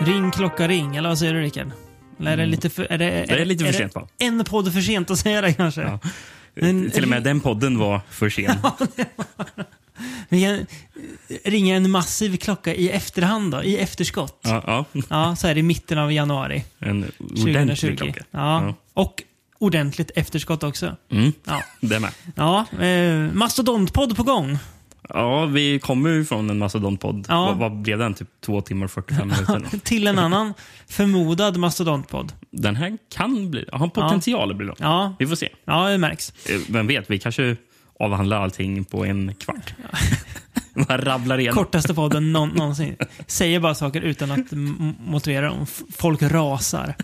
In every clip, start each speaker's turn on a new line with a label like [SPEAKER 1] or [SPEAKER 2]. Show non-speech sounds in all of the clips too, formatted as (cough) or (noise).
[SPEAKER 1] Ring klocka ring, eller vad säger du Rickard? Eller är det lite för, är det,
[SPEAKER 2] Mm. Det är lite för sent, va?
[SPEAKER 1] En podd för sent att säga det kanske.
[SPEAKER 2] Ja.
[SPEAKER 1] Men-
[SPEAKER 2] Till och med den podden var för (laughs) sen.
[SPEAKER 1] Vi kan ringa en massiv klocka i efterhand då, i efterskott. Ja,
[SPEAKER 2] Ja, ja.
[SPEAKER 1] så här i mitten av januari
[SPEAKER 2] En
[SPEAKER 1] 2020.
[SPEAKER 2] ordentlig klocka.
[SPEAKER 1] Ja. Och ordentligt efterskott också.
[SPEAKER 2] Ja. Mm,
[SPEAKER 1] Ja,
[SPEAKER 2] det med.
[SPEAKER 1] ja eh, mastodontpodd på gång.
[SPEAKER 2] Ja, vi kommer ju från en mastodontpodd.
[SPEAKER 1] Ja.
[SPEAKER 2] Vad, vad blev den? Typ två timmar och (laughs) 45 minuter? eller något.
[SPEAKER 1] Till en annan förmodad mastodontpodd.
[SPEAKER 2] den här kan bli... Har potential att bli lång.
[SPEAKER 1] Ja,
[SPEAKER 2] Vi får se.
[SPEAKER 1] ja, det märks.
[SPEAKER 2] Eh, Vem vet, vi kanske avhandlar allting på en kvart. (laughs) Man rabblar igen.
[SPEAKER 1] Kortaste podden någon, någonsin. Säger bara saker utan att m- motivera dem. F- Folk rasar.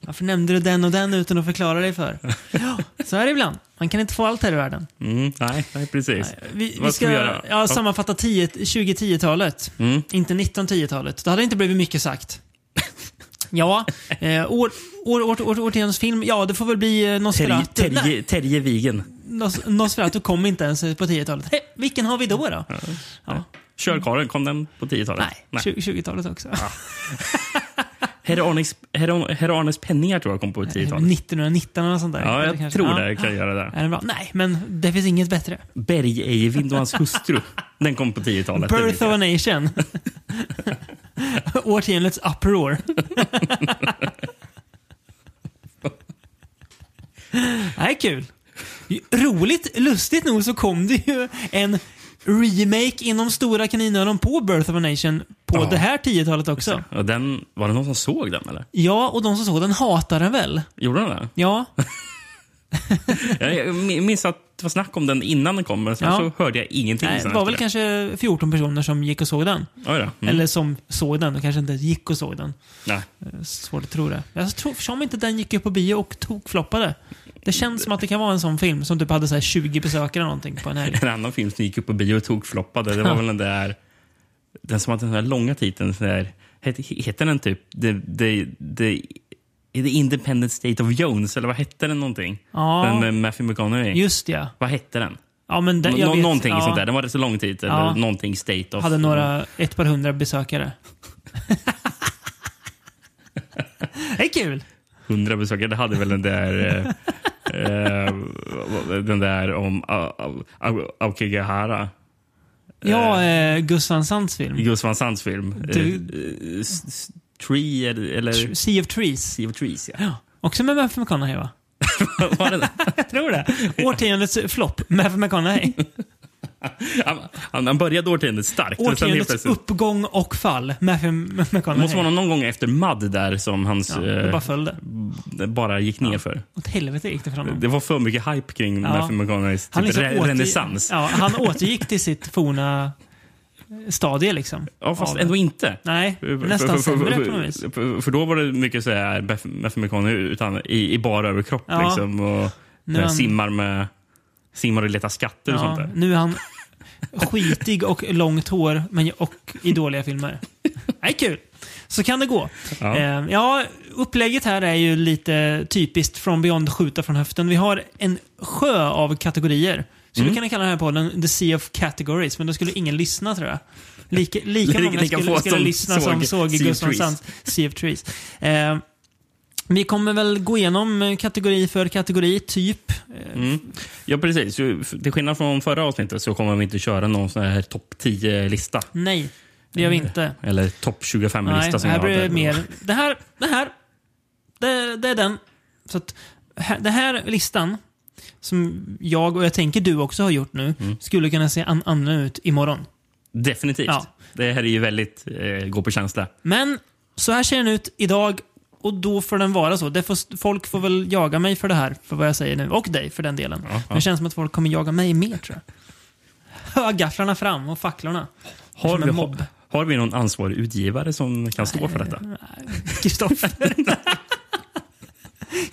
[SPEAKER 1] Varför nämnde du den och den utan att förklara dig för? Ja, så är det ibland. Man kan inte få allt här i världen. Eh,
[SPEAKER 2] Mm, nej, nej, precis.
[SPEAKER 1] Vi, vi
[SPEAKER 2] Vad
[SPEAKER 1] ska
[SPEAKER 2] ska vi göra?
[SPEAKER 1] ja, sammanfatta 10 2010-talet.
[SPEAKER 2] Mm.
[SPEAKER 1] Inte 1910-talet. Då hade det inte blivit mycket
[SPEAKER 2] (laughs)
[SPEAKER 1] sagt. ja, eh, år, år, år, år, årtiondets film. Ja, det får väl bli eh,
[SPEAKER 2] Terje,
[SPEAKER 1] Nosferatu. Nej,
[SPEAKER 2] terje, terje Vigen.
[SPEAKER 1] Nos, Nosferatu kom inte ens på 10-talet. Hej, vilken har vi då? då? Ja.
[SPEAKER 2] Körkaren, kom den på 10-talet?
[SPEAKER 1] Nej, tju- 20-talet också.
[SPEAKER 2] Herr Arnes, Herr, Herr Arnes penningar tror jag kom på 10-talet.
[SPEAKER 1] 1919 eller något sånt där.
[SPEAKER 2] Ja, jag
[SPEAKER 1] Kanske.
[SPEAKER 2] tror
[SPEAKER 1] Ja.
[SPEAKER 2] det. Kan göra det.
[SPEAKER 1] Är den bra? Nej, men det finns inget bättre.
[SPEAKER 2] Berg Eivind och hans hustru. Den kom på 10-talet. det vet
[SPEAKER 1] Birth of
[SPEAKER 2] jag.
[SPEAKER 1] a
[SPEAKER 2] (laughs)
[SPEAKER 1] Nation. Årtiondets uproar. (laughs) det här är kul. Roligt, lustigt nog så kom det ju en remake inom stora kaninöron på Birth of a Nation på
[SPEAKER 2] Ja.
[SPEAKER 1] det här 10-talet också.
[SPEAKER 2] Ja, den, var det någon som såg den eller?
[SPEAKER 1] Ja, och de som såg den hatar den väl?
[SPEAKER 2] Gjorde den (laughs) det?
[SPEAKER 1] Ja,
[SPEAKER 2] Jag- Jag mi- minns att det var snack om den innan den kom, men sen
[SPEAKER 1] Ja.
[SPEAKER 2] så hörde jag ingenting.
[SPEAKER 1] Nej,
[SPEAKER 2] sen
[SPEAKER 1] det var
[SPEAKER 2] efter
[SPEAKER 1] väl kanske 14 personer som gick och såg den.
[SPEAKER 2] Oj då. Mm.
[SPEAKER 1] Eller som såg den och kanske inte gick och såg den.
[SPEAKER 2] Nej.
[SPEAKER 1] Eh, Svårt att tro det. Jag tror som inte den gick upp på bio och tokfloppade. Det känns som att det kan vara en sån film som typ hade så här 20 besökare eller någonting på en helg.
[SPEAKER 2] En annan film som gick upp på bio och tokfloppade, det var väl den där... Den som hade den där långa titeln. Så där, het, hette den typ the, the, the, the Independent State of Jones? Eller vad hette den någonting?
[SPEAKER 1] Ja.
[SPEAKER 2] Den med Matthew McConaughey.
[SPEAKER 1] Just ja.
[SPEAKER 2] Vad hette den?
[SPEAKER 1] ja men den,
[SPEAKER 2] eh, Nå-
[SPEAKER 1] jag vet,
[SPEAKER 2] någonting
[SPEAKER 1] ja,
[SPEAKER 2] sånt där. Den var rätt så lång titel.
[SPEAKER 1] Ja.
[SPEAKER 2] eller Någonting State of...
[SPEAKER 1] Hade några, ett par hundra
[SPEAKER 2] (laughs)
[SPEAKER 1] besökare. det är kul.
[SPEAKER 2] hundra besökare. Det hade väl den där...
[SPEAKER 1] (laughs)
[SPEAKER 2] eh, eh, den där om eh, Au- Au- Au- Aokigahara.
[SPEAKER 1] Ja, eh, Gus Van Sants film.
[SPEAKER 2] Gus Van Sants film.
[SPEAKER 1] Du-
[SPEAKER 2] Eh, eh, s- s- Tree eller... eller
[SPEAKER 1] Sea of Trees.
[SPEAKER 2] sea of Trees, ja. (laughs)
[SPEAKER 1] Ja. Också med Matthew McConaughey va?
[SPEAKER 2] Var det det?
[SPEAKER 1] Jag tror det. Årtiondets flopp, Matthew McConaughey.
[SPEAKER 2] han, han, han började årtiondet starkt. men sen helt
[SPEAKER 1] Årtiondets
[SPEAKER 2] plötsligt-
[SPEAKER 1] uppgång och fall, Matthew
[SPEAKER 2] Det
[SPEAKER 1] McConaughey.
[SPEAKER 2] måste vara någon gång efter Mud där som hans...
[SPEAKER 1] ja, det
[SPEAKER 2] eh,
[SPEAKER 1] bara följde.
[SPEAKER 2] det bara gick ner för.
[SPEAKER 1] Åt helvete gick det för honom.
[SPEAKER 2] Det var för mycket hype kring
[SPEAKER 1] Ja.
[SPEAKER 2] Matthew McConaugheys typ,
[SPEAKER 1] liksom
[SPEAKER 2] re-
[SPEAKER 1] återgi-
[SPEAKER 2] renässans.
[SPEAKER 1] Ja, han återgick till sitt forna stadie liksom.
[SPEAKER 2] Ja, fast
[SPEAKER 1] Av-
[SPEAKER 2] ändå inte.
[SPEAKER 1] Nej,
[SPEAKER 2] För-
[SPEAKER 1] nästan
[SPEAKER 2] för- för-
[SPEAKER 1] sämre
[SPEAKER 2] för-
[SPEAKER 1] på något vis.
[SPEAKER 2] för- För då var det mycket så här Beth- Matthew McConaughey utan i, i bara överkropp
[SPEAKER 1] Ja.
[SPEAKER 2] liksom. Och
[SPEAKER 1] Nu är han-
[SPEAKER 2] simmar med simmar och letar skatter och sånt
[SPEAKER 1] Ja,
[SPEAKER 2] där.
[SPEAKER 1] nu är han skitig och långt hår, men och i dåliga filmer. Nej, kul! Så kan det gå.
[SPEAKER 2] Ja.
[SPEAKER 1] Eh, ja, upplägget här är ju lite typiskt från Beyond skjuta från höften. Vi har en sjö av kategorier. Skulle
[SPEAKER 2] Mm.
[SPEAKER 1] kunna kalla den här podden The Sea of Categories, men då skulle ingen lyssna tror jag. Lika, lika
[SPEAKER 2] (laughs) Lika-
[SPEAKER 1] många
[SPEAKER 2] lika
[SPEAKER 1] skulle,
[SPEAKER 2] få
[SPEAKER 1] skulle
[SPEAKER 2] som
[SPEAKER 1] lyssna
[SPEAKER 2] såg
[SPEAKER 1] som såg
[SPEAKER 2] Sea of
[SPEAKER 1] Gustav
[SPEAKER 2] Trees.
[SPEAKER 1] Sands Sea of Trees. Eh, vi kommer väl gå igenom eh, kategori för kategori, typ.
[SPEAKER 2] Mm. Ja, precis. Ju- f- Till skillnad från förra avsnittet så kommer vi inte köra någon sån här topp 10-lista.
[SPEAKER 1] Nej, det gör vi
[SPEAKER 2] Mm.
[SPEAKER 1] inte.
[SPEAKER 2] Eller topp 25-lista
[SPEAKER 1] Nej,
[SPEAKER 2] som
[SPEAKER 1] här
[SPEAKER 2] jag
[SPEAKER 1] blir det
[SPEAKER 2] hade.
[SPEAKER 1] mer. Det här, det här, det, det är den. Så att, här, den här listan, som jag och jag tänker du också har gjort nu,
[SPEAKER 2] Mm.
[SPEAKER 1] skulle kunna se an, annorlunda ut imorgon.
[SPEAKER 2] Definitivt.
[SPEAKER 1] Ja.
[SPEAKER 2] Det här är ju väldigt eh, gå på känsla.
[SPEAKER 1] Men så här ser den ut idag och då får den vara så. Det får, folk får väl jaga mig för det här, för vad jag säger nu. Och dig för den delen.
[SPEAKER 2] Ja, ja.
[SPEAKER 1] Men det känns som att folk kommer jaga mig mer tror jag. (laughs) Högafflarna fram och facklorna.
[SPEAKER 2] Har
[SPEAKER 1] Som
[SPEAKER 2] vi,
[SPEAKER 1] en mobb.
[SPEAKER 2] har vi någon ansvarig utgivare som kan stå för detta?
[SPEAKER 1] Kristoffer. (laughs)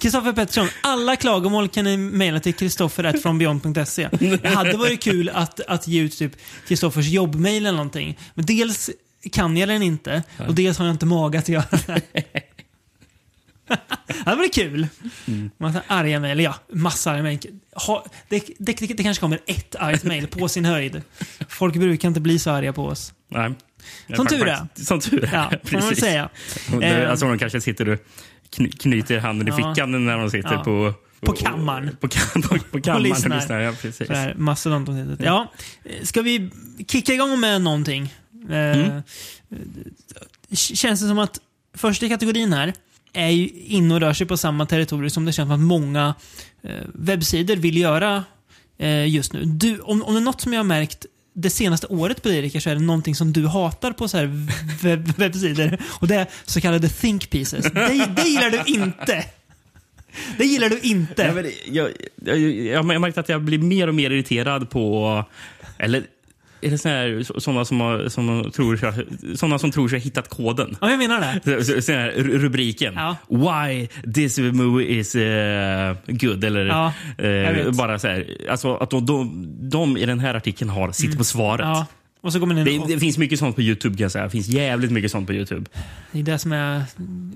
[SPEAKER 1] Kristoffer Pettersson, alla klagomål kan ni mejla till kristoffer.frombeyond.se. Det hade varit kul att, att ge ut typ Kristoffers jobbmejl eller någonting. Men dels kan jag den inte och dels har jag inte mage att göra det. Det hade varit kul. Massa arga mejl, ja, massa arga mejl. Ha, det, det, det kanske kommer ett argt mejl på sin höjd. Folk brukar inte bli så arga på oss.
[SPEAKER 2] Nej.
[SPEAKER 1] Som tur är.
[SPEAKER 2] Faktiskt, Som tur är, (laughs)
[SPEAKER 1] Ja, får man väl säga.
[SPEAKER 2] Det-
[SPEAKER 1] Eh,
[SPEAKER 2] Alltså de kanske sitter och kny- knyter handen i
[SPEAKER 1] Ja.
[SPEAKER 2] fickan när de sitter
[SPEAKER 1] Ja.
[SPEAKER 2] på...
[SPEAKER 1] På kammaren.
[SPEAKER 2] På, kam- på, på kammaren och
[SPEAKER 1] lyssnar.
[SPEAKER 2] lyssnar. Ja, precis. Mm.
[SPEAKER 1] Så här, mastodontavsnittet. Ja, eh, ska vi kicka igång med någonting? Eh,
[SPEAKER 2] Mm.
[SPEAKER 1] k- Känns det som att första kategorin här är ju inne och rör sig på samma territorium som det känns som att många eh, webbsidor vill göra eh, just nu. Du, om, om det är något som jag har märkt det senaste året på dig Rickard, så är det någonting som du hatar på så här (laughs) webb, webbsidor. Och det är så kallade think pieces. Det, det gillar du inte. Det gillar du inte.
[SPEAKER 2] Ja, men Jag, jag, jag, jag har märkt att jag blir mer och mer irriterad på... Eller är det såna här, så- såna som, har, som, tror, sig- såna som tror sig ha hittat koden?
[SPEAKER 1] Ja, jag menar
[SPEAKER 2] (laughs)
[SPEAKER 1] det.
[SPEAKER 2] Så- så- Sån här ru- rubriken.
[SPEAKER 1] Ja.
[SPEAKER 2] Why this movie is eh, good. Eller
[SPEAKER 1] Ja,
[SPEAKER 2] eh,
[SPEAKER 1] vet.
[SPEAKER 2] bara så här. Alltså att de, de, de i den här artikeln har sitt på svaret.
[SPEAKER 1] Mm. Ja. Och så går man in
[SPEAKER 2] Det,
[SPEAKER 1] och,
[SPEAKER 2] det finns mycket sånt på Youtube kan jag säga. Det finns jävligt mycket sånt på Youtube.
[SPEAKER 1] Det är det som är...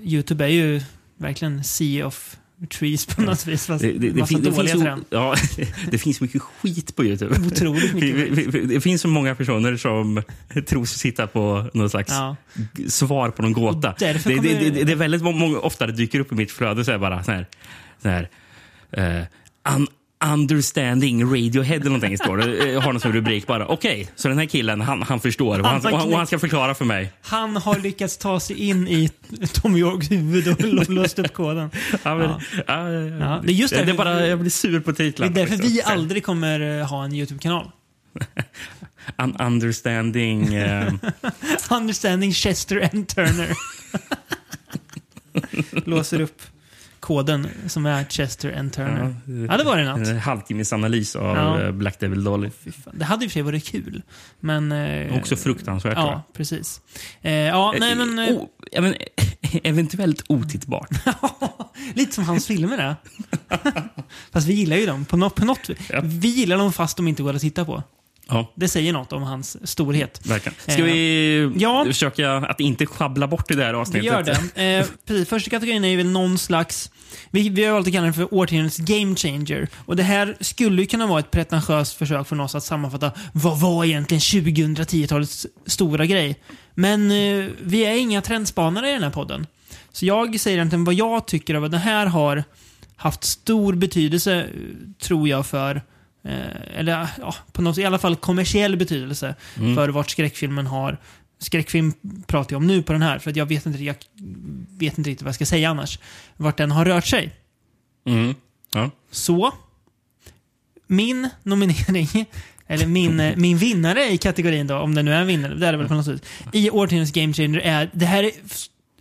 [SPEAKER 1] Youtube är ju verkligen sea of trees på något vis. Fast
[SPEAKER 2] Det, det, det,
[SPEAKER 1] massa
[SPEAKER 2] fin, det,
[SPEAKER 1] dåliga
[SPEAKER 2] finns,
[SPEAKER 1] trän.
[SPEAKER 2] ja, (laughs) det finns mycket skit på Youtube.
[SPEAKER 1] Otroligt mycket
[SPEAKER 2] (laughs) Vi- vi- vi- Det finns så många personer som (laughs) tror sig sitta på någon slags
[SPEAKER 1] Ja.
[SPEAKER 2] g- svar på någon gåta. Det,
[SPEAKER 1] därför kommer-
[SPEAKER 2] det, det, det är väldigt må- många, ofta det dyker upp i mitt flöde så här bara så här, så här eh, un, Understanding Radiohead eller någonting står det. Jag har någon som rubrik bara. Okej, så den här killen han, han förstår och han, och, han, och han ska förklara för mig.
[SPEAKER 1] Han har lyckats ta sig in i (laughs) Tom Yorks huvud och låst upp
[SPEAKER 2] (laughs)
[SPEAKER 1] koden.
[SPEAKER 2] Ja, men,
[SPEAKER 1] Ja.
[SPEAKER 2] ja.
[SPEAKER 1] Ja, det är just
[SPEAKER 2] det,
[SPEAKER 1] därför-
[SPEAKER 2] är bara, jag blir sur på
[SPEAKER 1] Det är
[SPEAKER 2] titlarna.
[SPEAKER 1] därför
[SPEAKER 2] faktiskt.
[SPEAKER 1] vi aldrig kommer eh, ha en Youtube-kanal.
[SPEAKER 2] Un
[SPEAKER 1] (laughs)
[SPEAKER 2] understanding... eh,
[SPEAKER 1] Understanding Chester and
[SPEAKER 2] (laughs)
[SPEAKER 1] Turner. Låser upp koden som är Chester and Turner. Ja, det var det något.
[SPEAKER 2] En halvtimmesanalys av
[SPEAKER 1] Ja.
[SPEAKER 2] eh, Black Devil Dolly.
[SPEAKER 1] Fy fan. Det hade i och för sig varit kul. Men... eh,
[SPEAKER 2] Också fruktansvärt. tror jag.
[SPEAKER 1] Ja, precis. Eh, ja, nej men... eh,
[SPEAKER 2] Eh, o- ja, men, (laughs) eh, eventuellt otittbart.
[SPEAKER 1] (laughs) Lite som hans filmer är. fast vi gillar ju dem. På något, på något,
[SPEAKER 2] Ja.
[SPEAKER 1] Vi gillar dem fast de inte går att titta på.
[SPEAKER 2] ja,
[SPEAKER 1] Det säger något om hans storhet.
[SPEAKER 2] verkligen.
[SPEAKER 1] Eh,
[SPEAKER 2] Ska vi
[SPEAKER 1] ja.
[SPEAKER 2] försöka att inte sjabbla bort det där
[SPEAKER 1] Vi
[SPEAKER 2] avsnittet?
[SPEAKER 1] gör det. Eh, precis. Första kategorin är väl någon slags... Vi, vi har valt att kalla den för årtiondets game changer. Och det här skulle ju kunna vara ett pretentiöst försök från oss att sammanfatta vad var egentligen 2010-talets stora grej. Men eh, vi är inga trendspanare i den här podden. Så jag säger egentligen vad jag tycker av att det här har haft stor betydelse, eh, tror jag, för eh, eller ja, på något, i alla fall kommersiell betydelse
[SPEAKER 2] Mm.
[SPEAKER 1] för vart skräckfilmen har skräckfilm pratar jag om nu på den här, för att jag vet inte, jag vet inte riktigt vad jag ska säga annars. Vart den har rört sig.
[SPEAKER 2] Mm. Ja.
[SPEAKER 1] Så, min nominering, (laughs) eller min, eh, min vinnare i kategorin då, om det nu är en vinnare, det är det väl på något sätt, i årtiondets Game Changer är, det här är f-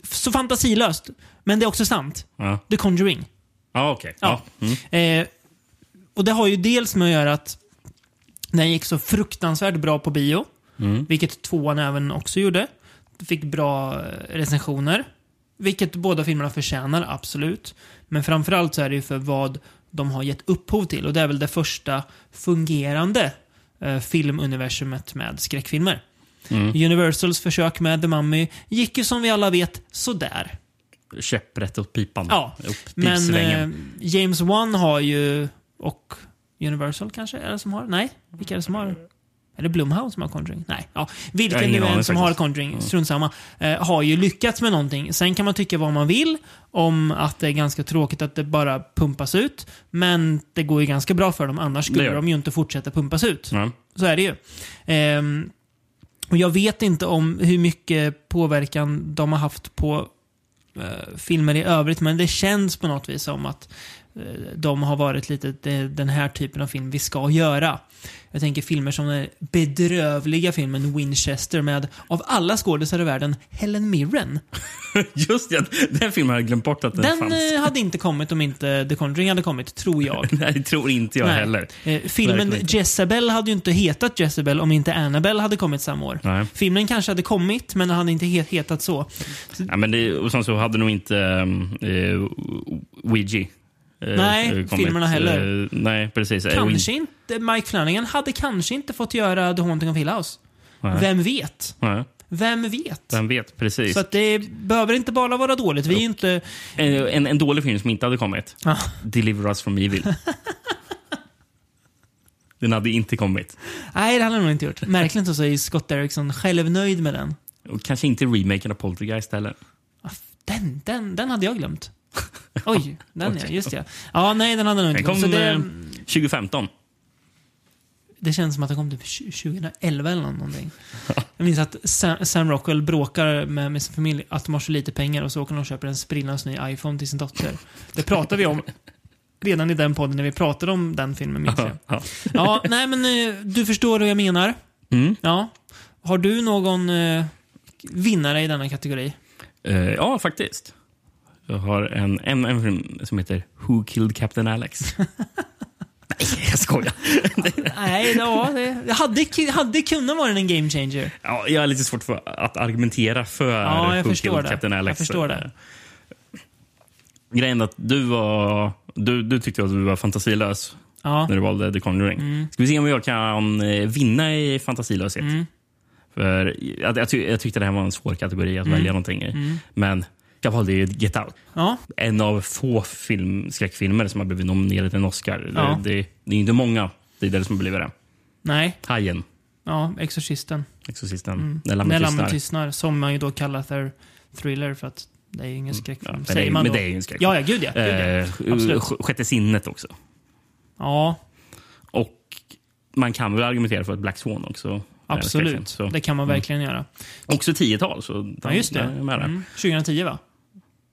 [SPEAKER 1] f- så fantasilöst, men det är också sant.
[SPEAKER 2] Ja.
[SPEAKER 1] The Conjuring.
[SPEAKER 2] Ja, okej.
[SPEAKER 1] Ja.
[SPEAKER 2] Ja. Mm.
[SPEAKER 1] Eh, och det har ju dels med att göra att den gick så fruktansvärt bra på bio,
[SPEAKER 2] Mm.
[SPEAKER 1] vilket tvåan även också gjorde. Fick bra eh, recensioner, vilket båda filmerna förtjänar, absolut. Men framförallt så är det ju för vad de har gett upphov till och det är väl det första fungerande eh, filmuniversumet med skräckfilmer.
[SPEAKER 2] Mm.
[SPEAKER 1] Universals försök med The Mummy gick ju som vi alla vet sådär.
[SPEAKER 2] Mm. Käpprätt åt pipan.
[SPEAKER 1] Ja,
[SPEAKER 2] Upp
[SPEAKER 1] men
[SPEAKER 2] pipsvängen.
[SPEAKER 1] eh, James Wan har ju, och Universal kanske är det som har? Nej, vilka är det som har? Är det Blumhouse som har Conjuring? Nej. Ja,
[SPEAKER 2] Jag har
[SPEAKER 1] vilken
[SPEAKER 2] ingen
[SPEAKER 1] nu än
[SPEAKER 2] aning
[SPEAKER 1] som har
[SPEAKER 2] faktiskt.
[SPEAKER 1] Conjuring, strunt samma, eh, har ju lyckats med någonting. Sen kan man tycka vad man vill om att det är ganska tråkigt att det bara pumpas ut. Men det går ju ganska bra för dem, annars
[SPEAKER 2] Det
[SPEAKER 1] skulle
[SPEAKER 2] gör
[SPEAKER 1] de ju inte fortsätta pumpas ut.
[SPEAKER 2] Ja. (laughs)
[SPEAKER 1] Så är det ju. Ehm, och jag vet inte om hur mycket påverkan de har haft på eh, filmer i övrigt, men det känns på något vis som att eh, de har varit lite det är den här typen av film vi ska göra. Jag tänker filmer som den bedrövliga filmen Winchester med, av alla skådisar i världen, Helen Mirren.
[SPEAKER 2] Just det, den filmen har jag glömt bort att den,
[SPEAKER 1] Den
[SPEAKER 2] fanns.
[SPEAKER 1] eh, hade inte kommit om inte The Conjuring hade kommit, tror jag.
[SPEAKER 2] (laughs) Nej, tror inte jag
[SPEAKER 1] Nej.
[SPEAKER 2] heller.
[SPEAKER 1] Eh, filmen
[SPEAKER 2] Verkligen inte.
[SPEAKER 1] Jezebel hade ju inte hetat Jezebel om inte Annabelle hade kommit samma år.
[SPEAKER 2] Nej.
[SPEAKER 1] Filmen kanske hade kommit, men den hade inte he- hetat så. så
[SPEAKER 2] Ja, men det, och sen så hade nog inte um, uh, Ouija eh,
[SPEAKER 1] Nej,
[SPEAKER 2] kommit.
[SPEAKER 1] filmerna heller.
[SPEAKER 2] Eh, nej, precis. Eh,
[SPEAKER 1] kanske inte Mike Flanagan hade kanske inte fått göra The Haunting of Hill House.
[SPEAKER 2] Nej.
[SPEAKER 1] Vem vet?
[SPEAKER 2] Nej,
[SPEAKER 1] Vem vet?
[SPEAKER 2] vem vet? Precis.
[SPEAKER 1] Så att det behöver inte bara vara dåligt. Vi är ju inte...
[SPEAKER 2] Eh, En,
[SPEAKER 1] (laughs)
[SPEAKER 2] en dålig film som inte hade kommit.
[SPEAKER 1] Ah,
[SPEAKER 2] Deliver Us From Evil. Den hade inte kommit.
[SPEAKER 1] Nej, det hade han nog inte gjort. Märkligt nog så är ju Scott Derrickson självnöjd med den. Ah,
[SPEAKER 2] Och kanske inte remaken av Poltergeist heller.
[SPEAKER 1] Den, den, den hade jag
[SPEAKER 2] (laughs)
[SPEAKER 1] glömt. Oj, den ja. Just det. Ja, nej, den hade jag nog inte
[SPEAKER 2] Den
[SPEAKER 1] glömt.
[SPEAKER 2] kom
[SPEAKER 1] Så
[SPEAKER 2] eh,
[SPEAKER 1] det,
[SPEAKER 2] 2015.
[SPEAKER 1] det känns som att den kom typ 2011 eller någonting. Jag minns att Sam, Sam Rockwell bråkar med, med sin familj att de har så lite pengar och så åker de och köper en sprillans ny iPhone till sin dotter. Det pratade vi om redan i den podden när vi pratade om den filmen, minns jag.
[SPEAKER 2] (laughs) Ja.
[SPEAKER 1] Ja, nej men eh, du förstår vad jag menar.
[SPEAKER 2] Mm.
[SPEAKER 1] Ja. Har du någon eh, vinnare i denna kategori?
[SPEAKER 2] Eh, ja, faktiskt. Jag har en, en, en film som heter Who Killed
[SPEAKER 1] (laughs)
[SPEAKER 2] Captain Alex. Nej, jag skojar.
[SPEAKER 1] Nej, ja, det det hade, ki- hade kunnat vara en game changer.
[SPEAKER 2] Ja, jag är lite svårt för att argumentera för
[SPEAKER 1] Ja, jag
[SPEAKER 2] Who
[SPEAKER 1] förstår
[SPEAKER 2] Killed
[SPEAKER 1] det.
[SPEAKER 2] Captain Alex. Eh,
[SPEAKER 1] Jag förstår det.
[SPEAKER 2] Grejen är att du var... Du, du tyckte att du var fantasilös
[SPEAKER 1] Ja. Mm.
[SPEAKER 2] när du valde The Conjuring. Ska vi se om jag kan eh, vinna i fantasilöshet?
[SPEAKER 1] Mm,
[SPEAKER 2] För jag, jag, ty, jag tyckte det här var en svår kategori att
[SPEAKER 1] Mm.
[SPEAKER 2] välja någonting i. Men jag valde ju Get Out.
[SPEAKER 1] ja.
[SPEAKER 2] en av få film, skräckfilmer som har blivit nominerad till en Oscar.
[SPEAKER 1] Ja.
[SPEAKER 2] Det, det, det är inte många tidigare som har blivit det.
[SPEAKER 1] Nej.
[SPEAKER 2] Hajen,
[SPEAKER 1] Ja, Exorcisten.
[SPEAKER 2] Exorcisten, När lammet
[SPEAKER 1] Mm. När lammet
[SPEAKER 2] tystnar.
[SPEAKER 1] tystnar, som man ju då kallar för thriller för att det är ju ingen skräckfilm.
[SPEAKER 2] men det är-
[SPEAKER 1] mm, Säger man
[SPEAKER 2] Mm. men
[SPEAKER 1] då.
[SPEAKER 2] det är ju en skräckfilm.
[SPEAKER 1] Ja, ja, gud ja. Gud, ja.
[SPEAKER 2] Eh,
[SPEAKER 1] Absolut.
[SPEAKER 2] sj- sjätte sinnet också.
[SPEAKER 1] ja
[SPEAKER 2] Och man kan väl argumentera för att Black Swan också. är en skräckfilm.
[SPEAKER 1] absolut.
[SPEAKER 2] Så.
[SPEAKER 1] Det kan man verkligen göra.
[SPEAKER 2] Också 10-tal. Så
[SPEAKER 1] Ja, just det.
[SPEAKER 2] Jag är med där.
[SPEAKER 1] Mm. 2010 va?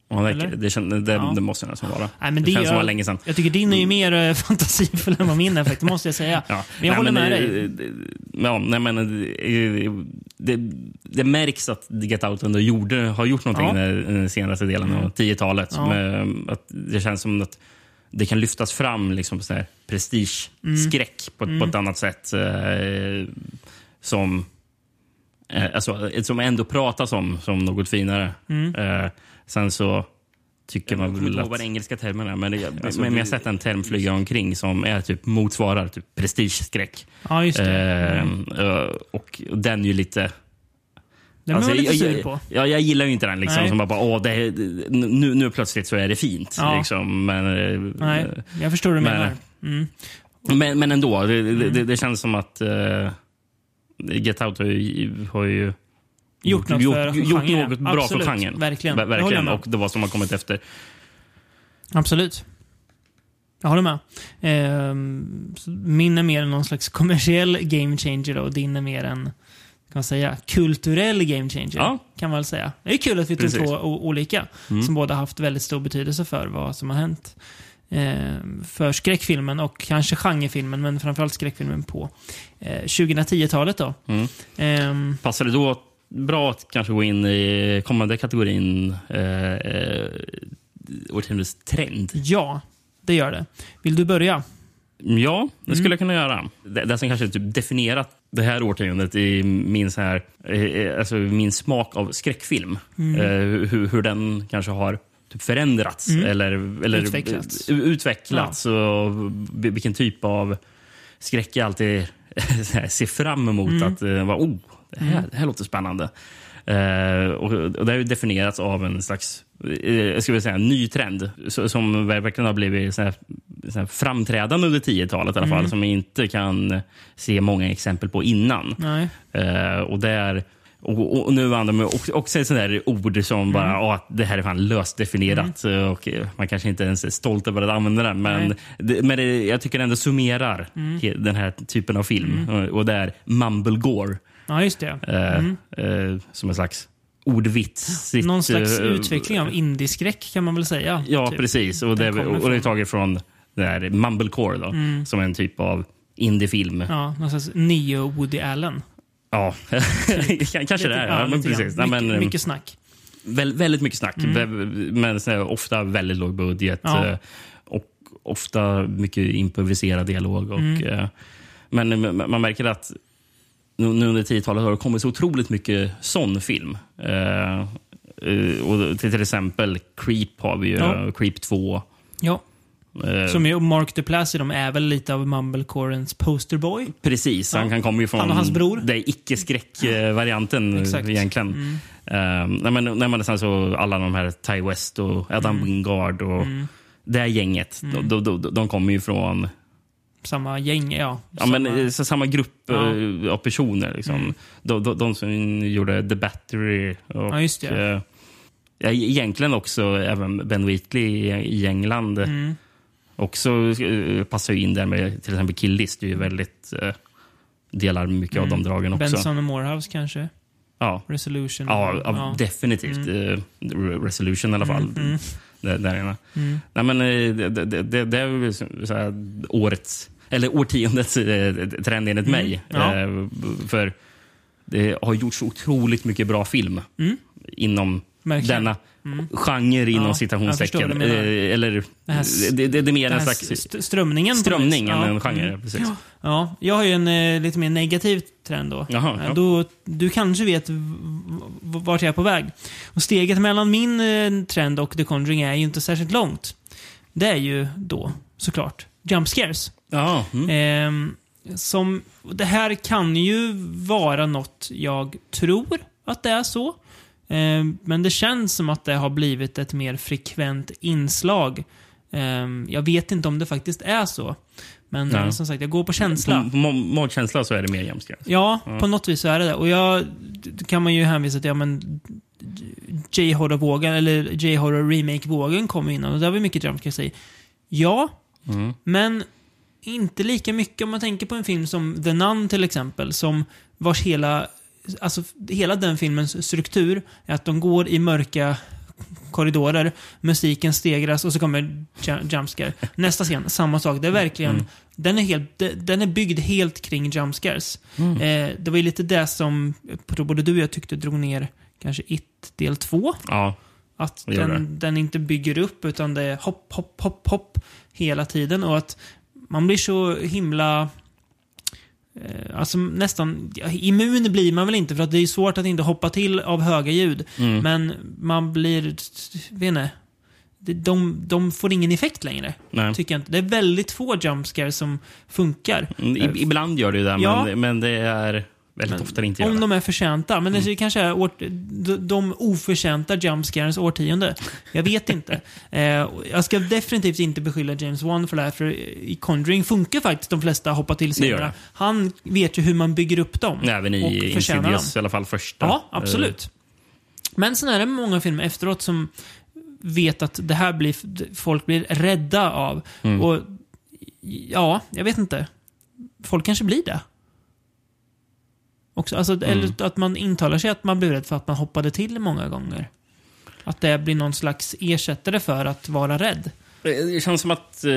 [SPEAKER 2] Och han verkar-
[SPEAKER 1] Eller?
[SPEAKER 2] Det, kände, det,
[SPEAKER 1] Ja.
[SPEAKER 2] det måste nästan vara.
[SPEAKER 1] Nej, men
[SPEAKER 2] det
[SPEAKER 1] det
[SPEAKER 2] känns som
[SPEAKER 1] gör-
[SPEAKER 2] var länge sedan.
[SPEAKER 1] Jag tycker din
[SPEAKER 2] Mm.
[SPEAKER 1] är ju mer eh, (laughs) fantasifull än vad min är faktiskt, måste jag säga.
[SPEAKER 2] Ja.
[SPEAKER 1] Men jag håller med
[SPEAKER 2] det-
[SPEAKER 1] dig.
[SPEAKER 2] det- Ja, nej, men det, det, det märks att The Get Out ändå gjorde, har gjort någonting
[SPEAKER 1] Ja. Mm.
[SPEAKER 2] i den- den senaste delen av 10-talet.
[SPEAKER 1] Ja.
[SPEAKER 2] Med, eh, att det känns som att det kan lyftas fram liksom, så här, prestigeskräck på, ett- på ett annat sätt. Eh, som, eh, alltså, som ändå pratas om som något finare. Eh, sen så tycker man väl att... vad den engelska termen är, men, det, men jag har sett en term flyga omkring som är typ, motsvarar typ prestigeskräck.
[SPEAKER 1] Ja, just det.
[SPEAKER 2] Eh, eh, och den är ju lite...
[SPEAKER 1] Den var
[SPEAKER 2] alltså,
[SPEAKER 1] jag lite
[SPEAKER 2] jag,
[SPEAKER 1] sur
[SPEAKER 2] jag,
[SPEAKER 1] på.
[SPEAKER 2] jag, jag gillar ju inte den. Liksom,
[SPEAKER 1] Nej.
[SPEAKER 2] som bara, bara, åh, det, är- nu, nu plötsligt så är det fint.
[SPEAKER 1] Ja.
[SPEAKER 2] Liksom, men, eh,
[SPEAKER 1] Nej, jag förstår vad du
[SPEAKER 2] men-
[SPEAKER 1] menar. Mm.
[SPEAKER 2] men, men ändå, det, det, det, det känns som att eh, Get Out har ju, har ju
[SPEAKER 1] Gjort något
[SPEAKER 2] gjort,
[SPEAKER 1] för
[SPEAKER 2] gjort
[SPEAKER 1] genren.
[SPEAKER 2] något bra
[SPEAKER 1] Absolut,
[SPEAKER 2] för genren.
[SPEAKER 1] verkligen.
[SPEAKER 2] Ver-
[SPEAKER 1] Det håller jag
[SPEAKER 2] verkligen.
[SPEAKER 1] med om.
[SPEAKER 2] Och det var som har kommit efter.
[SPEAKER 1] Absolut. Jag håller med. Ehm, så min är mer någon slags kommersiell game changer då, och din är mer en kan man säga, kulturell game changer.
[SPEAKER 2] Ja.
[SPEAKER 1] Kan man väl säga. Det är kul att vi tog
[SPEAKER 2] Precis. Mm.
[SPEAKER 1] två o- olika som båda haft väldigt stor betydelse för vad som har hänt. ehm, för skräckfilmen och kanske genrefilmen, men framförallt skräckfilmen på eh, 2010-talet. då.
[SPEAKER 2] Mm.
[SPEAKER 1] Ehm,
[SPEAKER 2] Passar det då bra att kanske gå in i kommande kategorin eh, eh, årtiondets trend?
[SPEAKER 1] ja, det gör det. Vill du börja?
[SPEAKER 2] Ja, det skulle jag kunna göra. Det, det som kanske typ definierat det här årtiondet i min, så här, eh, alltså min smak av skräckfilm. Eh, hur, hur den kanske har typ förändrats eller, eller
[SPEAKER 1] Utvecklats.
[SPEAKER 2] u- utvecklats och v- vilken typ av skräck jag alltid (laughs) så här ser fram emot. Att eh, vara, oh, det, här, det här låter spännande. Eh, och, och det har ju definierats av en slags eh, jag skulle vilja säga, en ny trend så- som verkligen har blivit så här, så här framträdande under 10-talet i alla fall som vi inte kan se många exempel på innan.
[SPEAKER 1] Nej.
[SPEAKER 2] Eh, och där och, och, och nu använder man också, också ett sånt där ord som bara "Ja, att det här är fan löst definierat. eh, Och eh, man kanske inte ens är stolt över att använda det. Men,
[SPEAKER 1] Nej.
[SPEAKER 2] det, men det, jag tycker det ändå summerar he- den här typen av film. Och, och det är mumble gore.
[SPEAKER 1] Ja, just det.
[SPEAKER 2] Eh, eh, som en slags ordvits.
[SPEAKER 1] Mm. Någon slags
[SPEAKER 2] eh,
[SPEAKER 1] utveckling av indieskräck kan man väl säga.
[SPEAKER 2] Ja,
[SPEAKER 1] typ.
[SPEAKER 2] precis. Och det,
[SPEAKER 1] kommer
[SPEAKER 2] och det är
[SPEAKER 1] från- Mm.
[SPEAKER 2] taget från det här mumblecore, då, som är en typ av indiefilm. Ja,
[SPEAKER 1] Ja, någon slags neo-Woody Allen.
[SPEAKER 2] (laughs) kanske det är.
[SPEAKER 1] Ja,
[SPEAKER 2] Ja, men
[SPEAKER 1] lite grann.
[SPEAKER 2] precis. Nej, men,
[SPEAKER 1] mycket,
[SPEAKER 2] eh,
[SPEAKER 1] mycket snack.
[SPEAKER 2] Väl, väldigt mycket snack, Vä- men så här, ofta väldigt låg budget.
[SPEAKER 1] Mm. Ja.
[SPEAKER 2] eh, Och ofta mycket improviserad dialog. Och,
[SPEAKER 1] Mm.
[SPEAKER 2] eh, Men m- man märker att nu nu under 10-talet har det kommit så otroligt mycket sån film. Eh, eh, och till, till exempel Creep har vi ju,
[SPEAKER 1] Ja.
[SPEAKER 2] eh, Creep 2.
[SPEAKER 1] Ja.
[SPEAKER 2] eh,
[SPEAKER 1] Som ju Mark Duplass i dem är väl lite av Mumblecorens posterboy.
[SPEAKER 2] Precis, han
[SPEAKER 1] Ja.
[SPEAKER 2] kan komma ju från
[SPEAKER 1] Han och hans bror.
[SPEAKER 2] den icke-skräck-varianten
[SPEAKER 1] Exakt. Mm.
[SPEAKER 2] egentligen. Ehm, nej, men, nej, men sen så alla de här Ty West
[SPEAKER 1] Mm.
[SPEAKER 2] och Adam Wingard och det här gänget. De, de, de, de kommer ju från
[SPEAKER 1] samma gäng. Ja,
[SPEAKER 2] Ja,
[SPEAKER 1] samma,
[SPEAKER 2] men, eh, så samma grupp
[SPEAKER 1] Ja. Mm.
[SPEAKER 2] eh, av personer. Liksom. De, de, de som gjorde The Battery och
[SPEAKER 1] Ja, just det.
[SPEAKER 2] eh, ja, egentligen också även Ben Wheatley i, i England.
[SPEAKER 1] Mm.
[SPEAKER 2] Också eh, passar ju in där med till exempel Kill List. Det är ju väldigt, eh, delar mycket
[SPEAKER 1] Mm.
[SPEAKER 2] av de dragen också.
[SPEAKER 1] Benson och Morehouse kanske?
[SPEAKER 2] Ja.
[SPEAKER 1] Resolution?
[SPEAKER 2] Ja, ja, definitivt.
[SPEAKER 1] Mm.
[SPEAKER 2] Eh, re- Resolution i alla fall. Där, där ena.
[SPEAKER 1] mm.
[SPEAKER 2] Nej, men, eh, det, det- det, det är väl så så här, årets, eller årtiondets eh, trend enligt mig.
[SPEAKER 1] Mm. Ja.
[SPEAKER 2] Eh, För det har gjorts otroligt mycket bra film inom
[SPEAKER 1] Verkligen.
[SPEAKER 2] denna genre inom
[SPEAKER 1] Mm. Ja, jag
[SPEAKER 2] citationstecken.
[SPEAKER 1] förstår vad du menar.
[SPEAKER 2] Eh, Eller,
[SPEAKER 1] Mm. Det här s-
[SPEAKER 2] det, det, det är mer
[SPEAKER 1] Den
[SPEAKER 2] en
[SPEAKER 1] här
[SPEAKER 2] slags
[SPEAKER 1] st- strömningen. på
[SPEAKER 2] strömning
[SPEAKER 1] något
[SPEAKER 2] än
[SPEAKER 1] vis.
[SPEAKER 2] en genre.
[SPEAKER 1] Mm.
[SPEAKER 2] Precis.
[SPEAKER 1] Ja, jag har ju en eh, lite mer negativ trend då.
[SPEAKER 2] Jaha,
[SPEAKER 1] Eh,
[SPEAKER 2] ja.
[SPEAKER 1] då du kanske vet v- v- vart jag är på väg. Och steget mellan min eh, trend och The Conjuring är ju inte särskilt långt. Det är ju då, såklart, jump scares.
[SPEAKER 2] Ja, mm.
[SPEAKER 1] Ehm, som, det här kan ju vara något jag tror att det är så. Ehm, men det känns som att det har blivit ett mer frekvent inslag. Ehm, jag vet inte om det faktiskt är så. Men
[SPEAKER 2] Nej.
[SPEAKER 1] eh, som sagt, jag går på känsla.
[SPEAKER 2] På- På må- magkänsla så är det mer jämnskrivs.
[SPEAKER 1] Ja, på något vis så är det det. Och jag, då kan man ju hänvisa till, ja men J-horror-vågen, eller J-horror-remake-vågen kom innan och där var mycket jumpscares i. Ja,
[SPEAKER 2] Mm.
[SPEAKER 1] men inte lika mycket om man tänker på en film som The Nun till exempel, som vars hela, alltså hela den filmens struktur är att de går i mörka korridorer, musiken stegras och så kommer ju- jumpscare. Nästa scen, samma sak. Det är verkligen, den, är helt, de- den är byggd helt kring jumpscares.
[SPEAKER 2] Mm.
[SPEAKER 1] Eh, det var ju lite det som jag tror både du och jag tyckte drog ner kanske It del 2.
[SPEAKER 2] Ja.
[SPEAKER 1] Att
[SPEAKER 2] Och gör
[SPEAKER 1] den, den inte bygger upp utan det är hopp, hopp, hopp, hopp hela tiden. Och att man blir så himla... Eh, alltså nästan... ja, Immun blir man väl inte för att det är svårt att inte hoppa till av höga ljud.
[SPEAKER 2] Mm.
[SPEAKER 1] Men man blir... Vet inte, det- de, de får ingen effekt längre.
[SPEAKER 2] Nej.
[SPEAKER 1] Tycker jag inte. Det är väldigt få jumpscares som funkar.
[SPEAKER 2] Mm, i- Ibland gör det ju det,
[SPEAKER 1] Eh, Ja.
[SPEAKER 2] men, men det är väldigt ofta det inte Mm. gör
[SPEAKER 1] Om
[SPEAKER 2] det.
[SPEAKER 1] de är förtjänta. Men det kanske är årt, de- de oförtjänta jumpscarens årtionde. Jag vet
[SPEAKER 2] (laughs)
[SPEAKER 1] inte. eh, och jag ska definitivt inte beskylla James Wan för det här, för i Conjuring funkar faktiskt de flesta hoppa till
[SPEAKER 2] Det gör
[SPEAKER 1] scenerna.
[SPEAKER 2] det.
[SPEAKER 1] Han vet ju hur man bygger upp dem.
[SPEAKER 2] Även
[SPEAKER 1] och
[SPEAKER 2] i
[SPEAKER 1] förtjänar dem.
[SPEAKER 2] Insidious, i alla fall första.
[SPEAKER 1] Ja, eh, absolut. Men sen är det många filmer efteråt som vet att det här blir folk blir rädda av. Och ja, jag vet inte. Folk kanske blir det. Också, alltså, Eller att man intalar sig att man blir rädd för att man hoppade till många gånger. Att det blir någon slags ersättare för att vara rädd.
[SPEAKER 2] Eh, Det känns som att eh,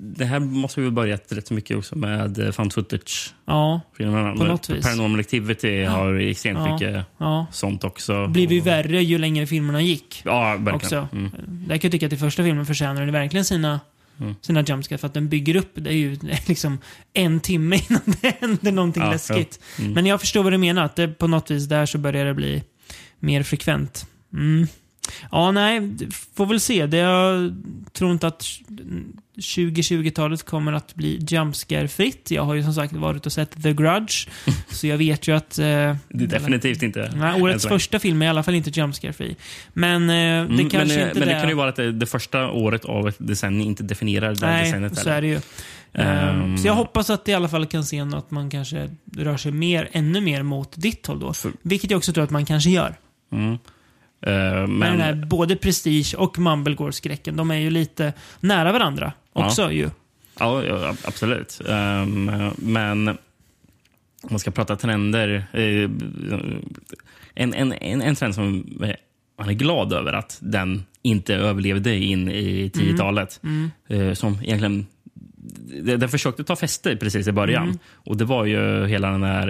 [SPEAKER 2] det här måste vi börjat rätt så mycket också med eh, found footage-filmerna.
[SPEAKER 1] Ja, På
[SPEAKER 2] Men
[SPEAKER 1] något vis.
[SPEAKER 2] Paranormal activity har extremt
[SPEAKER 1] Ja.
[SPEAKER 2] mycket
[SPEAKER 1] ja.
[SPEAKER 2] sånt också.
[SPEAKER 1] Det blev ju värre ju längre filmerna gick.
[SPEAKER 2] Ja, verkligen.
[SPEAKER 1] också.
[SPEAKER 2] Mm.
[SPEAKER 1] Där kan jag tycka att i första filmen förtjänar den verkligen sina, sina jumpscare för att den bygger upp. Det är ju (laughs) liksom en timme innan det händer någonting
[SPEAKER 2] Ja, Mm.
[SPEAKER 1] läskigt. Men jag förstår vad du menar, att det, på något vis där så börjar det bli mer frekvent. Mm. Ja, nej, det får väl se. Det, jag tror inte att 2020-talet kommer att bli jumpscare-fritt. Jag har ju som sagt varit och sett The
[SPEAKER 2] (laughs)
[SPEAKER 1] Grudge, så jag vet ju att... Eh,
[SPEAKER 2] Det är definitivt inte...
[SPEAKER 1] Nej, årets
[SPEAKER 2] än så länge.
[SPEAKER 1] första film är i alla fall inte jumpscare-fri. Men eh, det
[SPEAKER 2] Mm,
[SPEAKER 1] kanske
[SPEAKER 2] men, eh,
[SPEAKER 1] inte
[SPEAKER 2] men
[SPEAKER 1] det...
[SPEAKER 2] det kan ju vara att det, det första året av ett decennium inte definierar det här
[SPEAKER 1] Nej,
[SPEAKER 2] decenniet
[SPEAKER 1] så
[SPEAKER 2] heller.
[SPEAKER 1] är det ju.
[SPEAKER 2] Ehm.
[SPEAKER 1] så jag hoppas att det i alla fall kan se att man kanske rör sig mer, ännu mer mot ditt håll då.
[SPEAKER 2] För-
[SPEAKER 1] Vilket jag också tror att man kanske gör.
[SPEAKER 2] Mm. Eh,
[SPEAKER 1] Men
[SPEAKER 2] men
[SPEAKER 1] den här, både Prestige och Mumblegore-skräcken, de är ju lite nära varandra
[SPEAKER 2] Ja.
[SPEAKER 1] också ju.
[SPEAKER 2] Ja, ja ab- absolut. Ehm, men om man ska prata trender. eh, en, en, en, en trend som eh, man är glad över att den inte överlevde in i 10-talet.
[SPEAKER 1] Mm.
[SPEAKER 2] eh, Som egentligen den, den försökte ta fäste precis i början.
[SPEAKER 1] Mm.
[SPEAKER 2] Och det var ju hela den här,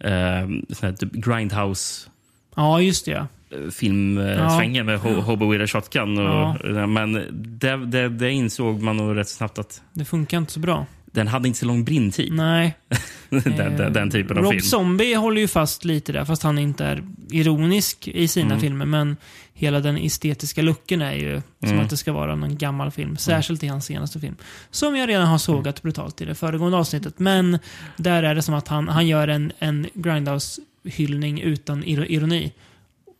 [SPEAKER 2] eh, sån här typ grindhouse
[SPEAKER 1] Ja, just det ja. Ja.
[SPEAKER 2] filmsvängen eh, med Ho- Hobo with a shotgun. Och, Men det, det, det insåg man nog rätt snabbt att
[SPEAKER 1] Det funkar inte så bra.
[SPEAKER 2] den hade inte så lång brintid.
[SPEAKER 1] Nej.
[SPEAKER 2] (laughs) den, den, den typen av
[SPEAKER 1] Rob
[SPEAKER 2] film.
[SPEAKER 1] Zombie håller ju fast lite där, fast han inte är ironisk i sina
[SPEAKER 2] Mm.
[SPEAKER 1] filmer. Men hela den estetiska looken är ju som
[SPEAKER 2] Mm.
[SPEAKER 1] att det ska vara någon gammal film. Särskilt i hans senaste film. Som jag redan har
[SPEAKER 2] Mm.
[SPEAKER 1] sågat brutalt i det föregående avsnittet. Men där är det som att han, han gör en, en Grindhouse-hyllning utan iro- ironi.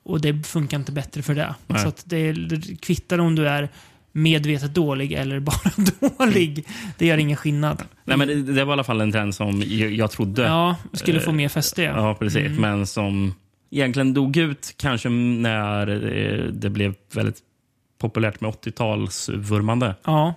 [SPEAKER 1] Och det funkar inte bättre för det.
[SPEAKER 2] Nej.
[SPEAKER 1] Så att det är- det kvittar om du är medvetet dålig eller bara (laughs) dålig. Det gör ingen skillnad.
[SPEAKER 2] Mm. Nej, men det, det var i alla fall en trend som jag, jag trodde.
[SPEAKER 1] Ja, Mm. skulle få mer fäste. Ja.
[SPEAKER 2] Eh, Ja, precis. Men som egentligen dog ut kanske när eh, det blev väldigt populärt med 80-talsvurmande.
[SPEAKER 1] Ja.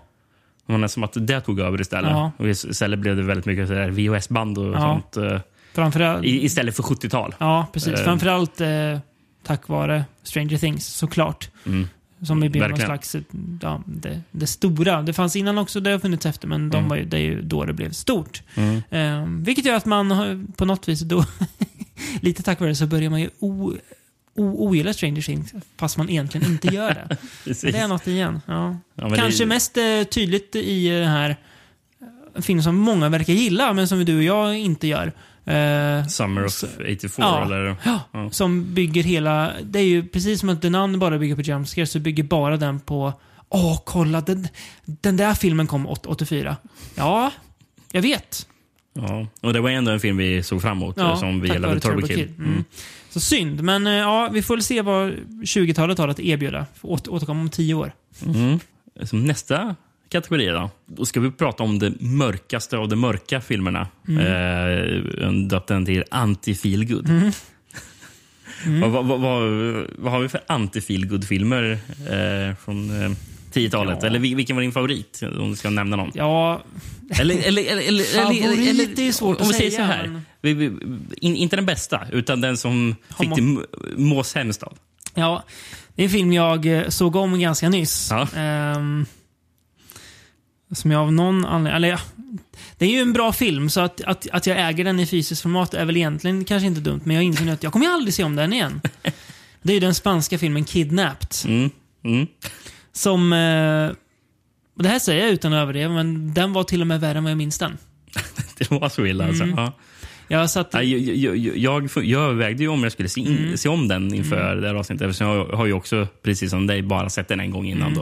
[SPEAKER 2] Men som att det tog över istället.
[SPEAKER 1] Ja.
[SPEAKER 2] Och istället blev det väldigt mycket så här VHS-band och
[SPEAKER 1] Ja.
[SPEAKER 2] sånt. eh,
[SPEAKER 1] Framförallt,
[SPEAKER 2] I, istället för 70-tal.
[SPEAKER 1] ja, precis.
[SPEAKER 2] Eh.
[SPEAKER 1] Framförallt eh, tack vare Stranger Things, såklart.
[SPEAKER 2] Mm.
[SPEAKER 1] Som ju blev någon
[SPEAKER 2] Verkligen.
[SPEAKER 1] slags, eh, ja, det, det stora. Det fanns innan också, det har funnits efter, men de var ju, det är ju då det blev stort.
[SPEAKER 2] Mm.
[SPEAKER 1] Eh, vilket gör att man har- på något vis då, (laughs) lite tack vare det, så börjar man ju o, o, ogilla Stranger Things, fast man egentligen inte gör
[SPEAKER 2] (laughs)
[SPEAKER 1] det.
[SPEAKER 2] Precis.
[SPEAKER 1] Det är något igen. Ja.
[SPEAKER 2] Ja, men
[SPEAKER 1] Kanske
[SPEAKER 2] det-
[SPEAKER 1] mest eh, tydligt i eh, den här eh, film som många verkar gilla, men som du och jag inte gör. Eh,
[SPEAKER 2] Summer of 84
[SPEAKER 1] Ja.
[SPEAKER 2] eller... Ja.
[SPEAKER 1] som bygger hela... Det är ju precis som att The Nun bara bygger på JumpScare, så bygger bara den på... Åh, kolla! Den, den där filmen kom åt- 84. Ja, jag vet.
[SPEAKER 2] Ja. Och det var ändå en film vi såg fram emot eh,
[SPEAKER 1] Ja,
[SPEAKER 2] som vi
[SPEAKER 1] tack
[SPEAKER 2] gillade,
[SPEAKER 1] vare
[SPEAKER 2] Turbo Kid.
[SPEAKER 1] Mm. Så synd, men eh, ja, vi får väl se vad 20-talet har att erbjuda. Får Åter, återkomma om tio år.
[SPEAKER 2] Mm. Så nästa kategori då. Då ska vi prata om det mörkaste av de mörka filmerna. Mm. Döpt den till anti-feel good. (laughs) vad, vad, vad, vad- vad har vi för anti-feel good filmer eh, från eh, 10-talet?
[SPEAKER 1] Ja.
[SPEAKER 2] Eller vil- vilken var din favorit? Om du ska nämna någon.
[SPEAKER 1] Ja,
[SPEAKER 2] (laughs) Eller, eller, eller, eller,
[SPEAKER 1] Favorit
[SPEAKER 2] eller, eller,
[SPEAKER 1] är svårt
[SPEAKER 2] om vi
[SPEAKER 1] att
[SPEAKER 2] säger
[SPEAKER 1] säga,
[SPEAKER 2] Så här,
[SPEAKER 1] men-
[SPEAKER 2] vi, vi, in, inte den bästa, utan den som
[SPEAKER 1] Har
[SPEAKER 2] fick
[SPEAKER 1] må-
[SPEAKER 2] dig m- må sämst av.
[SPEAKER 1] Ja, det är en film jag eh, såg om ganska nyss.
[SPEAKER 2] Ja.
[SPEAKER 1] Ehm, som jag av någon anledning... Eller ja, det är ju en bra film, så att, att, att jag äger den i fysiskt format är väl egentligen kanske inte dumt, men jag inser nu att jag kommer ju aldrig se om den
[SPEAKER 2] (laughs)
[SPEAKER 1] igen. Det är ju den spanska filmen Kidnapped.
[SPEAKER 2] Mm. Mm. (laughs)
[SPEAKER 1] Som... Eh, och det här säger jag utan att överdriva, men den var till och med värre än vad jag minns den.
[SPEAKER 2] Det var så illa alltså.
[SPEAKER 1] Mm.
[SPEAKER 2] Ja.
[SPEAKER 1] Jag satt...
[SPEAKER 2] Nej, Jag, jag, jag, jag, fun- jag övervägde ju om jag skulle se, in,
[SPEAKER 1] Mm.
[SPEAKER 2] se om den inför det här avsnittet. Eftersom jag har ju också, precis som dig, bara sett den en gång innan.
[SPEAKER 1] Mm.
[SPEAKER 2] Då.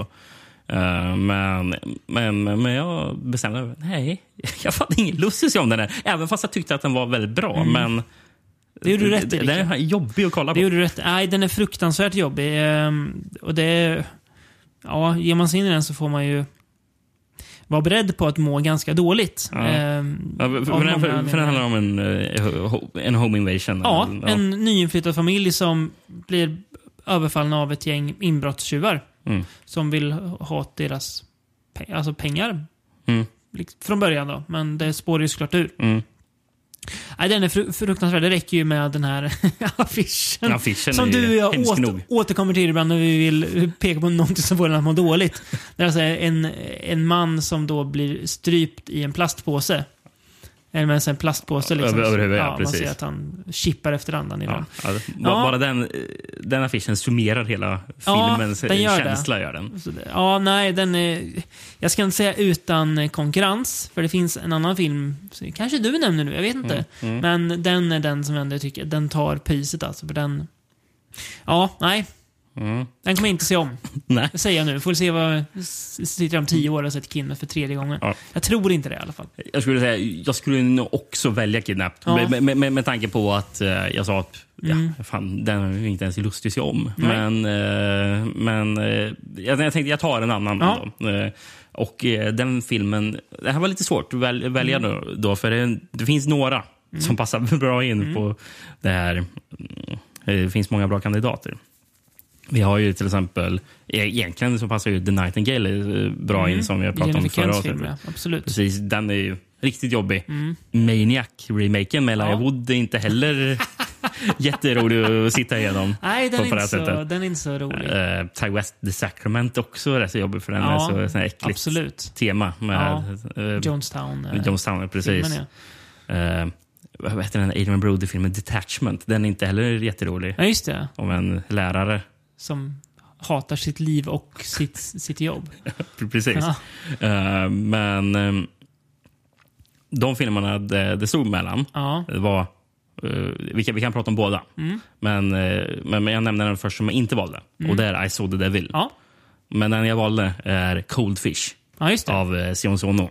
[SPEAKER 2] Eh, men, men, men jag bestämde mig. Nej, (laughs) jag hade ingen lust att se om den här. Även fast jag tyckte att den var väldigt bra. Men
[SPEAKER 1] Mm. Det gjorde du rätt i,
[SPEAKER 2] Den är jobbig att kolla
[SPEAKER 1] Det
[SPEAKER 2] på.
[SPEAKER 1] gjorde du rätt Nej, den är fruktansvärt jobbig. Ehm, och det är, ja, ger man sig in i den så får man ju vara beredd på att må ganska dåligt.
[SPEAKER 2] Ja.
[SPEAKER 1] Ehm,
[SPEAKER 2] Ja, för,
[SPEAKER 1] av
[SPEAKER 2] för, den,
[SPEAKER 1] många
[SPEAKER 2] för, för
[SPEAKER 1] anledningar.
[SPEAKER 2] den handlar om en, eh, ho- en home invasion.
[SPEAKER 1] Ja,
[SPEAKER 2] Eller-
[SPEAKER 1] en nyinflyttad familj som blir överfallna av ett gäng inbrottstjuvar
[SPEAKER 2] Mm.
[SPEAKER 1] som vill ha deras pe- alltså pengar
[SPEAKER 2] Mm.
[SPEAKER 1] Liks- från början. då Men det spårar ju såklart ur.
[SPEAKER 2] Mm.
[SPEAKER 1] Nej, den är fru- fruktansvärd. Det räcker ju med den här (laughs) affischen.
[SPEAKER 2] Affischen
[SPEAKER 1] Som
[SPEAKER 2] är
[SPEAKER 1] du och jag
[SPEAKER 2] hemsk
[SPEAKER 1] åter,
[SPEAKER 2] nog.
[SPEAKER 1] återkommer till ibland när vi vill peka på någonting som får en att må
[SPEAKER 2] (laughs)
[SPEAKER 1] dåligt. Det är alltså en, en man som då blir strypt i en plastpåse. Eller med en sån här plastpåse. Liksom.
[SPEAKER 2] Över- över huvudet, ja,
[SPEAKER 1] Man
[SPEAKER 2] precis.
[SPEAKER 1] ser att han chippar efter andan i den.
[SPEAKER 2] Ja, ja, b-
[SPEAKER 1] Ja.
[SPEAKER 2] Bara den, eh, den affischen summerar hela
[SPEAKER 1] Ja,
[SPEAKER 2] filmens
[SPEAKER 1] den gör det.
[SPEAKER 2] känsla. Gör den.
[SPEAKER 1] Så det- Ja, nej, den är... Jag ska inte säga utan eh, konkurrens, för det finns en annan film, som kanske du nämner nu, jag vet inte.
[SPEAKER 2] Mm,
[SPEAKER 1] Men den är den som jag ändå tycker, den tar priset alltså, för den... Ja, nej.
[SPEAKER 2] Mm.
[SPEAKER 1] Den kommer jag inte se om.
[SPEAKER 2] Nej.
[SPEAKER 1] Det säger jag nu. Får se vad... s- Sitter om tio år och har sett Kinna för tredje gången.
[SPEAKER 2] Mm. Ja.
[SPEAKER 1] Jag tror inte det i alla fall.
[SPEAKER 2] Jag skulle säga, jag skulle nog också välja Kidnapped.
[SPEAKER 1] Ja. Mm.
[SPEAKER 2] Med, med, med, med tanke på att eh, jag sa att ja, fan, den har jag ju inte ens lust att se om.
[SPEAKER 1] Nej.
[SPEAKER 2] Men, eh, men eh, jag, jag tänkte jag tar en annan.
[SPEAKER 1] Ja.
[SPEAKER 2] Då. Eh, och eh, den filmen, det här var lite svårt att väl, välja
[SPEAKER 1] Mm.
[SPEAKER 2] då, då, för det, det finns några som passar (laughs) bra in
[SPEAKER 1] Mm.
[SPEAKER 2] på det här. Mm, Det finns många bra kandidater. Vi har ju till exempel, e- egentligen så passar ju The Nightingale eh, bra
[SPEAKER 1] Mm.
[SPEAKER 2] in som jag pratade om
[SPEAKER 1] Jennifer
[SPEAKER 2] förra
[SPEAKER 1] Kents
[SPEAKER 2] avsnittet.
[SPEAKER 1] film, ja. Absolut.
[SPEAKER 2] Precis, den är ju riktigt jobbig. Maniac-remaken med Elijah
[SPEAKER 1] Mm. Ja.
[SPEAKER 2] Wood är inte heller
[SPEAKER 1] (laughs)
[SPEAKER 2] jätterolig att sitta igenom.
[SPEAKER 1] Nej, den
[SPEAKER 2] på-
[SPEAKER 1] är,
[SPEAKER 2] på det
[SPEAKER 1] inte
[SPEAKER 2] här
[SPEAKER 1] så,
[SPEAKER 2] sättet.
[SPEAKER 1] den är inte så rolig.
[SPEAKER 2] Eh, Ty West The Sacrament också är rätt så jobbig för den
[SPEAKER 1] Ja,
[SPEAKER 2] är så, sån här äckligt
[SPEAKER 1] absolut.
[SPEAKER 2] tema med eh,
[SPEAKER 1] Jonestown. eh,
[SPEAKER 2] Jonestown. Precis.
[SPEAKER 1] filmen, ja.
[SPEAKER 2] Eh, vad heter den Adrian Brody-filmen Detachment? Den är inte heller jätterolig.
[SPEAKER 1] ja, just det.
[SPEAKER 2] Om en lärare.
[SPEAKER 1] Som hatar sitt liv och sitt, sitt jobb.
[SPEAKER 2] Precis.
[SPEAKER 1] Ja.
[SPEAKER 2] Eh, men eh, de filmerna det, det stod mellan
[SPEAKER 1] Ja.
[SPEAKER 2] Det var, eh, vi, kan, vi kan prata om båda. Men, eh, men, men jag nämner den först som jag inte valde. Och det är I saw the devil.
[SPEAKER 1] Ja.
[SPEAKER 2] Men den jag valde är Cold Fish
[SPEAKER 1] ja, just det.
[SPEAKER 2] av eh, Sion Sono.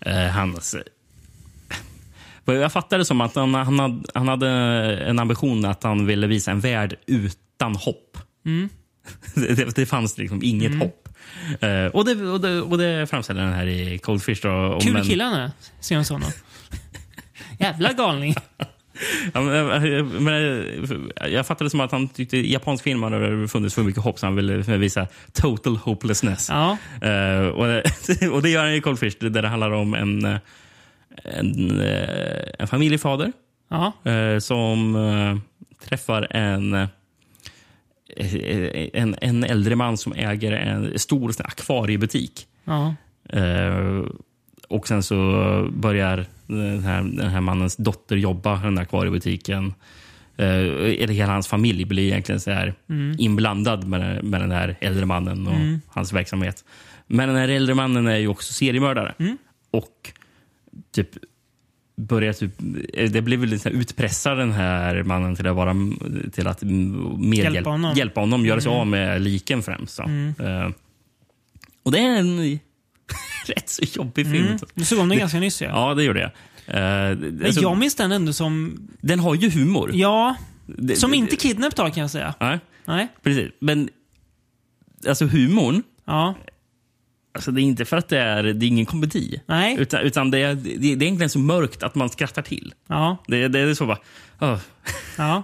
[SPEAKER 2] Eh, (laughs) hans... Vad Jag fattade det som att han, han, hade, han hade en ambition att han (laughs) ville visa en värld utan hopp. Det, det, det fanns liksom inget hopp. Eh, och, det, och, det, och det framställer den här i Coldfish. Då, om
[SPEAKER 1] Kul
[SPEAKER 2] en-
[SPEAKER 1] killarna, ser jag
[SPEAKER 2] (laughs)
[SPEAKER 1] såna. Jävla galning.
[SPEAKER 2] Ja, men, eh, men, eh, jag fattade det som att han tyckte i japansk film hade funnits för mycket hopp så han ville visa total hopelessness.
[SPEAKER 1] Ja.
[SPEAKER 2] Eh, och, (laughs) det- och det gör han i Cold Fish där det handlar om en, eh, en, eh, en familjefader
[SPEAKER 1] ja.
[SPEAKER 2] eh, som eh, träffar en, eh, en, en äldre man som äger en stor sån här akvariebutik.
[SPEAKER 1] ja.
[SPEAKER 2] Eh, och sen så börjar den här, den här mannens dotter jobba i den här akvariebutiken. Eh, eller hela hans familj blir egentligen så här
[SPEAKER 1] Mm.
[SPEAKER 2] inblandad med, med den här äldre mannen och hans verksamhet. Men den här äldre mannen är ju också seriemördare.
[SPEAKER 1] Mm.
[SPEAKER 2] Och typ börjar typ, eh, det blir väl lite så här utpressar den här mannen till att, vara, till att mm, mer
[SPEAKER 1] Hjälpa
[SPEAKER 2] hjälp-
[SPEAKER 1] honom. Mm.
[SPEAKER 2] hjälpa honom göra sig av med liken främst. Då. Eh, och det är en (laughs) rätt så jobbig film.
[SPEAKER 1] Mm. Du såg om den ganska nyss ja.
[SPEAKER 2] Ja, det gjorde jag. Eh, det-
[SPEAKER 1] Men
[SPEAKER 2] alltså,
[SPEAKER 1] jag minns den ändå som,
[SPEAKER 2] Den har ju humor.
[SPEAKER 1] ja,
[SPEAKER 2] Det-
[SPEAKER 1] som
[SPEAKER 2] det-
[SPEAKER 1] inte Kidnap tar kan jag säga.
[SPEAKER 2] Nej,
[SPEAKER 1] Nej.
[SPEAKER 2] precis. Men alltså humorn,
[SPEAKER 1] Ja.
[SPEAKER 2] alltså, det är inte för att det är, det är ingen komedi.
[SPEAKER 1] Nej.
[SPEAKER 2] Utan, utan det, är, det, det är egentligen så mörkt att man skrattar till.
[SPEAKER 1] Ja.
[SPEAKER 2] Det, det är så bara... "Åh,
[SPEAKER 1] Ja.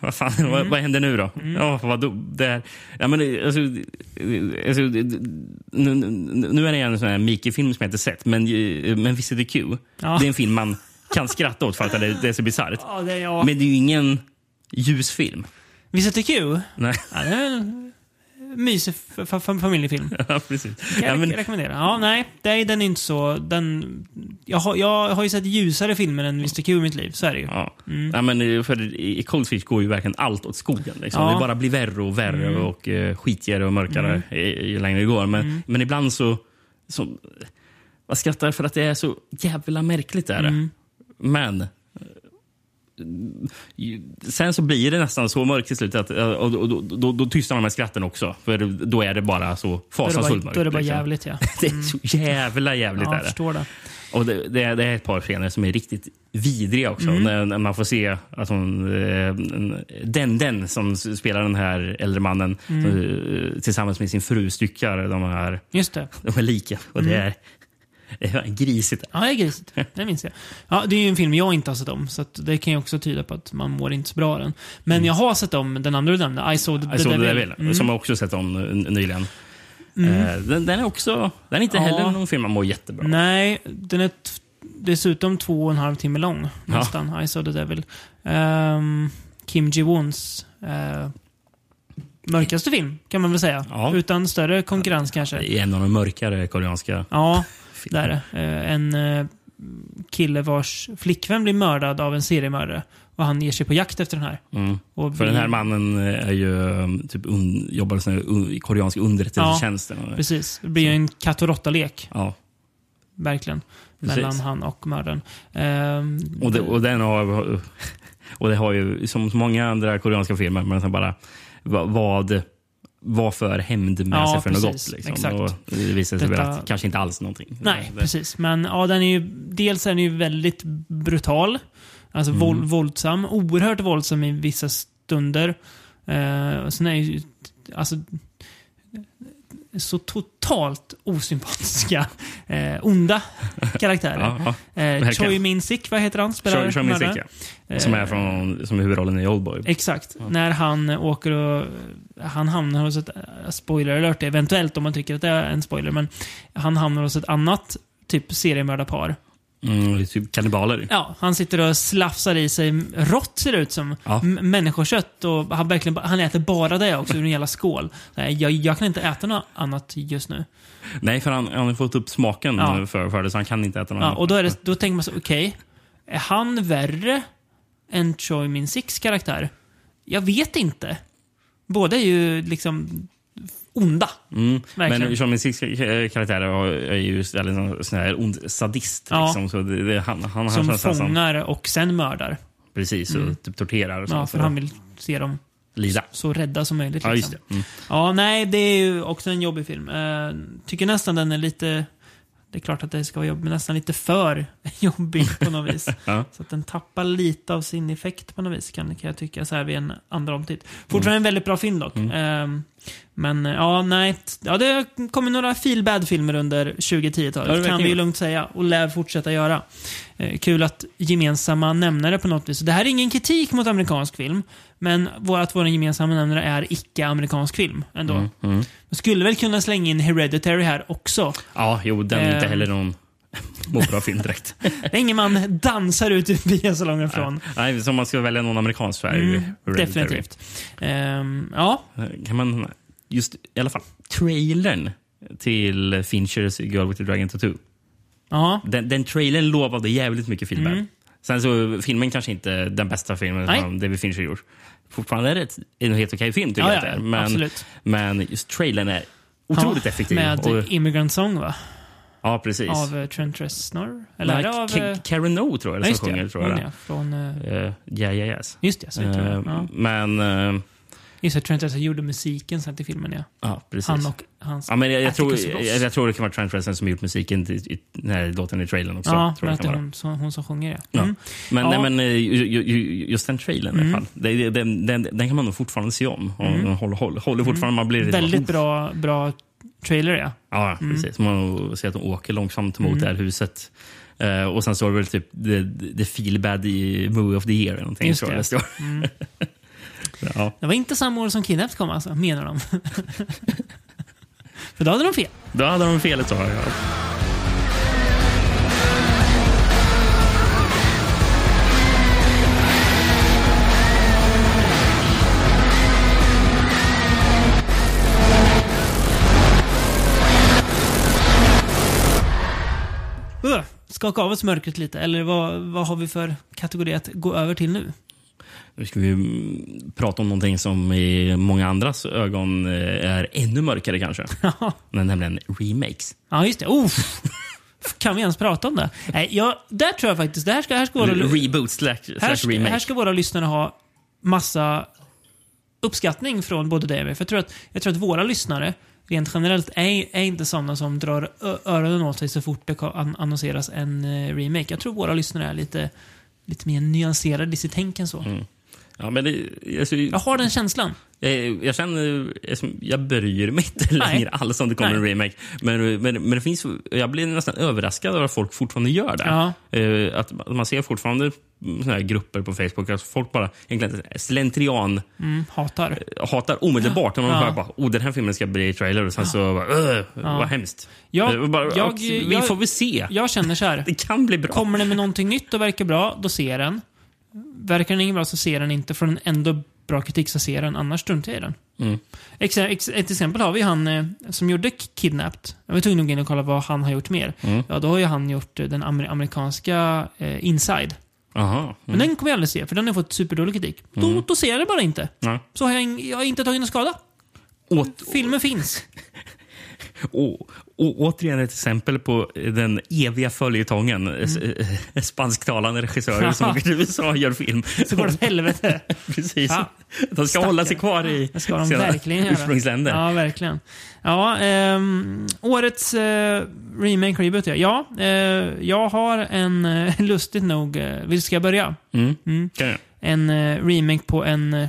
[SPEAKER 2] Vad fan, (laughs)
[SPEAKER 1] Mm.
[SPEAKER 2] vad, vad händer nu då? Ja, vad då? Det här, ja, men, det- alltså, det- alltså, det- det- nu, nu- nu är det en sån här Miki-film som jag inte sett, men, eh, men Visit the Q.
[SPEAKER 1] Ja.
[SPEAKER 2] Det är en film man kan skratta åt för att det, det är så bisarrt.
[SPEAKER 1] ja, det är jag.
[SPEAKER 2] Men det är ju ingen ljusfilm. (laughs)
[SPEAKER 1] Visst är Q?
[SPEAKER 2] Nej,
[SPEAKER 1] Ja, det är en mysig f- f-
[SPEAKER 2] (laughs)
[SPEAKER 1] familjefilm. Kan
[SPEAKER 2] ja, precis.
[SPEAKER 1] jag
[SPEAKER 2] Ja, men,
[SPEAKER 1] rek- rekommendera. Ja, nej, nej, den är inte så... Den, jag, har, jag har ju sett ljusare filmer än Visst är Q i mitt liv, så är det ju.
[SPEAKER 2] ja.
[SPEAKER 1] Mm.
[SPEAKER 2] Ja, men, eh, för I i Cold Fish går ju verkligen allt åt skogen. Liksom.
[SPEAKER 1] Ja. Mm.
[SPEAKER 2] Det bara blir värre och värre och eh, skitigare och mörkare eh, ju längre det går. Men, men ibland så, så... Man skrattar för att det är så jävla märkligt. Är det.
[SPEAKER 1] Mm.
[SPEAKER 2] Men... eh, ju- Sen så blir det nästan så mörkt till slut att, eh, och, och, då, då, då tystnar de här skratten också. För då är det bara så
[SPEAKER 1] Då är det
[SPEAKER 2] fasansfullt
[SPEAKER 1] bara,
[SPEAKER 2] mörkt.
[SPEAKER 1] då är det bara
[SPEAKER 2] liksom.
[SPEAKER 1] jävligt, ja.
[SPEAKER 2] Det är så jävla (laughs) jävligt.
[SPEAKER 1] ja
[SPEAKER 2] är
[SPEAKER 1] jag
[SPEAKER 2] det.
[SPEAKER 1] förstår det.
[SPEAKER 2] Och det, det, är- det är ett par scener som är riktigt vidriga också.
[SPEAKER 1] Mm.
[SPEAKER 2] När, när man får se att hon, eh, den, den som s- spelar den här äldre mannen
[SPEAKER 1] Mm.
[SPEAKER 2] eh, tillsammans med sin fru styckar de här,
[SPEAKER 1] Just det.
[SPEAKER 2] de här liken. Och det är (laughs) det är grisigt.
[SPEAKER 1] Ja, Mm. det är grisigt. Det minns jag. Ja, det är ju en film jag inte har sett om, så att det kan ju också tyda på att man mår inte så bra av den. Men
[SPEAKER 2] Mm.
[SPEAKER 1] jag har sett om den andra du nämnde, I saw the,
[SPEAKER 2] Jag såg
[SPEAKER 1] the
[SPEAKER 2] det där
[SPEAKER 1] devil. Mm.
[SPEAKER 2] väl, som jag också sett om n- nyligen. Eh, Den, den är också, den är inte
[SPEAKER 1] Ja. Mm.
[SPEAKER 2] heller någon film man mår jättebra av.
[SPEAKER 1] Nej, den är t- dessutom två och en halv timme lång. Nästan. I saw the devil. Ehm, Kim Ji-Wons eh, mörkaste film, kan man väl säga.
[SPEAKER 2] Ja.
[SPEAKER 1] Utan större konkurrens kanske.
[SPEAKER 2] Det är en av de mörkare koreanska
[SPEAKER 1] Ja, det är
[SPEAKER 2] filmerna.
[SPEAKER 1] det. Eh, en eh, kille vars flickvän blir mördad av en seriemördare. Och han ger sig på jakt efter den här.
[SPEAKER 2] Mm.
[SPEAKER 1] Och
[SPEAKER 2] För den här
[SPEAKER 1] blir-
[SPEAKER 2] mannen eh, är ju, eh, typ, un, jobbar i sån här, un, i koreansk underrättelsetjänst. eller något.
[SPEAKER 1] Precis. Det blir ju en katt och råtta-lek,
[SPEAKER 2] Ja.
[SPEAKER 1] verkligen.
[SPEAKER 2] Precis.
[SPEAKER 1] Mellan han och mördaren. Ehm,
[SPEAKER 2] Och, det, och den har, och det har ju, som så många andra koreanska filmer, men så bara, va- vad, vad för hämnd med
[SPEAKER 1] Ja,
[SPEAKER 2] sig för något
[SPEAKER 1] precis.
[SPEAKER 2] gott? Liksom.
[SPEAKER 1] Exakt.
[SPEAKER 2] Och det visar sig
[SPEAKER 1] Detta-
[SPEAKER 2] väl att kanske inte alls någonting.
[SPEAKER 1] Nej,
[SPEAKER 2] Det-
[SPEAKER 1] precis. Men ja, den är ju, dels är den ju väldigt brutal. Alltså
[SPEAKER 2] Mm.
[SPEAKER 1] våld, våldsam. Oerhört våldsam i vissa stunder. Eh, och sen är ju alltså, så totalt osympatiska, eh, onda
[SPEAKER 2] Ja,
[SPEAKER 1] karaktärer.
[SPEAKER 2] ja.
[SPEAKER 1] eh,
[SPEAKER 2] verkligen.
[SPEAKER 1] Choi Min-sik, vad heter han? Spelar
[SPEAKER 2] Kör, kör min
[SPEAKER 1] mördaren.
[SPEAKER 2] sicka. Som är från, som är huvudrollen i Oldboy.
[SPEAKER 1] Exakt. När han åker och... Han hamnar hos ett... eh, Spoiler alert eventuellt om man tycker att det är en spoiler. Men han hamnar hos ett annat typ seriemördarpar.
[SPEAKER 2] Mm, det är typ kannibaler.
[SPEAKER 1] Ja, han sitter och slafsar i sig rått ser det ut som.
[SPEAKER 2] Ja.
[SPEAKER 1] M- Människokött och han, verkligen, ba- han äter bara det också ur en jävla skål. Nej, jag, jag kan inte äta något annat just nu.
[SPEAKER 2] Nej, för han, han har fått upp smaken
[SPEAKER 1] Ja.
[SPEAKER 2] för, för det, så han kan inte äta någon
[SPEAKER 1] Ja,
[SPEAKER 2] annan.
[SPEAKER 1] och då, är det, då tänker man så, okej. är han värre än Choi Min Siks karaktär? Jag vet inte. Båda är ju liksom onda.
[SPEAKER 2] Mm.
[SPEAKER 1] Verkligen.
[SPEAKER 2] Men Charmin Six eh, karaktär har- är ju istället en sån här ond sadist.
[SPEAKER 1] Ja.
[SPEAKER 2] Liksom. Så det, det, han, han, han
[SPEAKER 1] Som
[SPEAKER 2] känns nästan-
[SPEAKER 1] fångar och sen mördar.
[SPEAKER 2] Precis, och typ torterar. Och
[SPEAKER 1] Ja,
[SPEAKER 2] sånt.
[SPEAKER 1] för han vill se dem
[SPEAKER 2] Lida.
[SPEAKER 1] så rädda som möjligt.
[SPEAKER 2] Ja, just
[SPEAKER 1] Liksom.
[SPEAKER 2] det. Mm.
[SPEAKER 1] Ja, nej, det är ju också en jobbig film. Eh, tycker nästan den är lite... det är klart att det ska vara jobbigt, men nästan lite för (laughs) jobbig på något vis.
[SPEAKER 2] (laughs) Ja.
[SPEAKER 1] Så att den tappar lite av sin effekt på något vis kan, kan jag tycka så här vid en andra omtitt. Fortfarande en väldigt bra film dock.
[SPEAKER 2] Mm.
[SPEAKER 1] Ehm, men eh, ja, nej. t- Ja, det har kommit några feel bad filmer under 2010-talet.
[SPEAKER 2] verkligen.
[SPEAKER 1] kan vi ju lugnt säga och lär fortsätta göra. Eh, kul att gemensamma nämnare på något vis. Det här är ingen kritik mot amerikansk film, men vår, att vår gemensamma nämnare är icke-amerikansk film ändå.
[SPEAKER 2] Mm, mm.
[SPEAKER 1] Jag skulle väl kunna slänga in Hereditary här också.
[SPEAKER 2] Ja, jo, den är inte
[SPEAKER 1] Eh.
[SPEAKER 2] heller någon (laughs) må bra film
[SPEAKER 1] (laughs)
[SPEAKER 2] direkt.
[SPEAKER 1] Där ingen
[SPEAKER 2] (laughs)
[SPEAKER 1] man dansar ut ur biosalongen från.
[SPEAKER 2] Nej, så om man ska välja någon amerikansk så är det ju
[SPEAKER 1] Mm,
[SPEAKER 2] Hereditary.
[SPEAKER 1] definitivt. Ehm, ja,
[SPEAKER 2] Kan man, just i alla fall, trailern till Finchers Girl with the Dragon Tattoo.
[SPEAKER 1] ja.
[SPEAKER 2] Den, den trailern lovade jävligt mycket filmen. Sen så filmen kanske inte är den bästa filmen
[SPEAKER 1] Mm. Nej.
[SPEAKER 2] som David Fincher gjort. Fortfarande är det en helt okej film tycker
[SPEAKER 1] Ja,
[SPEAKER 2] jag att det
[SPEAKER 1] ja,
[SPEAKER 2] är. Men,
[SPEAKER 1] absolut.
[SPEAKER 2] men just trailern är otroligt
[SPEAKER 1] Ja,
[SPEAKER 2] effektiv.
[SPEAKER 1] Med
[SPEAKER 2] och,
[SPEAKER 1] Immigrant Song va?
[SPEAKER 2] ja, precis.
[SPEAKER 1] Av eh, Trent Reznor? Eller är
[SPEAKER 2] Nej,
[SPEAKER 1] det av...
[SPEAKER 2] Ka-
[SPEAKER 1] eh,
[SPEAKER 2] Karen O tror jag
[SPEAKER 1] ja,
[SPEAKER 2] som
[SPEAKER 1] just det,
[SPEAKER 2] sjunger. Tror jag.
[SPEAKER 1] hon, ja, från, eh,
[SPEAKER 2] Eh, yeah, yeah, yes.
[SPEAKER 1] just det, så heter
[SPEAKER 2] Eh,
[SPEAKER 1] hon, ja.
[SPEAKER 2] Men, eh,
[SPEAKER 1] Just det, Trent Reznor gjorde musiken sen till filmen ja.
[SPEAKER 2] ja, precis.
[SPEAKER 1] Han och hans...
[SPEAKER 2] Ja, men jag, jag, tror,
[SPEAKER 1] Atticus Ross.
[SPEAKER 2] jag, jag tror det kan vara Trent Reznor som gjort musiken till, i, den här låten i trailern också.
[SPEAKER 1] ja,
[SPEAKER 2] tror
[SPEAKER 1] men
[SPEAKER 2] jag
[SPEAKER 1] att
[SPEAKER 2] kan
[SPEAKER 1] det är
[SPEAKER 2] vara.
[SPEAKER 1] hon, som- hon som sjunger ja.
[SPEAKER 2] Ja.
[SPEAKER 1] Mm.
[SPEAKER 2] Men,
[SPEAKER 1] Ja. Mm.
[SPEAKER 2] Nej, men eh, ju- ju- ju- just den trailern i alla fall. Det- det- Den, den, den kan man nog fortfarande se om. Och mm. håller, håller, håller fortfarande. Man blir lite
[SPEAKER 1] Väldigt
[SPEAKER 2] bara,
[SPEAKER 1] bra, Mm. bra trailer ja.
[SPEAKER 2] Ja, precis. Man ser att de åker långsamt mot
[SPEAKER 1] Mm.
[SPEAKER 2] det här huset. Eh, och sen står det väl typ the, the feel bad i movie of the year. Eller någonting,
[SPEAKER 1] Just
[SPEAKER 2] tror
[SPEAKER 1] det. Mm.
[SPEAKER 2] jag det står. (laughs) ja.
[SPEAKER 1] Det var inte samma år som Kidnapped kom alltså, menar de. (laughs) För då hade de fel.
[SPEAKER 2] Då hade de fel ett tag. Ja.
[SPEAKER 1] Uh, skaka av oss mörkret lite, eller vad, vad har vi för kategori att gå över till nu?
[SPEAKER 2] Nu ska vi mm, prata om någonting som i många andras ögon eh, är ännu
[SPEAKER 1] (laughs)
[SPEAKER 2] mörkare kanske. Men Nämligen remakes.
[SPEAKER 1] Ja, just det. Oh. Kan vi ens prata om det? Nej, jag, där tror jag faktiskt... Det här ska, här ska, våra,
[SPEAKER 2] Reboot slash,
[SPEAKER 1] här,
[SPEAKER 2] slash
[SPEAKER 1] ska, här
[SPEAKER 2] remake.
[SPEAKER 1] ska våra lyssnare ha massa uppskattning från både dig och mig. För jag tror att, jag tror att våra lyssnare rent generellt är, är inte sådana som drar ö- öronen åt sig så fort det ka- an, annonseras en eh, remake. Jag tror våra lyssnare är lite, lite mer nyanserade i sitt tänk än så.
[SPEAKER 2] Ja, men det, alltså,
[SPEAKER 1] Jag har den känslan.
[SPEAKER 2] jag, jag känner, eh, som- jag bryr mig inte (laughs)
[SPEAKER 1] Nej.
[SPEAKER 2] längre alls om det kommer en
[SPEAKER 1] Nej.
[SPEAKER 2] remake. Men, men, men det finns, jag blir nästan överraskad över att folk fortfarande gör det.
[SPEAKER 1] Ja.
[SPEAKER 2] Eh, att man- man ser fortfarande mm, såna här grupper på Facebook. Alltså folk bara egentligen slentrian eh,
[SPEAKER 1] Mm, hatar.
[SPEAKER 2] hatar omedelbart när man
[SPEAKER 1] Ja.
[SPEAKER 2] hör bara, oh, den här filmen ska bli i trailer och sen så bara, "Ugh, vad hemskt.
[SPEAKER 1] Ja,
[SPEAKER 2] Eh, bara,
[SPEAKER 1] jag-
[SPEAKER 2] "Och vi
[SPEAKER 1] jag-
[SPEAKER 2] får väl se.
[SPEAKER 1] Jag känner så här.
[SPEAKER 2] Det kan bli bra.
[SPEAKER 1] Kommer den med någonting nytt och verkar bra, då ser jag den. Verkar den inte bra så ser jag den inte. Får den ändå bra kritik så ser jag den, annars struntar jag i den.
[SPEAKER 2] Mm.
[SPEAKER 1] Ex ex ett exempel har vi ju han eh, som gjorde K- Kidnapped. Jag var tvungen att gå in och kolla vad han har gjort mer.
[SPEAKER 2] Mm.
[SPEAKER 1] Ja, då har ju han gjort eh, den amer amerikanska eh, Inside.
[SPEAKER 2] Aha.
[SPEAKER 1] Men den kommer jag aldrig se, för den har fått superdålig kritik.
[SPEAKER 2] Mm.
[SPEAKER 1] Då, då ser jag det bara inte.
[SPEAKER 2] Ja.
[SPEAKER 1] Så har jag, ing- jag har inte tagit någon skada.
[SPEAKER 2] Åt, (laughs)
[SPEAKER 1] Filmen finns.
[SPEAKER 2] å, å, återigen ett exempel på den eviga följetongen.
[SPEAKER 1] Mm.
[SPEAKER 2] S- eh, Spansktalande
[SPEAKER 1] (laughs)
[SPEAKER 2] regissörer som åker till USA och gör film.
[SPEAKER 1] Så går det åt
[SPEAKER 2] (laughs)
[SPEAKER 1] helvete.
[SPEAKER 2] Precis.
[SPEAKER 1] Ja.
[SPEAKER 2] De ska hålla sig kvar i
[SPEAKER 1] Det
[SPEAKER 2] (laughs)
[SPEAKER 1] ska de
[SPEAKER 2] sina
[SPEAKER 1] verkligen göra.
[SPEAKER 2] ursprungsländer.
[SPEAKER 1] Ja, verkligen. Ja, ehm, årets eh, remake reboot, ja. ja eh, jag har en, eh, (laughs) lustigt nog, eh, vill ska jag börja?
[SPEAKER 2] Mm.
[SPEAKER 1] Mm.
[SPEAKER 2] Kan jag?
[SPEAKER 1] En eh, remake på en, eh,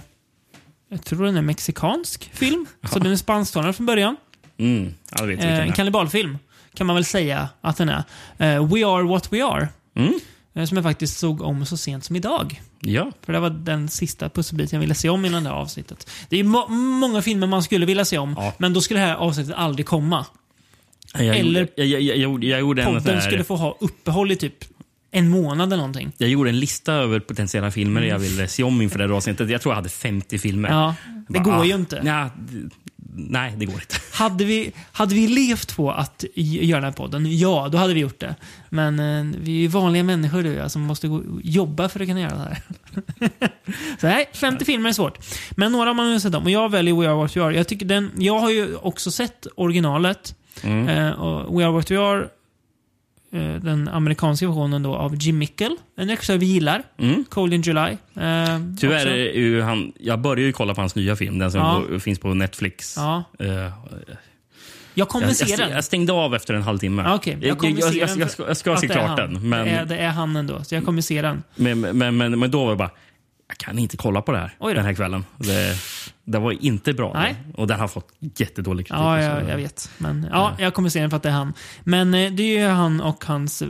[SPEAKER 1] jag tror den är mexikansk
[SPEAKER 2] (laughs)
[SPEAKER 1] film. Så den är spansktalande från början.
[SPEAKER 2] Mm. Ja, det vet vi
[SPEAKER 1] Eh,
[SPEAKER 2] vilken
[SPEAKER 1] en
[SPEAKER 2] det är.
[SPEAKER 1] kannibalfilm kan man väl säga att den är. Eh, we are what we are.
[SPEAKER 2] Mm.
[SPEAKER 1] Eh, som jag faktiskt såg om så sent som idag.
[SPEAKER 2] Ja.
[SPEAKER 1] För det var den sista pusselbiten jag ville se om innan det här avsnittet. Det är ju må- många filmer man skulle vilja se om,
[SPEAKER 2] Ja.
[SPEAKER 1] men då skulle det här avsnittet aldrig komma.
[SPEAKER 2] Jag,
[SPEAKER 1] Eller-
[SPEAKER 2] gjorde- jag, jag, jag, gjorde- jag gjorde en sån
[SPEAKER 1] Podden
[SPEAKER 2] här-
[SPEAKER 1] skulle få ha uppehåll i typ en månad eller någonting.
[SPEAKER 2] Jag gjorde en lista över potentiella filmer jag ville se om inför det här avsnittet. Jag tror jag hade 50 filmer.
[SPEAKER 1] Mm. Ja, det
[SPEAKER 2] Bara,
[SPEAKER 1] går ju
[SPEAKER 2] ah,
[SPEAKER 1] inte.
[SPEAKER 2] nja, d- nej, det går inte.
[SPEAKER 1] Hade vi, hade vi levt på att g- göra den här podden, ja, då hade vi gjort det. Men eh, vi är ju vanliga människor du och jag som måste gå, jobba för att kunna göra det här. (laughs) Så nej, 50 filmer är svårt. Men några har man ju sett om. Och jag väljer We Are What We Are. Jag, tycker den, jag har ju också sett originalet.
[SPEAKER 2] Mm.
[SPEAKER 1] Eh, och We Are What We Are, eh, den amerikanska versionen då av Jim Mickle. En regissör vi gillar.
[SPEAKER 2] Mm.
[SPEAKER 1] Cold in July. Eh,
[SPEAKER 2] Tyvärr
[SPEAKER 1] också.
[SPEAKER 2] är ju han... Jag börjar ju kolla på hans nya film, den som
[SPEAKER 1] Ja.
[SPEAKER 2] går- finns på Netflix.
[SPEAKER 1] Ja.
[SPEAKER 2] Eh,
[SPEAKER 1] Jag kommer
[SPEAKER 2] Jag,
[SPEAKER 1] se
[SPEAKER 2] jag,
[SPEAKER 1] den.
[SPEAKER 2] jag stängde av efter en halvtimme.
[SPEAKER 1] Ah, okej. Jag
[SPEAKER 2] jag,
[SPEAKER 1] kommer
[SPEAKER 2] jag, jag,
[SPEAKER 1] se
[SPEAKER 2] jag,
[SPEAKER 1] den
[SPEAKER 2] jag,
[SPEAKER 1] för-
[SPEAKER 2] ska, jag ska
[SPEAKER 1] Ja,
[SPEAKER 2] se
[SPEAKER 1] det är han.
[SPEAKER 2] klart
[SPEAKER 1] Eh.
[SPEAKER 2] den.
[SPEAKER 1] Det, är,
[SPEAKER 2] Men,
[SPEAKER 1] det är han ändå, så jag kommer se den.
[SPEAKER 2] men, men, men, men då var det bara, jag kan inte kolla på det här
[SPEAKER 1] Oj då.
[SPEAKER 2] den här kvällen. Det, det var inte bra.
[SPEAKER 1] Nej.
[SPEAKER 2] Och den har fått jättedålig kritik.
[SPEAKER 1] Ja,
[SPEAKER 2] och så.
[SPEAKER 1] jag, jag vet. Men, ja, jag kommer se den för att det är han. Men eh, det är ju han och hans eh,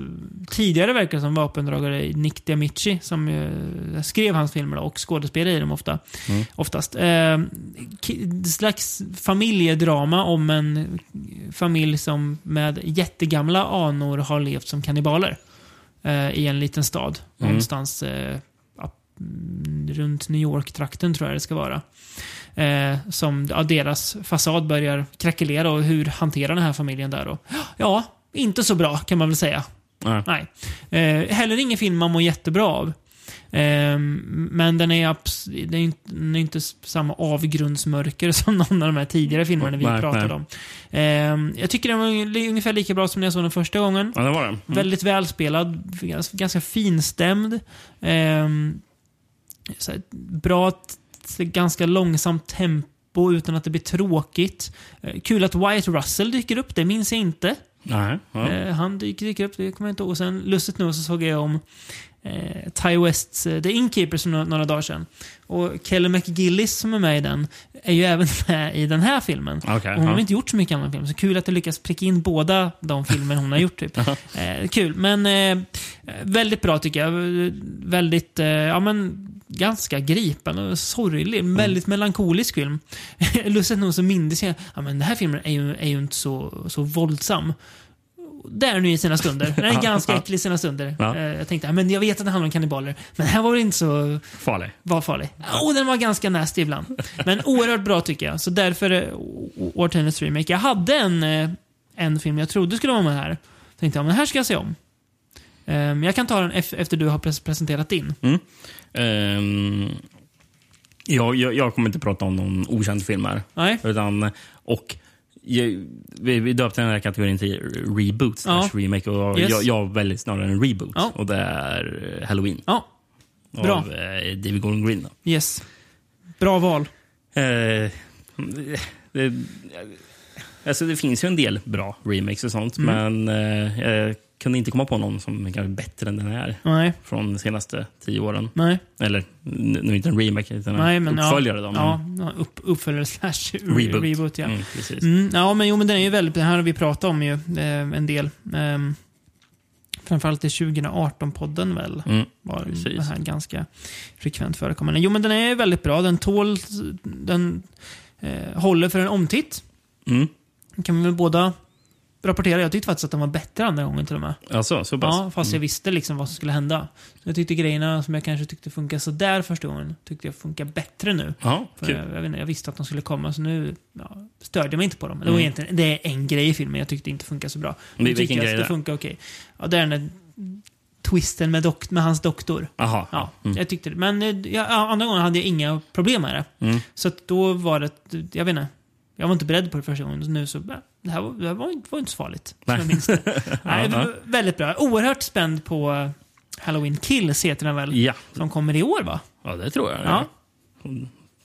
[SPEAKER 1] tidigare verkar som vapendragare Nick Diamici som eh, skrev hans filmer då, och skådespelade i dem ofta.
[SPEAKER 2] Mm.
[SPEAKER 1] oftast. Eh, ki- slags familjedrama om en familj som med jättegamla anor har levt som kannibaler eh, i en liten stad. Någonstans eh, ja, mm, runt New York-trakten tror jag det ska vara. Eh, som ja, deras fasad börjar krackelera och hur hanterar den här familjen där då? Ja, inte så bra kan man väl säga.
[SPEAKER 2] Ja.
[SPEAKER 1] Nej. Eh, heller ingen film man mår jättebra av. Eh, men den är, abs- den är inte, den är inte s- samma avgrundsmörker (laughs) som någon av de här tidigare filmerna vi
[SPEAKER 2] Nej,
[SPEAKER 1] pratade
[SPEAKER 2] nej.
[SPEAKER 1] om. Eh, jag tycker den var li- ungefär lika bra som när jag såg den första gången.
[SPEAKER 2] Ja, det var den. Mm.
[SPEAKER 1] Väldigt välspelad, ganska, ganska finstämd. Eh, så här, bra, t- ganska långsamt tempo utan att det blir tråkigt. Eh, kul att Wyatt Russell dyker upp, det minns jag inte.
[SPEAKER 2] Nej, ja.
[SPEAKER 1] Eh, han dyker, dyker upp, det kommer jag inte ihåg. Och sen lustigt nog så såg jag om eh, Ty Wests eh, The Innkeepers för några, några dagar sedan. Och Kelly McGillis som är med i den är ju även (laughs) med i den här filmen.
[SPEAKER 2] Okej,
[SPEAKER 1] Och Mm, hon har
[SPEAKER 2] ja.
[SPEAKER 1] inte gjort så mycket annan film, så kul att du lyckas pricka in båda de filmer hon har gjort.
[SPEAKER 2] (laughs)
[SPEAKER 1] Typ. eh, kul, men eh, väldigt bra tycker jag. Eh, Väldigt, eh, ja men ganska gripande och sorglig.
[SPEAKER 2] Mm.
[SPEAKER 1] Väldigt melankolisk film. (laughs) Lustigt nog så mindes jag, ja men den här filmen är ju, är ju inte så, så våldsam. Det är den ju i sina stunder. Den är
[SPEAKER 2] Ja, (laughs)
[SPEAKER 1] ganska
[SPEAKER 2] ja.
[SPEAKER 1] äcklig i sina stunder.
[SPEAKER 2] Ja.
[SPEAKER 1] Eh, Jag tänkte, ja, men jag vet att det handlar om kannibaler, men här var det inte så
[SPEAKER 2] Farlig.
[SPEAKER 1] var farlig. Och den var ganska nasty ibland. Men oerhört bra tycker jag. Så därför eh, o- o- årtiondets remake. Jag hade en, eh, en film jag trodde skulle vara med här. Tänkte jag, men den här ska jag se om. Ehm, jag kan ta den ef- efter du har pres presenterat din.
[SPEAKER 2] Ehm, jag, jag, jag kommer inte prata om någon okänd film här.
[SPEAKER 1] Nej.
[SPEAKER 2] Utan, och, jag, vi, vi döpte den här kategorin till reboot slash
[SPEAKER 1] Ja.
[SPEAKER 2] remake. Och
[SPEAKER 1] Yes.
[SPEAKER 2] jag, jag väljer snarare en reboot.
[SPEAKER 1] Ja.
[SPEAKER 2] Och det är eh, Halloween
[SPEAKER 1] Ja, Bra.
[SPEAKER 2] av eh, David Gordon Green. Då.
[SPEAKER 1] yes. Bra val.
[SPEAKER 2] Eh, det, alltså det finns ju en del bra remakes och sånt,
[SPEAKER 1] Mm.
[SPEAKER 2] men eh, jag kunde inte komma på någon som kanske är bättre än den här
[SPEAKER 1] Nej,
[SPEAKER 2] från de senaste tio åren.
[SPEAKER 1] nej,
[SPEAKER 2] Eller nu nu inte en remake, utan
[SPEAKER 1] nej.
[SPEAKER 2] en
[SPEAKER 1] Men,
[SPEAKER 2] uppföljare.
[SPEAKER 1] ja,
[SPEAKER 2] Då, men
[SPEAKER 1] ja, ja, upp, uppföljare slash
[SPEAKER 2] reboot.
[SPEAKER 1] reboot. reboot ja.
[SPEAKER 2] Mm, precis.
[SPEAKER 1] Mm, ja, men jo, men den är ju väldigt, den här har vi pratat om ju eh, en del. Ehm, framförallt i 2018-podden väl?
[SPEAKER 2] Mm.
[SPEAKER 1] var
[SPEAKER 2] Precis.
[SPEAKER 1] den här ganska frekvent förekommande. Jo, men den är väldigt bra. Den tål, den eh, håller för en omtitt.
[SPEAKER 2] Mm.
[SPEAKER 1] Den kan vi väl båda rapportera. Jag tyckte faktiskt att den var bättre andra gången till och med.
[SPEAKER 2] Alltså, så pass?
[SPEAKER 1] Ja, fast jag visste liksom vad som skulle hända. Jag tyckte grejerna som jag kanske tyckte funkade sådär första gången, tyckte jag funkar bättre nu.
[SPEAKER 2] Ja,
[SPEAKER 1] För
[SPEAKER 2] kul.
[SPEAKER 1] jag, jag, vet inte, jag visste att de skulle komma, så nu ja, störde jag mig inte på dem. Det, var egentligen, det är en grej i filmen jag tyckte inte funkar så bra.
[SPEAKER 2] Mm. Men
[SPEAKER 1] Nu tycker
[SPEAKER 2] vilken
[SPEAKER 1] jag
[SPEAKER 2] grej
[SPEAKER 1] att
[SPEAKER 2] är
[SPEAKER 1] det
[SPEAKER 2] det?
[SPEAKER 1] funkar okej. Ja, det är den där twisten med, dokt- med hans doktor.
[SPEAKER 2] Aha.
[SPEAKER 1] Ja, jag tyckte det. Men eh, ja, andra gången hade jag inga problem med det.
[SPEAKER 2] Mm.
[SPEAKER 1] Så att då var det, jag vet inte. Jag var inte beredd på det första gången. Så nu så, eh, det här var, det här var, inte, var inte så farligt. Som jag minns
[SPEAKER 2] (laughs)
[SPEAKER 1] det. Nej,
[SPEAKER 2] Ja, ja.
[SPEAKER 1] v- Väldigt bra. Oerhört spänd på eh, Halloween Kills heter den väl?
[SPEAKER 2] Ja.
[SPEAKER 1] Som kommer i år va?
[SPEAKER 2] ja, det tror jag.
[SPEAKER 1] Ja.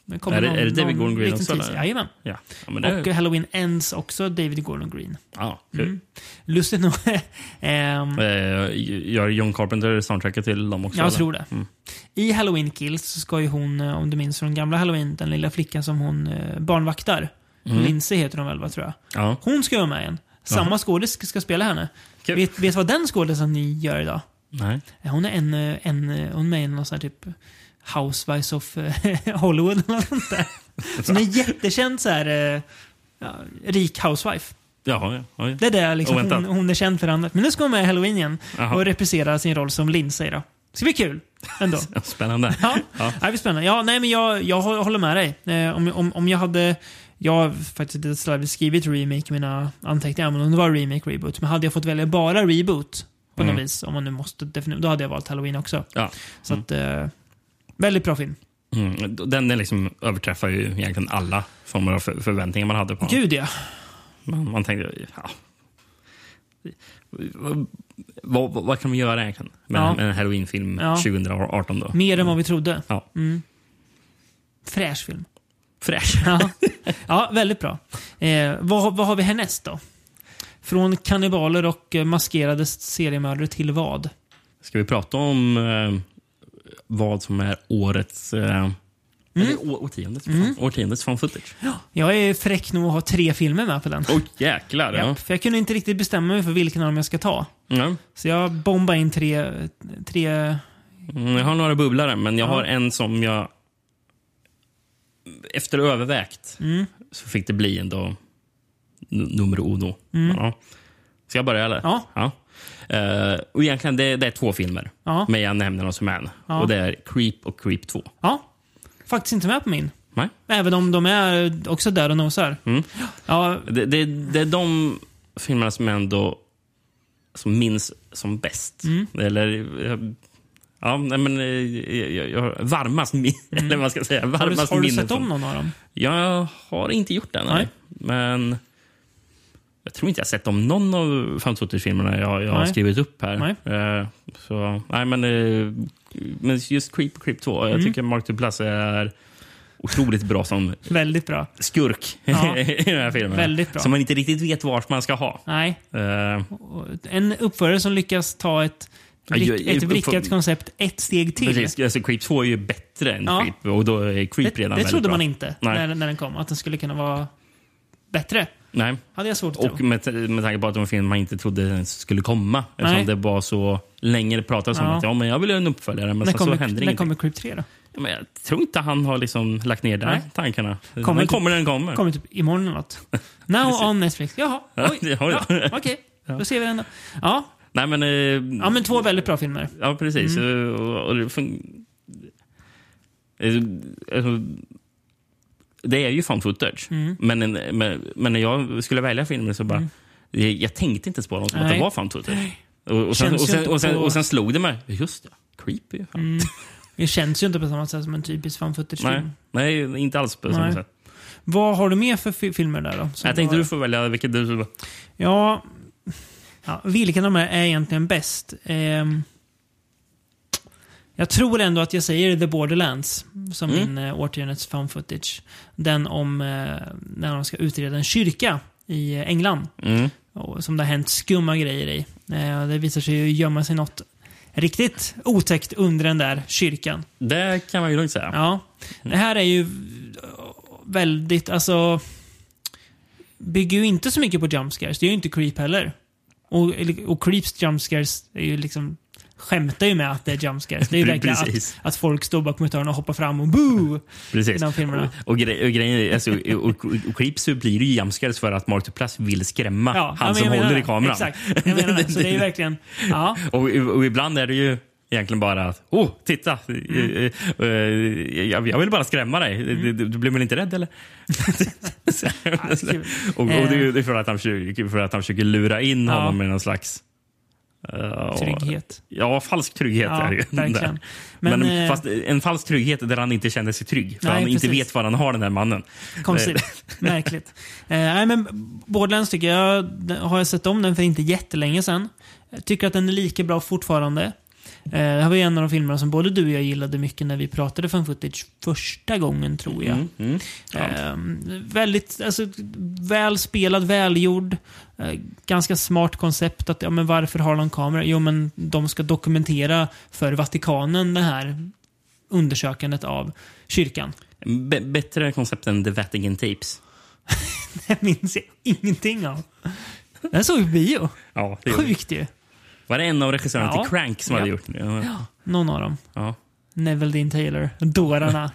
[SPEAKER 1] Det kommer
[SPEAKER 2] Är det-
[SPEAKER 1] någon-
[SPEAKER 2] är det David
[SPEAKER 1] någon
[SPEAKER 2] Gordon Green
[SPEAKER 1] liten
[SPEAKER 2] också,
[SPEAKER 1] tid-
[SPEAKER 2] eller?
[SPEAKER 1] Jajamän.
[SPEAKER 2] ja. ja men det,
[SPEAKER 1] Och eh, Halloween Ends också David Gordon Green. Mm.
[SPEAKER 2] ja, kul.
[SPEAKER 1] Lustigt nog. (laughs) ehm,
[SPEAKER 2] Eh, Gör John Carpenter soundtracket till dem också?
[SPEAKER 1] Jag
[SPEAKER 2] eller? Mm.
[SPEAKER 1] tror det. I Halloween Kills så ska ju hon, eh, om du minns från gamla Halloween, den lilla flickan som hon eh, barnvaktar. Lindsay heter hon väl, va, tror jag.
[SPEAKER 2] Mm. Ja.
[SPEAKER 1] Hon ska vara med igen. Samma skådis ska- ska spela henne.
[SPEAKER 2] Kul.
[SPEAKER 1] Vet, vet vad den skådisen ni gör idag?
[SPEAKER 2] Nej.
[SPEAKER 1] Eh, Hon är en, eh, en eh, hon är med i någon sån här typ Housewives of eh, (laughs) Hollywood eller något sånt
[SPEAKER 2] (laughs)
[SPEAKER 1] där. Så hon är jättekänd så här eh, ja, rik housewife.
[SPEAKER 2] Jaha, ja. ja, ja.
[SPEAKER 1] Det är det liksom,
[SPEAKER 2] Oväntat.
[SPEAKER 1] hon, hon är känd för annat. Men nu ska hon med i Halloween igen
[SPEAKER 2] Jaha.
[SPEAKER 1] och reprisera sin roll som Lindsay då. Det ska bli kul
[SPEAKER 2] (laughs)
[SPEAKER 1] ändå.
[SPEAKER 2] Ja, Spännande.
[SPEAKER 1] Ja,
[SPEAKER 2] Ja.
[SPEAKER 1] det blir spännande. Ja, nej, men jag, jag hå- håller med dig. Eh, om, om, om jag hade... Jag har faktiskt lite slarvigt skrivit remake i mina anteckningar, men om det var remake, reboot. Men hade jag fått välja bara reboot på något vis, om man nu måste definiera, då hade jag valt halloween också.
[SPEAKER 2] Ja.
[SPEAKER 1] Så att, eh, väldigt bra film.
[SPEAKER 2] Mm. Den är liksom överträffar ju egentligen alla former av för förväntningar man hade på den.
[SPEAKER 1] Gud ja.
[SPEAKER 2] Man, man tänkte, ja. Vad, vad, vad kan man göra egentligen med,
[SPEAKER 1] Ja.
[SPEAKER 2] med en halloweenfilm
[SPEAKER 1] Ja.
[SPEAKER 2] 2018 då?
[SPEAKER 1] Mer än vad vi trodde.
[SPEAKER 2] Ja.
[SPEAKER 1] Mm. Fräsch film. (laughs)
[SPEAKER 2] fräsch.
[SPEAKER 1] Ja, ja väldigt bra. Eh, vad, vad har vi härnäst då? Från kannibaler och eh, maskerade seriemördare till vad?
[SPEAKER 2] Ska vi prata om eh, vad som är årets...
[SPEAKER 1] Mm.
[SPEAKER 2] Eh, Eller å- årtiondets, fan, årtiondets
[SPEAKER 1] (laughs)
[SPEAKER 2] fan footage?
[SPEAKER 1] Jag är fräck nog att ha tre filmer med på den.
[SPEAKER 2] Oj, jäklar. Ja.
[SPEAKER 1] Japp, för jag kunde inte riktigt bestämma mig för vilken av dem jag ska ta.
[SPEAKER 2] Ja.
[SPEAKER 1] Så jag bombade in tre... tre
[SPEAKER 2] Mm, Jag har några bubblare, men jag har en som jag... Efter övervägt
[SPEAKER 1] Mm.
[SPEAKER 2] så fick det bli ändå n- nummer uno. Ja. Ska jag börja eller?
[SPEAKER 1] Mm. Ja.
[SPEAKER 2] Eh, och egentligen, det, det är två filmer,
[SPEAKER 1] Ja.
[SPEAKER 2] men jag nämner dem som en.
[SPEAKER 1] Ja.
[SPEAKER 2] Och det är Creep och Creep 2.
[SPEAKER 1] ja, faktiskt inte med på min.
[SPEAKER 2] Nej?
[SPEAKER 1] Även om de är också där och nosar.
[SPEAKER 2] Mm.
[SPEAKER 1] Ja,
[SPEAKER 2] Det, det, det är de filmerna som jag ändå som minns som bäst.
[SPEAKER 1] Mm.
[SPEAKER 2] Eller... eh, Ja, nej, men eh, jag, jag, jag, har varmast min, eller vad ska jag säga,
[SPEAKER 1] Mm. har du,
[SPEAKER 2] varmast
[SPEAKER 1] har du
[SPEAKER 2] minnen
[SPEAKER 1] sett om
[SPEAKER 2] från-
[SPEAKER 1] någon av dem?
[SPEAKER 2] Jag har inte gjort den, nej.
[SPEAKER 1] Nej.
[SPEAKER 2] Men jag tror inte jag sett om någon av Fantotis-filmerna jag, jag har
[SPEAKER 1] Nej.
[SPEAKER 2] skrivit upp här.
[SPEAKER 1] Nej.
[SPEAKER 2] Eh, så, nej, men, eh, men just Creep och Creep 2. Jag
[SPEAKER 1] Mm.
[SPEAKER 2] tycker Mark Duplass är otroligt bra som
[SPEAKER 1] Väldigt bra.
[SPEAKER 2] skurk
[SPEAKER 1] Ja.
[SPEAKER 2] (laughs) i den här filmen.
[SPEAKER 1] Väldigt bra.
[SPEAKER 2] Som man inte riktigt vet vart man ska ha.
[SPEAKER 1] Nej,
[SPEAKER 2] Eh,
[SPEAKER 1] Och En uppförare som lyckas ta ett,
[SPEAKER 2] Ja, ju-
[SPEAKER 1] brick, ett
[SPEAKER 2] ju-
[SPEAKER 1] vrickat
[SPEAKER 2] uppför-
[SPEAKER 1] koncept ett steg till.
[SPEAKER 2] precis, alltså, Creep 2 är ju bättre än
[SPEAKER 1] Ja.
[SPEAKER 2] Creep och då är Creep
[SPEAKER 1] Det,
[SPEAKER 2] redan
[SPEAKER 1] det
[SPEAKER 2] väldigt
[SPEAKER 1] trodde
[SPEAKER 2] bra.
[SPEAKER 1] man inte
[SPEAKER 2] Nej.
[SPEAKER 1] när, när den kom, att den skulle kunna vara bättre.
[SPEAKER 2] Nej.
[SPEAKER 1] Hade jag svårt att
[SPEAKER 2] Och
[SPEAKER 1] tro.
[SPEAKER 2] med, med tanke på att det var en film man inte trodde ens skulle komma. Eftersom
[SPEAKER 1] Nej.
[SPEAKER 2] det var så länge det pratades om
[SPEAKER 1] Ja.
[SPEAKER 2] att ja, men jag vill göra en uppföljare, men
[SPEAKER 1] När
[SPEAKER 2] sen så
[SPEAKER 1] kommer,
[SPEAKER 2] händer
[SPEAKER 1] när
[SPEAKER 2] ingenting.
[SPEAKER 1] kommer Creep 3 då?
[SPEAKER 2] Ja, Men jag tror inte han har liksom lagt ner den
[SPEAKER 1] Nej.
[SPEAKER 2] tankarna.
[SPEAKER 1] Kommer
[SPEAKER 2] Kommer den
[SPEAKER 1] inte-
[SPEAKER 2] kommer när den kommer.
[SPEAKER 1] (laughs) Kommer typ imorgon eller något. Now on Netflix. Jaha,
[SPEAKER 2] Ja, (laughs)
[SPEAKER 1] oj.
[SPEAKER 2] det har
[SPEAKER 1] Ja,
[SPEAKER 2] jag.
[SPEAKER 1] Okej, då ser vi den då. Ja.
[SPEAKER 2] Nej, men, eh,
[SPEAKER 1] ja, men Mm. två väldigt bra filmer.
[SPEAKER 2] Ja, precis. Eh, Och, och det, fun- Eh, alltså, det är ju fan footage.
[SPEAKER 1] Mm.
[SPEAKER 2] Men, en- men, men när jag skulle välja filmer så bara... Jag, jag tänkte inte spå dem som att
[SPEAKER 1] Nej.
[SPEAKER 2] det var fan footage. Och, och, sen,
[SPEAKER 1] Känns
[SPEAKER 2] och,
[SPEAKER 1] ju
[SPEAKER 2] sen,
[SPEAKER 1] inte
[SPEAKER 2] och, sen,
[SPEAKER 1] på-
[SPEAKER 2] och sen slog det mig. Just det, creepy. ju Fan.
[SPEAKER 1] Mm. Det känns ju inte på samma sätt som en typisk fan
[SPEAKER 2] Nej,
[SPEAKER 1] footage-film.
[SPEAKER 2] nej, inte alls på
[SPEAKER 1] Nej.
[SPEAKER 2] samma sätt.
[SPEAKER 1] Vad har du med för fi- filmer där då? som
[SPEAKER 2] Jag tänkte
[SPEAKER 1] har-
[SPEAKER 2] du får välja vilket du...
[SPEAKER 1] Ja, ja vilken av de här är egentligen bäst? Ehm, jag tror ändå att jag säger The Borderlands som
[SPEAKER 2] Mm.
[SPEAKER 1] min eh, årtiondets found footage. Den om eh, när de ska utreda en kyrka i eh, England
[SPEAKER 2] Mm.
[SPEAKER 1] och, som det har hänt skumma grejer i. Eh, det visar sig ju gömma sig något riktigt otäckt under den där kyrkan.
[SPEAKER 2] Det kan man ju lugnt säga.
[SPEAKER 1] Ja. Det här är ju eh, väldigt, alltså... Bygger ju inte så mycket på jumpscares. Det är ju inte Creep heller. Och, och Creeps jumpscares är ju liksom skämtar ju med att det är jumpscares. Det
[SPEAKER 2] (laughs)
[SPEAKER 1] är ju verkligen att,
[SPEAKER 2] Precis.
[SPEAKER 1] att folk står bakom ett hörn och hoppar fram och boo! i
[SPEAKER 2] Precis.
[SPEAKER 1] de filmerna.
[SPEAKER 2] Och, och, gre- och grejen är, alltså, och, och, och Creeps så blir det ju jumpscares för att Mark Duplass vill skrämma han
[SPEAKER 1] men
[SPEAKER 2] som
[SPEAKER 1] jag menar
[SPEAKER 2] håller
[SPEAKER 1] det.
[SPEAKER 2] i kameran.
[SPEAKER 1] Exakt. Jag menar det. Så det är
[SPEAKER 2] (laughs)
[SPEAKER 1] ju verkligen... Ja.
[SPEAKER 2] Och, och ibland är det ju egentligen bara att oh, titta, eh, eh, jag, jag vill bara skrämma dig.
[SPEAKER 1] Mm.
[SPEAKER 2] Du, du, du blir väl inte
[SPEAKER 1] (laughs)
[SPEAKER 2] rädd eller?
[SPEAKER 1] kul.
[SPEAKER 2] och, och det är ju det är för att han försöker, för att han försöker lura in
[SPEAKER 1] Eh. Ja.
[SPEAKER 2] honom i någon slags... eh,
[SPEAKER 1] Trygghet.
[SPEAKER 2] Ja, falsk trygghet.
[SPEAKER 1] Ja,
[SPEAKER 2] är det ju.
[SPEAKER 1] verkligen. Men,
[SPEAKER 2] Men,
[SPEAKER 1] eh,
[SPEAKER 2] fast en falsk trygghet där han inte känner sig trygg. För
[SPEAKER 1] Nej,
[SPEAKER 2] han inte
[SPEAKER 1] precis.
[SPEAKER 2] vet var han har den här mannen. (laughs)
[SPEAKER 1] Konstigt. Märkligt. Eh, nej, men Borderlands tycker jag, den- har jag sett om den för inte jättelänge sedan. Jag tycker att den är lika bra fortfarande. Eh, det här var ju en av de filmerna som både du och jag gillade mycket när vi pratade fan footage första gången tror jag.
[SPEAKER 2] Mm, mm.
[SPEAKER 1] Oh, Eh, väldigt alltså, väl spelad, välgjord. Eh, ganska smart koncept. att ja, men Varför har de kamera? Jo, men de ska dokumentera för Vatikanen det här undersökandet av kyrkan.
[SPEAKER 2] B- bättre koncept än The Vatican Tapes. (laughs)
[SPEAKER 1] Det minns jag ingenting av. Den såg vi på bio.
[SPEAKER 2] Ja, det gjorde vi.
[SPEAKER 1] Sjukt ju.
[SPEAKER 2] Var det en av regissörerna
[SPEAKER 1] Ja.
[SPEAKER 2] till Crank som hade
[SPEAKER 1] Ja.
[SPEAKER 2] gjort det? Ja.
[SPEAKER 1] Någon av dem.
[SPEAKER 2] Ja.
[SPEAKER 1] Neville Dean Taylor. Dårarna.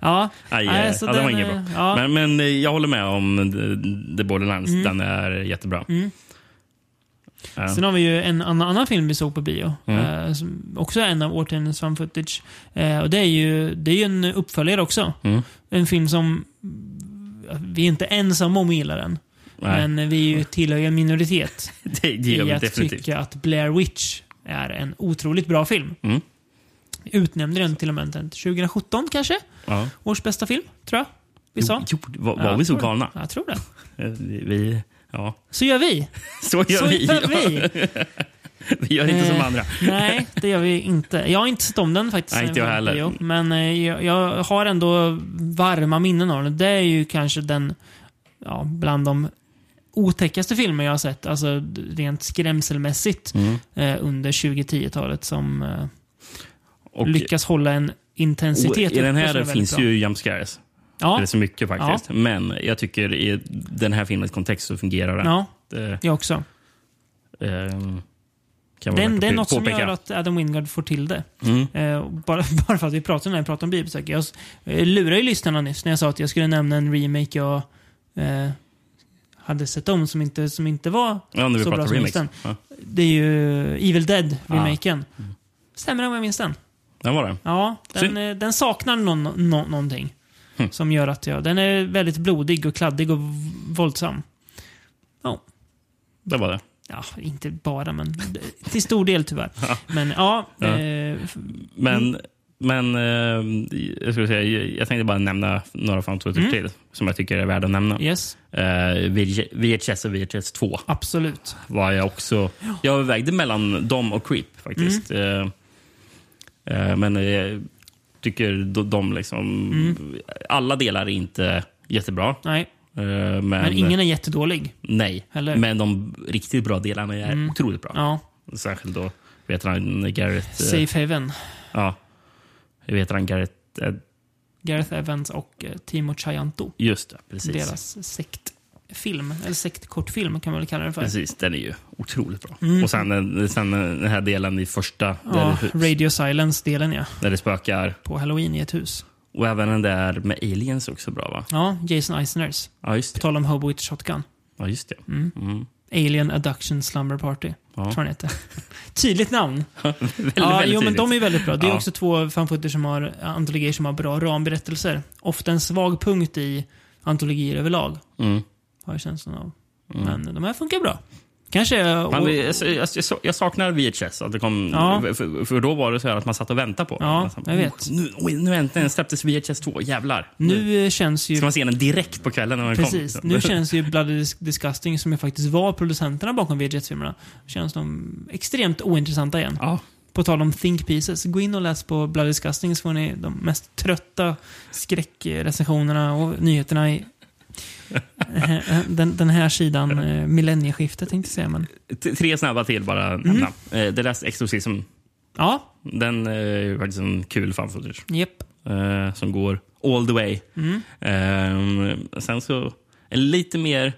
[SPEAKER 1] Ja.
[SPEAKER 2] Aj,
[SPEAKER 1] Nej,
[SPEAKER 2] eh,
[SPEAKER 1] så
[SPEAKER 2] ja, det var
[SPEAKER 1] den,
[SPEAKER 2] inget
[SPEAKER 1] eh,
[SPEAKER 2] bra.
[SPEAKER 1] ja. Mm.
[SPEAKER 2] Men, men eh, jag håller med om The, The Borderlands. Den är jättebra. Ja.
[SPEAKER 1] Sen har vi ju en annan, annan film vi såg på bio.
[SPEAKER 2] Mm.
[SPEAKER 1] Eh, som också är en av årtiondets fan footage. Eh, och det är, ju, det är ju en uppföljare också. (laughs)
[SPEAKER 2] Mm.
[SPEAKER 1] En film som mm, vi är inte ensamma om att gilla den.
[SPEAKER 2] Nej,
[SPEAKER 1] Men vi är ju tillhör ju en minoritet
[SPEAKER 2] det, det
[SPEAKER 1] i
[SPEAKER 2] gör vi
[SPEAKER 1] att
[SPEAKER 2] definitivt.
[SPEAKER 1] tycka att Blair Witch är en otroligt bra film.
[SPEAKER 2] Mm.
[SPEAKER 1] Utnämnde den till och med den 2017 kanske?
[SPEAKER 2] Ja.
[SPEAKER 1] Års bästa film, tror jag. Vi sa.
[SPEAKER 2] Jo, jo, var, var
[SPEAKER 1] Ja,
[SPEAKER 2] vi
[SPEAKER 1] jag
[SPEAKER 2] så
[SPEAKER 1] tror det.
[SPEAKER 2] galna?
[SPEAKER 1] Ja, Jag tror det.
[SPEAKER 2] Eh, Vi, ja.
[SPEAKER 1] Så gör vi.
[SPEAKER 2] Så (laughs) gör (laughs)
[SPEAKER 1] Så
[SPEAKER 2] vi.
[SPEAKER 1] gör vi.
[SPEAKER 2] Vi gör inte som
[SPEAKER 1] Eh,
[SPEAKER 2] andra.
[SPEAKER 1] Nej, det gör vi inte. Jag har inte sett om den faktiskt.
[SPEAKER 2] Nej, inte jag heller.
[SPEAKER 1] Jo, men eh, jag, jag har ändå varma minnen av den. Det är ju kanske den, ja, bland de otäckaste filmer jag har sett, alltså d- rent skrämselmässigt, eh, under 2010-talet som eh,
[SPEAKER 2] Och,
[SPEAKER 1] lyckas hålla en
[SPEAKER 2] och
[SPEAKER 1] intensitet
[SPEAKER 2] I den
[SPEAKER 1] uppe som är
[SPEAKER 2] här
[SPEAKER 1] väldigt
[SPEAKER 2] finns
[SPEAKER 1] bra.
[SPEAKER 2] ju jump scares.
[SPEAKER 1] Ja,
[SPEAKER 2] Eller så mycket faktiskt. Men jag tycker i den här filmens kontext så fungerar den.
[SPEAKER 1] ja,
[SPEAKER 2] Det, eh,
[SPEAKER 1] jag också.
[SPEAKER 2] ehm, kan vara
[SPEAKER 1] Den,
[SPEAKER 2] värt att
[SPEAKER 1] det är
[SPEAKER 2] påpe-
[SPEAKER 1] något som
[SPEAKER 2] påpeka.
[SPEAKER 1] gör att Adam Wingard får till det.
[SPEAKER 2] Mm.
[SPEAKER 1] Eh, och bara, (laughs) bara för att vi pratar, när jag pratar om bibelsök. Jag s- eh, lurade ju lyssnarna nyss när jag sa att jag skulle nämna en remake jag eh, hade sett om som inte, som inte var...
[SPEAKER 2] Ja, när vi
[SPEAKER 1] så bra
[SPEAKER 2] pratar
[SPEAKER 1] som
[SPEAKER 2] remix.
[SPEAKER 1] just den.
[SPEAKER 2] Ja,
[SPEAKER 1] Det är ju Evil
[SPEAKER 2] Ah.
[SPEAKER 1] Dead-remaken. Stämmer det om jag minns den?
[SPEAKER 2] den var det.
[SPEAKER 1] Ja, den,
[SPEAKER 2] Mm. Synd.
[SPEAKER 1] eh, den saknar någon, nå- någonting.
[SPEAKER 2] Hm.
[SPEAKER 1] Som gör att jag... Den är väldigt blodig och kladdig och v- våldsam.
[SPEAKER 2] Det var det.
[SPEAKER 1] Ja, inte bara, men d- till stor del tyvärr. Men ja,
[SPEAKER 2] Ja.
[SPEAKER 1] eh, f-
[SPEAKER 2] Men,
[SPEAKER 1] Mm.
[SPEAKER 2] men ehm, jag, skulle säga, jag- jag tänkte bara nämna några fantoser
[SPEAKER 1] Mm.
[SPEAKER 2] till som jag tycker är värda att nämna.
[SPEAKER 1] yes,
[SPEAKER 2] Eh, VH- VHS och VHS 2
[SPEAKER 1] absolut.
[SPEAKER 2] var jag också... Jag övervägde mellan dem och Creep faktiskt.
[SPEAKER 1] Mm.
[SPEAKER 2] Eh, eh, men eh, jag tycker de, de liksom...
[SPEAKER 1] Mm.
[SPEAKER 2] Alla delar är inte jättebra.
[SPEAKER 1] Nej,
[SPEAKER 2] eh, men,
[SPEAKER 1] men ingen är jättedålig.
[SPEAKER 2] Nej.
[SPEAKER 1] Heller.
[SPEAKER 2] Men de riktigt bra delarna är otroligt bra.
[SPEAKER 1] Mm. Ja,
[SPEAKER 2] Särskilt då, vet han Garrett... eh,
[SPEAKER 1] Safe Haven.
[SPEAKER 2] Ja. Jag vet han Garrett... eh,
[SPEAKER 1] Gareth Evans och eh, Timo Chianto.
[SPEAKER 2] Just det, precis.
[SPEAKER 1] Deras sektfilm, eller sektkortfilm kan man väl kalla den för.
[SPEAKER 2] Precis, den är ju otroligt bra. Och sen, den- sen den här delen i första,
[SPEAKER 1] Mm. Ja,
[SPEAKER 2] där, det-
[SPEAKER 1] Radio Silence-delen ja.
[SPEAKER 2] där det spökar.
[SPEAKER 1] På Halloween i ett hus.
[SPEAKER 2] Och även den där med aliens också bra va?
[SPEAKER 1] Ja, Jason Eisners.
[SPEAKER 2] Ja, just
[SPEAKER 1] På
[SPEAKER 2] det.
[SPEAKER 1] tal om Hobo with Shotgun.
[SPEAKER 2] Ja, just det. Mm.
[SPEAKER 1] Alien Adduction Slumber Party.
[SPEAKER 2] Ja.
[SPEAKER 1] Tror jag den heter. (laughs) Tydligt namn.
[SPEAKER 2] Väldigt,
[SPEAKER 1] ja,
[SPEAKER 2] väldigt
[SPEAKER 1] jo, men
[SPEAKER 2] tydligt.
[SPEAKER 1] de är väldigt bra. Det är
[SPEAKER 2] Ja.
[SPEAKER 1] också två fanfutter som har antologier som har bra ramberättelser. Ofta en svag punkt i antologier överlag.
[SPEAKER 2] Mm.
[SPEAKER 1] Har jag känslan av. Men de här funkar bra. Kanske...
[SPEAKER 2] Man,
[SPEAKER 1] och-
[SPEAKER 2] jag, jag, jag, jag saknar VHS. Att det kom,
[SPEAKER 1] Ja.
[SPEAKER 2] för, för då var det så här att man satt och väntade på.
[SPEAKER 1] Ja,
[SPEAKER 2] Man sa,
[SPEAKER 1] jag vet.
[SPEAKER 2] "Oh, Nu, oj, nu äntligen släpptes VHS 2. Jävlar.
[SPEAKER 1] Nu eh, känns ju...
[SPEAKER 2] ska man se den direkt på kvällen när den kom.
[SPEAKER 1] Precis.
[SPEAKER 2] (laughs)
[SPEAKER 1] Nu känns ju Bloody Dis- Disgusting, som ju faktiskt var producenterna bakom VHS-filmerna, känns de extremt ointressanta igen.
[SPEAKER 2] Ja,
[SPEAKER 1] På tal om think pieces, gå in och läs på Bloody Disgusting så får ni de mest trötta skräckrecensionerna och nyheterna i eh, den, den här sidan eh, millennieskiftet tänkte jag säga. Men,
[SPEAKER 2] t- tre snabba till bara
[SPEAKER 1] Mm.
[SPEAKER 2] nämna. Eh, The Last Exorcism.
[SPEAKER 1] ja,
[SPEAKER 2] Den eh, är ju faktiskt en kul fan footage.
[SPEAKER 1] japp.
[SPEAKER 2] eh, som går all the way.
[SPEAKER 1] Mm,
[SPEAKER 2] Ehm, sen så en lite mer...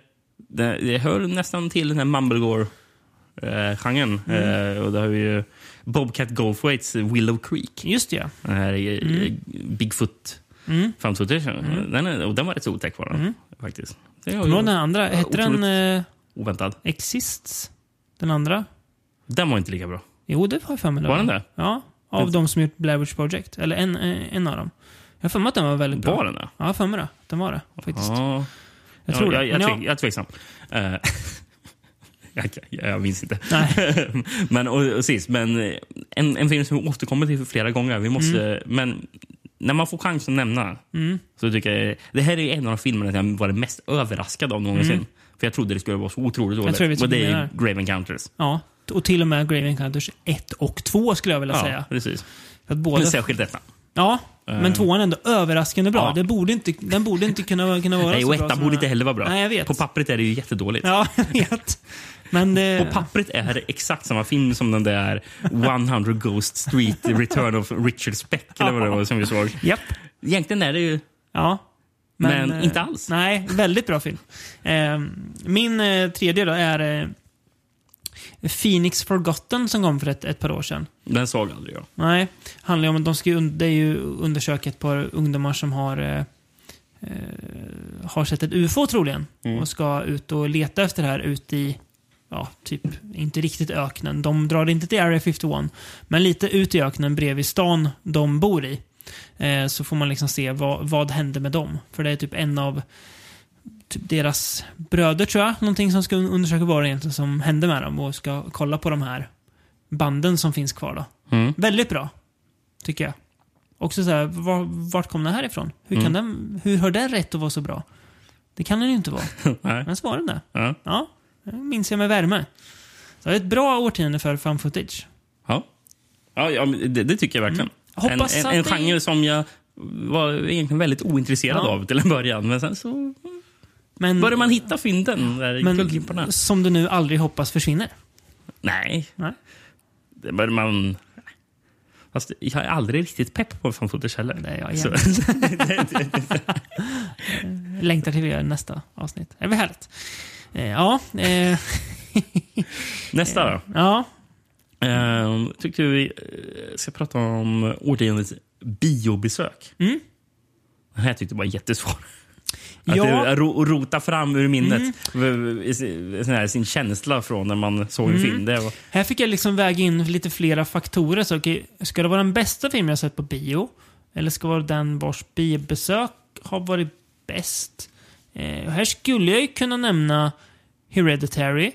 [SPEAKER 2] Det, det hör nästan till den här mumblegore-genren.
[SPEAKER 1] Mm.
[SPEAKER 2] Eh, och det har vi ju Bobcat Goldthwaits Willow Creek.
[SPEAKER 1] Just det, ja.
[SPEAKER 2] Den här mm. Bigfoot
[SPEAKER 1] Mm.
[SPEAKER 2] found footage. Den, är, och den var rätt så otäck var den. Faktiskt. Det var
[SPEAKER 1] Kommer du ihåg
[SPEAKER 2] ju
[SPEAKER 1] den andra? Hette den eh,
[SPEAKER 2] oväntad.
[SPEAKER 1] Exists? Den andra?
[SPEAKER 2] Den var inte lika bra.
[SPEAKER 1] Jo, det har jag för mig.
[SPEAKER 2] Var den det?
[SPEAKER 1] Ja, av de som gjort Blair Witch Project. Eller en, eh, en av dem. Jag har för mig att den var väldigt bra.
[SPEAKER 2] Var den det?
[SPEAKER 1] Ja, jag har för mig det. Den var det. Faktiskt.
[SPEAKER 2] Ja.
[SPEAKER 1] Jag tror
[SPEAKER 2] ja,
[SPEAKER 1] det.
[SPEAKER 2] Jag, jag,
[SPEAKER 1] Men
[SPEAKER 2] tvek, jag är tveksam. Eh, (laughs) jag, jag, jag minns inte.
[SPEAKER 1] Nej.
[SPEAKER 2] (laughs) men, och, och sist, men eh, en, en film som vi återkommer till flera gånger. Vi måste,
[SPEAKER 1] Mm.
[SPEAKER 2] Men när man får chansen att nämna så tycker jag... Det här är en av de filmerna jag varit mest överraskad av någonsin. För jag trodde det skulle vara så otroligt dåligt.
[SPEAKER 1] tror Mm. jag vet vad
[SPEAKER 2] och det
[SPEAKER 1] du
[SPEAKER 2] är
[SPEAKER 1] menar.
[SPEAKER 2] Grave Encounters.
[SPEAKER 1] ja, och till och med Grave Encounters 1 och 2 skulle jag vilja säga.
[SPEAKER 2] precis.
[SPEAKER 1] För att
[SPEAKER 2] Men
[SPEAKER 1] båda,
[SPEAKER 2] särskilt detta.
[SPEAKER 1] ja, men tvåan är ändå överraskande bra.
[SPEAKER 2] Eh. Ja.
[SPEAKER 1] Det borde inte, den borde inte kunna, kunna vara
[SPEAKER 2] Nej,
[SPEAKER 1] så
[SPEAKER 2] och
[SPEAKER 1] bra.
[SPEAKER 2] ettan
[SPEAKER 1] som
[SPEAKER 2] borde
[SPEAKER 1] den
[SPEAKER 2] inte
[SPEAKER 1] är.
[SPEAKER 2] heller vara bra.
[SPEAKER 1] Nej, jag vet.
[SPEAKER 2] På pappret är det ju jättedåligt.
[SPEAKER 1] Ja, jag vet. Men eh, det...
[SPEAKER 2] På pappret är det exakt samma film som den där 100 Ghost Street Return of Richard Speck eller vad det var som vi såg.
[SPEAKER 1] Japp.
[SPEAKER 2] Egentligen är det ju...
[SPEAKER 1] Ja.
[SPEAKER 2] Men,
[SPEAKER 1] eh,
[SPEAKER 2] inte alls.
[SPEAKER 1] Nej, väldigt bra film. Eh, min eh, tredje då är eh, Phoenix Forgotten som kom för ett, ett par år sedan.
[SPEAKER 2] Den såg aldrig jag.
[SPEAKER 1] Nej, handlar ju om att de ska ju un- det är ju undersöka ett par ungdomar som har, eh, eh, har sett ett UFO troligen. Och ska ut och leta efter det här ute i, ja, typ, inte riktigt öknen. De drar inte till Area 51, men lite ut i öknen bredvid stan de bor i. Eh, så får man liksom se vad, vad hände med dem. För det är typ en av typ deras bröder tror jag, någonting som ska un- undersöka vad det egentligen som hände med dem och ska kolla på de här banden som finns kvar då.
[SPEAKER 2] Mm. (laughs)
[SPEAKER 1] Väldigt bra, tycker jag. Också så här, var, vart kom den här ifrån? Hur, kan
[SPEAKER 2] Mm.
[SPEAKER 1] den, hur har den rätt att vara så bra?
[SPEAKER 2] (laughs)
[SPEAKER 1] Det kan den ju inte vara.
[SPEAKER 2] Nej.
[SPEAKER 1] Men så var den det.
[SPEAKER 2] Ja.
[SPEAKER 1] Ja, det minns jag med värme. Så det är ett bra årtionde för fan footage.
[SPEAKER 2] Ja, ja, ja men det, det tycker jag verkligen.
[SPEAKER 1] Mm. Hoppas
[SPEAKER 2] en en,
[SPEAKER 1] att
[SPEAKER 2] en
[SPEAKER 1] det-
[SPEAKER 2] genre som jag var egentligen väldigt ointresserad
[SPEAKER 1] Ja.
[SPEAKER 2] av till en början. Men sen så
[SPEAKER 1] Men,
[SPEAKER 2] börjar man hitta fynden där i guldklipporna.
[SPEAKER 1] men som du nu aldrig hoppas försvinner.
[SPEAKER 2] Nej,
[SPEAKER 1] Nej.
[SPEAKER 2] det börjar man... Fast jag är aldrig riktigt pepp på fan footage heller.
[SPEAKER 1] Det är jag
[SPEAKER 2] Så-
[SPEAKER 1] igen. Längtar till vi gör nästa avsnitt. Det blir härligt. Eh, Ja, eh,
[SPEAKER 2] (laughs) Nästa då.
[SPEAKER 1] ja.
[SPEAKER 2] Um, tyckte vi eh, ska prata om årtiondets biobesök.
[SPEAKER 1] Mm.
[SPEAKER 2] Den här tyckte jag var jättesvår. Att
[SPEAKER 1] ja. Mm.
[SPEAKER 2] eh, ro, rota fram ur minnet v- v- sin- sån här, sin känsla från när man såg en film. Det var,
[SPEAKER 1] Här fick jag liksom väga in lite flera faktorer. Så, okej, ska det vara den bästa film jag sett på bio? Eller ska det vara den vars biobesök har varit bäst? Eh, och här skulle jag ju kunna nämna Hereditary.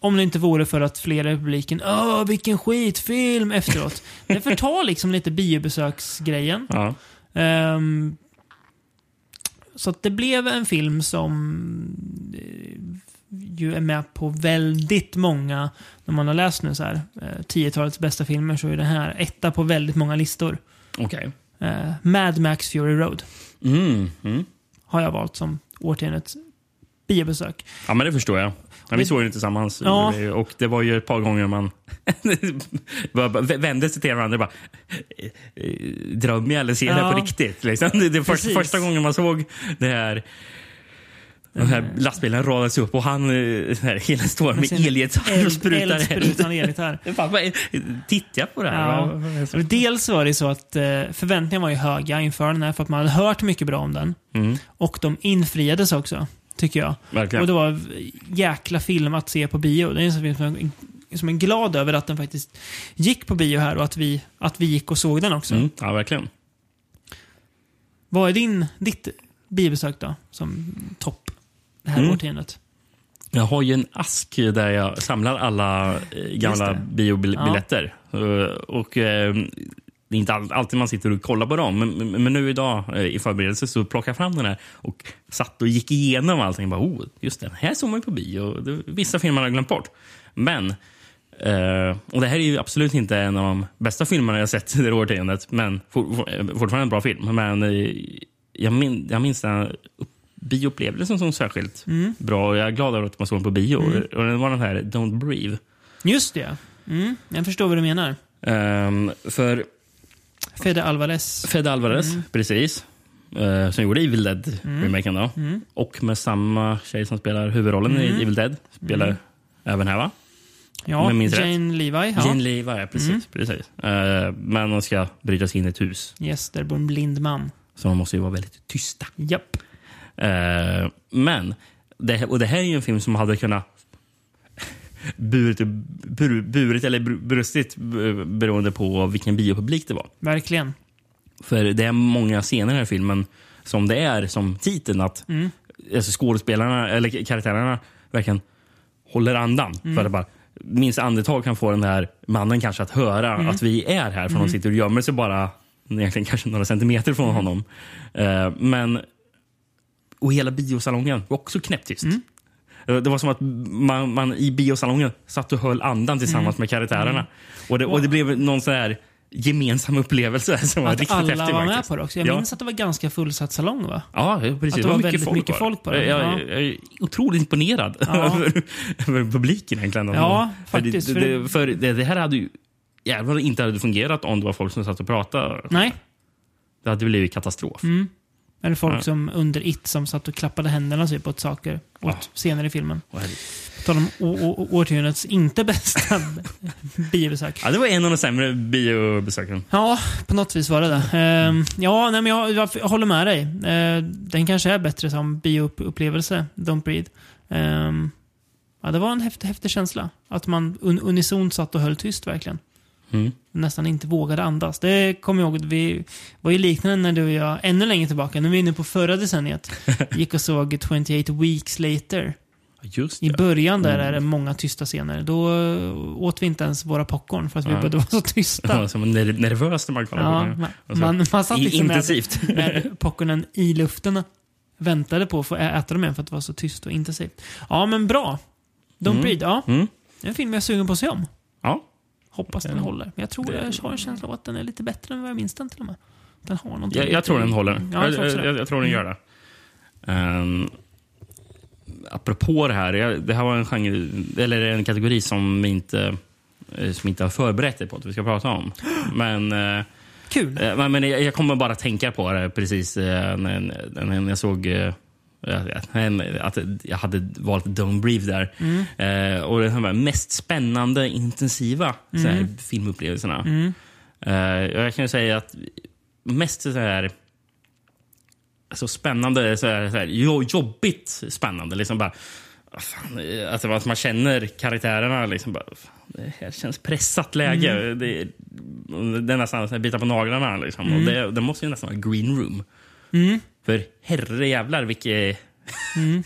[SPEAKER 1] Om det inte vore för att flera i publiken Åh, vilken skitfilm efteråt. Det förtar liksom lite biobesöksgrejen.
[SPEAKER 2] ja.
[SPEAKER 1] Ehm, så att det blev en film som eh, ju är med på väldigt många, när man har läst nu så här, eh, 10-talets bästa filmer så är den här etta på väldigt många listor.
[SPEAKER 2] Okej.
[SPEAKER 1] Eh, Mad Max Fury Road
[SPEAKER 2] Mm, mm.
[SPEAKER 1] har jag valt som årtiondets
[SPEAKER 2] (laughs)
[SPEAKER 1] biobesök.
[SPEAKER 2] Ja, men det förstår jag. Ja, vi såg den tillsammans
[SPEAKER 1] Mm. Ja.
[SPEAKER 2] och det var ju ett par
[SPEAKER 1] (laughs)
[SPEAKER 2] gånger man bara- bara vände sig till varandra och bara eh, eh, Drömmer jag eller ser jag det här
[SPEAKER 1] Ja.
[SPEAKER 2] på riktigt? Liksom. Det, det första,
[SPEAKER 1] Precis.
[SPEAKER 2] första gången man såg det här den
[SPEAKER 1] Mm.
[SPEAKER 2] här lastbilen radas upp och han eh, så här, hela står med
[SPEAKER 1] Sen-
[SPEAKER 2] elgitarr och sprutar eld.
[SPEAKER 1] Eldsprutande elgitarr.
[SPEAKER 2] (laughs) Fan, vad är- Tittar jag på det här?
[SPEAKER 1] Ja.
[SPEAKER 2] Vad- vad är det som-
[SPEAKER 1] Dels var det så att eh, förväntningarna var ju höga inför den här för att man hade hört mycket bra om den.
[SPEAKER 2] Mm,
[SPEAKER 1] Och de infriades också, tycker jag.
[SPEAKER 2] verkligen.
[SPEAKER 1] Och det var en jäkla film att se på bio. Det är en sån film som jag som är glad över att den faktiskt gick på bio här och att vi, att vi gick och såg den också.
[SPEAKER 2] mm, ja, verkligen.
[SPEAKER 1] Vad är din, ditt biobesök då, som topp det här
[SPEAKER 2] Mm.
[SPEAKER 1] årtiondet?
[SPEAKER 2] Jag har ju en ask där jag samlar alla eh, gamla
[SPEAKER 1] det.
[SPEAKER 2] biobiljetter. Eh, Och eh, det är inte all- alltid man sitter och kollar på dem, men, men, men nu idag eh, i förberedelse så plockade jag fram den här och satt och gick igenom allting. Bara, oh, just den här såg man ju på bio. Det- Vissa filmer har jag glömt bort. Men, eh, och det här är ju absolut inte en av de bästa filmerna jag sett (laughs) det här årtiondet, men for, for, eh, fortfarande en bra film. Men eh, jag, min, jag minns den här bioupplevelsen som särskilt bra och jag är glad över att man såg den på bio. Och, och den var den här Don't Breathe.
[SPEAKER 1] Just det. Mm, jag förstår vad du menar.
[SPEAKER 2] Ehm, för
[SPEAKER 1] Fede Alvarez.
[SPEAKER 2] Fed Alvarez, precis. eh, som gjorde Evil Dead-remaken. då. Och med samma tjej som spelar huvudrollen i Evil Dead. Spelar även här, va? Om
[SPEAKER 1] Ja,
[SPEAKER 2] jag minns rätt.
[SPEAKER 1] Jane Levi. Ja.
[SPEAKER 2] Jean Levi, ja, precis. precis. Eh, men hon ska bryta sig in i ett hus,
[SPEAKER 1] Yes, där bor en blind man.
[SPEAKER 2] så de måste ju vara väldigt tysta.
[SPEAKER 1] Japp.
[SPEAKER 2] Eh, men, det, här- och det här är ju en film som hade kunnat burit, bur, burit eller br- brustit b- beroende på vilken biopublik det var.
[SPEAKER 1] Verkligen.
[SPEAKER 2] För det är många scener i den här filmen som det är som titeln att
[SPEAKER 1] Mm.
[SPEAKER 2] alltså skådespelarna eller karaktärerna verkligen håller andan. För
[SPEAKER 1] Mm.
[SPEAKER 2] att bara, minst andetag kan få den här mannen kanske att höra
[SPEAKER 1] Mm.
[SPEAKER 2] att vi är här. För de sitter och gömmer sig bara egentligen kanske några centimeter
[SPEAKER 1] Mm.
[SPEAKER 2] från honom. Eh, men och hela biosalongen var också knäpptyst.
[SPEAKER 1] Mm.
[SPEAKER 2] Eh, Det var som att man, man i biosalongen satt och höll andan tillsammans
[SPEAKER 1] Mm.
[SPEAKER 2] med karaktärerna. Och, det, och det blev någon sån här gemensam upplevelse som var
[SPEAKER 1] Att
[SPEAKER 2] riktigt
[SPEAKER 1] alla
[SPEAKER 2] häftig.
[SPEAKER 1] var med
[SPEAKER 2] faktiskt.
[SPEAKER 1] på det också. Jag
[SPEAKER 2] Ja.
[SPEAKER 1] minns att det var ganska fullsatt salong
[SPEAKER 2] (laughs)
[SPEAKER 1] va?
[SPEAKER 2] Ja, precis.
[SPEAKER 1] Att det var väldigt mycket
[SPEAKER 2] var.
[SPEAKER 1] folk på den,
[SPEAKER 2] Jag,
[SPEAKER 1] ja.
[SPEAKER 2] jag, jag är otroligt imponerad
[SPEAKER 1] Ja.
[SPEAKER 2] (laughs) över, över publiken egentligen. Alltså,
[SPEAKER 1] Ja, faktiskt,
[SPEAKER 2] För
[SPEAKER 1] för
[SPEAKER 2] det,
[SPEAKER 1] det-
[SPEAKER 2] det, för det, det här hade ju jävlar inte hade fungerat om det var folk som satt och pratade.
[SPEAKER 1] Nej.
[SPEAKER 2] Det hade blivit katastrof.
[SPEAKER 1] Mm. Eller folk som under it som satt och klappade händerna typ åt saker. Åt
[SPEAKER 2] Ja.
[SPEAKER 1] scener i filmen.
[SPEAKER 2] Och herregud.
[SPEAKER 1] På tal om å- å- årtiondets inte bästa (laughs) biobesök.
[SPEAKER 2] Ja, det var en av de sämre biobesöken.
[SPEAKER 1] Ja, på något vis var det det. Ehm, ja, nej, men jag, jag f- jag håller med dig. Ehm, den kanske är bättre som bioupplevelse, Don't Breathe. Ehm, ja, det var en häftig, häftig känsla. Att man un unisont satt och höll tyst verkligen.
[SPEAKER 2] Mm.
[SPEAKER 1] Nästan inte vågade andas. Det kommer jag ihåg, vi var ju liknande när du och jag, ännu längre tillbaka, när vi var inne på förra
[SPEAKER 2] (laughs)
[SPEAKER 1] decenniet, gick och såg 28 Weeks Later.
[SPEAKER 2] Just
[SPEAKER 1] I
[SPEAKER 2] det.
[SPEAKER 1] början
[SPEAKER 2] Mm.
[SPEAKER 1] där är det många tysta scener. Då eh, åt vi inte ens våra popcorn för att vi
[SPEAKER 2] Nej.
[SPEAKER 1] började vara så tysta.
[SPEAKER 2] (laughs) Ja, (laughs) som var ner- nervös när man
[SPEAKER 1] Ja,
[SPEAKER 2] kollade på
[SPEAKER 1] man,
[SPEAKER 2] Och så-
[SPEAKER 1] man, man
[SPEAKER 2] den.
[SPEAKER 1] satt
[SPEAKER 2] I,
[SPEAKER 1] liksom med,
[SPEAKER 2] intensivt.
[SPEAKER 1] med popcornen i luften och väntade på att få ä- äta dem igen för att det var så tyst och intensivt. Ja, men bra. Don't breed, ja.
[SPEAKER 2] Mm.
[SPEAKER 1] Det är en film jag är sugen på att se om.
[SPEAKER 2] Ja.
[SPEAKER 1] Hoppas
[SPEAKER 2] Mm.
[SPEAKER 1] den håller. Men jag tror jag har en känsla av att den är lite bättre än vad jag minns den till och med. Den har någonting.
[SPEAKER 2] Jag, jag tror den håller.
[SPEAKER 1] Ja, jag tror också
[SPEAKER 2] jag,
[SPEAKER 1] det.
[SPEAKER 2] jag, jag tror den gör det. Um, apropå det här. Jag, det här var en genre, eller en kategori som vi inte, eh, som inte har förberett er på att vi ska
[SPEAKER 1] (gasps)
[SPEAKER 2] prata om. Men, eh,
[SPEAKER 1] Kul.
[SPEAKER 2] eh, men- men jag, jag kommer bara tänka på det precis eh, när, när, när jag såg eh, att- att jag hade valt Don't Breathe där.
[SPEAKER 1] Mm.
[SPEAKER 2] Eh, och den här mest spännande, intensiva så här, filmupplevelserna.
[SPEAKER 1] Mm.
[SPEAKER 2] Eh, och jag kan ju säga att mest så här så spännande, så här, så här, jo- jobbigt spännande. Liksom bara, ah, fan, eh, alltså, att man känner karaktärerna. Liksom bara, fan, det här känns pressat läge. Det, det är nästan så här, bita på naglarna. Liksom. Och det, det måste ju nästan vara green room.
[SPEAKER 1] Mm.
[SPEAKER 2] För herrejävlar vilket... Mm.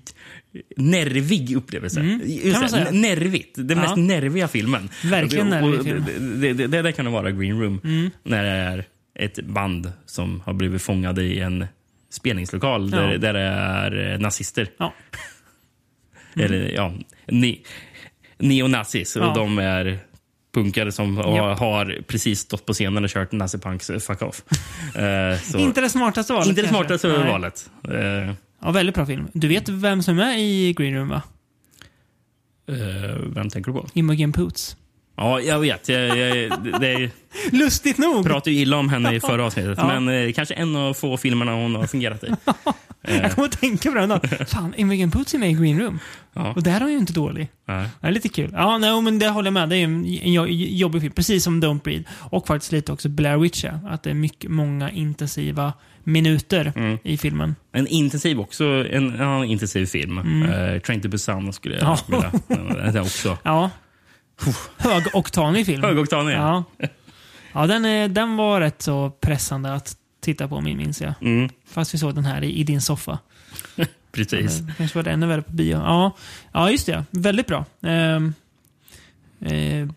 [SPEAKER 2] (laughs) nervig upplevelse. Just
[SPEAKER 1] Mm. kan man
[SPEAKER 2] det,
[SPEAKER 1] säga.
[SPEAKER 2] n- Nervigt. Den
[SPEAKER 1] Ja.
[SPEAKER 2] mest nerviga filmen.
[SPEAKER 1] Verkligen
[SPEAKER 2] Och det- och
[SPEAKER 1] nervig film. Mm.
[SPEAKER 2] Det, det, det, det kan det vara Green Room. När det är ett band som har blivit fångade i en spelningslokal där,
[SPEAKER 1] Ja.
[SPEAKER 2] där det är eh, nazister.
[SPEAKER 1] Ja.
[SPEAKER 2] Eller ja, ni, neonazis.
[SPEAKER 1] Mm. Ja.
[SPEAKER 2] Och de är punkare som har,
[SPEAKER 1] Japp.
[SPEAKER 2] har precis stått på scenen och kört nazipunks
[SPEAKER 1] (laughs)
[SPEAKER 2] fuck off. Eh, så-
[SPEAKER 1] Inte det smartaste valet
[SPEAKER 2] inte det
[SPEAKER 1] kanske.
[SPEAKER 2] smartaste
[SPEAKER 1] Nej.
[SPEAKER 2] valet. Eh,
[SPEAKER 1] Ja, väldigt bra film. Du vet vem som är med i Green Room va?
[SPEAKER 2] eh, vem tänker du på?
[SPEAKER 1] Imogen Poots.
[SPEAKER 2] Ja, jag vet. Jag, jag, det- det,
[SPEAKER 1] Lustigt nog!
[SPEAKER 2] jag pratade ju illa om henne i förra avsnittet,
[SPEAKER 1] (laughs) Ja.
[SPEAKER 2] men eh, kanske en av få filmerna hon har fungerat i.
[SPEAKER 1] (laughs) Jag kommer att tänka på det en
[SPEAKER 2] (laughs)
[SPEAKER 1] dag. Fan, Imogen Poots är med i Green Room.
[SPEAKER 2] Ja.
[SPEAKER 1] Och där är hon ju inte dålig.
[SPEAKER 2] Nej.
[SPEAKER 1] Ja, lite kul. Ja, nej, men det håller jag med. Det är ju en en jo- jobbig film, precis som Don't Breathe. Och faktiskt lite också Blair Witch, ja. Att det är mycket, många intensiva minuter
[SPEAKER 2] Mm.
[SPEAKER 1] i filmen.
[SPEAKER 2] En intensiv också, en, en annan intensiv film. Eh, Train to Busan skulle jag
[SPEAKER 1] Mm. Ja.
[SPEAKER 2] vilja nämna. Den också.
[SPEAKER 1] Ja. Högoktanig film.
[SPEAKER 2] Högoktanig.
[SPEAKER 1] Ja, ja den, är, den var rätt så pressande att titta på, min- minns jag.
[SPEAKER 2] Mm,
[SPEAKER 1] Fast vi såg den här i, i din soffa.
[SPEAKER 2] precis.
[SPEAKER 1] Det kanske var det ännu värre på bio. Ja, ja just det. Väldigt bra. Ehm, eh,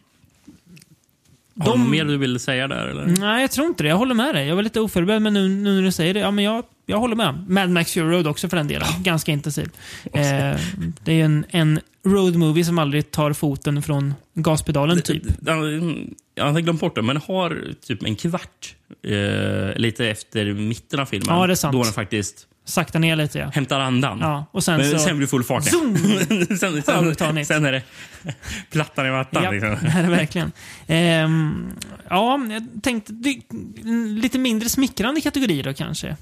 [SPEAKER 2] Har du
[SPEAKER 1] de- Mm,
[SPEAKER 2] mer du vill säga där? Eller?
[SPEAKER 1] Nej, jag tror inte det. Jag håller med dig. Jag var lite oförberedd, men nu, nu när du säger det, ja men jag, jag håller med. Mad Max Fury Road också för den delen. Ganska intensiv. Eh, det är ju en, en road movie som aldrig tar foten från gaspedalen, typ.
[SPEAKER 2] Han- mm, Jag hade glömt bort det, men har typ en kvart eh, lite efter mitten av filmen.
[SPEAKER 1] Ja, det är sant.
[SPEAKER 2] Då den faktiskt
[SPEAKER 1] Sakta ner lite, ja.
[SPEAKER 2] hämtar andan.
[SPEAKER 1] ja och sen
[SPEAKER 2] Mm. Men
[SPEAKER 1] så...
[SPEAKER 2] sen blir det full fart igen.
[SPEAKER 1] Zoom! (laughs)
[SPEAKER 2] Mm. (laughs) sen, sen,
[SPEAKER 1] Övertaget.
[SPEAKER 2] sen är det plattan i mattan.
[SPEAKER 1] Ja,
[SPEAKER 2] Liksom.
[SPEAKER 1] det är det verkligen. Ehm, ja, jag tänkte det- en lite mindre smickrande kategori då kanske.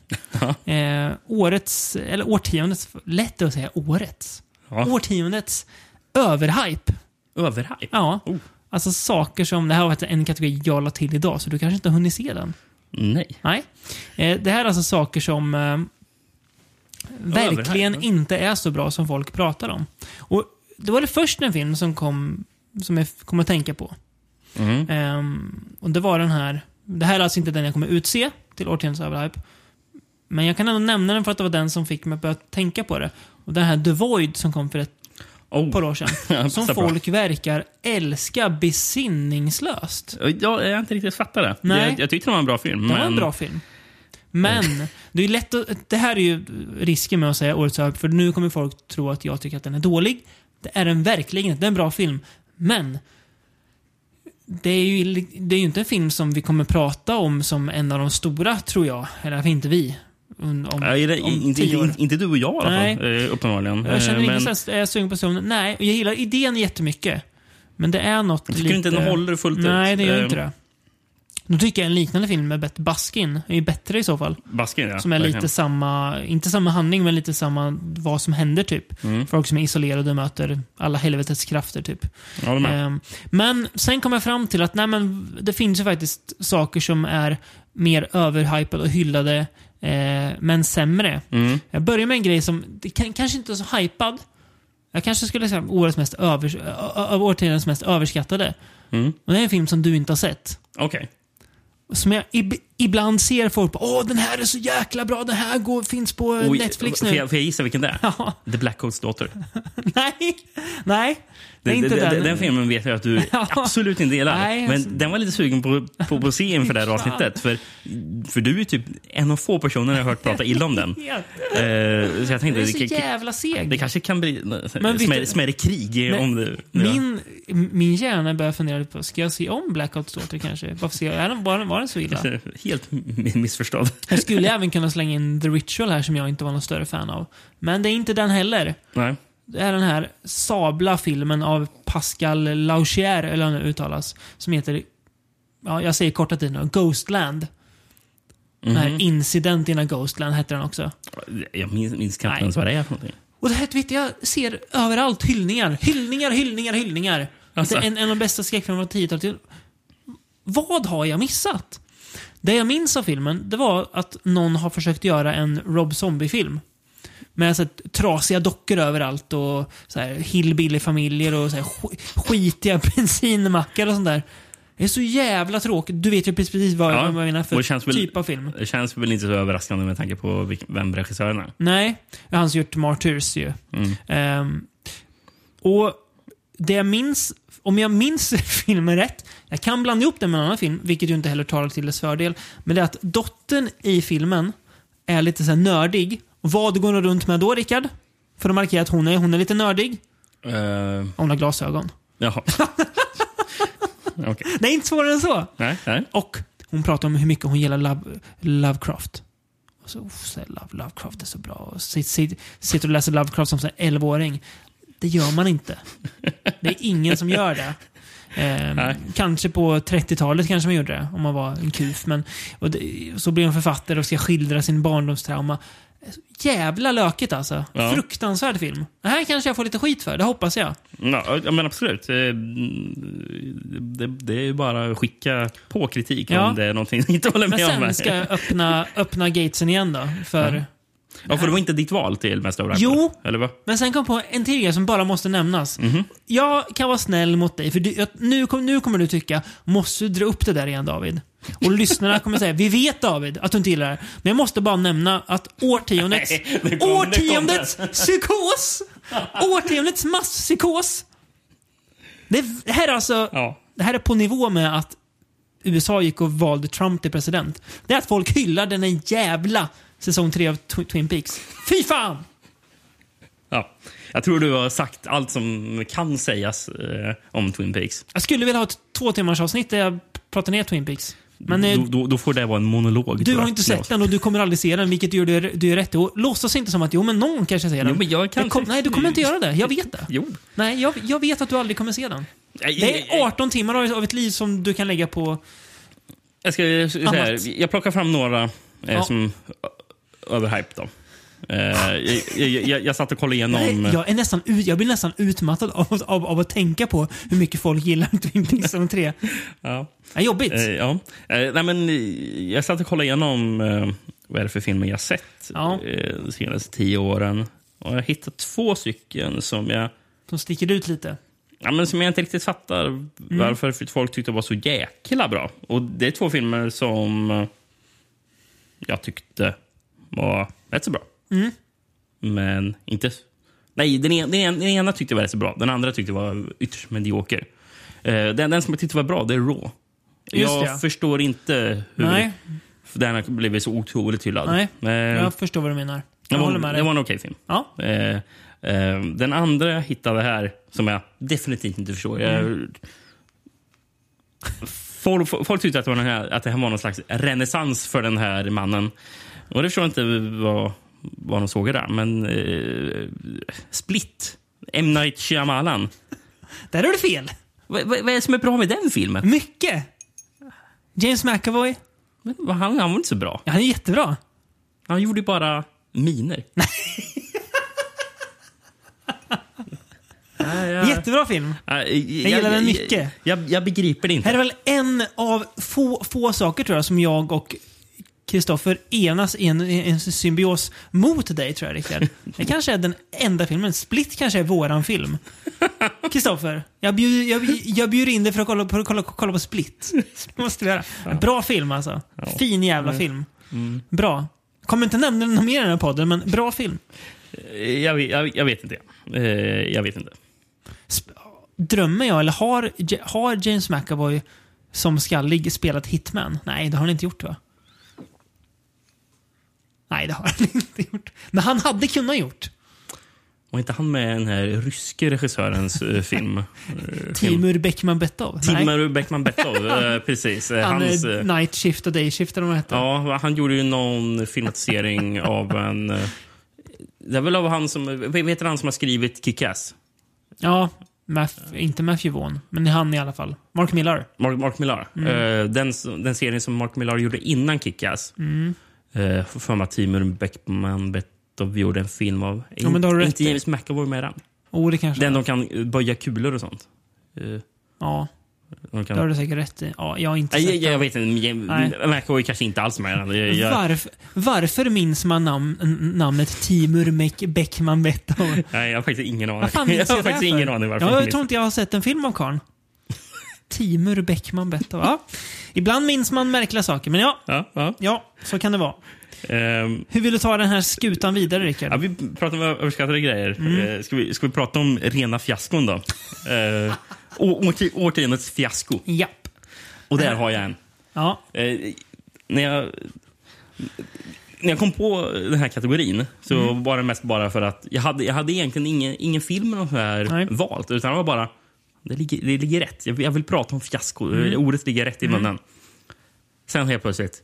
[SPEAKER 1] Eh, årets, eller årtiondets, lätt att säga årets.
[SPEAKER 2] Ja.
[SPEAKER 1] Årtiondets överhype.
[SPEAKER 2] Överhype.
[SPEAKER 1] Ja.
[SPEAKER 2] Oh.
[SPEAKER 1] Alltså saker som, det här var en kategori jag la till idag, så du kanske inte har hunnit se den.
[SPEAKER 2] Nej.
[SPEAKER 1] Nej. Eh, det här är alltså saker som eh, verkligen
[SPEAKER 2] Överhype.
[SPEAKER 1] inte är så bra som folk pratar om. Och Det var det först en film som kom som jag f- kom att tänka på.
[SPEAKER 2] Mm.
[SPEAKER 1] Ehm, och Det var den här. Det här är alltså inte den jag kommer utse till årtiondets överhype. Men jag kan ändå nämna den för att det var den som fick mig att börja tänka på det. Och Den här The Void som kom för ett
[SPEAKER 2] (laughs) Oh.
[SPEAKER 1] par år sedan.
[SPEAKER 2] Passar
[SPEAKER 1] som
[SPEAKER 2] bra.
[SPEAKER 1] folk verkar älska besinningslöst.
[SPEAKER 2] Jag, jag har inte riktigt fattat det.
[SPEAKER 1] Nej.
[SPEAKER 2] Jag, jag tyckte det var en bra film.
[SPEAKER 1] Det var en
[SPEAKER 2] men-
[SPEAKER 1] bra film. Men, det är lätt att, det här är ju risken med att säga årets överhype, för nu kommer folk tro att jag tycker att den är dålig. Det är den verkligen inte. Det är en bra film. Men, det är ju li- det är ju inte en film som vi kommer prata om som en av de stora, tror jag. Eller inte vi. Om, om,
[SPEAKER 2] Ja, är det,
[SPEAKER 1] om
[SPEAKER 2] inte,
[SPEAKER 1] tio år.
[SPEAKER 2] inte, inte du och jag i alla fall,
[SPEAKER 1] Nej.
[SPEAKER 2] eh, uppenbarligen.
[SPEAKER 1] Jag känner
[SPEAKER 2] Eh,
[SPEAKER 1] ingen
[SPEAKER 2] men
[SPEAKER 1] sån här, är jag sugen på att Nej, jag gillar idén jättemycket. Men det är något
[SPEAKER 2] jag tycker inte den håller fullt ut.
[SPEAKER 1] Nej, det gör
[SPEAKER 2] Eh,
[SPEAKER 1] inte det. Då tycker jag en liknande film med Beth Baskin är ju bättre i så fall.
[SPEAKER 2] Baskin, ja.
[SPEAKER 1] Som är
[SPEAKER 2] verkligen.
[SPEAKER 1] lite samma, inte samma handling, men lite samma vad som händer typ.
[SPEAKER 2] Mm.
[SPEAKER 1] Folk som är isolerade och möter alla helvetets krafter typ.
[SPEAKER 2] Jag håller med.
[SPEAKER 1] Ehm, men sen kom jag fram till att nej, men det finns ju faktiskt saker som är mer överhypade och hyllade, eh, men sämre.
[SPEAKER 2] Mm.
[SPEAKER 1] Jag börjar med en grej som det kan, kanske inte är så hypad. Jag kanske skulle säga årets mest övers, ö- ö- årtiondets mest överskattade.
[SPEAKER 2] Mm.
[SPEAKER 1] Och det är en film som du inte har sett.
[SPEAKER 2] Okej.
[SPEAKER 1] Som jag i, ibland ser folk på åh den här är så jäkla bra, den här går, finns på eh,
[SPEAKER 2] Oj,
[SPEAKER 1] Netflix
[SPEAKER 2] Får
[SPEAKER 1] nu.
[SPEAKER 2] jag, får jag gissa vilken det är?
[SPEAKER 1] Ja.
[SPEAKER 2] The Black Coats Daughter.
[SPEAKER 1] (laughs) nej, nej. Det är
[SPEAKER 2] Den,
[SPEAKER 1] inte
[SPEAKER 2] den,
[SPEAKER 1] den.
[SPEAKER 2] den, filmen vet jag att du
[SPEAKER 1] (laughs) Ja.
[SPEAKER 2] absolut inte gillar.
[SPEAKER 1] Nej,
[SPEAKER 2] men
[SPEAKER 1] alltså.
[SPEAKER 2] den var lite sugen på, på, på att se inför
[SPEAKER 1] (laughs)
[SPEAKER 2] det här avsnittet. För, för du är typ en av få personer jag har hört prata illa
[SPEAKER 1] (laughs)
[SPEAKER 2] om den.
[SPEAKER 1] Ja,
[SPEAKER 2] Eh, så jag
[SPEAKER 1] Den
[SPEAKER 2] tänkte,
[SPEAKER 1] är så
[SPEAKER 2] det, det,
[SPEAKER 1] jävla seg.
[SPEAKER 2] det kanske kan bli
[SPEAKER 1] Men visst-
[SPEAKER 2] smärre, smärre krig. eh,
[SPEAKER 1] Men
[SPEAKER 2] om det,
[SPEAKER 1] Min, min hjärna börjar fundera lite på, ska jag se om Blackout Daughter kanske? Varför ser jag, är den, var, den, var den så illa? (laughs)
[SPEAKER 2] ja. Helt missförstådd.
[SPEAKER 1] Jag skulle även kunna slänga in The Ritual här som jag inte var någon större fan av. Men det är inte den heller.
[SPEAKER 2] Nej.
[SPEAKER 1] Det är den här sabla filmen av Pascal Lauchier, eller hur den uttalas, som heter, ja jag säger kortat tid nu, Ghostland. Den här Incident in a Ghostland hette den också.
[SPEAKER 2] Jag minns, minns knappt
[SPEAKER 1] Nej.
[SPEAKER 2] ens vad det är för någonting.
[SPEAKER 1] Och det här vet jag ser överallt hyllningar, hyllningar, hyllningar, hyllningar.
[SPEAKER 2] Alltså.
[SPEAKER 1] Det är en, en av de bästa skräckfilmerna på 10-talet. Vad har jag missat? Det jag minns av filmen, det var att någon har försökt göra en Rob Zombie-film. Med så här, trasiga dockor överallt och så här, hillbilly-familjer och så här, sk- skitiga (laughs) bensinmackar och sånt där. Det är så jävla tråkigt. Du vet ju precis vad
[SPEAKER 2] Ja,
[SPEAKER 1] jag menar
[SPEAKER 2] och
[SPEAKER 1] för
[SPEAKER 2] det känns väl-
[SPEAKER 1] typ av film.
[SPEAKER 2] Det känns väl inte så överraskande med tanke på vilk- vem regissören är. Mm.
[SPEAKER 1] Nej, han som gjort Martyrs ju. Ehm, och det jag minns, om jag minns (laughs) filmen rätt, jag kan blanda ihop den med en annan film, vilket ju inte heller talar till dess fördel, men det är att dottern i filmen är lite så här nördig. Och vad går hon runt med då, Rickard? För att markera att hon är, hon är lite nördig. Eh.
[SPEAKER 2] Uh,
[SPEAKER 1] Hon har glasögon.
[SPEAKER 2] jaha.
[SPEAKER 1] (laughs)
[SPEAKER 2] Okej.
[SPEAKER 1] Det är inte svårare än så.
[SPEAKER 2] Nej, nej.
[SPEAKER 1] Och hon pratar om hur mycket hon gillar Love, Lovecraft. Och så, oh, så här, Love, Lovecraft är så bra. Och sit, sit, sitter och läser Lovecraft som så här 11-åring. Det gör man inte. Det är ingen som gör det.
[SPEAKER 2] Nej.
[SPEAKER 1] Ehm, kanske på 30-talet kanske man gjorde det, om man var en kuf. Men, och det, så blir hon författare och ska skildra sin barndomstrauma. Jävla lökigt alltså.
[SPEAKER 2] Ja.
[SPEAKER 1] Fruktansvärd film. Det här kanske jag får lite skit för, det hoppas jag.
[SPEAKER 2] Ja, ja, men absolut. Eh, Det, det är bara att skicka på kritik
[SPEAKER 1] Ja.
[SPEAKER 2] om det är någonting ni inte håller
[SPEAKER 1] Men
[SPEAKER 2] med om. här.
[SPEAKER 1] sen ska jag öppna, öppna gatesen igen då. För,
[SPEAKER 2] Ja, för det var inte ditt val till Mest Overacted?
[SPEAKER 1] Jo.
[SPEAKER 2] Eller vad?
[SPEAKER 1] Men sen kom jag på en till grej som bara måste nämnas.
[SPEAKER 2] Mhm.
[SPEAKER 1] Jag kan vara snäll mot dig, för du, jag, nu, kom, nu kommer du tycka, måste du dra upp det där igen David? Och
[SPEAKER 2] (laughs)
[SPEAKER 1] lyssnarna kommer säga, vi vet David att du inte gillar det här, men jag måste bara nämna att årtiondets,
[SPEAKER 2] Nej, nu kom- nu kom
[SPEAKER 1] årtiondets
[SPEAKER 2] (laughs)
[SPEAKER 1] psykos, årtiondets masspsykos. Det, det här är alltså,
[SPEAKER 2] Ja.
[SPEAKER 1] det här är på nivå med att USA gick och valde Trump till president. Det är att folk hyllar den här jävla säsong tre av Tw- Twin Peaks. Fy fan!
[SPEAKER 2] ja. Jag tror du har sagt allt som kan sägas eh, om Twin Peaks.
[SPEAKER 1] Jag skulle vilja ha ett två timmars avsnitt där jag pratar ner Twin Peaks. Men eh,
[SPEAKER 2] då, då, då får det vara en monolog. tror
[SPEAKER 1] du
[SPEAKER 2] jag.
[SPEAKER 1] har inte
[SPEAKER 2] Ja.
[SPEAKER 1] sett den och du kommer aldrig se den, vilket gör du, du är rätt i. Och Låtsas inte som att jo, men någon kanske ser den.
[SPEAKER 2] Jo, men jag
[SPEAKER 1] Det
[SPEAKER 2] kanske-
[SPEAKER 1] kom, nej, du kommer inte göra det. Jag vet det.
[SPEAKER 2] Jo.
[SPEAKER 1] Nej, jag, jag vet att du aldrig kommer se den.
[SPEAKER 2] Nej,
[SPEAKER 1] Det är 18 timmar av- av ett liv som du kan lägga på...
[SPEAKER 2] Jag, ska, jag, ska, så
[SPEAKER 1] Annat.
[SPEAKER 2] här, jag plockar fram några eh,
[SPEAKER 1] Ja.
[SPEAKER 2] som ö- överhyped. Då. Eh, jag, jag, jag, jag satt och kollade igenom...
[SPEAKER 1] Jag, är nästan, ut- jag blir nästan utmattad av, av, av att tänka på hur mycket folk gillar Twin Peaks som tre.
[SPEAKER 2] Ja.
[SPEAKER 1] Ja, jobbigt.
[SPEAKER 2] Eh, ja. Eh, nej, men, eh, jag satt och kollade igenom eh, vad är det för filmer jag sett
[SPEAKER 1] Ja.
[SPEAKER 2] eh, de senaste tio åren. Och jag hittade två stycken som jag,
[SPEAKER 1] Som sticker ut lite.
[SPEAKER 2] ja, men som jag inte riktigt fattar
[SPEAKER 1] Mm.
[SPEAKER 2] varför folk tyckte var så jäkla bra. Och Det är två filmer som eh, jag tyckte var rätt så bra.
[SPEAKER 1] Mm.
[SPEAKER 2] Men inte... Nej, den, en, den, en, den ena tyckte jag var rätt så bra. Den andra tyckte jag var ytterst medioker. Eh, den, den som jag tyckte var bra, det är Raw.
[SPEAKER 1] Just
[SPEAKER 2] jag
[SPEAKER 1] det, ja.
[SPEAKER 2] förstår inte hur
[SPEAKER 1] Nej,
[SPEAKER 2] den har blivit så otroligt hyllad.
[SPEAKER 1] Nej,
[SPEAKER 2] Eh,
[SPEAKER 1] jag förstår vad du menar.
[SPEAKER 2] det,
[SPEAKER 1] Jag
[SPEAKER 2] var,
[SPEAKER 1] håller med
[SPEAKER 2] det
[SPEAKER 1] dig.
[SPEAKER 2] var en okej film.
[SPEAKER 1] Ja.
[SPEAKER 2] Eh, eh, den andra jag hittade här, som jag definitivt inte förstår. Jag, folk, folk tyckte att det, var den här, att det här var någon slags renässans för den här mannen. Och det förstår jag inte vad, vad de såg där. Men eh, Split, M. Night Shyamalan.
[SPEAKER 1] Där har du fel.
[SPEAKER 2] Vad, vad, vad är det som är bra med den filmen?
[SPEAKER 1] Mycket! James McAvoy,
[SPEAKER 2] Men, vad- han, han var inte så bra.
[SPEAKER 1] ja, han är jättebra.
[SPEAKER 2] Han gjorde ju bara miner. Nej, jag-
[SPEAKER 1] Jättebra film.
[SPEAKER 2] Nej,
[SPEAKER 1] Jag gillar den mycket.
[SPEAKER 2] Jag, jag begriper det
[SPEAKER 1] Här är
[SPEAKER 2] inte.
[SPEAKER 1] väl en av få, få saker tror jag som jag och Kristoffer enas i en, i en symbios mot dig, tror jag, Rickard. Det kanske är den enda filmen. Split kanske är våran film. Kristoffer, jag, bjud, jag, jag bjuder in dig för att kolla på, kolla, kolla på Split. Det måste vi göra. En bra film alltså. Fin jävla film. Bra. Kommer inte nämna den mer i den här podden, men bra film.
[SPEAKER 2] Jag, vet- jag, jag vet inte. Eh, Jag vet inte.
[SPEAKER 1] Sp- Drömmer jag, eller har, J- har James McAvoy som skallig spelat Hitman? Nej, det har han inte gjort va? Nej, det har han (laughs) inte gjort. Men han hade kunnat gjort.
[SPEAKER 2] Var inte han med i den här ryske
[SPEAKER 1] (laughs)
[SPEAKER 2] regissörens eh, film? Eh, film.
[SPEAKER 1] Timur Beckman Bettov? Nej,
[SPEAKER 2] Timur Beckman Bettov, eh, precis. Eh,
[SPEAKER 1] han
[SPEAKER 2] Hans,
[SPEAKER 1] är
[SPEAKER 2] eh,
[SPEAKER 1] Night Shift och Day Shift eller vad det heter.
[SPEAKER 2] ja, han gjorde ju
[SPEAKER 1] (laughs)
[SPEAKER 2] någon filmatisering av en... eh, Det är väl av han som... eh, Vad heter han som har skrivit Kick-Ass?
[SPEAKER 1] Ja, Math, inte Matthew Vaughn, men han i alla fall. Mark Millar.
[SPEAKER 2] Mark, Mark Millar.
[SPEAKER 1] Mm.
[SPEAKER 2] Eh, den, s- den serien som Mark Millar gjorde innan Kick-Ass.
[SPEAKER 1] Mm.
[SPEAKER 2] Eh, för mig att Timur Beckman Bettov gjorde en film av.
[SPEAKER 1] Ja, men då har du rätt
[SPEAKER 2] inte
[SPEAKER 1] i.
[SPEAKER 2] James McAvoy med i den.
[SPEAKER 1] Oh, det kanske
[SPEAKER 2] Den de kan eh, böja kulor och sånt. Eh,
[SPEAKER 1] Ja,
[SPEAKER 2] de kan...
[SPEAKER 1] det har du säkert rätt i. Ja, jag har inte
[SPEAKER 2] Nej,
[SPEAKER 1] sett
[SPEAKER 2] jag, jag
[SPEAKER 1] den.
[SPEAKER 2] vet inte. Jam-
[SPEAKER 1] Nej.
[SPEAKER 2] McAvoy kanske inte alls med. Jag, jag,
[SPEAKER 1] Varf, varför minns man nam, n- namnet Timur Mek- Beckman Bettov?
[SPEAKER 2] nej, jag har faktiskt ingen aning.
[SPEAKER 1] Vad fan
[SPEAKER 2] jag
[SPEAKER 1] minns
[SPEAKER 2] har
[SPEAKER 1] det här
[SPEAKER 2] faktiskt
[SPEAKER 1] för?
[SPEAKER 2] ingen aning varför.
[SPEAKER 1] Ja,
[SPEAKER 2] han
[SPEAKER 1] jag tror
[SPEAKER 2] heter-
[SPEAKER 1] inte jag har sett en film av karln. Timur Beckman Bettov. Ja. Ibland minns man märkliga saker, men ja,
[SPEAKER 2] Ja, ja.
[SPEAKER 1] ja, så kan det vara.
[SPEAKER 2] Ehm,
[SPEAKER 1] Hur vill du ta den här skutan vidare,
[SPEAKER 2] ja,
[SPEAKER 1] Rickard?
[SPEAKER 2] vi pratar om överskattade grejer.
[SPEAKER 1] Mm.
[SPEAKER 2] Eh, ska, vi, ska vi prata om rena fiaskon då? Eh, å- årti- årtiondets fiasko.
[SPEAKER 1] Japp.
[SPEAKER 2] Och där har jag en.
[SPEAKER 1] Ja.
[SPEAKER 2] Eh, när, jag, när jag kom på den här kategorin så var det mest bara för att jag hade, jag hade egentligen ingen, ingen film eller så här
[SPEAKER 1] Nej.
[SPEAKER 2] valt. Utan det var bara, det ligger, det ligger rätt. Jag, vill- jag vill prata om fiasko. Ordet ligger rätt i munnen. Sen helt plötsligt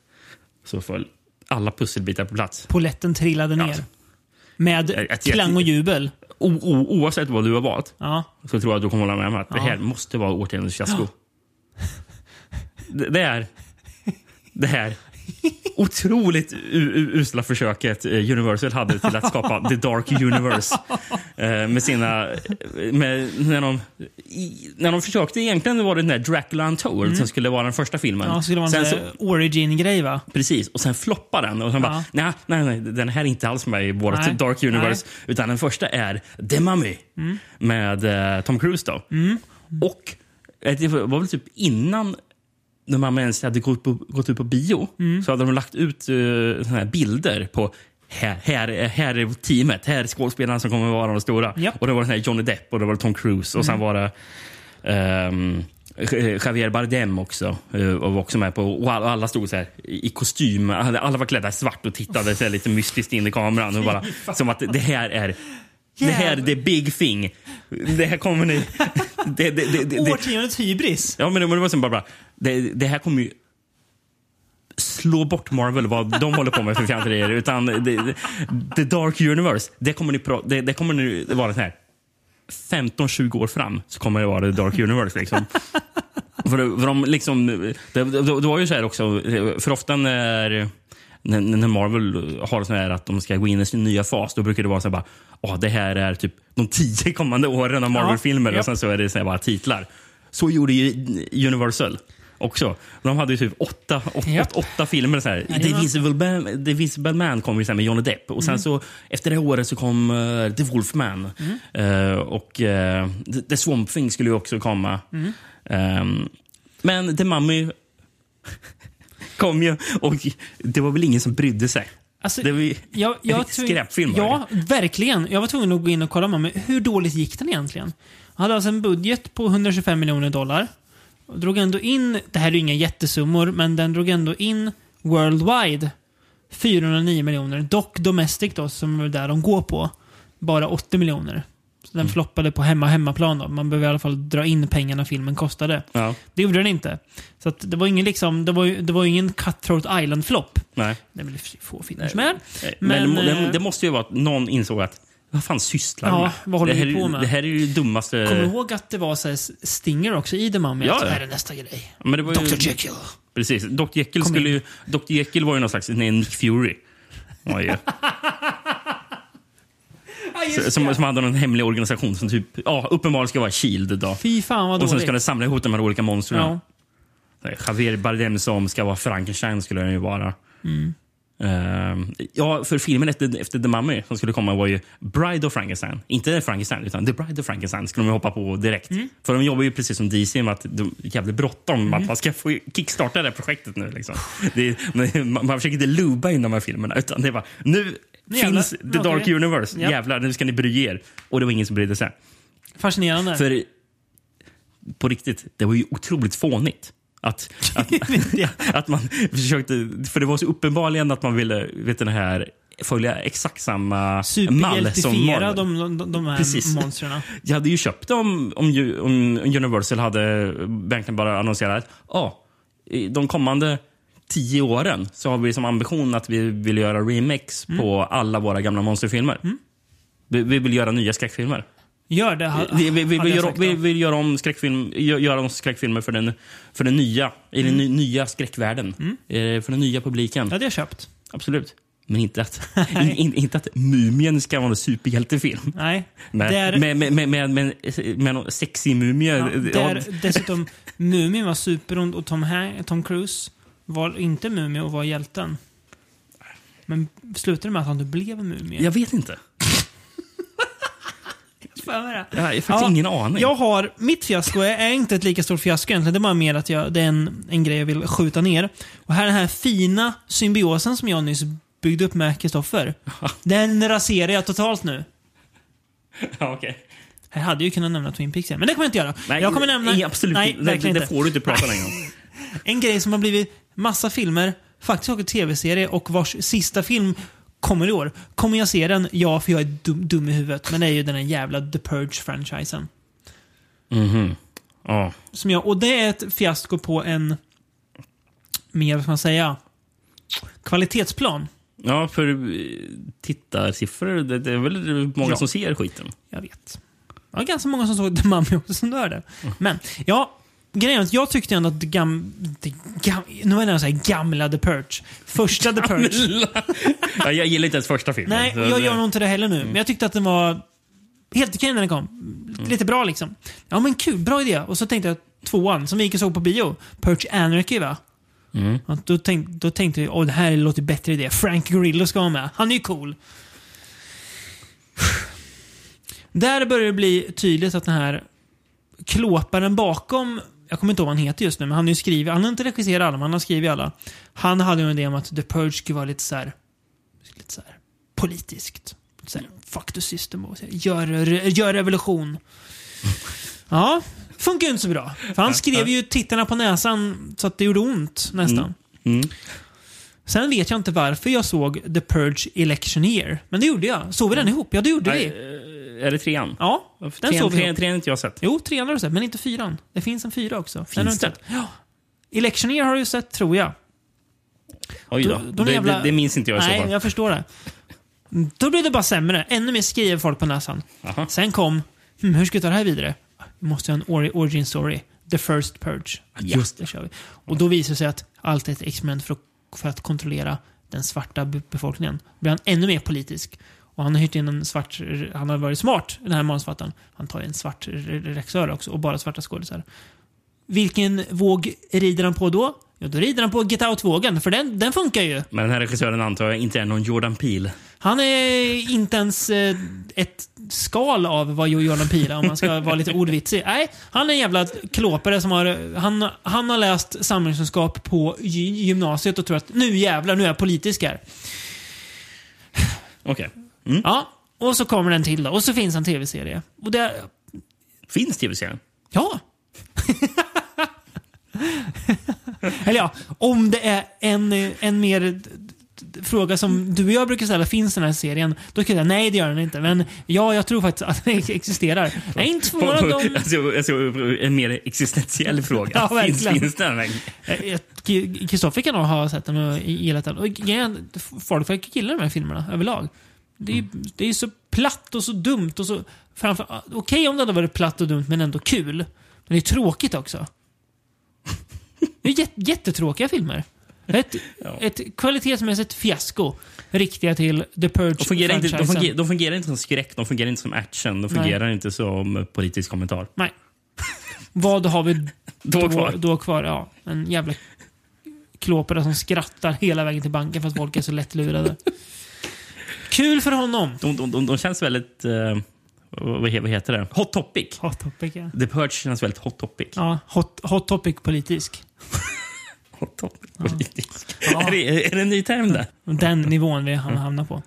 [SPEAKER 2] så föll alla pusselbitar på plats.
[SPEAKER 1] Poletten trillade
[SPEAKER 2] Ja.
[SPEAKER 1] ner. Med
[SPEAKER 2] Jag- jag-
[SPEAKER 1] klang och jubel.
[SPEAKER 2] O, o, oavsett vad du har valt
[SPEAKER 1] Ja.
[SPEAKER 2] så tror jag att du kommer hålla med om att det
[SPEAKER 1] Ja.
[SPEAKER 2] här måste vara årtiondets fiasko. (laughs) Det, det är... Det här otroligt u- u- usla försöket eh, Universal hade till att skapa The
[SPEAKER 1] (laughs)
[SPEAKER 2] Dark Universe. Eh, Med sina... Med, när, de, i, när de försökte egentligen var det den där Dracula Untold som skulle vara den första filmen.
[SPEAKER 1] Mm. ja, skulle vara
[SPEAKER 2] Sen
[SPEAKER 1] en
[SPEAKER 2] så-
[SPEAKER 1] så... origin-grej va?
[SPEAKER 2] Precis, och sen floppar den. Och sen bara,
[SPEAKER 1] Ja.
[SPEAKER 2] nej, nej, nej, den här är inte alls med i vårt
[SPEAKER 1] Nej, Mm.
[SPEAKER 2] Dark Universe. Utan den första är The Mummy med eh, Tom Cruise. Då. Och eh, det var väl typ innan när man ens hade gått, på, gått ut på bio
[SPEAKER 1] Mm.
[SPEAKER 2] så hade de lagt ut uh, här bilder på här, här, här är teamet, här är skådespelarna som kommer att vara de stora.
[SPEAKER 1] Japp. Mm.
[SPEAKER 2] Och det var den här Johnny Depp och det var Tom Cruise och sen var det ehm, J- Javier Bardem också eh, och var också med på och alla, alla stod så här i i kostym. Alla alla var klädda i svart och tittade så här lite mystiskt in i kameran. Och bara, som att det här är det här är the big thing. Det här kommer ni... (laughs) Det, det, det, det, det,
[SPEAKER 1] Årtiondets hybris.
[SPEAKER 2] Ja, men det var det var som bara, bara det, det här kommer ju slå bort Marvel, vad de håller på med för fjanterier. Utan det, det, The Dark Universe, det kommer, ni, pra- det, det kommer nu vara så här 15-20 år fram så kommer det vara The Dark Universe. Liksom. För, för de liksom, det, det, det var ju så här också, för ofta när, när, när Marvel har så här att de ska gå in i sin nya fas, då brukar det vara så här bara, "Åh, det här är typ de tio kommande åren av Marvel-filmer
[SPEAKER 1] Ja.
[SPEAKER 2] och sen (laughs) så är det så här bara titlar. Så gjorde ju Universal också. De hade ju typ åtta, åtta,
[SPEAKER 1] Ja.
[SPEAKER 2] åtta filmer. Så här. The,
[SPEAKER 1] Jajamän.
[SPEAKER 2] Invisible Man, The Invisible Man kom ju sen med Johnny Depp. Och sen
[SPEAKER 1] Mm.
[SPEAKER 2] så, efter det året så kom eh, The Wolfman.
[SPEAKER 1] Mm.
[SPEAKER 2] Eh, och eh, The- The Swamp Thing skulle ju också komma.
[SPEAKER 1] Mm.
[SPEAKER 2] Ehm, men The Mummy (laughs) kom ju och det var väl ingen som brydde sig.
[SPEAKER 1] Alltså,
[SPEAKER 2] Det var ju
[SPEAKER 1] Jag, jag tror-
[SPEAKER 2] skräpfilm. var det.
[SPEAKER 1] Ja, verkligen. Jag var tvungen att gå in och kolla med mig. Hur dåligt gick den egentligen? Han hade alltså en budget på 125 miljoner dollar. Och drog ändå in, det här är ju inga jättesummor, men den drog ändå in worldwide 409 miljoner. Dock domestic då, som är där de går på, bara 80 miljoner. Så den floppade på hemma hemmaplan då. Man behöver i alla fall dra in pengarna filmen kostade.
[SPEAKER 2] Ja,
[SPEAKER 1] Det gjorde den inte. Så att det var ingen liksom, det var, ju- det var ju ingen Cutthroat Island-flopp.
[SPEAKER 2] nej.
[SPEAKER 1] Det är väl i och för sig få filmer som är.
[SPEAKER 2] Men,
[SPEAKER 1] Men,
[SPEAKER 2] det, må-
[SPEAKER 1] eh,
[SPEAKER 2] det, det måste ju vara att någon insåg att vad fan sysslar
[SPEAKER 1] Ja,
[SPEAKER 2] de med?
[SPEAKER 1] vad håller
[SPEAKER 2] det här,
[SPEAKER 1] vi
[SPEAKER 2] är ju-
[SPEAKER 1] på med?
[SPEAKER 2] Det här är ju det dummaste...
[SPEAKER 1] Kommer du ihåg att det var så här Stinger också i The Mummy?
[SPEAKER 2] Eh. Ja,
[SPEAKER 1] att det
[SPEAKER 2] ja.
[SPEAKER 1] här är nästa grej.
[SPEAKER 2] Men det var ju-
[SPEAKER 1] Dr. Jekyll.
[SPEAKER 2] Precis. Dr Jekyll,
[SPEAKER 1] Kom
[SPEAKER 2] skulle ju, Dr. Jekyll var ju någon slags nej, Nick Fury. Var ju,
[SPEAKER 1] Ja, (laughs) just det.
[SPEAKER 2] som, som hade någon hemlig organisation som typ, ja, uppenbarligen ska vara Shield. Då.
[SPEAKER 1] Fy fan vad
[SPEAKER 2] Och sen
[SPEAKER 1] dåligt.
[SPEAKER 2] ska den samla ihop de här olika monstren.
[SPEAKER 1] ja.
[SPEAKER 2] Javier Bardem som ska vara Frankenstein skulle den ju vara. Ehm, ja, för filmen efter, efter The Mummy som skulle komma var ju Bride of Frankenstein. Inte Frankenstein, utan The Bride of Frankenstein skulle de ju hoppa på direkt.
[SPEAKER 1] Mm.
[SPEAKER 2] För de jobbar ju precis som DC med att de är jävligt bråttom med att man ska få kickstarta det här projektet nu. Liksom. Det, är- man, man försöker inte luba in de här filmerna, utan det är bara nu
[SPEAKER 1] jävlar.
[SPEAKER 2] finns The
[SPEAKER 1] Okej.
[SPEAKER 2] Dark Universe.
[SPEAKER 1] Ja.
[SPEAKER 2] Jävlar, nu ska ni bry er. Och det var ingen som brydde sig.
[SPEAKER 1] Fascinerande.
[SPEAKER 2] För på riktigt, det var ju otroligt fånigt. Att, att, (laughs) att man försökte... För det var så uppenbarligen att man ville vet du, den här, följa exakt samma mall som
[SPEAKER 1] Superhjältifiera
[SPEAKER 2] Marvel.
[SPEAKER 1] de, de, de här
[SPEAKER 2] Precis.
[SPEAKER 1] monstren.
[SPEAKER 2] Jag hade ju köpt dem om, ju- om Universal hade verkligen bara annonserat att ah, i de kommande tio åren så har vi som ambition att vi vill göra remakes på alla våra gamla monsterfilmer. Vi, vi vill göra nya skräckfilmer.
[SPEAKER 1] Gör det. ha-
[SPEAKER 2] Vi, vi, vi,
[SPEAKER 1] hade
[SPEAKER 2] vill,
[SPEAKER 1] jag
[SPEAKER 2] göra,
[SPEAKER 1] sagt då.
[SPEAKER 2] vi vill göra om skräckfilm, gö- göra om skräckfilmer för den, för den nya, i
[SPEAKER 1] Mm.
[SPEAKER 2] den ny, nya skräckvärlden. Eh, För den nya publiken.
[SPEAKER 1] Det hade jag köpt.
[SPEAKER 2] Absolut. Men inte att,
[SPEAKER 1] (laughs)
[SPEAKER 2] in, in, inte att Mumien ska vara en superhjältefilm.
[SPEAKER 1] Nej.
[SPEAKER 2] Med,
[SPEAKER 1] Där-
[SPEAKER 2] med, med, med, med, med, med någon sexig mumie.
[SPEAKER 1] Ja,
[SPEAKER 2] Ja,
[SPEAKER 1] där dessutom Mumin var superond och Tom, Han- Tom Cruise var inte mumie och var hjälten. Men slutade det med att han inte blev mumie?
[SPEAKER 2] jag vet inte.
[SPEAKER 1] Fan vad är det?
[SPEAKER 2] Jag har faktiskt
[SPEAKER 1] Ja,
[SPEAKER 2] ingen aning.
[SPEAKER 1] Jag har, mitt fiasko är, är inte ett lika stort fiasko egentligen. Det är bara mer att jag, det är en, en grej jag vill skjuta ner. Och här den här fina symbiosen som jag nyss byggde upp med
[SPEAKER 2] (laughs)
[SPEAKER 1] Kristoffer. den raserar jag totalt nu.
[SPEAKER 2] Ja, okej.
[SPEAKER 1] Här hade jag ju kunnat nämna Twin Peaks igen, men det kommer jag inte göra.
[SPEAKER 2] Nej,
[SPEAKER 1] jag kommer nämna...
[SPEAKER 2] nej, absolut
[SPEAKER 1] nej,
[SPEAKER 2] inte. Det-
[SPEAKER 1] verkligen
[SPEAKER 2] det,
[SPEAKER 1] inte.
[SPEAKER 2] det får du inte prata längre om.
[SPEAKER 1] (laughs) En grej som har blivit massa filmer, faktiskt också tv-serie och vars sista film kommer i år. Kommer jag se den? Ja, för jag är dum, dum i huvudet. Men det är ju den här jävla The Purge-franchisen.
[SPEAKER 2] Mhm. Ja.
[SPEAKER 1] Som jag, och det är ett fiasko på en, mer vad ska man säga, kvalitetsplan.
[SPEAKER 2] ja, för eh, tittarsiffror, det, det är väl många
[SPEAKER 1] Ja.
[SPEAKER 2] som ser skiten.
[SPEAKER 1] Jag vet. Det var ganska många som såg The Mummy också som dörde. Men, ja. Grejen är att jag tyckte ändå att det gam, det gam, nu var det nästan så här gamla The Purge. Första The Purge.
[SPEAKER 2] Ja, jag gillar inte ens första filmen.
[SPEAKER 1] Nej,
[SPEAKER 2] Så
[SPEAKER 1] jag
[SPEAKER 2] det-
[SPEAKER 1] gör nog inte det heller nu. Men jag tyckte att den var helt okej när den kom. Lite, lite bra liksom. Ja men kul, bra idé. Och så tänkte jag tvåan som vi gick och såg på bio. Purge Anarchy va?
[SPEAKER 2] Mm.
[SPEAKER 1] Ja, då, tänk, då tänkte vi, åh det här låter bättre idé. Frank Grillo ska vara med. Han är ju cool. Där börjar det bli tydligt att den här klåparen bakom, jag kommer inte ihåg vad han heter just nu, men han har ju skrivit, han har inte regisserat alla, men han har skrivit alla. Han hade ju en idé om att The Purge skulle vara lite så här, lite så här politiskt. Så här, fuck the system och så här, gör, gör revolution. Ja, funkar ju inte så bra. För han skrev ju tittarna på näsan så att det gjorde ont nästan.
[SPEAKER 2] Mm.
[SPEAKER 1] Sen vet jag inte varför jag såg The Purge Election Year. Men det gjorde jag. Såg vi den ihop? Ja, det gjorde
[SPEAKER 2] Nej,
[SPEAKER 1] vi.
[SPEAKER 2] eh, är det trean?
[SPEAKER 1] Ja, den
[SPEAKER 2] trean,
[SPEAKER 1] såg vi
[SPEAKER 2] trean,
[SPEAKER 1] ihop.
[SPEAKER 2] trean har inte jag sett.
[SPEAKER 1] Jo, trean har du sett, men inte fyran. Det finns en fyra också. Den har du inte
[SPEAKER 2] det?
[SPEAKER 1] sett. Ja. Election Year har du sett, tror jag.
[SPEAKER 2] Oj då.
[SPEAKER 1] De- de
[SPEAKER 2] det,
[SPEAKER 1] jävla-
[SPEAKER 2] det, det minns inte jag i så
[SPEAKER 1] Nej,
[SPEAKER 2] fall.
[SPEAKER 1] jag förstår det. Då blev det bara sämre. Ännu mer skriver folk på näsan.
[SPEAKER 2] Aha.
[SPEAKER 1] Sen kom, hm, hur ska vi ta det här vidare? Vi måste ha en ori- origin story. The first purge.
[SPEAKER 2] Ja.
[SPEAKER 1] Just det. kör vi. Och då visar det sig att allt är ett experiment för att, för att kontrollera den svarta be- befolkningen. Då blir han ännu mer politisk. Och han har hyrt in en svart, han har varit smart, den här manusförfattaren. Han tar ju en svart re- re- regissör också och bara svarta skådisar. Vilken våg rider han på då? Jo, då rider han på Get Out-vågen, för den, den funkar ju.
[SPEAKER 2] Men den här regissören antar jag inte är någon Jordan Peele.
[SPEAKER 1] Han är inte ens eh, ett skal av vad Jordan Pila om man ska vara lite ordvitsig. Nej, han är en jävla klåpare som har... Han, han har läst samhällskunskap på gy- gymnasiet och tror att nu jävlar, nu är jag politisk här.
[SPEAKER 2] Okej.
[SPEAKER 1] Ja, och så kommer den till då. Och så finns en tv-serie. Och det...
[SPEAKER 2] Finns tv-serien?
[SPEAKER 1] Ja! Eller ja, om det är en, en mer d- d- fråga som du och jag brukar ställa, finns den här serien? Då kan jag säga nej, det gör den inte. Men ja, jag tror faktiskt att den existerar. Jag är inte förvånad om...
[SPEAKER 2] Alltså, alltså, en mer existentiell fråga.
[SPEAKER 1] (laughs) Ja,
[SPEAKER 2] finns,
[SPEAKER 1] verkligen.
[SPEAKER 2] finns den? här?
[SPEAKER 1] Eh, eh, K- Kristoffer kan nog ha sett den och gillat den. Och igen, f- folk verkar gilla de här filmerna överlag. Det är, ju-
[SPEAKER 2] Mm.
[SPEAKER 1] det är så platt och så dumt. och så framför- ah, Okej om det hade varit platt och dumt men ändå kul. Men det är tråkigt också. Det är jät, jättetråkiga filmer. Ett,
[SPEAKER 2] Ja.
[SPEAKER 1] ett kvalitetsmässigt fiasko riktiga till The Purge
[SPEAKER 2] De, fungerar inte, de,
[SPEAKER 1] franchisen.
[SPEAKER 2] fungerar, de fungerar inte som skräck, de fungerar inte som action, de fungerar inte som politisk kommentar.
[SPEAKER 1] Nej. Vad har vi
[SPEAKER 2] Då
[SPEAKER 1] då
[SPEAKER 2] kvar.
[SPEAKER 1] Då kvar ja. En jävla klåpare som skrattar hela vägen till banken för att folk är så lättlurade. Kul för honom!
[SPEAKER 2] De, de, de, de känns väldigt... eh, vad, he- vad heter det? Hot topic.
[SPEAKER 1] Hot topic, ja.
[SPEAKER 2] The Purge känns väldigt hot topic.
[SPEAKER 1] ja hot, hot topic politisk.
[SPEAKER 2] Hot topic politisk. Är, det, är det en ny term där?
[SPEAKER 1] Den nivån vi ham- hamnar på.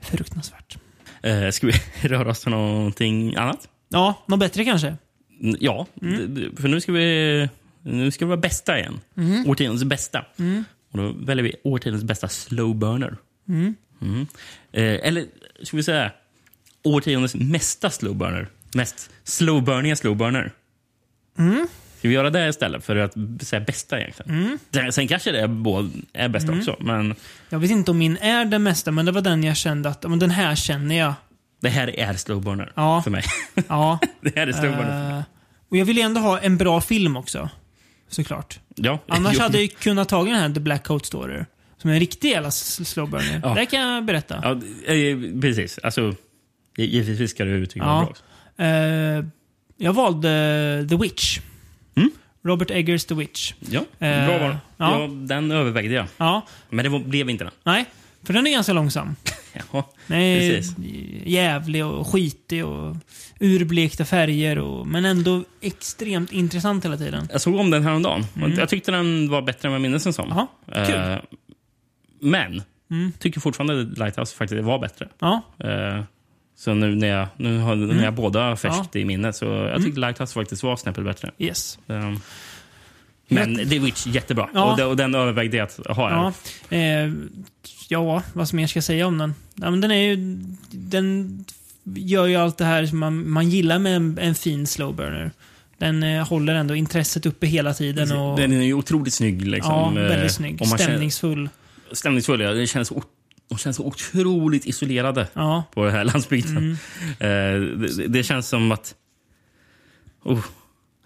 [SPEAKER 1] Fruktansvärt.
[SPEAKER 2] Eh, ska vi (laughs) röra oss till någonting annat?
[SPEAKER 1] Ja, något bättre kanske?
[SPEAKER 2] Mm, Ja, d- d- för nu ska vi... Nu ska vi vara bästa igen. Årtiondets bästa. Och då väljer vi årtiondets bästa slow burner. Mm. Eh, eller ska vi säga årtiondets mesta slow burner? Mest slowburniga slow burner. Ska vi göra det istället för att b- säga bästa egentligen?
[SPEAKER 1] Mm.
[SPEAKER 2] Sen- Sen kanske det är, både, är bästa också, men
[SPEAKER 1] Jag vet inte om min är den mesta, men det var den jag kände att ja, men den här känner jag.
[SPEAKER 2] det här är slow burner
[SPEAKER 1] Ja.
[SPEAKER 2] för mig.
[SPEAKER 1] Ja.
[SPEAKER 2] (laughs) det här är slow burner.
[SPEAKER 1] Eh, och jag vill ju ändå ha en bra film också. Såklart.
[SPEAKER 2] Ja.
[SPEAKER 1] Annars
[SPEAKER 2] Jo.
[SPEAKER 1] hade jag ju kunnat ta den här The Black Coat Story. Som är en riktig jävla s- slowburner.
[SPEAKER 2] Ja.
[SPEAKER 1] Det kan jag berätta.
[SPEAKER 2] Ja, d- eh, precis. Alltså, gi- givetvis ska du uttrycka
[SPEAKER 1] Ja.
[SPEAKER 2] det bra också.
[SPEAKER 1] Eh, jag valde The Witch.
[SPEAKER 2] Mm.
[SPEAKER 1] Robert Eggers The Witch.
[SPEAKER 2] Ja,
[SPEAKER 1] Eh,
[SPEAKER 2] bra val.
[SPEAKER 1] ja.
[SPEAKER 2] Ja. den övervägde jag.
[SPEAKER 1] Ja,
[SPEAKER 2] Men det var, blev inte den.
[SPEAKER 1] nej. För den är ganska långsam.
[SPEAKER 2] Jaha.
[SPEAKER 1] Nej,
[SPEAKER 2] Precis.
[SPEAKER 1] jävlig och skitig och urblekta färger. Och, men ändå extremt intressant hela tiden.
[SPEAKER 2] Jag såg om den häromdagen. Mm. Jag tyckte den var bättre än vad jag minns den som.
[SPEAKER 1] Jaha, kul.
[SPEAKER 2] Eh, men, tycker fortfarande att Lighthouse faktiskt var bättre.
[SPEAKER 1] Ja,
[SPEAKER 2] Eh, så nu när jag, nu har, nu har
[SPEAKER 1] Mm.
[SPEAKER 2] jag båda färskt i minnet så jag tyckte Lighthouse faktiskt var snäppet bättre.
[SPEAKER 1] yes.
[SPEAKER 2] Eh, men The Witch, jättebra.
[SPEAKER 1] Ja.
[SPEAKER 2] Och, den, och den övervägde jag att ha.
[SPEAKER 1] Ja,
[SPEAKER 2] här.
[SPEAKER 1] eh, ja, vad som mer ska jag säga om den? Ja, men den är ju... Den gör ju allt det här som man, man gillar med en, en fin slowburner. Den eh, håller ändå intresset uppe hela tiden. Och,
[SPEAKER 2] Den är ju otroligt snygg. Liksom.
[SPEAKER 1] ja,
[SPEAKER 2] Eh,
[SPEAKER 1] väldigt snygg.
[SPEAKER 2] om man känner-
[SPEAKER 1] Stämningsfull.
[SPEAKER 2] stämningsfull. Ja. Det känns, o- de känns otroligt isolerade
[SPEAKER 1] Ja,
[SPEAKER 2] på den här (laughs) landsbygden.
[SPEAKER 1] Mm.
[SPEAKER 2] Eh, det- det, det känns som att... Oh,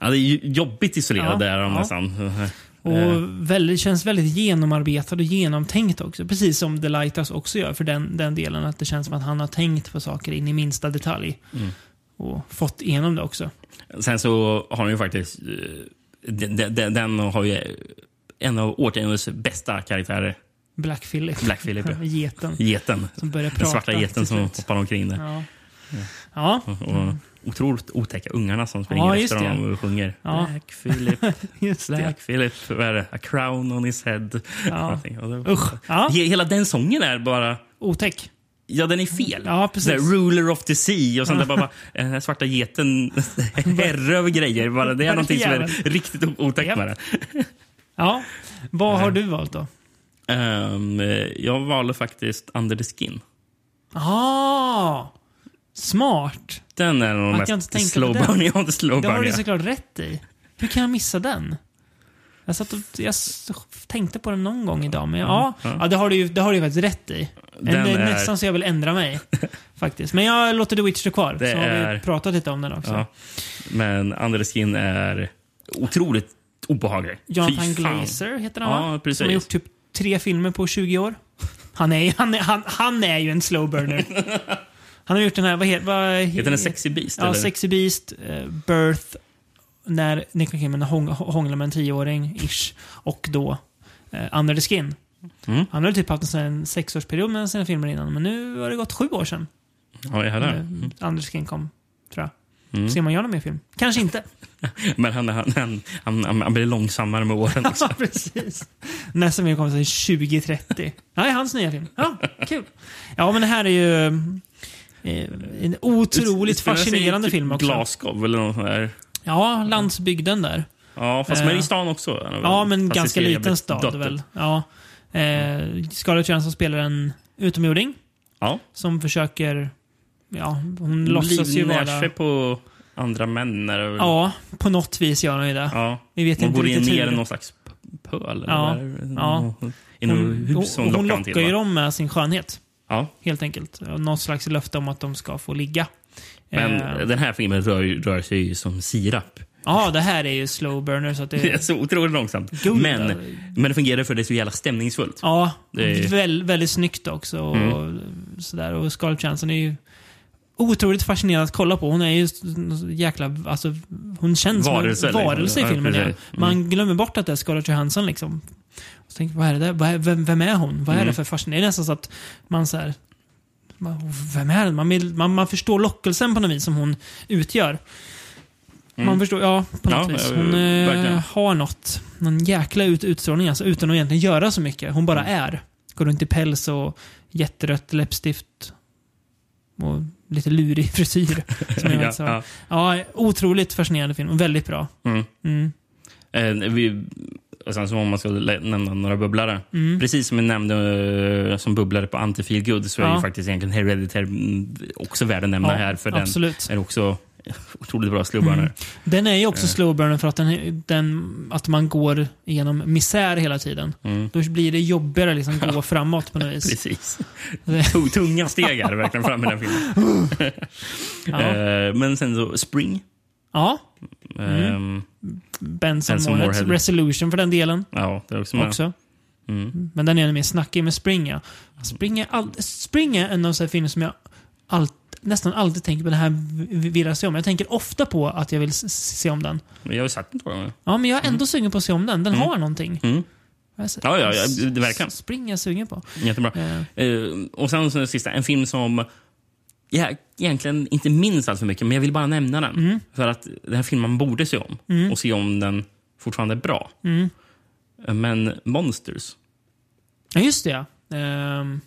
[SPEAKER 2] ja, det är ju jobbigt isolerade
[SPEAKER 1] Ja,
[SPEAKER 2] är de
[SPEAKER 1] ja.
[SPEAKER 2] nästan. Eh,
[SPEAKER 1] och väldigt, känns väldigt genomarbetad och genomtänkt också. Precis som The Lighthouse också gör för den, den delen. Att det känns som att han har tänkt på saker in i minsta detalj.
[SPEAKER 2] Mm.
[SPEAKER 1] Och fått igenom det också.
[SPEAKER 2] Sen så har de ju faktiskt... eh, Den, den, den har ju en av årtiondets bästa karaktärer.
[SPEAKER 1] Black Phillip. (laughs)
[SPEAKER 2] Black Phillip, ja.
[SPEAKER 1] Geten.
[SPEAKER 2] Geten.
[SPEAKER 1] Som börjar prata.
[SPEAKER 2] Den svarta geten
[SPEAKER 1] till
[SPEAKER 2] som
[SPEAKER 1] slut.
[SPEAKER 2] hoppar omkring där.
[SPEAKER 1] Ja. Ja,
[SPEAKER 2] Och otroligt otäcka ungarna som springer
[SPEAKER 1] Ja, just
[SPEAKER 2] efter honom och sjunger.
[SPEAKER 1] Ja.
[SPEAKER 2] Black Philip,
[SPEAKER 1] just det.
[SPEAKER 2] Black Philip, vad är det? A crown on his head.
[SPEAKER 1] Ja.
[SPEAKER 2] Någonting. Och då-
[SPEAKER 1] Usch. Ja,
[SPEAKER 2] He- Hela den sången är bara...
[SPEAKER 1] otäck.
[SPEAKER 2] Ja, den är fel.
[SPEAKER 1] Ja, precis.
[SPEAKER 2] The ruler of the sea och sånt där. Bara, bara, den här svarta geten (laughs) herre över grejer. Bara, det är
[SPEAKER 1] Vad är det för
[SPEAKER 2] någonting som är
[SPEAKER 1] jävel?
[SPEAKER 2] riktigt o- otäckt med den.
[SPEAKER 1] Ja. Vad har du valt då?
[SPEAKER 2] Ehm, eh, jag valde faktiskt Under the Skin.
[SPEAKER 1] Ah, smart.
[SPEAKER 2] Den är nog
[SPEAKER 1] Man kan Ah, inte tänka
[SPEAKER 2] mest
[SPEAKER 1] på den.
[SPEAKER 2] slowburn. (laughs) Jag har inte
[SPEAKER 1] Det har
[SPEAKER 2] slowburn.
[SPEAKER 1] du
[SPEAKER 2] ja.
[SPEAKER 1] såklart rätt i. Hur kan jag missa den? Jag, satt och, jag s- tänkte på den någon gång idag, men ja, ja. det, har du, ju- det har du ju faktiskt rätt i. Men
[SPEAKER 2] Den
[SPEAKER 1] det är
[SPEAKER 2] är-
[SPEAKER 1] nästan så jag vill ändra mig.
[SPEAKER 2] (laughs)
[SPEAKER 1] faktiskt. Men jag låter The Witch stå kvar,
[SPEAKER 2] Det
[SPEAKER 1] så har vi
[SPEAKER 2] är-
[SPEAKER 1] pratat lite om den också.
[SPEAKER 2] Ja. Men Under the Skin är otroligt obehaglig.
[SPEAKER 1] Jonathan
[SPEAKER 2] Fy fan.
[SPEAKER 1] Glazer heter han
[SPEAKER 2] Ja,
[SPEAKER 1] va?
[SPEAKER 2] precis.
[SPEAKER 1] Som har gjort typ tre filmer på 20 år. Han är, han är, han, han är ju en
[SPEAKER 2] (laughs)
[SPEAKER 1] slowburner. han har gjort den här, vad heter vad,
[SPEAKER 2] Heter den Sexy Beast?
[SPEAKER 1] Ja,
[SPEAKER 2] eller?
[SPEAKER 1] Sexy Beast, eh, Birth, när Nicole Kidman hång, hånglar med en tioåring, ish. Och då eh, Under the Skin.
[SPEAKER 2] Mm.
[SPEAKER 1] Han har ju typ haft en sån här sexårsperiod med sina filmer innan, men nu har det gått sju år sedan
[SPEAKER 2] Ja, jag hörde.
[SPEAKER 1] eh, Under the Skin kom, tror jag.
[SPEAKER 2] Mm.
[SPEAKER 1] Ska man göra någon mer film? Kanske inte.
[SPEAKER 2] Men han, han, han, han, han, han blir långsammare med åren. också.
[SPEAKER 1] (laughs) Ja, precis. Nästa film kommer sig 2030. Ja, det är hans nya film. Ja, kul. Ja, men det här är ju eh, en otroligt
[SPEAKER 2] Spelar sig i
[SPEAKER 1] fascinerande
[SPEAKER 2] typ
[SPEAKER 1] film också.
[SPEAKER 2] Glasgow eller något sånt där.
[SPEAKER 1] Ja, landsbygden där.
[SPEAKER 2] Ja, fast
[SPEAKER 1] Eh.
[SPEAKER 2] med i stan också. är det väl?
[SPEAKER 1] Ja, men
[SPEAKER 2] Fast det
[SPEAKER 1] ganska
[SPEAKER 2] ser
[SPEAKER 1] liten
[SPEAKER 2] jävligt
[SPEAKER 1] stad
[SPEAKER 2] dött ut.
[SPEAKER 1] väl. Ja. Eh, Scarlett Johansson spelar en utomjording
[SPEAKER 2] Ja.
[SPEAKER 1] som försöker... Ja, hon låtsas ju
[SPEAKER 2] Livnär
[SPEAKER 1] vara...
[SPEAKER 2] sig på andra män. Är det väl?
[SPEAKER 1] Ja, på något vis gör hon ju det.
[SPEAKER 2] ja.
[SPEAKER 1] Vi vet
[SPEAKER 2] Hon
[SPEAKER 1] inte
[SPEAKER 2] går in
[SPEAKER 1] riktigt
[SPEAKER 2] ner i
[SPEAKER 1] hur.
[SPEAKER 2] någon slags p- pöl.
[SPEAKER 1] Ja.
[SPEAKER 2] Eller?
[SPEAKER 1] Ja.
[SPEAKER 2] I något
[SPEAKER 1] Hon,
[SPEAKER 2] hus hon,
[SPEAKER 1] hon, hon
[SPEAKER 2] lockar hon till.
[SPEAKER 1] lockar ju
[SPEAKER 2] va?
[SPEAKER 1] dem med sin skönhet.
[SPEAKER 2] Ja.
[SPEAKER 1] helt enkelt. Något slags löfte om att de ska få ligga.
[SPEAKER 2] Men
[SPEAKER 1] eh,
[SPEAKER 2] den här filmen rör, ju- rör sig ju som sirap.
[SPEAKER 1] ja, det här är ju slow burner så att
[SPEAKER 2] (laughs) Det är
[SPEAKER 1] det...
[SPEAKER 2] så otroligt långsamt.
[SPEAKER 1] Guld,
[SPEAKER 2] men,
[SPEAKER 1] alltså.
[SPEAKER 2] men det fungerar för det är så jävla stämningsfullt.
[SPEAKER 1] Ja,
[SPEAKER 2] Det är- Mm.
[SPEAKER 1] väl, väldigt snyggt också. Och, sådär. och Scarlett Johansson är ju otroligt fascinerande att kolla på. Hon är ju s- jäkla... Alltså, hon känns
[SPEAKER 2] Varelse,
[SPEAKER 1] som
[SPEAKER 2] liksom.
[SPEAKER 1] en varelse i
[SPEAKER 2] Ja,
[SPEAKER 1] filmen. Ja,
[SPEAKER 2] precis. Mm.
[SPEAKER 1] Man glömmer bort att det är Scarlett Johansson liksom. Och så tänker jag, vad är det där? Vad är, vem, vem är hon? Vad är
[SPEAKER 2] Mm.
[SPEAKER 1] det för fascinerande? Det är nästan så att man så här, man- vem är det? Man, vill, man, man förstår lockelsen på något vis som hon utgör. Man förstår, ja, på något
[SPEAKER 2] Mm. Ja,
[SPEAKER 1] vis.
[SPEAKER 2] eh,
[SPEAKER 1] Hon
[SPEAKER 2] verkligen.
[SPEAKER 1] eh, har något. Någon jäkla ut, utstrålning alltså, utan att egentligen göra så mycket. Hon bara
[SPEAKER 2] Mm.
[SPEAKER 1] är. Går runt i päls och jätterött läppstift. Och lite lurig (laughs) frisyr. som jag
[SPEAKER 2] (laughs) Ja,
[SPEAKER 1] ja,
[SPEAKER 2] ja.
[SPEAKER 1] ja, otroligt fascinerande film och väldigt bra.
[SPEAKER 2] Mm.
[SPEAKER 1] Mm.
[SPEAKER 2] Eh, vi, och sen så om man ska lä- nämna några bubblare.
[SPEAKER 1] Mm.
[SPEAKER 2] Precis som jag nämnde eh, som bubblare på Anti-Feel Good så är
[SPEAKER 1] Ja.
[SPEAKER 2] ju faktiskt egentligen Hereditary mm, också värd att nämna
[SPEAKER 1] Ja,
[SPEAKER 2] här. För
[SPEAKER 1] absolut. Mm.
[SPEAKER 2] den är också (laughs) otroligt bra slowburner. Eh.
[SPEAKER 1] Den är ju också slow burner för att, den, den, att man går igenom misär hela tiden. Då blir det jobbigare liksom
[SPEAKER 2] (laughs)
[SPEAKER 1] att gå framåt på något vis.
[SPEAKER 2] Mm, Precis.
[SPEAKER 1] Det-
[SPEAKER 2] Tog tunga steg här verkligen fram i den här filmen.
[SPEAKER 1] (laughs) Ja. Mm.
[SPEAKER 2] Eh, men sen så Spring.
[SPEAKER 1] ja,
[SPEAKER 2] Ehm,
[SPEAKER 1] Benson,
[SPEAKER 2] Benson
[SPEAKER 1] Moorhead.
[SPEAKER 2] Moorhead.
[SPEAKER 1] Resolution för den delen
[SPEAKER 2] ja, det är också med.
[SPEAKER 1] också.
[SPEAKER 2] Mm.
[SPEAKER 1] Men den är ännu mer snackig med Spring. Ja. Spring, är all, Spring är en av de filmer som jag allt, nästan alltid tänker på. Det här vill jag se om. Jag tänker ofta på att jag vill s- s- se om den.
[SPEAKER 2] Men Jag har ju sett den två gånger.
[SPEAKER 1] Ja, men jag är ändå sugen på att se om den. Den har någonting.
[SPEAKER 2] Mm.
[SPEAKER 1] Jag är så-
[SPEAKER 2] Ja, ja, ja, det- verkligen.
[SPEAKER 1] Spring är jag sugen på.
[SPEAKER 2] Jättebra.
[SPEAKER 1] Eh,
[SPEAKER 2] Eh, och sen så den sista, en film som jag egentligen inte minns allt för mycket, men jag vill bara nämna den.
[SPEAKER 1] mm,
[SPEAKER 2] För att den här filmen man borde se om och se om den fortfarande är bra.
[SPEAKER 1] mm.
[SPEAKER 2] Eh, Men Monsters.
[SPEAKER 1] Ja, just det. ja. Ehm,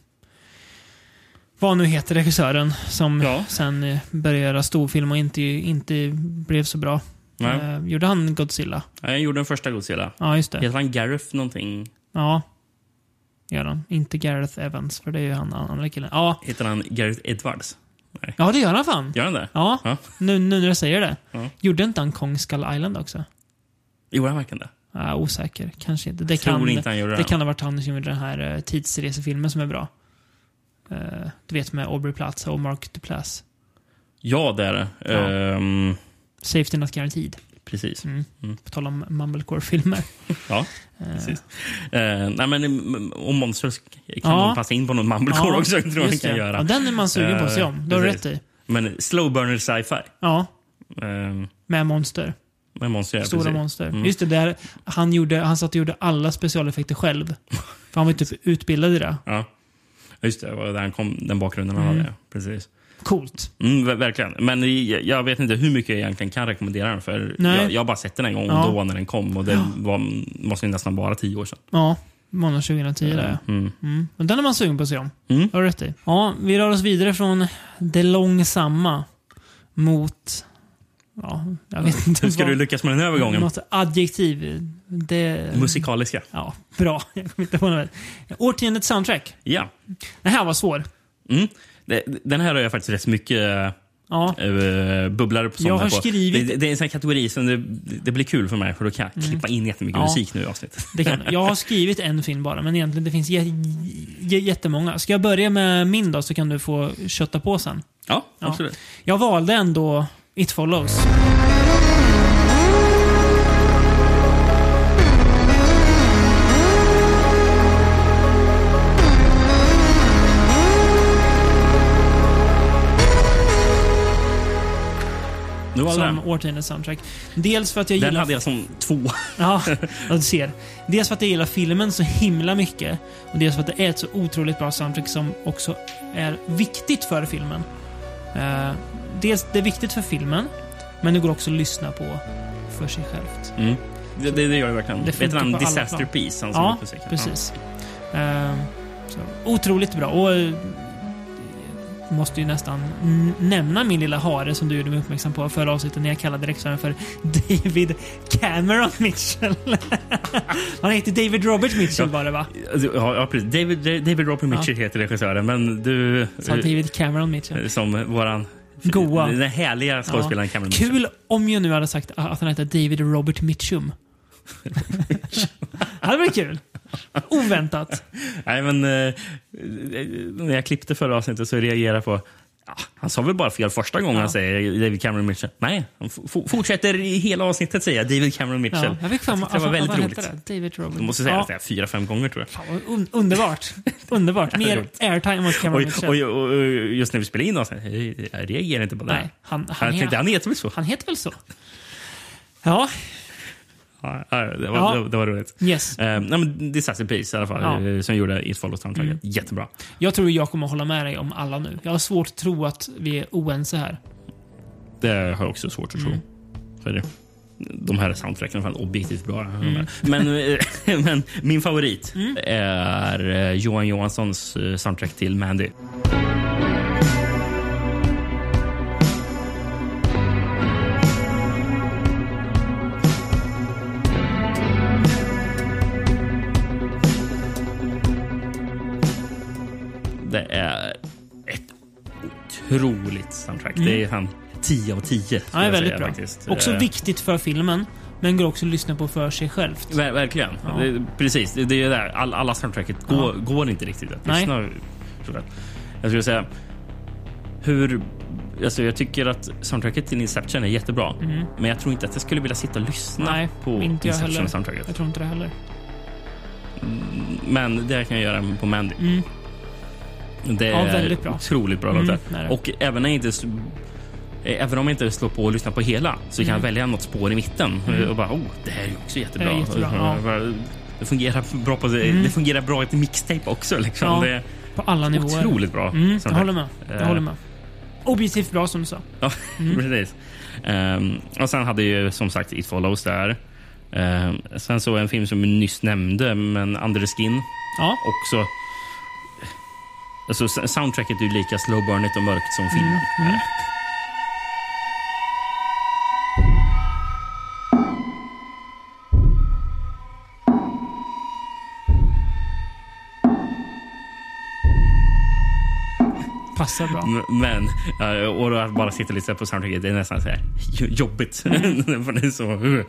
[SPEAKER 1] vad nu heter regissören som
[SPEAKER 2] Ja.
[SPEAKER 1] sen eh, började göra storfilm och inte, inte blev så bra.
[SPEAKER 2] Nej.
[SPEAKER 1] Ehm, gjorde han Godzilla?
[SPEAKER 2] Jag gjorde den första Godzilla.
[SPEAKER 1] Ja, just det.
[SPEAKER 2] Heter han Gareth någonting?
[SPEAKER 1] Ja. Gör han. Inte Gareth Evans, för det är ju han an- andra killen. Ja,
[SPEAKER 2] Heter han Gareth Edwards?
[SPEAKER 1] ja det gör han fan.
[SPEAKER 2] Gör han det?
[SPEAKER 1] Ja,
[SPEAKER 2] Ja.
[SPEAKER 1] Nu, nu när jag säger det.
[SPEAKER 2] Ja.
[SPEAKER 1] Gjorde inte han Kong Skull Island också?
[SPEAKER 2] Gjorde han verkligen det?
[SPEAKER 1] Jag är osäker. Kanske inte. Det
[SPEAKER 2] Tror
[SPEAKER 1] kan,
[SPEAKER 2] inte han gjorde
[SPEAKER 1] det
[SPEAKER 2] den.
[SPEAKER 1] kan ha varit han som gjorde den här eh, tidsresefilmen som är bra. Eh, du vet med Aubrey Plaza och Mark Duplass.
[SPEAKER 2] Ja, det är det.
[SPEAKER 1] Ja.
[SPEAKER 2] Ehm,
[SPEAKER 1] Safety Not Guaranteed.
[SPEAKER 2] precis.
[SPEAKER 1] Mm. På tal om mumblecore-filmer.
[SPEAKER 2] (laughs) Ja, precis. Eh, nej, men, mm, och Monsters kan
[SPEAKER 1] Ja.
[SPEAKER 2] nog passa in på någon mumblecore
[SPEAKER 1] Ja,
[SPEAKER 2] också. Tror jag man
[SPEAKER 1] just
[SPEAKER 2] kan
[SPEAKER 1] det.
[SPEAKER 2] göra.
[SPEAKER 1] Ja, den är man sugen på att se
[SPEAKER 2] Eh,
[SPEAKER 1] om. Det har du rätt
[SPEAKER 2] precis.
[SPEAKER 1] i.
[SPEAKER 2] Men slow burner sci-fi.
[SPEAKER 1] Ja,
[SPEAKER 2] Ehm,
[SPEAKER 1] med monster.
[SPEAKER 2] med monster, ja,
[SPEAKER 1] Stora
[SPEAKER 2] precis.
[SPEAKER 1] monster.
[SPEAKER 2] Mm.
[SPEAKER 1] Just det, där han, gjorde, han satt och gjorde alla specialeffekter själv. För han var ju typ utbildad i det.
[SPEAKER 2] Ja. Just det, det var där han kom, den bakgrunden
[SPEAKER 1] Mm.
[SPEAKER 2] han hade. Precis.
[SPEAKER 1] Coolt.
[SPEAKER 2] Mm, ver- verkligen. Men i- jag vet inte hur mycket jag egentligen kan rekommendera den. För
[SPEAKER 1] Nej.
[SPEAKER 2] jag, jag har bara sett den en gång
[SPEAKER 1] Ja.
[SPEAKER 2] då när den kom. Och det var, måste ju nästan vara tio år sedan.
[SPEAKER 1] Ja, månad 2010 där ja.
[SPEAKER 2] Mm.
[SPEAKER 1] Mm. Men den är man sugen på att se om.
[SPEAKER 2] Mm.
[SPEAKER 1] Det har du rätt i. Ja, vi rör oss vidare från det långsamma mot... Ja, jag vet inte.
[SPEAKER 2] Hur ska
[SPEAKER 1] vad-
[SPEAKER 2] du lyckas med den här övergången?
[SPEAKER 1] Något adjektiv. Det...
[SPEAKER 2] Musikaliska.
[SPEAKER 1] Ja, bra. (laughs) Jag kommer inte på något. Årtiondets soundtrack.
[SPEAKER 2] Ja.
[SPEAKER 1] Det här var svår.
[SPEAKER 2] Mm. Det- Den här har jag faktiskt rätt mycket
[SPEAKER 1] Ja,
[SPEAKER 2] uh, bubblare på
[SPEAKER 1] Jag har
[SPEAKER 2] sånt här på.
[SPEAKER 1] skrivit- Mm.
[SPEAKER 2] Det, det är en sån här kategori som det, det blir kul för mig för då kan jag klippa in jättemycket
[SPEAKER 1] Ja.
[SPEAKER 2] musik nu i avsnittet.
[SPEAKER 1] det kan jag. Jag har skrivit en film bara, men egentligen det finns jä- jä- jättemånga. Ska jag börja med min då, så kan du få kötta på sen.
[SPEAKER 2] Ja,
[SPEAKER 1] Ja.
[SPEAKER 2] absolut.
[SPEAKER 1] Jag valde ändå It Follows.
[SPEAKER 2] Nu var
[SPEAKER 1] som
[SPEAKER 2] den.
[SPEAKER 1] årtiondets soundtrack. Dels för att jag
[SPEAKER 2] Den
[SPEAKER 1] gillar...
[SPEAKER 2] hade jag som två. (laughs)
[SPEAKER 1] Ja, ja, du ser. Dels för att jag gillar filmen så himla mycket. Och dels för att det är ett så otroligt bra soundtrack som också är viktigt för filmen. Eh, dels, det är viktigt för filmen, men det går också att lyssna på för sig självt.
[SPEAKER 2] Mm. Det, det, det gör jag verkligen.
[SPEAKER 1] Det
[SPEAKER 2] Det Vet
[SPEAKER 1] funkar
[SPEAKER 2] han
[SPEAKER 1] på alla
[SPEAKER 2] Disaster
[SPEAKER 1] plan.
[SPEAKER 2] Piece? Han som
[SPEAKER 1] Ja,
[SPEAKER 2] gjort musiken.
[SPEAKER 1] precis. Eh, så, otroligt bra. Och eh, måste ju nästan n- nämna min lilla hare som du gjorde mig uppmärksam på förra avsnittet när jag kallade regissören för David Cameron Mitchell. (laughs) Han heter David Robert Mitchell var det va?
[SPEAKER 2] Ja. Alltså, Ja, ja, precis. David, David Robert Mitchell heter regissören, men du...
[SPEAKER 1] Sa David Cameron Mitchell.
[SPEAKER 2] eh, Som våran...
[SPEAKER 1] Goa.
[SPEAKER 2] Den härliga skådespelaren Cameron Mitchell.
[SPEAKER 1] Kul om jag nu hade sagt att han hette David Robert Mitchum.
[SPEAKER 2] (laughs)
[SPEAKER 1] det hade varit kul. Oväntat.
[SPEAKER 2] Nej, men, eh, när jag klippte förra avsnittet så reagerade jag på "Ah, han sa väl bara fel första gången han säger David Cameron Mitchell. Nej, han f- f- fortsätter i hela avsnittet säga David Cameron Mitchell.
[SPEAKER 1] Ja, jag fick fram
[SPEAKER 2] tyckte det var
[SPEAKER 1] att
[SPEAKER 2] väldigt
[SPEAKER 1] han
[SPEAKER 2] roligt.
[SPEAKER 1] hette det. David Robert.
[SPEAKER 2] Jag måste säga
[SPEAKER 1] Ja.
[SPEAKER 2] det här fyra, fem gånger tror jag.
[SPEAKER 1] Fan, vad un- underbart.
[SPEAKER 2] (laughs)
[SPEAKER 1] Underbart. Mer
[SPEAKER 2] Roligt.
[SPEAKER 1] airtime åt Cameron
[SPEAKER 2] Och,
[SPEAKER 1] Mitchell.
[SPEAKER 2] och, och, och just när vi spelade in avsnittet, jag reagerar inte på det.
[SPEAKER 1] Nej, han, han,
[SPEAKER 2] Han,
[SPEAKER 1] he-
[SPEAKER 2] tänkte, han heter väl så?
[SPEAKER 1] han heter väl så? Ja,
[SPEAKER 2] Ja, det, var,
[SPEAKER 1] Ja.
[SPEAKER 2] det, var- det var roligt.
[SPEAKER 1] Yes.
[SPEAKER 2] Eh, nej, men Disaster Piece i alla fall,
[SPEAKER 1] Ja.
[SPEAKER 2] eh, som gjorde It Follows soundtracket. Jättebra.
[SPEAKER 1] Jag tror jag kommer hålla med dig om alla nu. Jag har svårt att tro att vi är oense här.
[SPEAKER 2] Det har jag också svårt att tro. Så är det. De här soundtracken är fan objektivt bra.
[SPEAKER 1] Mm.
[SPEAKER 2] Men, eh, (laughs) men min favorit är eh, Johan Johanssons eh, soundtrack till Mandy. Det är ett otroligt soundtrack. Det är han 10 av 10. skulle
[SPEAKER 1] Mm. Ja, det är
[SPEAKER 2] jag
[SPEAKER 1] väldigt
[SPEAKER 2] säga,
[SPEAKER 1] bra.
[SPEAKER 2] Faktiskt.
[SPEAKER 1] Också
[SPEAKER 2] Eh,
[SPEAKER 1] viktigt för filmen, men går också att lyssna på för sig självt.
[SPEAKER 2] Ver verkligen.
[SPEAKER 1] Ja.
[SPEAKER 2] Det, precis, det, det är där. All, alla soundtracket går, går inte riktigt att
[SPEAKER 1] Nej.
[SPEAKER 2] lyssna. tror jag. Jag skulle säga hur... Alltså jag tycker att soundtracket till Inception är jättebra. Men jag tror inte att jag skulle vilja sitta och lyssna
[SPEAKER 1] Mm. Nej,
[SPEAKER 2] på
[SPEAKER 1] inte jag heller. Jag
[SPEAKER 2] Inception-soundtracket.
[SPEAKER 1] tror inte det heller.
[SPEAKER 2] Men det kan jag göra på Mandy.
[SPEAKER 1] Mm.
[SPEAKER 2] Det
[SPEAKER 1] Ja,
[SPEAKER 2] är
[SPEAKER 1] väldigt bra.
[SPEAKER 2] otroligt bra
[SPEAKER 1] Mm,
[SPEAKER 2] låtar.
[SPEAKER 1] det är det.
[SPEAKER 2] Och även när jag inte... s- eh, Även om jag inte slår på och lyssnar på hela så kan jag välja något spår i mitten eh, och bara oh, det här är ju också jättebra.
[SPEAKER 1] Mm. Det är jättebra, Mm.
[SPEAKER 2] Det fungerar bra på det fungerar bra i ett mixtape också. Liksom.
[SPEAKER 1] Ja,
[SPEAKER 2] det är
[SPEAKER 1] På alla nivåer.
[SPEAKER 2] otroligt bra.
[SPEAKER 1] Mm, jag
[SPEAKER 2] soundtrack.
[SPEAKER 1] håller med. Jag
[SPEAKER 2] Eh.
[SPEAKER 1] håller med. Objektivt bra som du sa.
[SPEAKER 2] Ja, precis. Ehm, och sen hade ju som sagt It Follows där. Ehm, sen så en film som vi nyss nämnde, men Under the Skin
[SPEAKER 1] Ja.
[SPEAKER 2] också... Alltså, s- soundtracket är ju lika slowburnigt och mörkt som filmen. är.
[SPEAKER 1] Passar bra.
[SPEAKER 2] M- Men, eh, och då att bara sitta och lyssna på soundtracket, det är nästan så här jo- jobbigt. (laughs) För det, är så, uh,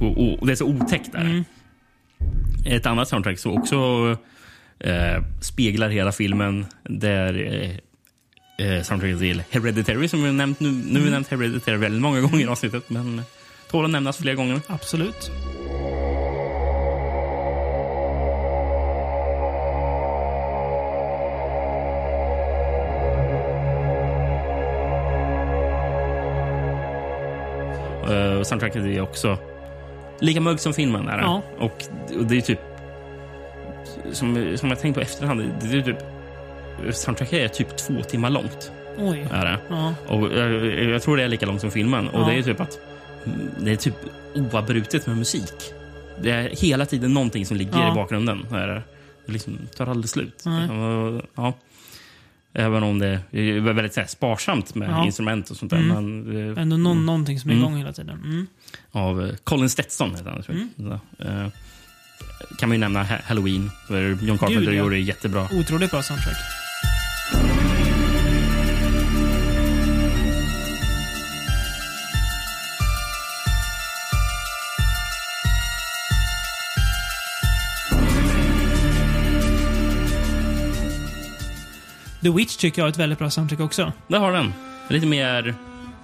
[SPEAKER 2] och, och, och det är så otäckt där. Ett annat soundtrack som också eh, speglar hela filmen, det är eh, eh, soundtracket till Hereditary, som vi har nämnt nu. Nu har vi nämnt Hereditary väldigt många gånger i avsnittet, men tål att nämnas fler gånger.
[SPEAKER 1] Absolut.
[SPEAKER 2] Eh, och soundtracket är också lika mörkt som filmen är. det.
[SPEAKER 1] Ja.
[SPEAKER 2] Och, och det är typ... Som, som jag tänkt på i efterhand, det är typ... Soundtracket är typ två timmar långt.
[SPEAKER 1] Oj.
[SPEAKER 2] Är det.
[SPEAKER 1] Ja.
[SPEAKER 2] Och jag, jag tror det är lika långt som filmen. Och
[SPEAKER 1] Ja.
[SPEAKER 2] det är typ att... Det är typ oavbrutet med musik. Det är hela tiden någonting som ligger
[SPEAKER 1] Ja.
[SPEAKER 2] i bakgrunden. Är det. det liksom tar aldrig slut.
[SPEAKER 1] Nej.
[SPEAKER 2] Och, Ja. Även om det är väldigt så här, sparsamt med
[SPEAKER 1] Ja.
[SPEAKER 2] instrument och sånt där.
[SPEAKER 1] Mm.
[SPEAKER 2] Men, eh,
[SPEAKER 1] Ändå någon, någonting som är
[SPEAKER 2] Mm.
[SPEAKER 1] igång hela tiden. Mm.
[SPEAKER 2] av eh, Colin Stetson. Heter han, tror jag. Så, eh, kan man ju nämna Ha- Halloween. För John Carpenter
[SPEAKER 1] Gud, ja.
[SPEAKER 2] gjorde det jättebra.
[SPEAKER 1] Otroligt bra soundtrack. The Witch tycker jag har ett väldigt bra soundtrack också.
[SPEAKER 2] Där har den. Lite mer...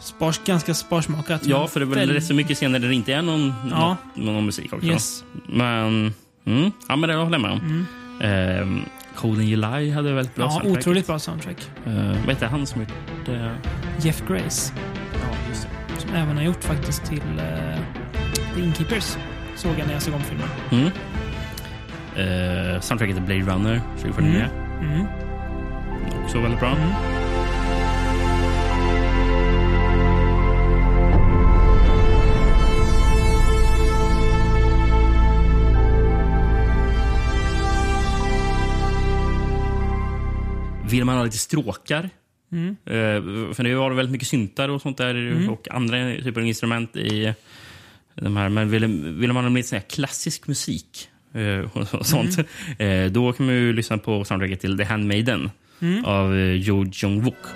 [SPEAKER 1] Spars, ganska sparsmakat.
[SPEAKER 2] Ja,
[SPEAKER 1] men
[SPEAKER 2] för det är väl
[SPEAKER 1] väldigt-
[SPEAKER 2] rätt så mycket scener där det inte är någon,
[SPEAKER 1] Ja.
[SPEAKER 2] någon, någon musik också.
[SPEAKER 1] Yes. Mm.
[SPEAKER 2] Men... Mm, ja, men det håller jag med om. Eh, Cold in July hade väldigt bra
[SPEAKER 1] Ja,
[SPEAKER 2] soundtrack.
[SPEAKER 1] otroligt bra soundtrack.
[SPEAKER 2] Eh, vad heter han som gjort... eh,
[SPEAKER 1] Jeff Grace,
[SPEAKER 2] Ja, just det.
[SPEAKER 1] som även har gjort faktiskt till eh, The Innkeepers, såg jag när jag såg om filmen.
[SPEAKER 2] Mm. Eh, soundtracket till Blade Runner 2049.
[SPEAKER 1] Mm.
[SPEAKER 2] Också väldigt bra. Vill man ha lite stråkar? Eh, för det var väldigt mycket syntar och sånt där och andra typer av instrument i de här. Men vill, vill man ha lite sån här klassisk musik eh, och, och sånt, (laughs) eh, då kan man ju lyssna på soundtracket till The Handmaiden av eh, Jo Jong-Wook.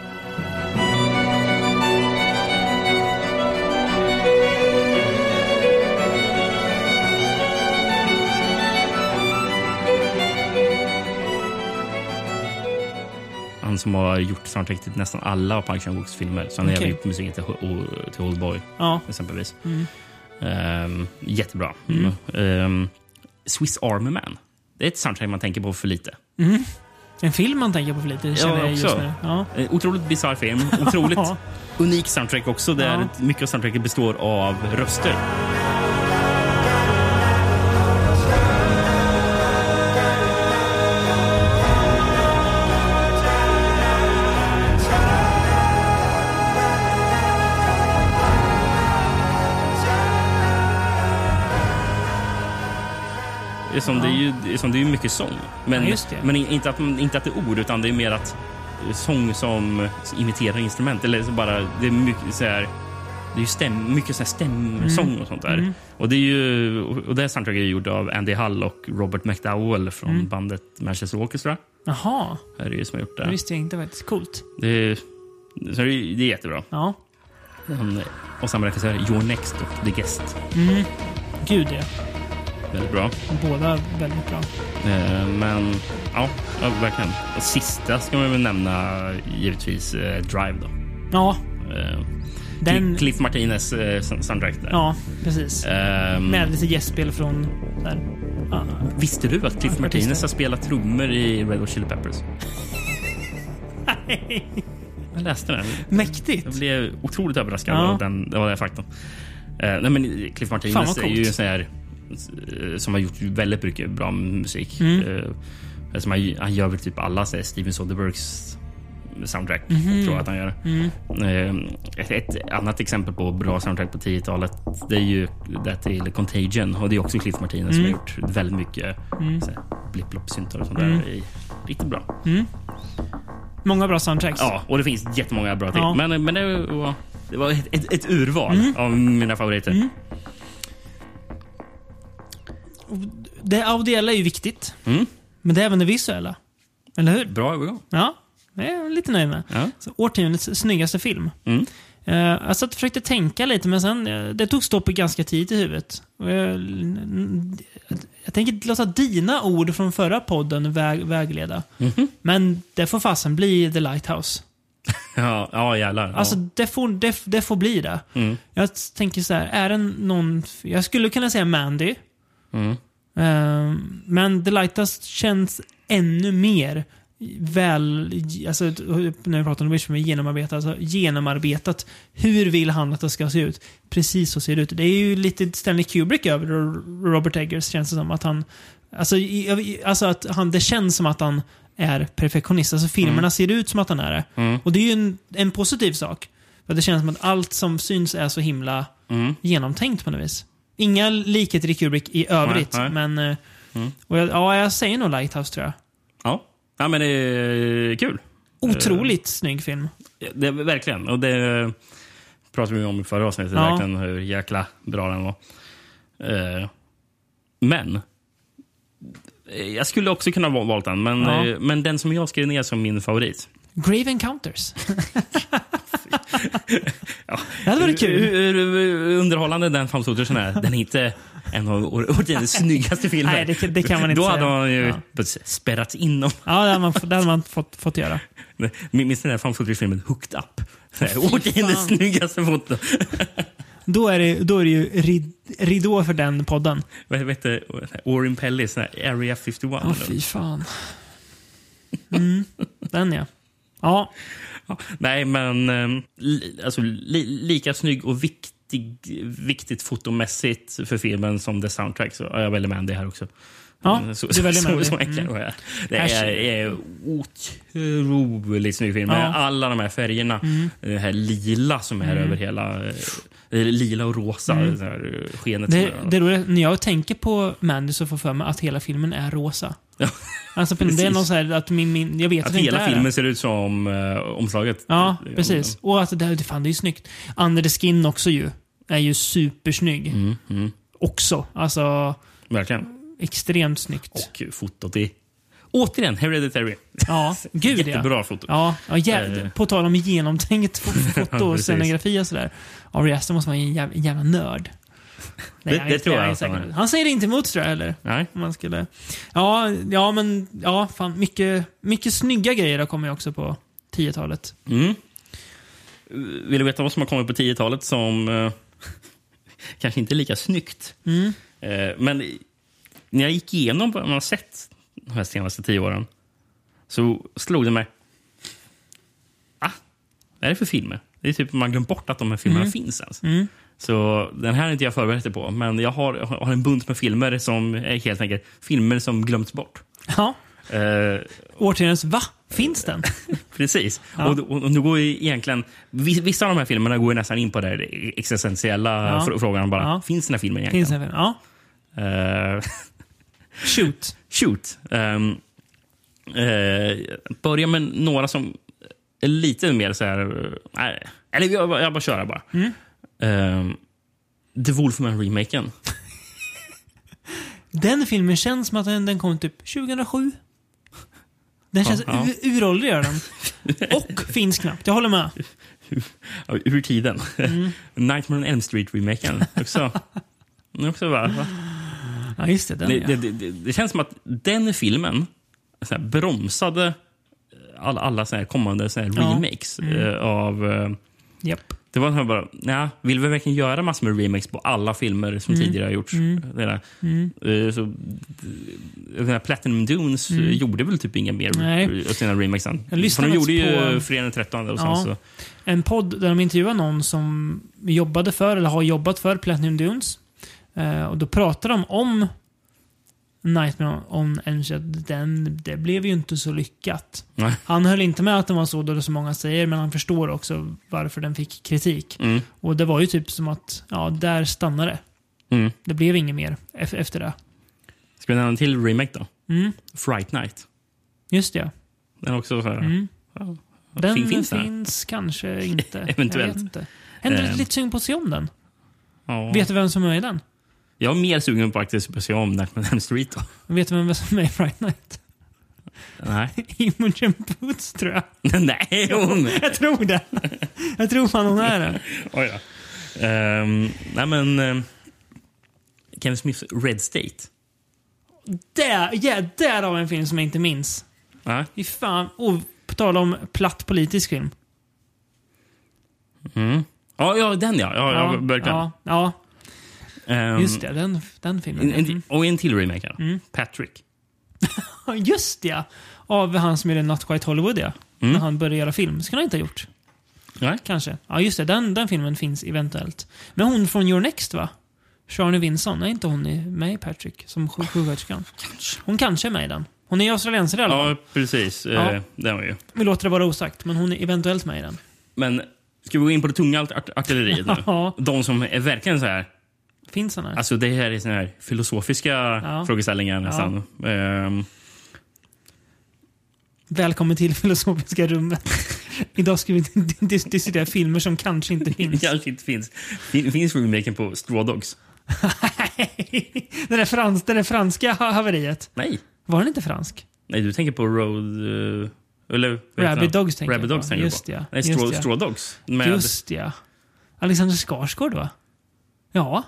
[SPEAKER 2] Han som har gjort soundtrack till nästan alla av Park Chan-wooks filmer. Så han har
[SPEAKER 1] Okej.
[SPEAKER 2] även gjort musiken till, Ho- till Oldboy
[SPEAKER 1] Ja,
[SPEAKER 2] exempelvis.
[SPEAKER 1] Mm.
[SPEAKER 2] Ehm, jättebra. Ehm, Swiss Army Man. Det är ett soundtrack man tänker på för lite.
[SPEAKER 1] en film man tänker på för lite, känner jag just
[SPEAKER 2] också.
[SPEAKER 1] nu. Ja.
[SPEAKER 2] Eh, Otroligt
[SPEAKER 1] (laughs)
[SPEAKER 2] bisarr film. Otroligt
[SPEAKER 1] Ja.
[SPEAKER 2] unik soundtrack också där
[SPEAKER 1] Ja.
[SPEAKER 2] mycket av soundtracket består av röster.
[SPEAKER 3] Thank
[SPEAKER 2] Det är som, det, är ju, det är som, det är ju mycket sång. Men,
[SPEAKER 1] Ja, just det.
[SPEAKER 2] men in- inte, att, man- inte att det är ord, utan det är mer att eh, sång som imiterar instrument. Eller så bara, det är mycket så här, det är ju stäm, mycket så här stämsång
[SPEAKER 1] Mm.
[SPEAKER 2] och sånt där. Och, det är ju, och det här soundtracket är gjort av Andy Hall och Robert McDowell från
[SPEAKER 1] Mm.
[SPEAKER 2] bandet Manchester Orchestra.
[SPEAKER 1] Jaha,
[SPEAKER 2] Det är det ju som har gjort
[SPEAKER 1] det
[SPEAKER 2] det.
[SPEAKER 1] visste jag inte faktiskt. Coolt.
[SPEAKER 2] Det är, så det, är, det är jättebra.
[SPEAKER 1] Ja.
[SPEAKER 2] Han, och samma regissör, Your Next och The Guest.
[SPEAKER 1] Gud ja.
[SPEAKER 2] Väldigt bra.
[SPEAKER 1] Båda väldigt bra.
[SPEAKER 2] Eh, Men ja, ja, verkligen. Och sista ska man väl nämna givetvis eh, Drive då.
[SPEAKER 1] Ja,
[SPEAKER 2] Eh,
[SPEAKER 1] den...
[SPEAKER 2] Cl- Cliff Martinez eh, sound- soundtrack där.
[SPEAKER 1] Ja, precis.
[SPEAKER 2] Ehm,
[SPEAKER 1] Med lite gästspel från... Där. Ja.
[SPEAKER 2] (laughs) Visste du att Cliff
[SPEAKER 1] Ja,
[SPEAKER 2] Martinez
[SPEAKER 1] artister.
[SPEAKER 2] har spelat trummor i Red Hot Chili Peppers? Jag läste den.
[SPEAKER 1] Mäktigt.
[SPEAKER 2] Jag blev otroligt överraskad
[SPEAKER 1] Ja.
[SPEAKER 2] av den, av den faktorn. Eh, nej, men Cliff
[SPEAKER 1] Fan,
[SPEAKER 2] Martinez
[SPEAKER 1] vad
[SPEAKER 2] är
[SPEAKER 1] coolt.
[SPEAKER 2] ju en sån här eh, som har gjort väldigt mycket bra musik.
[SPEAKER 1] Mm.
[SPEAKER 2] Eh, som han, han gör väl typ alla så här, Steven Soderberghs soundtrack,
[SPEAKER 1] Mhm.
[SPEAKER 2] tror jag att han gör.
[SPEAKER 1] Mm.
[SPEAKER 2] Eh, ett, ett annat exempel på bra soundtrack på 10-talet det är ju det till Contagion och det är också Cliff Martinez
[SPEAKER 1] Mm.
[SPEAKER 2] som har gjort väldigt mycket så här, blipp-blopp-syntar och sånt
[SPEAKER 1] Mm.
[SPEAKER 2] där. i- Riktigt bra.
[SPEAKER 1] Många bra soundtracks.
[SPEAKER 2] Ja, och det finns jättemånga bra till.
[SPEAKER 1] Ja. Mm.
[SPEAKER 2] Men, men det var, det var ett, ett, ett urval av mina favoriter.
[SPEAKER 1] Det audiella är ju viktigt.
[SPEAKER 2] Mm.
[SPEAKER 1] Men det är även det visuella. Eller hur?
[SPEAKER 2] Bra övergång.
[SPEAKER 1] Ja, det är jag lite nöjd med.
[SPEAKER 2] Ja.
[SPEAKER 1] Så, årtiondets snyggaste film.
[SPEAKER 2] Mm.
[SPEAKER 1] Eh, jag satt och försökte tänka lite, men sen, eh, det tog stopp ganska tidigt i huvudet. Och jag, n- n- jag tänker låta dina ord från förra podden väg, vägleda.
[SPEAKER 2] Mhm.
[SPEAKER 1] Men det får fasen bli The Lighthouse.
[SPEAKER 2] Ja, ja jävlar. Ja.
[SPEAKER 1] Alltså, det, får, det, det får bli det.
[SPEAKER 2] Mm.
[SPEAKER 1] Jag tänker så här, är det någon... Jag skulle kunna säga Mandy.
[SPEAKER 2] Mm.
[SPEAKER 1] Eh, men The Lighthouse känns ännu mer väl, alltså, när vi pratar om Wish, genomarbetat, alltså, genomarbetat. Hur vill han att det ska se ut? Precis så ser det ut. Det är ju lite Stanley Kubrick över Ro- Robert Eggers, känns det som. Att han, alltså, i- i- alltså att han, det känns som att han är perfektionist. Alltså filmerna ser ut som att han är det.
[SPEAKER 2] Mm.
[SPEAKER 1] Och det är ju en, en positiv sak. För det känns som att allt som syns är så himla
[SPEAKER 2] Mm.
[SPEAKER 1] genomtänkt på något vis. Inga likheter i Kubrick i övrigt,
[SPEAKER 2] Nej, Mm. nej.
[SPEAKER 1] men... eh, Och jag, ja, jag säger nog Lighthouse tror jag.
[SPEAKER 2] Ja. ja, men det är kul. Eh.
[SPEAKER 1] Otroligt snygg film.
[SPEAKER 2] Ja, Det, verkligen. Och det pratade vi om i förra avsnittet,
[SPEAKER 1] Ja.
[SPEAKER 2] verkligen hur jäkla bra den var. Eh, men. eh, Jag skulle också kunna ha valt den, men,
[SPEAKER 1] Ja.
[SPEAKER 2] eh, men den som jag skrev ner som min favorit.
[SPEAKER 1] Grave
[SPEAKER 2] (laughs)
[SPEAKER 1] Encounters. Det hade varit
[SPEAKER 2] Hur,
[SPEAKER 1] kul.
[SPEAKER 2] hur, hur underhållande den fansotelsen är. Den är inte en av år- årtiondets snyggaste filmer.
[SPEAKER 1] Nej, det, det kan man inte
[SPEAKER 2] Då
[SPEAKER 1] säga.
[SPEAKER 2] hade man ju
[SPEAKER 1] Ja,
[SPEAKER 2] spärrats in. Om,
[SPEAKER 1] ja det hade man, det hade man fått, fått göra.
[SPEAKER 2] minns ni den där fansotelfilmen Hooked Up? Årtiondets snyggaste foto.
[SPEAKER 1] Då är det, då är det ju rid, ridå för den podden.
[SPEAKER 2] Vad hette Orin Pellys sån här Area 51?
[SPEAKER 1] Ja, fy fan. Mm, den ja. Ja,
[SPEAKER 2] Ja, Nej, men eh, li, alltså, li, lika snygg och viktig, viktigt fotomässigt för filmen som det soundtrack. Så, ja, jag väljer Mandy här också.
[SPEAKER 1] ja
[SPEAKER 2] Mm, så,
[SPEAKER 1] du väljer
[SPEAKER 2] så,
[SPEAKER 1] Mandy.
[SPEAKER 2] så
[SPEAKER 1] Mm.
[SPEAKER 2] enkel var jag. Det är,
[SPEAKER 1] Här-
[SPEAKER 2] är otroligt snygg film.
[SPEAKER 1] Ja. Mm.
[SPEAKER 2] Med alla de här färgerna. Det här lila som är över hela... eh, Lila och rosa. Det här eh, skenet. som
[SPEAKER 1] Mm. Det,
[SPEAKER 2] är-
[SPEAKER 1] det roliga, när jag tänker på Mandy så får jag för mig att hela filmen är rosa.
[SPEAKER 2] Ja,
[SPEAKER 1] (laughs) Alltså, det är
[SPEAKER 2] precis.
[SPEAKER 1] någon så här att min, min, jag vet att,
[SPEAKER 2] Att
[SPEAKER 1] det inte
[SPEAKER 2] hela
[SPEAKER 1] är det.
[SPEAKER 2] filmen ser ut som eh, omslaget.
[SPEAKER 1] Ja,
[SPEAKER 2] Det- det-
[SPEAKER 1] precis. Och att det, där- fan, det är ju snyggt. Under the Skin också ju. Är ju supersnygg.
[SPEAKER 2] Mm, mm,
[SPEAKER 1] Också. Alltså,
[SPEAKER 2] verkligen.
[SPEAKER 1] extremt snyggt.
[SPEAKER 2] Och fotot i... Återigen, Hereditary. (laughs)
[SPEAKER 1] ja, gud ja.
[SPEAKER 2] Jättebra foto.
[SPEAKER 1] Ja, ja jä-
[SPEAKER 2] Eh.
[SPEAKER 1] på tal om genomtänkt
[SPEAKER 2] (laughs)
[SPEAKER 1] fo- foto och
[SPEAKER 2] Precis.
[SPEAKER 1] scenografi och sådär. Ari Aster måste vara en jävla, en jävla nörd. Nej,
[SPEAKER 2] Det-
[SPEAKER 1] han
[SPEAKER 2] det
[SPEAKER 1] är-
[SPEAKER 2] tror jag
[SPEAKER 1] han är
[SPEAKER 2] att han
[SPEAKER 1] säkert-
[SPEAKER 2] är.
[SPEAKER 1] Han säger inte emot tror jag, eller?
[SPEAKER 2] Nej.
[SPEAKER 1] Om man skulle... Ja, ja men ja, fan, mycket, mycket snygga grejer har kommit också på 10-talet.
[SPEAKER 2] Mm. Vill du veta vad som har kommit på 10-talet som eh, (laughs) kanske inte är lika snyggt? Eh, men när jag gick igenom vad man har sett de här senaste tio åren så slog det mig. Ah, vad är det för filmer? Det är typ man glömt bort att de här filmerna finns ens. Så den här är inte jag förberett dig på, men jag har, jag har en bunt med filmer som är helt enkelt filmer som glömts bort.
[SPEAKER 1] Ja.
[SPEAKER 2] Eh,
[SPEAKER 1] Årtiondets va? Finns (laughs) den?
[SPEAKER 2] Precis.
[SPEAKER 1] Ja.
[SPEAKER 2] Och, och, och nu går ju egentligen, vi- vissa av de här filmerna går ju nästan in på den här existentiella
[SPEAKER 1] Ja.
[SPEAKER 2] fr- frågan. Bara,
[SPEAKER 1] Ja.
[SPEAKER 2] Finns den här filmen
[SPEAKER 1] Finns
[SPEAKER 2] egentligen?
[SPEAKER 1] den? Ja.
[SPEAKER 2] Eh, (laughs)
[SPEAKER 1] Shoot.
[SPEAKER 2] Shoot. Ehm, eh, börja med några som är lite mer så här... eh, Nej, eller jag, jag bara kör bara. Mm. Um, The Wolfman-remaken.
[SPEAKER 1] Den filmen känns som att den, den kom typ 2007. Den känns
[SPEAKER 2] Ja, ja.
[SPEAKER 1] u- uråldrig, gör den. Och finns knappt. Jag håller med.
[SPEAKER 2] Ur tiden.
[SPEAKER 1] Mm.
[SPEAKER 2] (laughs) Nightmare on Elm Street-remaken.
[SPEAKER 1] (laughs)
[SPEAKER 2] Också. också bara, va?
[SPEAKER 1] Ja, just det. Den,
[SPEAKER 2] det,
[SPEAKER 1] ja.
[SPEAKER 2] det, det, det känns som att den filmen så här, bromsade eh, alla, alla så här kommande så här
[SPEAKER 1] Ja. Mm.
[SPEAKER 2] remakes. eh, av, eh,
[SPEAKER 1] Japp.
[SPEAKER 2] det var så här bara, nej, vill vi verkligen göra massor med remakes på alla filmer som
[SPEAKER 1] Mm.
[SPEAKER 2] tidigare har gjorts? Det där. Eh, så, den här Platinum Dunes eh, gjorde väl typ inga mer
[SPEAKER 1] Mm. Nej.
[SPEAKER 2] av sina remakes än.
[SPEAKER 1] Jag lyssnade
[SPEAKER 2] För de gjorde ju
[SPEAKER 1] faktiskt på-
[SPEAKER 2] Fredagen den 13 och
[SPEAKER 1] Ja.
[SPEAKER 2] sen så...
[SPEAKER 1] En podd där de intervjuar någon som jobbade för, eller har jobbat för, Platinum Dunes. Eh, och då pratar de om Nightmare on Elm Street. Den, det blev ju inte så lyckat.
[SPEAKER 2] Nej.
[SPEAKER 1] Han höll inte med att den var så dålig som många säger, men han förstår också varför den fick kritik.
[SPEAKER 2] Mm.
[SPEAKER 1] Och det var ju typ som att, ja, där stannade det.
[SPEAKER 2] Mm.
[SPEAKER 1] Det blev inget mer ef- efter det.
[SPEAKER 2] Ska vi nämna en till remake då?
[SPEAKER 1] Mm,
[SPEAKER 2] Fright Night.
[SPEAKER 1] just det.
[SPEAKER 2] Den är också så här,
[SPEAKER 1] Mm. Den
[SPEAKER 2] fin-
[SPEAKER 1] finns,
[SPEAKER 2] finns den?
[SPEAKER 1] kanske
[SPEAKER 2] (laughs)
[SPEAKER 1] inte.
[SPEAKER 2] Eventuellt.
[SPEAKER 1] Jag vet inte. Händer det
[SPEAKER 2] Ehm.
[SPEAKER 1] lite sugen på att se om den?
[SPEAKER 2] Ja.
[SPEAKER 1] Vet du vem som är med i den?
[SPEAKER 2] Jag är mer sugen på att faktiskt se om Nightmare on Elm Street då.
[SPEAKER 1] Vet du vem som är med i Fright Night? (laughs)
[SPEAKER 2] Nej.
[SPEAKER 1] Imogen Poots tror jag.
[SPEAKER 2] Nej, hon...
[SPEAKER 1] Jag tror det. Jag tror fan hon är det.
[SPEAKER 2] Oj då. Ehm, nej, men... ehm, Kevin Smiths Red State.
[SPEAKER 1] Där, ja, där har vi en film som jag inte minns.
[SPEAKER 2] Nej.
[SPEAKER 1] Fy fan. Och på tal om platt politisk film.
[SPEAKER 2] Mm. Ja, ja, den ja. Ja, ja, verkligen.
[SPEAKER 1] ja, ja,
[SPEAKER 2] Ehm,
[SPEAKER 1] just det. Mm. Den, den filmen.
[SPEAKER 2] En,
[SPEAKER 1] Mm.
[SPEAKER 2] en, och en till remake. här. Patrick.
[SPEAKER 1] Ja, Just det! Av han som gjorde Not Quite Hollywood, ja. När han började göra film. skulle han inte ha gjort.
[SPEAKER 2] Mm. Nej.
[SPEAKER 1] Kanske. Ja, just det. Den, den filmen finns eventuellt. Men hon från Your Next, va? Sharni Vinson. Är inte hon i- med i Patrick? Som sjuk- sjuksköterskan? Hon kanske är med i den. Hon är australiensare i alla fall.
[SPEAKER 2] Ja, precis.
[SPEAKER 1] Ja.
[SPEAKER 2] Eh, den var ju.
[SPEAKER 1] Vi låter det vara osagt, men hon är eventuellt med i den.
[SPEAKER 2] Men ska vi gå in på det tunga art- art- artilleriet nu?
[SPEAKER 1] (laughs) Ja.
[SPEAKER 2] De som är verkligen så här...
[SPEAKER 1] Finns han här?
[SPEAKER 2] Alltså det här är såna här filosofiska frågeställningar nästan. Ehm, (laughs)
[SPEAKER 1] Välkommen till Filosofiska rummet. (laughs) Idag ska vi dis- dis- diskutera filmer som kanske
[SPEAKER 2] (laughs)
[SPEAKER 1] inte finns. (laughs)
[SPEAKER 2] kanske inte finns. Fin, finns remaken på Straw Dogs?
[SPEAKER 1] Den där, frans, den där franska ha- haveriet.
[SPEAKER 2] Nej.
[SPEAKER 1] Var den inte fransk?
[SPEAKER 2] Nej, du tänker på Road... eh, eller, vad heter
[SPEAKER 1] Rabid
[SPEAKER 2] den?
[SPEAKER 1] Dogs tänker jag
[SPEAKER 2] Rabid
[SPEAKER 1] på.
[SPEAKER 2] Dogs tänker
[SPEAKER 1] Just
[SPEAKER 2] du på.
[SPEAKER 1] ja,
[SPEAKER 2] Nej,
[SPEAKER 1] just
[SPEAKER 2] Straw,
[SPEAKER 1] ja.
[SPEAKER 2] Straw Dogs. Med,
[SPEAKER 1] Just ja. Alexander Skarsgård va? Ja.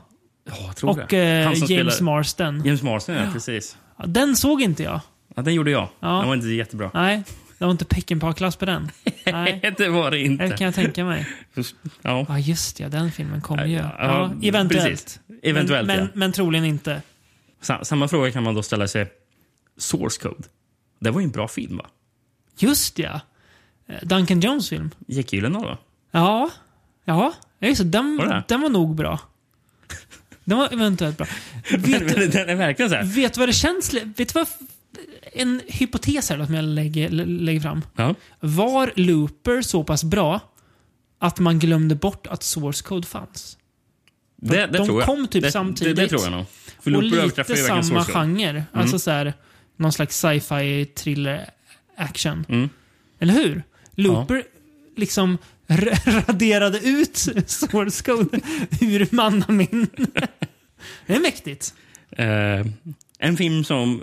[SPEAKER 2] Ja, jag tror
[SPEAKER 1] Och
[SPEAKER 2] det.
[SPEAKER 1] eh,
[SPEAKER 2] Han
[SPEAKER 1] James
[SPEAKER 2] som spelar-
[SPEAKER 1] Marsden.
[SPEAKER 2] James Marsden, ja. Precis.
[SPEAKER 1] Ja, Den såg inte jag.
[SPEAKER 2] Ja, den gjorde jag.
[SPEAKER 1] Ja.
[SPEAKER 2] Den var inte jättebra. (laughs)
[SPEAKER 1] Nej, det var inte Peckinpah-klass på den. Nej,
[SPEAKER 2] det var det inte.
[SPEAKER 1] det kan jag tänka mig.
[SPEAKER 2] Ja.
[SPEAKER 1] Ja, just ja. Den filmen kom ju.
[SPEAKER 2] Ja,
[SPEAKER 1] Ja, eventuellt.
[SPEAKER 2] precis. Eventuellt,
[SPEAKER 1] men, men,
[SPEAKER 2] ja.
[SPEAKER 1] men troligen inte.
[SPEAKER 2] Sa- Samma fråga kan man då ställa sig. Source Code. Det var ju en bra film, va?
[SPEAKER 1] Just ja. Eh, Duncan Jones film.
[SPEAKER 2] Gick Gyllenhaal, va?
[SPEAKER 1] Ja, ja. ja just det. Den,
[SPEAKER 2] Var det?
[SPEAKER 1] den var nog bra. Den var eventuellt bra.
[SPEAKER 2] (laughs) Den,
[SPEAKER 1] Vet,
[SPEAKER 2] den är verkligen så här.
[SPEAKER 1] vet du vad det känns... Vet du vad... En hypotes här då, som jag lägger, lä- lägger fram.
[SPEAKER 2] Ja.
[SPEAKER 1] Var Looper så pass bra att man glömde bort att source code fanns?
[SPEAKER 2] Det, det
[SPEAKER 1] de
[SPEAKER 2] tror jag.
[SPEAKER 1] kom typ
[SPEAKER 2] det,
[SPEAKER 1] samtidigt.
[SPEAKER 2] Det, det tror jag nog. För
[SPEAKER 1] Och
[SPEAKER 2] Looper överträffar
[SPEAKER 1] lite
[SPEAKER 2] ju verkligen
[SPEAKER 1] samma
[SPEAKER 2] Source Code. Mm.
[SPEAKER 1] genre. Alltså så här, någon slags sci-fi thriller action.
[SPEAKER 2] Mm.
[SPEAKER 1] Eller hur? Looper liksom r- (laughs) raderade ut source code (laughs) ur
[SPEAKER 2] (laughs)
[SPEAKER 1] mannamin. Det är mäktigt.
[SPEAKER 2] Eh, en film som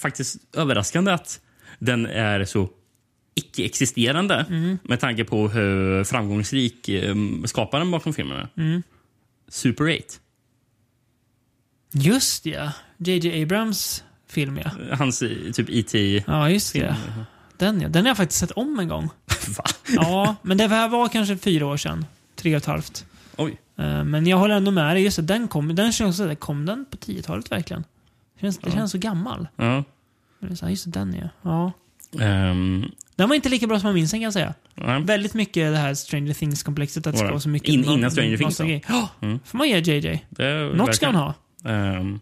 [SPEAKER 2] faktiskt överraskande att den är så icke-existerande
[SPEAKER 1] Mm.
[SPEAKER 2] med tanke på hur framgångsrik eh, skaparen bakom filmen är.
[SPEAKER 1] Mm.
[SPEAKER 2] Super 8.
[SPEAKER 1] Just ja. JJ Abrams film ja.
[SPEAKER 2] Hans eh, typ IT...
[SPEAKER 1] Ja, just det. Den ja. Den har jag faktiskt sett om en gång.
[SPEAKER 2] (laughs) Va?
[SPEAKER 1] Ja, men det här var kanske fyra år sedan. Tre och ett halvt.
[SPEAKER 2] Oj.
[SPEAKER 1] Eh, Men jag håller ändå med dig. Just det, den kom, den känns så där, kom den på 10-talet verkligen? Det känns, det känns så gammal.
[SPEAKER 2] Ja.
[SPEAKER 1] Men det är så här, Just det, den ja. ja.
[SPEAKER 2] Ehm,
[SPEAKER 1] Den var inte lika bra som jag minns den kan jag säga.
[SPEAKER 2] nej.
[SPEAKER 1] Väldigt mycket det här Stranger Things-komplexet. Att det ska
[SPEAKER 2] Var det?
[SPEAKER 1] vara så mycket
[SPEAKER 2] In-
[SPEAKER 1] no-
[SPEAKER 2] innan Stranger Things,
[SPEAKER 1] nostalgi. Ja, får man ge JJ.
[SPEAKER 2] Det är
[SPEAKER 1] Något ska
[SPEAKER 2] verkligen-
[SPEAKER 1] han ha.
[SPEAKER 2] Ehm,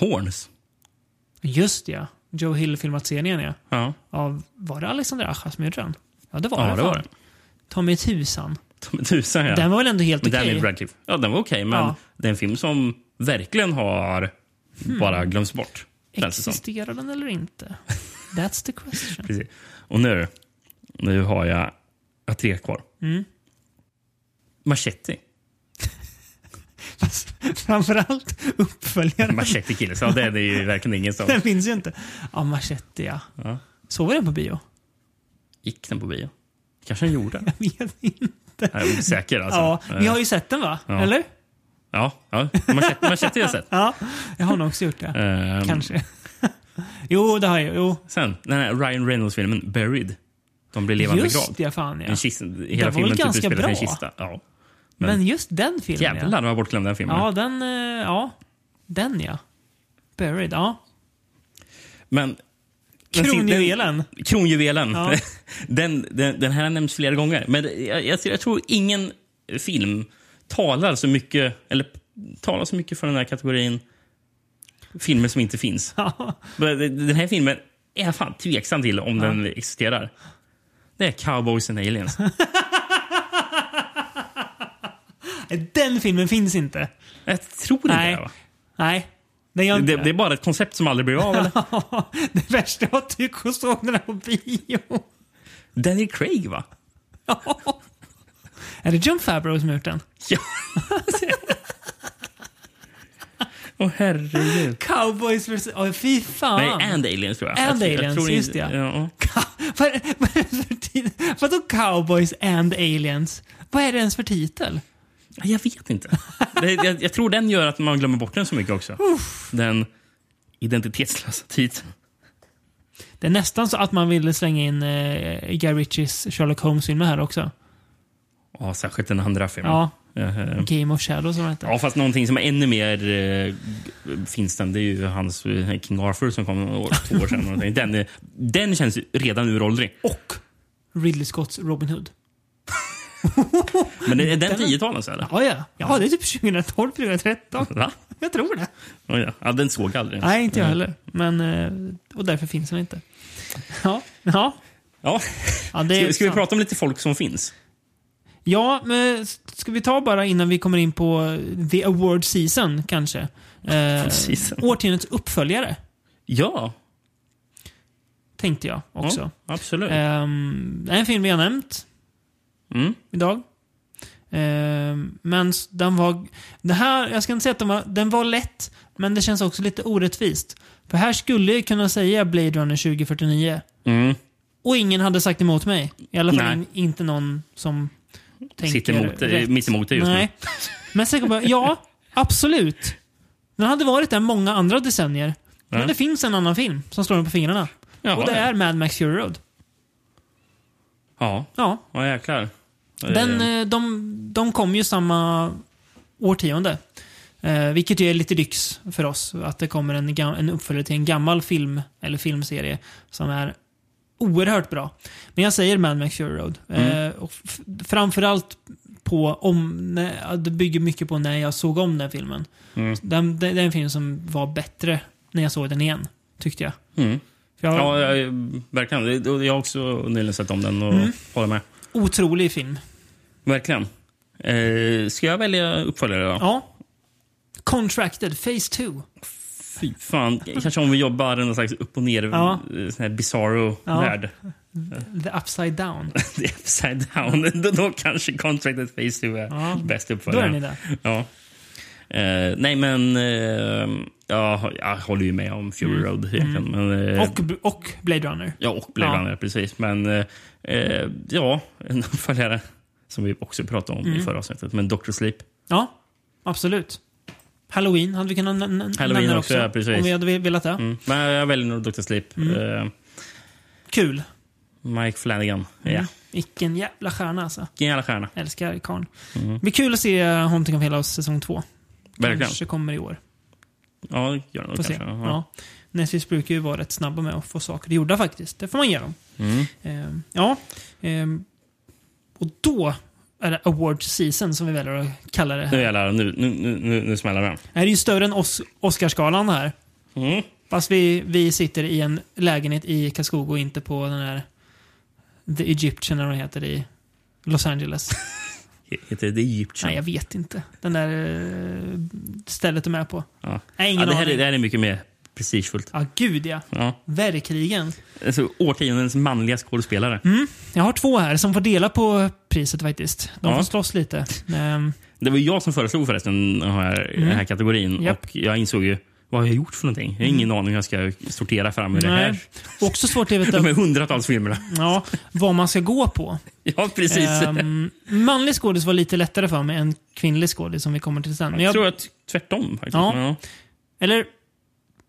[SPEAKER 2] Horns.
[SPEAKER 1] Just det, ja. Joe Hill-filmatiseringen ja.
[SPEAKER 2] Ja. (laughs)
[SPEAKER 1] Av, var det Alexander Acha som gjorde den? Ja, det var
[SPEAKER 2] Ja,
[SPEAKER 1] det.
[SPEAKER 2] det
[SPEAKER 1] fan.
[SPEAKER 2] var det.
[SPEAKER 1] Ta mig tusan.
[SPEAKER 2] Tom- Tusen ja.
[SPEAKER 1] Den var väl ändå helt
[SPEAKER 2] Med
[SPEAKER 1] okej?
[SPEAKER 2] Daniel Radcliffe. Ja, den var okej, men
[SPEAKER 1] Ja.
[SPEAKER 2] det är en film som verkligen har
[SPEAKER 1] Hmm.
[SPEAKER 2] bara glöms bort. Känns det som.
[SPEAKER 1] Existerar den eller inte?
[SPEAKER 2] (laughs)
[SPEAKER 1] That's the question.
[SPEAKER 2] alltså. Precis. Och nu, nu har jag, jag har tre kvar.
[SPEAKER 1] Mm.
[SPEAKER 2] Machete.
[SPEAKER 1] Framförallt uppföljaren.
[SPEAKER 2] Machete kille. Så det är det ju verkligen ingen
[SPEAKER 1] (laughs)
[SPEAKER 2] som...
[SPEAKER 1] Den finns ju inte. Ja, Machete ja.
[SPEAKER 2] Ja.
[SPEAKER 1] Såg vi den på bio? (laughs)
[SPEAKER 2] Gick den på bio? kanske den gjorde.
[SPEAKER 1] Jag vet inte.
[SPEAKER 2] Jag är osäker alltså.
[SPEAKER 1] Ja, vi
[SPEAKER 2] Eh,
[SPEAKER 1] har ju sett den va?
[SPEAKER 2] Ja.
[SPEAKER 1] Eller?
[SPEAKER 2] ja, ja. Machete, machete har jag sett.
[SPEAKER 1] Ja, jag har nog också
[SPEAKER 2] (laughs)
[SPEAKER 1] gjort det.
[SPEAKER 2] Ehm,
[SPEAKER 1] Kanske. (laughs) jo, det har jag. Jo.
[SPEAKER 2] Sen, den här Ryan Reynolds-filmen Buried. De blir levande
[SPEAKER 1] Just
[SPEAKER 2] begravd.
[SPEAKER 1] det, fan ja.
[SPEAKER 2] En kista,
[SPEAKER 1] var
[SPEAKER 2] hela
[SPEAKER 1] väl
[SPEAKER 2] filmen typ
[SPEAKER 1] ganska
[SPEAKER 2] utspelar sig i en
[SPEAKER 1] bra.
[SPEAKER 2] kista. Ja.
[SPEAKER 1] Men just den filmen
[SPEAKER 2] Jävlar vad bortglömd den filmen
[SPEAKER 1] ja.
[SPEAKER 2] är.
[SPEAKER 1] Ja, den, eh, ja. Den ja. Buried, ja.
[SPEAKER 2] Men... den fin- den-
[SPEAKER 1] Kronjuvelen.
[SPEAKER 2] Kronjuvelen.
[SPEAKER 1] Ja.
[SPEAKER 2] (laughs) Den, den, den här nämns flera gånger. Men det- jag, jag, jag tror ingen film talar så mycket eller talar så mycket för den här kategorin filmer som inte finns.
[SPEAKER 1] Ja.
[SPEAKER 2] Men det- Den här filmen är jag fan tveksam till om den existerar. Det är Cowboys and Aliens.
[SPEAKER 1] (laughs) Den filmen finns inte.
[SPEAKER 2] Jag tror inte
[SPEAKER 1] Nej.
[SPEAKER 2] det. Va?
[SPEAKER 1] Nej. Den gör inte
[SPEAKER 2] Det, det är bara ett koncept som aldrig blir av. Eller?
[SPEAKER 1] (laughs) det värsta var att Tycho såg den här på bio.
[SPEAKER 2] Daniel Craig, va?
[SPEAKER 1] Ja. Är det John Favreau som har gjort den?
[SPEAKER 2] Ja. Åh, herregud.
[SPEAKER 1] Cowboys vs... Åh, fy fan.
[SPEAKER 2] Nej, and aliens tror jag.
[SPEAKER 1] And
[SPEAKER 2] jag,
[SPEAKER 1] Aliens, just det, ja.
[SPEAKER 2] ja.
[SPEAKER 1] Ka- (laughs) vad, är- vad är det för titel? Vadå cowboys and aliens? Vad är det ens för titel?
[SPEAKER 2] Jag vet inte. Det, jag, jag tror den gör att man glömmer bort den så mycket också. Den identitetslösa titeln.
[SPEAKER 1] Det är nästan så att man ville slänga in eh, Guy Ritchies Sherlock Holmes-filmer här också.
[SPEAKER 2] Ja, särskilt den andra filmen.
[SPEAKER 1] Ja,
[SPEAKER 2] Eh,
[SPEAKER 1] Game of Shadows som det hette.
[SPEAKER 2] Ja, fast någonting som är ännu mer eh, g- finns den, det är ju hans eh, King Arthur som kom några år, två år sedan. någonting. Den, eh, den känns ju redan uråldrig.
[SPEAKER 1] Och Ridley Scotts Robin Hood.
[SPEAKER 2] Men är den
[SPEAKER 1] Den-
[SPEAKER 2] 10-talen så eller?
[SPEAKER 1] Ja, ja. ja, det är typ 2012, 2013.
[SPEAKER 2] Va?
[SPEAKER 1] Jag tror det.
[SPEAKER 2] Oj, ja. ja, den såg jag aldrig.
[SPEAKER 1] Nej, inte jag heller. Men, eh, och därför finns den inte. Ja, ja.
[SPEAKER 2] Ja.
[SPEAKER 1] ja det är
[SPEAKER 2] Ska, ska vi
[SPEAKER 1] sant.
[SPEAKER 2] prata om lite folk som finns?
[SPEAKER 1] Ja, men ska vi ta bara innan vi kommer in på the award season kanske? Eh,
[SPEAKER 2] Season.
[SPEAKER 1] årtiondets uppföljare,
[SPEAKER 2] Ja,
[SPEAKER 1] tänkte jag också.
[SPEAKER 2] ja absolut.
[SPEAKER 1] Ehm, det är en film vi har nämnt
[SPEAKER 2] Mm.
[SPEAKER 1] idag. Ehm, men s- den var... Det här, jag ska inte säga att den var, den var lätt, men det känns också lite orättvist. För här skulle jag kunna säga Blade Runner 2049.
[SPEAKER 2] Mm.
[SPEAKER 1] Och ingen hade sagt emot mig. I alla fall
[SPEAKER 2] Nej.
[SPEAKER 1] in- inte någon som tänker
[SPEAKER 2] Sitter emot, eh,
[SPEAKER 1] rätt.
[SPEAKER 2] mitt emot dig just
[SPEAKER 1] Nej.
[SPEAKER 2] nu.
[SPEAKER 1] Men sen kom jag, ja, absolut. Den hade varit där många andra decennier. Men
[SPEAKER 2] Ja.
[SPEAKER 1] det finns en annan film som slår den på fingrarna.
[SPEAKER 2] Ja,
[SPEAKER 1] och det
[SPEAKER 2] ja.
[SPEAKER 1] är Mad Max Fury Road.
[SPEAKER 2] Ja,
[SPEAKER 1] Ja,
[SPEAKER 2] ja jäklar.
[SPEAKER 1] den,
[SPEAKER 2] Eh,
[SPEAKER 1] eh, de, de kom ju samma årtionde. Eh, vilket ju är lite lyx för oss. Att det kommer en, gam- en uppföljare till en gammal film eller filmserie som är oerhört bra. Men jag säger Mad Max Fury Road. Eh, och f- framförallt på om, när, det bygger mycket på när jag såg om den filmen.
[SPEAKER 2] Mm.
[SPEAKER 1] Den, den, den film som var bättre när jag såg den igen, tyckte jag.
[SPEAKER 2] mm.
[SPEAKER 1] För jag
[SPEAKER 2] Ja, jag, verkligen. Det- och Jag har också nyligen sett om den och
[SPEAKER 1] Mm.
[SPEAKER 2] håller med.
[SPEAKER 1] Otrolig film.
[SPEAKER 2] Verkligen. Eh, ska jag välja uppföljare då?
[SPEAKER 1] Ja. Contracted, Phase 2.
[SPEAKER 2] Fy fan. Kanske om vi jobbar i någon slags upp och ner,
[SPEAKER 1] Ja.
[SPEAKER 2] eh, sån här bizarro-värld.
[SPEAKER 1] The Upside Down.
[SPEAKER 2] (laughs) Det är upside down. (laughs) då, då kanske Contracted Phase 2 är
[SPEAKER 1] Ja,
[SPEAKER 2] bäst
[SPEAKER 1] Då är
[SPEAKER 2] uppföljare.
[SPEAKER 1] ni där.
[SPEAKER 2] Ja. Eh, nej, men eh, ja, jag håller ju med om Fury Road egentligen. Men,
[SPEAKER 1] Mm.
[SPEAKER 2] eh,
[SPEAKER 1] Och, och Blade Runner.
[SPEAKER 2] Ja, och Blade
[SPEAKER 1] Ja.
[SPEAKER 2] Runner, precis. Men eh, eh, ja, (laughs) en uppföljare som vi också pratade om
[SPEAKER 1] Mm.
[SPEAKER 2] i förra avsnittet. Men Dr. Sleep.
[SPEAKER 1] Ja, absolut. Halloween hade vi kunnat n- n-
[SPEAKER 2] Halloween
[SPEAKER 1] nämna
[SPEAKER 2] också, ja, precis.
[SPEAKER 1] Om vi hade ve- velat det.
[SPEAKER 2] Mm. Men jag väljer nog Dr. Sleep.
[SPEAKER 1] Mm.
[SPEAKER 2] Eh,
[SPEAKER 1] Kul.
[SPEAKER 2] Mike Flanagan.
[SPEAKER 1] Mm.
[SPEAKER 2] Ja,
[SPEAKER 1] Vilken jävla stjärna alltså.
[SPEAKER 2] vilken jävla stjärna.
[SPEAKER 1] Älskar karln. Det blir kul att se Haunting of Hill House säsong 2.
[SPEAKER 2] Mm. Verkligen.
[SPEAKER 1] Kanske kommer i år.
[SPEAKER 2] Ja, det gör han nog
[SPEAKER 1] Får
[SPEAKER 2] kanske.
[SPEAKER 1] se. Ja.
[SPEAKER 2] Ja.
[SPEAKER 1] Netflix brukar ju vara rätt snabba med att få saker gjorda faktiskt. Det får man ge dem.
[SPEAKER 2] Mm.
[SPEAKER 1] Ehm, ja. Ehm, och då är det award season som vi väljer att kalla det.
[SPEAKER 2] Nu
[SPEAKER 1] Här.
[SPEAKER 2] jävlar, nu, nu, nu, nu, nu smäller den.
[SPEAKER 1] Det här är ju större än Os- Oscarsgalan det här.
[SPEAKER 2] Mm.
[SPEAKER 1] Fast vi, vi sitter i en lägenhet i Karlskoga och
[SPEAKER 2] (laughs)
[SPEAKER 1] inte på den här The Egyptian eller vad den heter i Los Angeles.
[SPEAKER 2] Heter det The Egyptian?
[SPEAKER 1] Nej, jag vet inte. Den där eh, stället de är på.
[SPEAKER 2] ja.
[SPEAKER 1] Nej, ingen
[SPEAKER 2] ja, det, här är,
[SPEAKER 1] aning.
[SPEAKER 2] det här är mycket mer prestigefullt.
[SPEAKER 1] Ja, gud ja.
[SPEAKER 2] Ja.
[SPEAKER 1] Verkligen.
[SPEAKER 2] Alltså, årtiondens manliga skådespelare.
[SPEAKER 1] Jag har två här som får dela på priset faktiskt. De
[SPEAKER 2] Ja.
[SPEAKER 1] får slåss lite. Ehm,
[SPEAKER 2] Det var ju jag som föreslog förresten den här, den här kategorin.
[SPEAKER 1] Mm. Japp. Mm.
[SPEAKER 2] Och jag insåg ju, vad har jag gjort för någonting? Jag har ingen aning hur jag ska sortera fram ur det här.
[SPEAKER 1] nej. Också svårt att
[SPEAKER 2] (laughs)
[SPEAKER 1] veta
[SPEAKER 2] De här hundratals filmerna.
[SPEAKER 1] ja, vad man ska gå på.
[SPEAKER 2] Ja, precis.
[SPEAKER 1] Ehm, manlig skådis var lite lättare för mig än kvinnlig skådis som vi kommer till sen. Men
[SPEAKER 2] jag
[SPEAKER 1] jag,
[SPEAKER 2] tror att tvärtom faktiskt.
[SPEAKER 1] Ja.
[SPEAKER 2] Ja.
[SPEAKER 1] Eller?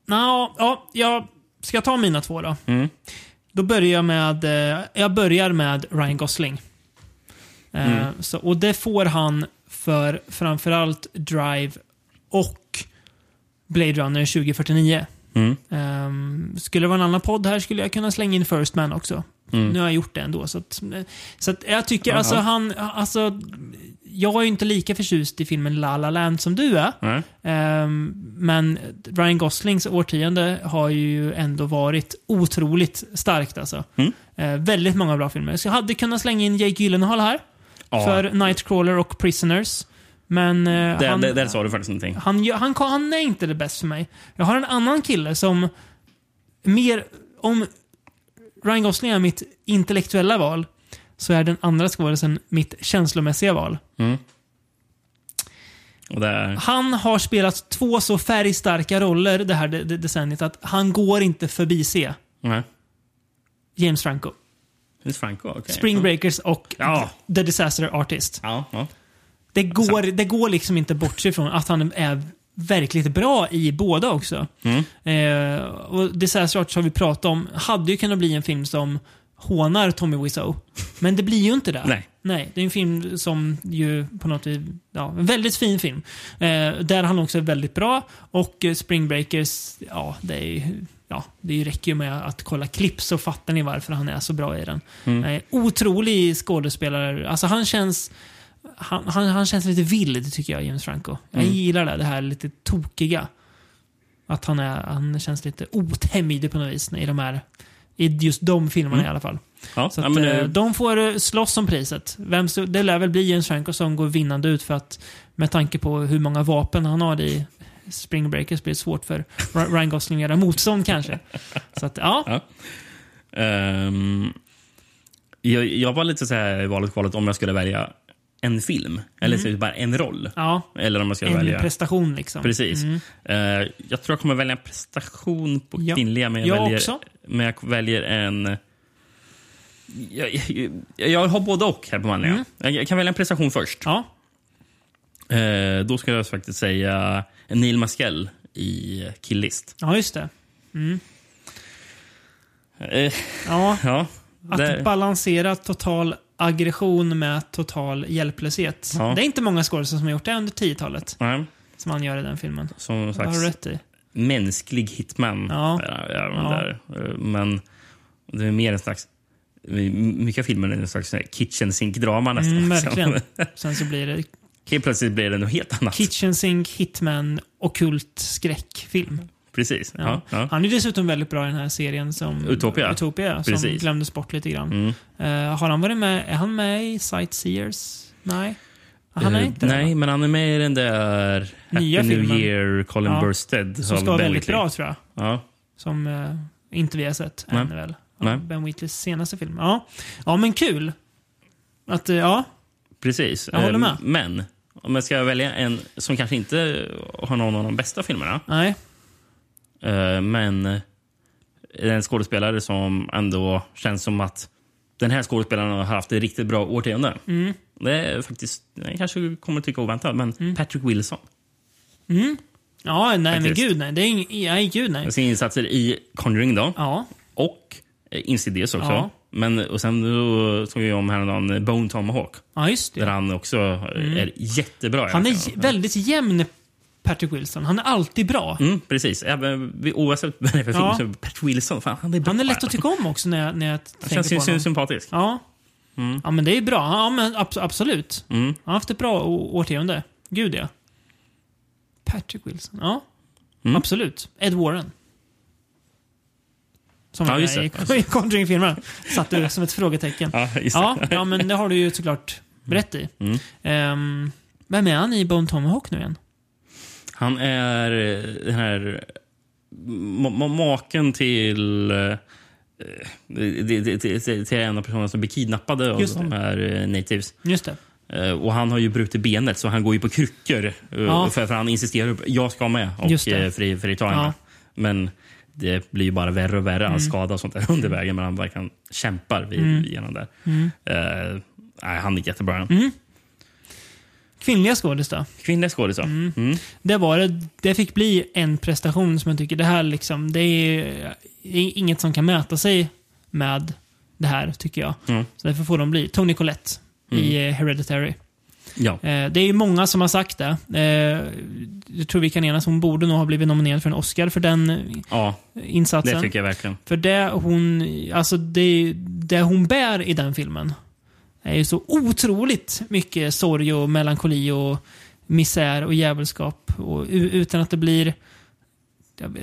[SPEAKER 1] Nå, ja, jag ska jag ta mina två då.
[SPEAKER 2] Mm.
[SPEAKER 1] Då börjar jag med, eh, jag börjar med Ryan Gosling. Eh,
[SPEAKER 2] Mm.
[SPEAKER 1] så, och det får han för framförallt Drive och Blade Runner 2049.
[SPEAKER 2] Mm.
[SPEAKER 1] Ehm, skulle det vara en annan podd här skulle jag kunna slänga in First Man också.
[SPEAKER 2] Mm.
[SPEAKER 1] Nu har jag gjort det ändå. Så, att, så att jag tycker
[SPEAKER 2] Ja,
[SPEAKER 1] alltså
[SPEAKER 2] ja.
[SPEAKER 1] han, alltså, jag är ju inte lika förtjust i filmen La La Land som du är.
[SPEAKER 2] Ja.
[SPEAKER 1] Ehm, men Ryan Goslings årtionde har ju ändå varit otroligt starkt alltså.
[SPEAKER 2] Mm.
[SPEAKER 1] Eh, väldigt många bra filmer. Så jag hade kunnat slänga in Jake Gyllenhaal här.
[SPEAKER 2] Ja. Mm.
[SPEAKER 1] För Nightcrawler och Prisoners. Men eh,
[SPEAKER 2] Där,
[SPEAKER 1] han,
[SPEAKER 2] där, där sa du faktiskt någonting.
[SPEAKER 1] han, gör- han, han, är inte det bäst för mig. Jag har en annan kille som mer... Om Ryan Gosling är mitt intellektuella val så är den andra skådisen mitt känslomässiga val.
[SPEAKER 2] Och där,
[SPEAKER 1] Han har spelat två så färgstarka roller det här de- de- decenniet att han går inte förbi se
[SPEAKER 2] nej.
[SPEAKER 1] James Franco.
[SPEAKER 2] Det är Franco, okej.
[SPEAKER 1] Spring Breakers och
[SPEAKER 2] Ja.
[SPEAKER 1] The Disaster Artist.
[SPEAKER 2] Ja, ja.
[SPEAKER 1] Det går, det går liksom inte bort ifrån att han är verkligt bra i båda också.
[SPEAKER 2] Mm.
[SPEAKER 1] Eh, och Disaster Artist har vi pratat om. Hade ju kunnat bli en film som hånar Tommy Wiseau. Men det blir ju inte det.
[SPEAKER 2] (laughs) Nej.
[SPEAKER 1] Nej, det är en film som ju på något vis, ja, en väldigt fin film. Eh, där han också är väldigt bra och eh, Spring Breakers, ja, det är ju, ja, det räcker ju med att kolla klipp så fattar ni varför han är så bra i den. Eh, otrolig skådespelare, alltså han känns han, han, han känns lite vild tycker jag, James Franco. Jag gillar det, det här lite tokiga. Att han, är, han känns lite otämjd på något vis i de här, i just de filmerna i alla fall.
[SPEAKER 2] ja.
[SPEAKER 1] Så
[SPEAKER 2] ja
[SPEAKER 1] att,
[SPEAKER 2] men,
[SPEAKER 1] eh,
[SPEAKER 2] det-
[SPEAKER 1] de får eh, slåss om priset. Vem, så- det lär väl bli James Franco som går vinnande ut för att med tanke på hur många vapen han har i Spring Breakers blir det svårt för Ra- Ryan Gosling att göra motstånd kanske. Så att, ja. eh,
[SPEAKER 2] Ehm, jag, jag var lite så här i valet och kvalet om jag skulle välja en film. Eller
[SPEAKER 1] Mm.
[SPEAKER 2] så är det bara en roll.
[SPEAKER 1] ja.
[SPEAKER 2] Eller om jag skulle
[SPEAKER 1] En
[SPEAKER 2] välja...
[SPEAKER 1] prestation liksom.
[SPEAKER 2] Precis. Eh, jag tror jag kommer välja en prestation på
[SPEAKER 1] Ja.
[SPEAKER 2] kvinnliga, men jag,
[SPEAKER 1] Jag
[SPEAKER 2] väljer,
[SPEAKER 1] också.
[SPEAKER 2] men jag väljer en... Jag, jag, jag har både och här på manliga.
[SPEAKER 1] Mm.
[SPEAKER 2] Jag, jag kan välja en prestation först.
[SPEAKER 1] Ja.
[SPEAKER 2] Eh, då ska jag faktiskt säga Neil Maskell i Kill List.
[SPEAKER 1] ja, just det.
[SPEAKER 2] Eh,
[SPEAKER 1] Ja.
[SPEAKER 2] ja,
[SPEAKER 1] Att
[SPEAKER 2] där-
[SPEAKER 1] balansera total aggression med total hjälplöshet.
[SPEAKER 2] Ja.
[SPEAKER 1] Det är inte många skådespelare som har gjort det under 10-talet.
[SPEAKER 2] nej,
[SPEAKER 1] Som han gör i den filmen.
[SPEAKER 2] som någon
[SPEAKER 1] Det
[SPEAKER 2] slags
[SPEAKER 1] har du rätt i.
[SPEAKER 2] mänsklig hitman.
[SPEAKER 1] Ja.
[SPEAKER 2] Är, är man Där. Eh, Men det är mer en slags... Mycket av filmen är en slags sån här kitchen sink-drama nästan.
[SPEAKER 1] Mm,
[SPEAKER 2] liksom.
[SPEAKER 1] verkligen. Sen så blir det
[SPEAKER 2] (laughs) Helt plötsligt blir det något helt annat.
[SPEAKER 1] Kitchen Sink, Hitman, okult skräckfilm.
[SPEAKER 2] Precis.
[SPEAKER 1] Ja.
[SPEAKER 2] Ja. Ja.
[SPEAKER 1] Han är dessutom väldigt bra i den här serien som
[SPEAKER 2] Utopia.
[SPEAKER 1] Utopia som
[SPEAKER 2] Precis.
[SPEAKER 1] glömdes bort lite grann.
[SPEAKER 2] Mm.
[SPEAKER 1] Eh, har han varit med? Är han med i Sightseers? Nej. Han är
[SPEAKER 2] Eh,
[SPEAKER 1] inte det,
[SPEAKER 2] Nej,
[SPEAKER 1] va?
[SPEAKER 2] men han är med i den där Happy
[SPEAKER 1] Nya
[SPEAKER 2] New
[SPEAKER 1] filmen.
[SPEAKER 2] Year, Colin
[SPEAKER 1] Ja.
[SPEAKER 2] Burstead.
[SPEAKER 1] Som
[SPEAKER 2] av
[SPEAKER 1] ska vara
[SPEAKER 2] Ben
[SPEAKER 1] väldigt
[SPEAKER 2] Wheatley.
[SPEAKER 1] bra tror jag.
[SPEAKER 2] Ja.
[SPEAKER 1] Som eh, inte vi har sett
[SPEAKER 2] Nej.
[SPEAKER 1] än väl.
[SPEAKER 2] Nej.
[SPEAKER 1] Ben Wheatleys senaste film. Ja, ja men kul. Att, eh, ja,
[SPEAKER 2] Precis.
[SPEAKER 1] Jag håller
[SPEAKER 2] Eh,
[SPEAKER 1] med.
[SPEAKER 2] Men om jag ska välja en som kanske inte har någon av de bästa filmerna,
[SPEAKER 1] nej.
[SPEAKER 2] eh, men är en skådespelare som ändå känns som att den här skådespelaren har haft ett riktigt bra årtionde.
[SPEAKER 1] Mm.
[SPEAKER 2] Det är faktiskt, jag kanske kommer tycka oväntat, men Patrick Wilson.
[SPEAKER 1] Ja, nej men
[SPEAKER 2] Faktiskt.
[SPEAKER 1] gud nej. Det är ing- nej, gud nej.
[SPEAKER 2] Med sina insatser i Conjuring då.
[SPEAKER 1] Ja,
[SPEAKER 2] och eh, Insidious också.
[SPEAKER 1] Ja.
[SPEAKER 2] Men, och sen då såg jag om häromdagen eh, Bone Tomahawk,
[SPEAKER 1] ja just det.
[SPEAKER 2] där han också eh, är jättebra.
[SPEAKER 1] Han är
[SPEAKER 2] verkligen.
[SPEAKER 1] j- väldigt jämn, Patrick Wilson. Han är alltid bra.
[SPEAKER 2] Mm, precis. Även, vid- (laughs) oavsett vad det är för
[SPEAKER 1] Ja.
[SPEAKER 2] film, så Pat Wilson, fan, han är bra.
[SPEAKER 1] Han är lätt att tycka om också när jag, när jag
[SPEAKER 2] Han
[SPEAKER 1] tänker
[SPEAKER 2] känns ju Mm.
[SPEAKER 1] på
[SPEAKER 2] sy-
[SPEAKER 1] honom.
[SPEAKER 2] sympatisk.
[SPEAKER 1] Ja. ja, men det är bra. Ja, men abs- absolut.
[SPEAKER 2] Mm.
[SPEAKER 1] Han har haft ett bra å- årtionde. Gud ja. Patrick Wilson. Ja,
[SPEAKER 2] Mm.
[SPEAKER 1] absolut. Ed Warren. Som
[SPEAKER 2] Ja,
[SPEAKER 1] var
[SPEAKER 2] just
[SPEAKER 1] med i
[SPEAKER 2] det.
[SPEAKER 1] i Conjuring-filmen. Satt du som ett frågetecken.
[SPEAKER 2] Ja, just det.
[SPEAKER 1] Ja, ja, men det har du ju såklart rätt i.
[SPEAKER 2] Mm.
[SPEAKER 1] Ehm, vem är han i Bone Tomahawk nu igen?
[SPEAKER 2] Han är eh, den här ma- ma- maken till, eh, till, till, till, till en av personerna som blir kidnappade av
[SPEAKER 1] Just det.
[SPEAKER 2] de här eh, natives.
[SPEAKER 1] Just det.
[SPEAKER 2] Eh, Och han har ju brutit benet så han går ju på kryckor. eh,
[SPEAKER 1] Ja.
[SPEAKER 2] För, för han insisterar på jag ska med
[SPEAKER 1] Just
[SPEAKER 2] och
[SPEAKER 1] det.
[SPEAKER 2] eh, fri, frita
[SPEAKER 1] Ja. Mm.
[SPEAKER 2] henne. Men det blir ju bara värre och värre. Han skadar och sånt där (laughs) under vägen men han verkligen kämpar vid, genom det.
[SPEAKER 1] Mm.
[SPEAKER 2] Eh, nej, han är jättebra.
[SPEAKER 1] Kvinnliga skådis då?
[SPEAKER 2] Kvinnliga skådisar. Mm.
[SPEAKER 1] Det var det. Det fick bli en prestation som jag tycker, det här liksom, det är, det är inget som kan mäta sig med det här tycker jag.
[SPEAKER 2] Mm.
[SPEAKER 1] Så därför får de bli. Tony Collette i eh, Hereditary.
[SPEAKER 2] Ja.
[SPEAKER 1] Eh, det är ju många som har sagt det. Eh, jag tror vi kan enas, hon borde nog ha blivit nominerad för en Oscar för den eh,
[SPEAKER 2] ja,
[SPEAKER 1] insatsen.
[SPEAKER 2] det tycker jag verkligen.
[SPEAKER 1] För det hon, alltså det, det hon bär i den filmen är ju så otroligt mycket sorg och melankoli och misär och djävulskap. Och, u- utan att det blir...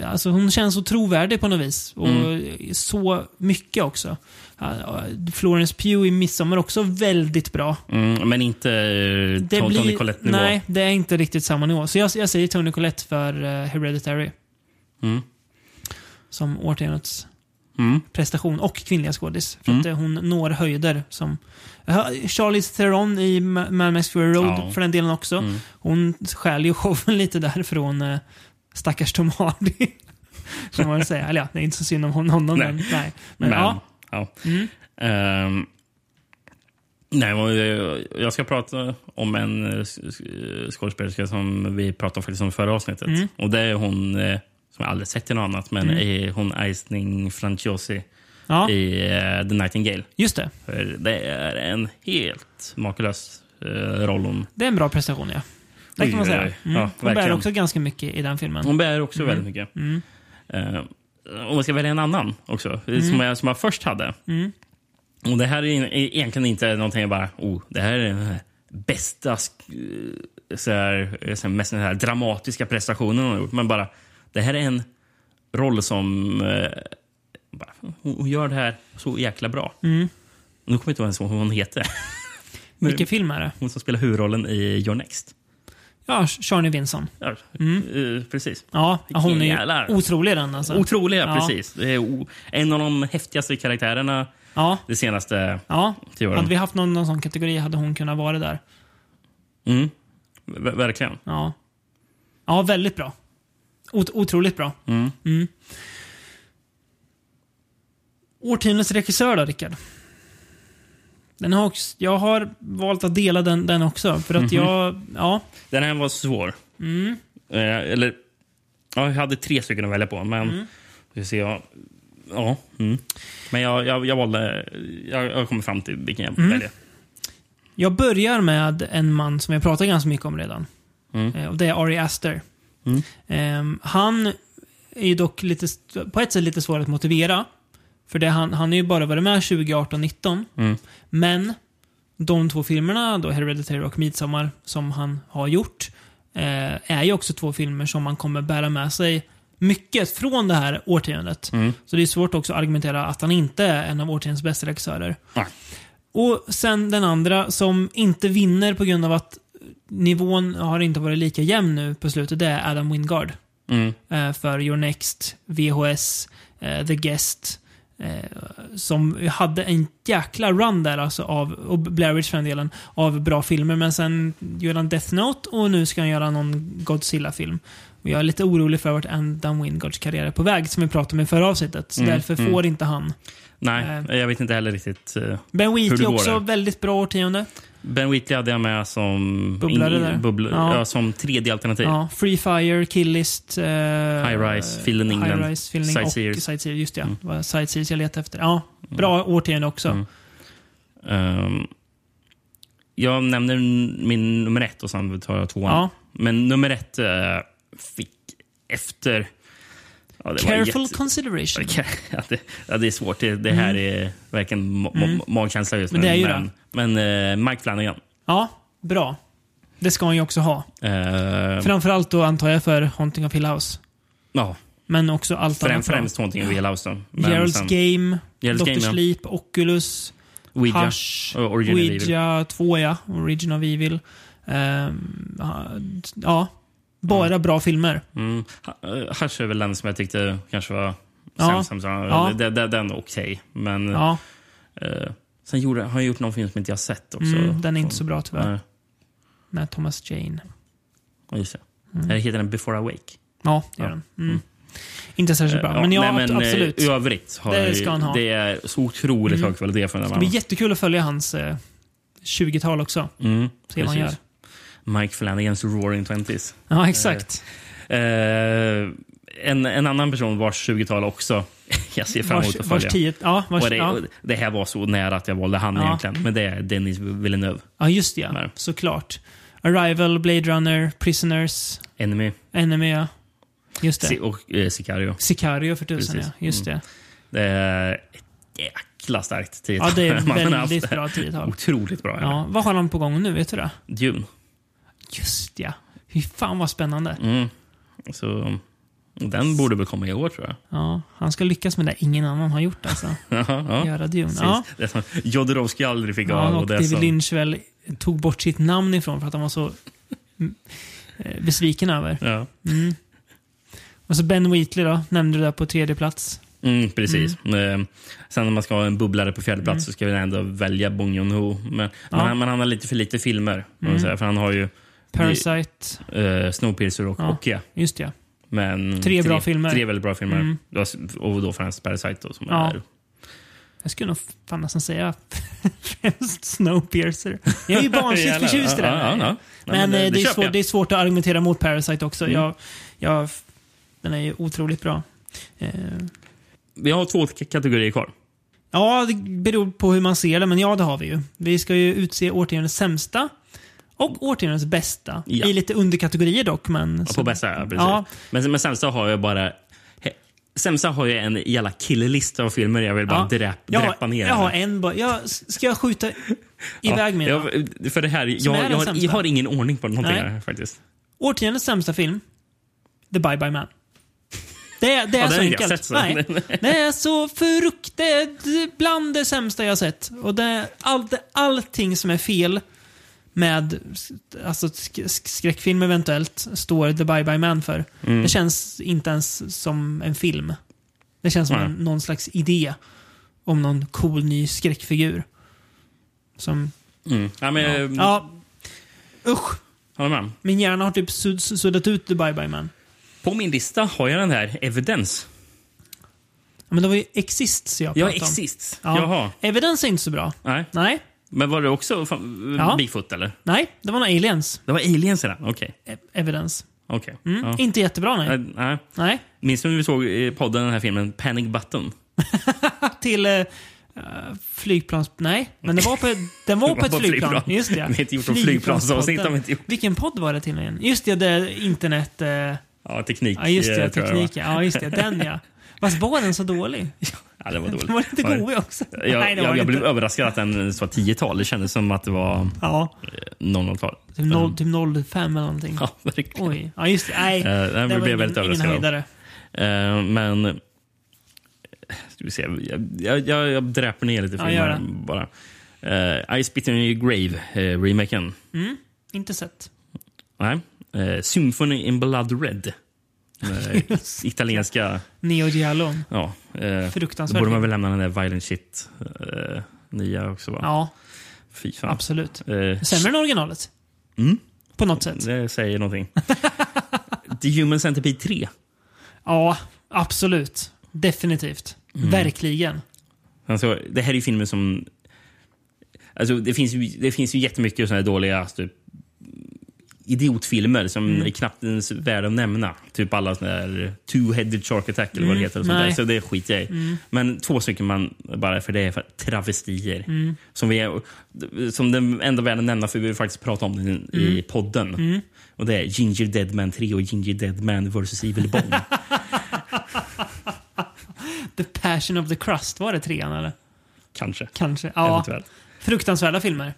[SPEAKER 1] Alltså hon känns så trovärdig på något vis. Och
[SPEAKER 2] Mm.
[SPEAKER 1] så mycket också. Ja, Florence Pugh i Midsommar också väldigt bra.
[SPEAKER 2] Mm, men inte eh,
[SPEAKER 1] Det
[SPEAKER 2] Tony
[SPEAKER 1] blir-
[SPEAKER 2] Collette-nivå.
[SPEAKER 1] Nej, det är inte riktigt samma nivå. Så jag, jag säger Tony Collette för eh, Hereditary
[SPEAKER 2] Mm.
[SPEAKER 1] som årtiondets
[SPEAKER 2] Mm.
[SPEAKER 1] prestation och kvinnliga skådis. För
[SPEAKER 2] Mm.
[SPEAKER 1] att eh, hon når höjder som... Ja, Charlize Theron i Ma- Mad Max Fury Road
[SPEAKER 2] Ja.
[SPEAKER 1] för den delen också.
[SPEAKER 2] Mm.
[SPEAKER 1] Hon stjäl ju (laughs) showen lite där från eh, stackars Tom Hardy. (laughs) Får man väl säga. Eller ja, det är inte så synd om hon- honom.
[SPEAKER 2] Nej.
[SPEAKER 1] Men, nej. men,
[SPEAKER 2] Men,
[SPEAKER 1] ja.
[SPEAKER 2] ja.
[SPEAKER 1] Mm.
[SPEAKER 2] Ehm, nej, och, eh, jag ska prata om en eh, sk- sk- skådespelerska som vi pratade om faktiskt om förra avsnittet.
[SPEAKER 1] Mm.
[SPEAKER 2] Och Det är hon, eh, som jag aldrig sett i något annat, men
[SPEAKER 1] Mm.
[SPEAKER 2] är hon Aisling Franciosi
[SPEAKER 1] ja,
[SPEAKER 2] i eh, The Nightingale.
[SPEAKER 1] just det.
[SPEAKER 2] För det är en helt makalös eh, roll hon
[SPEAKER 1] Det är en bra prestation ja. Det
[SPEAKER 2] Oj,
[SPEAKER 1] kan man
[SPEAKER 2] oj,
[SPEAKER 1] säga.
[SPEAKER 2] oj.
[SPEAKER 1] Mm.
[SPEAKER 2] Ja,
[SPEAKER 1] hon bär
[SPEAKER 2] verkligen.
[SPEAKER 1] också ganska mycket i den filmen.
[SPEAKER 2] Hon bär också väldigt mycket.
[SPEAKER 1] Mm.
[SPEAKER 2] Eh, om man ska välja en annan också, eh, som, jag, som jag först hade.
[SPEAKER 1] Mm.
[SPEAKER 2] Och Det här är in- är egentligen inte någonting jag bara, oh, det här är den här bästa, sk- eh, så här, eh, så här, mest den här dramatiska prestationen hon har gjort. Men bara, det här är en roll som, eh, bara, hon, hon gör det här så jäkla bra.
[SPEAKER 1] Mm.
[SPEAKER 2] Nu kommer jag inte ens ihåg vad hon heter. (laughs)
[SPEAKER 1] Vilken film är det?
[SPEAKER 2] Hon som spelar huvudrollen i Your Next.
[SPEAKER 1] Ja, Charlie Vinson.
[SPEAKER 2] Ja,
[SPEAKER 1] Mm.
[SPEAKER 2] eh, precis.
[SPEAKER 1] Ja, hon är
[SPEAKER 2] Jävlar.
[SPEAKER 1] ju otrolig i den alltså.
[SPEAKER 2] Otroliga,
[SPEAKER 1] Ja.
[SPEAKER 2] precis. Det är o- en av de häftigaste karaktärerna
[SPEAKER 1] Ja,
[SPEAKER 2] de senaste
[SPEAKER 1] ja.
[SPEAKER 2] tio åren.
[SPEAKER 1] Hade vi haft någon, någon sån kategori hade hon kunnat vara där.
[SPEAKER 2] Mm. Ver- verkligen.
[SPEAKER 1] Ja. Ja, väldigt bra. Ot otroligt bra.
[SPEAKER 2] Mm.
[SPEAKER 1] Mm. Årtiondets regissör då, Rickard? Den har också, jag har valt att dela den, den också, för att jag... Ja.
[SPEAKER 2] Den här var svår.
[SPEAKER 1] Mm.
[SPEAKER 2] Eh, eller, ja, jag hade tre stycken att välja på, men...
[SPEAKER 1] Mm.
[SPEAKER 2] Ska se, ja. ja mm. Men jag, jag, jag valde... Jag, jag kommer fram till vilken
[SPEAKER 1] Mm.
[SPEAKER 2] jag väljer.
[SPEAKER 1] Jag börjar med en man som jag pratar ganska mycket om redan.
[SPEAKER 2] Mm.
[SPEAKER 1] Eh, Och det är Ari Aster.
[SPEAKER 2] Mm.
[SPEAKER 1] Ehm, han är ju dock lite, st- på ett sätt lite svår att motivera. För det, han, han är ju bara varit med 2018 19
[SPEAKER 2] Mm.
[SPEAKER 1] Men de två filmerna, då Hereditary och Midsommar, som han har gjort, eh, är ju också två filmer som man kommer bära med sig mycket från det här årtiondet.
[SPEAKER 2] Mm.
[SPEAKER 1] Så det är svårt också att argumentera att han inte är en av årtiondets bästa regissörer.
[SPEAKER 2] Nej.
[SPEAKER 1] Och sen den andra som inte vinner på grund av att nivån har inte varit lika jämn nu på slutet, det är Adam Wingard.
[SPEAKER 2] Mm.
[SPEAKER 1] Eh, för Your Next, VHS, eh, The Guest. Eh, som hade en jäkla run där alltså av, och Blair Witch för den delen, av bra filmer. Men sen gjorde han Death Note och nu ska han göra någon Godzilla-film. Och jag är lite orolig för vart Adam Wingards karriär är på väg, som vi pratade om i förra avsnittet. Så
[SPEAKER 2] Mm,
[SPEAKER 1] därför
[SPEAKER 2] mm.
[SPEAKER 1] får inte han.
[SPEAKER 2] Nej,
[SPEAKER 1] Eh.
[SPEAKER 2] jag vet inte heller riktigt. eh.
[SPEAKER 1] Ben
[SPEAKER 2] Hur det
[SPEAKER 1] Wheatley
[SPEAKER 2] går
[SPEAKER 1] också,
[SPEAKER 2] där.
[SPEAKER 1] väldigt bra årtionde.
[SPEAKER 2] Ben Wheatley hade jag med som...
[SPEAKER 1] Bubblare där.
[SPEAKER 2] bubbl-
[SPEAKER 1] Ja.
[SPEAKER 2] ja. som tredje alternativ.
[SPEAKER 1] Ja, Free Fire, Killist, eh,
[SPEAKER 2] High Rise, Phil in England,
[SPEAKER 1] High Rise, Phil in
[SPEAKER 2] Sightseers.
[SPEAKER 1] och Sightseers. Just det, ja. Det var Sightseers jag letade efter. Ja, bra årtionde också.
[SPEAKER 2] Mm. Ehm, jag nämner n- min nummer ett och sen tar jag tvåan.
[SPEAKER 1] Ja.
[SPEAKER 2] Men nummer ett eh, fick efter... Ja, det var
[SPEAKER 1] Careful
[SPEAKER 2] jätte-
[SPEAKER 1] consideration.
[SPEAKER 2] (laughs) Ja, det, ja, det är svårt. Det, det här är verkligen ma- ma- magkänsla just nu.
[SPEAKER 1] Mm. Men det är ju
[SPEAKER 2] men, men eh, Mike Flanagan.
[SPEAKER 1] Ja, bra. Det ska han ju också ha.
[SPEAKER 2] Eh,
[SPEAKER 1] Framförallt då antar jag för Haunting of Hill House.
[SPEAKER 2] ja,
[SPEAKER 1] Men också allt
[SPEAKER 2] främ,
[SPEAKER 1] annat. bra.
[SPEAKER 2] främst någonting av Hela Houston.
[SPEAKER 1] Gerald's Game,
[SPEAKER 2] Gerald's
[SPEAKER 1] Dr.
[SPEAKER 2] Game, ja.
[SPEAKER 1] Sleep, Oculus,
[SPEAKER 2] Ouija.
[SPEAKER 1] Hush,
[SPEAKER 2] Och Origin of Evil.
[SPEAKER 1] Ouija 2 ja, Origin of Evil. Ehm, ja, bara bra filmer.
[SPEAKER 2] Mm. Ha- eh, Hush är väl den som jag tyckte kanske var
[SPEAKER 1] Ja.
[SPEAKER 2] sämst. sämst, sämst.
[SPEAKER 1] Ja.
[SPEAKER 2] Den, den, den är okej. Men
[SPEAKER 1] Ja,
[SPEAKER 2] eh, sen gjorde, har han gjort någon film som inte jag har sett också.
[SPEAKER 1] mm, den är inte så bra tyvärr.
[SPEAKER 2] Nej,
[SPEAKER 1] Nej, Thomas Jane. Mm.
[SPEAKER 2] ja, just det. Eh, Heter den Before I Wake?
[SPEAKER 1] Ja, det gör
[SPEAKER 2] Ja.
[SPEAKER 1] den. Mm. Inte särskilt bra, men ja,
[SPEAKER 2] nej, men, eh,
[SPEAKER 1] absolut.
[SPEAKER 2] I övrigt har
[SPEAKER 1] Det
[SPEAKER 2] jag ju-
[SPEAKER 1] ska han ha. Mm.
[SPEAKER 2] Det är så otroligt hög kvalitet från den
[SPEAKER 1] Det blir jättekul att följa hans eh, 20-tal också.
[SPEAKER 2] Mm,
[SPEAKER 1] Se vad han gör.
[SPEAKER 2] precis. Mike Flanagans Roaring Twenties.
[SPEAKER 1] Ja, exakt.
[SPEAKER 2] Eh, en, en annan person vars 20-tal också (laughs) jag Eh, ser fram emot
[SPEAKER 1] Vars,
[SPEAKER 2] att
[SPEAKER 1] vars
[SPEAKER 2] följa.
[SPEAKER 1] tio, ja, vars,
[SPEAKER 2] Och det,
[SPEAKER 1] ja.
[SPEAKER 2] och det här var så nära att jag valde han
[SPEAKER 1] Ja.
[SPEAKER 2] egentligen. Men det är Denis Villeneuve,
[SPEAKER 1] ja, just det. Ja.
[SPEAKER 2] Nej.
[SPEAKER 1] Såklart. Arrival, Blade Runner, Prisoners,
[SPEAKER 2] Enemy
[SPEAKER 1] Enemy. ja. Just det.
[SPEAKER 2] si- och eh, Sicario.
[SPEAKER 1] Sicario för tusan,
[SPEAKER 2] Precis. Mm.
[SPEAKER 1] ja. Just det.
[SPEAKER 2] Det är ett jäkla starkt
[SPEAKER 1] Ja,
[SPEAKER 2] tiotal.
[SPEAKER 1] det är
[SPEAKER 2] (laughs) Man har haft Oh,
[SPEAKER 1] väldigt bra tiotal.
[SPEAKER 2] Otroligt bra. Ja.
[SPEAKER 1] Ja, vad har han på gång nu? Vet du det?
[SPEAKER 2] Dune.
[SPEAKER 1] Just ja. Fy fan vad spännande.
[SPEAKER 2] Mm. Så, den borde väl komma i år tror jag. (laughs)
[SPEAKER 1] Ja, han ska lyckas med det ingen annan har gjort alltså.
[SPEAKER 2] Jaha, ja.
[SPEAKER 1] Göra Dune.
[SPEAKER 2] Precis.
[SPEAKER 1] Ja.
[SPEAKER 2] Det som Jodorowsky aldrig fick
[SPEAKER 1] Ja,
[SPEAKER 2] av.
[SPEAKER 1] och
[SPEAKER 2] Och det
[SPEAKER 1] David
[SPEAKER 2] som,
[SPEAKER 1] Lynch väl tog bort sitt namn ifrån för att han var så mm, eh, besviken över.
[SPEAKER 2] ja.
[SPEAKER 1] Mm. Och så Ben Wheatley då, nämnde du där på tredje plats.
[SPEAKER 2] mm, precis. Eh, sen om man ska ha en bubblare på fjärde plats
[SPEAKER 1] Mm.
[SPEAKER 2] så ska vi ändå välja Bong Joon-Ho. Men, men, han, men han har lite för lite filmer. om
[SPEAKER 1] Mm.
[SPEAKER 2] man säger, För han har ju
[SPEAKER 1] Parasite,
[SPEAKER 2] eh, Snowpiercer och
[SPEAKER 1] Ja.
[SPEAKER 2] Okja.
[SPEAKER 1] just ja.
[SPEAKER 2] Men
[SPEAKER 1] Tre bra filmer.
[SPEAKER 2] Tre väldigt bra filmer.
[SPEAKER 1] Mm.
[SPEAKER 2] Då- Och då främst Parasite då, som
[SPEAKER 1] Ja.
[SPEAKER 2] är...
[SPEAKER 1] Jag skulle nog fan nästan säga främst Snowpiercer. Jag är ju barnsligt
[SPEAKER 2] (laughs) Jävlar.
[SPEAKER 1] förtjust i den.
[SPEAKER 2] Ja, ja, ja.
[SPEAKER 1] Men, eh, det, är
[SPEAKER 2] köper
[SPEAKER 1] svårt,
[SPEAKER 2] jag.
[SPEAKER 1] det är svårt att argumentera mot Parasite också.
[SPEAKER 2] Mm.
[SPEAKER 1] Jag, jag, den är ju otroligt bra. Eh,
[SPEAKER 2] Vi har två k- kategorier kvar.
[SPEAKER 1] ja, det beror på hur man ser det, men ja, det har vi ju. Vi ska ju utse årtiondets sämsta och årtiondets bästa.
[SPEAKER 2] Ja.
[SPEAKER 1] I lite underkategorier dock, men...
[SPEAKER 2] Ja,
[SPEAKER 1] så-
[SPEAKER 2] På bästa, ja, precis.
[SPEAKER 1] Ja.
[SPEAKER 2] Men, men sämsta har jag bara... he- Sämsta har jag en jävla killelista av filmer jag vill bara
[SPEAKER 1] Ja.
[SPEAKER 2] dräp,
[SPEAKER 1] Jag har-
[SPEAKER 2] dräpa ner.
[SPEAKER 1] Jag har en bara. Jag, s- ska jag skjuta iväg mina?
[SPEAKER 2] Ja, jag- För det här, jag,
[SPEAKER 1] Som är den
[SPEAKER 2] jag, har,
[SPEAKER 1] sämsta.
[SPEAKER 2] jag har ingen ordning på någonting
[SPEAKER 1] Nej.
[SPEAKER 2] här faktiskt.
[SPEAKER 1] Årtiondets sämsta film, The Bye Bye Man. Det är, det är
[SPEAKER 2] Ja,
[SPEAKER 1] så
[SPEAKER 2] den har jag
[SPEAKER 1] enkelt.
[SPEAKER 2] sett, så.
[SPEAKER 1] Nej.
[SPEAKER 2] (laughs)
[SPEAKER 1] Det är så frukt... Det är bland det sämsta jag har sett. Och det är all, det, allting som är fel med alltså, sk- sk- skräckfilm eventuellt står The Bye Bye Man för.
[SPEAKER 2] Mm.
[SPEAKER 1] Det känns inte ens som en film. Det känns som
[SPEAKER 2] Nej.
[SPEAKER 1] en, någon slags idé om någon cool ny skräckfigur. Som...
[SPEAKER 2] Mm. Ja, men, ja. Jag,
[SPEAKER 1] Ja. Usch.
[SPEAKER 2] håller med.
[SPEAKER 1] Min hjärna har typ sud- suddat ut The Bye Bye Man.
[SPEAKER 2] På min lista har jag den här Evidens.
[SPEAKER 1] Ja, men det var ju Exists jag
[SPEAKER 2] Ja,
[SPEAKER 1] pratade om.
[SPEAKER 2] Exists.
[SPEAKER 1] Ja.
[SPEAKER 2] Jaha.
[SPEAKER 1] Evidence är inte så bra.
[SPEAKER 2] Nej.
[SPEAKER 1] Nej,
[SPEAKER 2] Men var det också fan,
[SPEAKER 1] Ja.
[SPEAKER 2] Bigfoot eller?
[SPEAKER 1] nej, det var några aliens.
[SPEAKER 2] Det var aliens i den? Okej.
[SPEAKER 1] E- Evidence.
[SPEAKER 2] Okej.
[SPEAKER 1] Mm.
[SPEAKER 2] Ja.
[SPEAKER 1] Inte jättebra, nej.
[SPEAKER 2] Nej, Nej.
[SPEAKER 1] nej.
[SPEAKER 2] Minns du när vi såg i podden den här filmen Panic Button?
[SPEAKER 1] Till eh, eh, flygplans... Nej, men det var på, den var
[SPEAKER 2] Det (laughs)
[SPEAKER 1] på ett flygplan. Just det.
[SPEAKER 2] Vi har inte gjort något flygplansavsnitt. har vi inte gjort.
[SPEAKER 1] Vilken podd var det till igen? Just det, det internet... Eh,
[SPEAKER 2] Ja, teknik.
[SPEAKER 1] ja, just det.
[SPEAKER 2] eh, tror jag
[SPEAKER 1] teknik. Ja, just det. Den ja. Fast var den så dålig?
[SPEAKER 2] var. (laughs) Ja, det var dåligt.
[SPEAKER 1] Den var lite god också.
[SPEAKER 2] Jag,
[SPEAKER 1] nej, det var
[SPEAKER 2] jag,
[SPEAKER 1] den
[SPEAKER 2] jag
[SPEAKER 1] inte.
[SPEAKER 2] blev överraskad att den var 10-tal. Det kändes som att det var
[SPEAKER 1] Ja,
[SPEAKER 2] 00-tal.
[SPEAKER 1] typ, noll, typ 05 eller någonting.
[SPEAKER 2] Mm. (laughs) Ja, verkligen.
[SPEAKER 1] Oj. Ja, just det. Nej,
[SPEAKER 2] Eh, nej, men
[SPEAKER 1] det
[SPEAKER 2] jag
[SPEAKER 1] var
[SPEAKER 2] blev
[SPEAKER 1] ingen,
[SPEAKER 2] väldigt
[SPEAKER 1] ingen
[SPEAKER 2] överraskad. av.
[SPEAKER 1] höjdare.
[SPEAKER 2] Eh, men... eh, Ska vi se. Jag, jag, jag, jag dräper ner lite
[SPEAKER 1] Ja,
[SPEAKER 2] filmer
[SPEAKER 1] gör det.
[SPEAKER 2] bara. Eh, I Spit In Your Grave, eh, remaken.
[SPEAKER 1] Mm, Inte sett.
[SPEAKER 2] Nej. Eh, Symphony In Blood Red.
[SPEAKER 1] (laughs)
[SPEAKER 2] Eh, italienska...
[SPEAKER 1] Neo Giallo.
[SPEAKER 2] Ja, eh,
[SPEAKER 1] Fruktansvärt.
[SPEAKER 2] då borde man väl lämna den där Violent Shit eh, nya också va?
[SPEAKER 1] Ja,
[SPEAKER 2] Fy fan.
[SPEAKER 1] absolut.
[SPEAKER 2] Eh,
[SPEAKER 1] Sämre än originalet.
[SPEAKER 2] Mm.
[SPEAKER 1] På något sätt.
[SPEAKER 2] Det
[SPEAKER 1] (laughs)
[SPEAKER 2] säger någonting. The Human Centipede 3.
[SPEAKER 1] Ja, absolut. Definitivt.
[SPEAKER 2] Mm.
[SPEAKER 1] Verkligen.
[SPEAKER 2] Alltså, det här är ju filmer som... Alltså, det, finns ju, det finns ju jättemycket såna här dåliga typ, idiotfilmer som
[SPEAKER 1] Mm.
[SPEAKER 2] är knappt ens värda att nämna. Typ alla såna här Two-Headed Shark Attack eller vad det heter. Och
[SPEAKER 1] Mm. nej. Mm.
[SPEAKER 2] sånt där. Så det skiter jag i. Men två stycken man bara för det är för travestier.
[SPEAKER 1] Mm.
[SPEAKER 2] Som, vi är, som den enda världen nämna för vi vill faktiskt prata om den i
[SPEAKER 1] Mm.
[SPEAKER 2] podden. Och det är Ginger Dead Man 3 och Ginger Dead Man vs Evil Bone.
[SPEAKER 1] (laughs) The Passion of the Crust, var det trean eller?
[SPEAKER 2] Kanske.
[SPEAKER 1] Kanske. Ja.
[SPEAKER 2] Eventuellt.
[SPEAKER 1] Fruktansvärda filmer.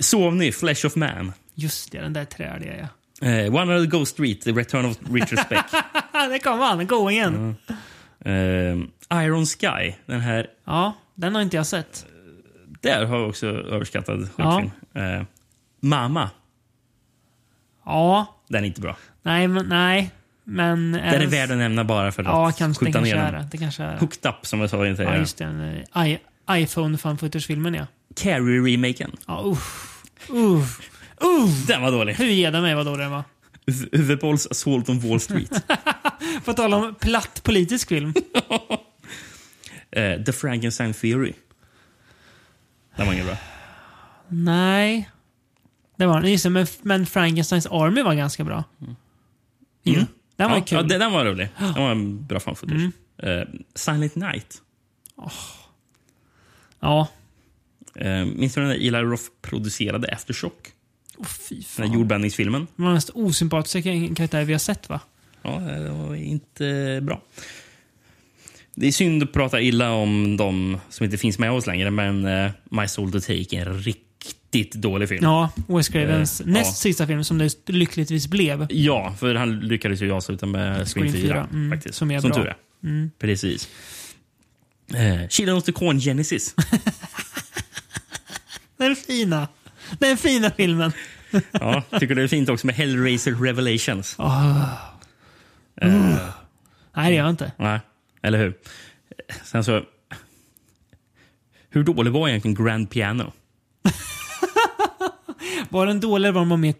[SPEAKER 2] Sovny, Flesh of Man.
[SPEAKER 1] Just det, den där träliga ja.
[SPEAKER 2] Eh, One of the Ghost Street, The Return of Richard Speck.
[SPEAKER 1] (laughs) Ah, där kom han, go igen.
[SPEAKER 2] Mm. Eh, Iron Sky, den här
[SPEAKER 1] Ja, den har inte jag sett.
[SPEAKER 2] Där har jag också överskattad skräckfilm. Eh, Mamma.
[SPEAKER 1] Ja,
[SPEAKER 2] Den är inte bra.
[SPEAKER 1] nej, men nej. Men... eh,
[SPEAKER 2] Den är värd att nämna bara för
[SPEAKER 1] Ja,
[SPEAKER 2] att
[SPEAKER 1] kanske, det
[SPEAKER 2] skjuta ner
[SPEAKER 1] kanske är
[SPEAKER 2] den.
[SPEAKER 1] det. Det kanske är det.
[SPEAKER 2] Hooked up, som jag sa i
[SPEAKER 1] Ja,
[SPEAKER 2] intervjun.
[SPEAKER 1] just det. eh, I- iPhone fan filmen ja.
[SPEAKER 2] Carrie-remaken.
[SPEAKER 1] Ja, uff. Uff. Uff.
[SPEAKER 2] Den var dålig.
[SPEAKER 1] Hur ger den mig vad då den var?
[SPEAKER 2] The Balls Assault on Wall Street.
[SPEAKER 1] (laughs) På tal om platt politisk
[SPEAKER 2] (laughs)
[SPEAKER 1] film.
[SPEAKER 2] Eh, The Frankenstein Theory. Den var ingen bra.
[SPEAKER 1] Nej. Det var den. Just det, men, men Frankensteins Army var ganska bra.
[SPEAKER 2] Mm.
[SPEAKER 1] Den var
[SPEAKER 2] ja,
[SPEAKER 1] kul. Mm.
[SPEAKER 2] Ja, den, den
[SPEAKER 1] (gasps)
[SPEAKER 2] var rolig. Den var en bra fan footage. Eh, Silent Night.
[SPEAKER 1] Ja.
[SPEAKER 2] Eh, minns du den där Eli Roth producerade Aftershock?
[SPEAKER 1] Åh fy
[SPEAKER 2] Den
[SPEAKER 1] fan.
[SPEAKER 2] där jordbävningsfilmen?
[SPEAKER 1] Det var den mest osympatiska karaktär vi har sett va?
[SPEAKER 2] Ja, det var inte bra. Det är synd att prata illa om de som inte finns med oss längre, men eh, My Soul to Take är en riktigt dålig film. Ja.
[SPEAKER 1] Ja, Wes Cravens
[SPEAKER 2] Eh,
[SPEAKER 1] näst
[SPEAKER 2] ja.
[SPEAKER 1] sista film som det lyckligtvis blev.
[SPEAKER 2] för han lyckades ju avsluta med Scream 4.
[SPEAKER 1] Scream 4, mm,
[SPEAKER 2] faktiskt.
[SPEAKER 1] som är bra. Mm.
[SPEAKER 2] tur är. Precis. Eh, Children of the
[SPEAKER 1] (laughs)
[SPEAKER 2] Corn Genesis.
[SPEAKER 1] Den fina. Den fina filmen.
[SPEAKER 2] Ja, tycker det är fint också med Hellraiser Revelations.
[SPEAKER 1] Mm.
[SPEAKER 2] Eh,
[SPEAKER 1] Nej, det gör jag inte.
[SPEAKER 2] Nej, eller hur? Eh, Sen så... Hur dålig var egentligen Grand Piano?
[SPEAKER 1] Var den dålig eller var den bara mer...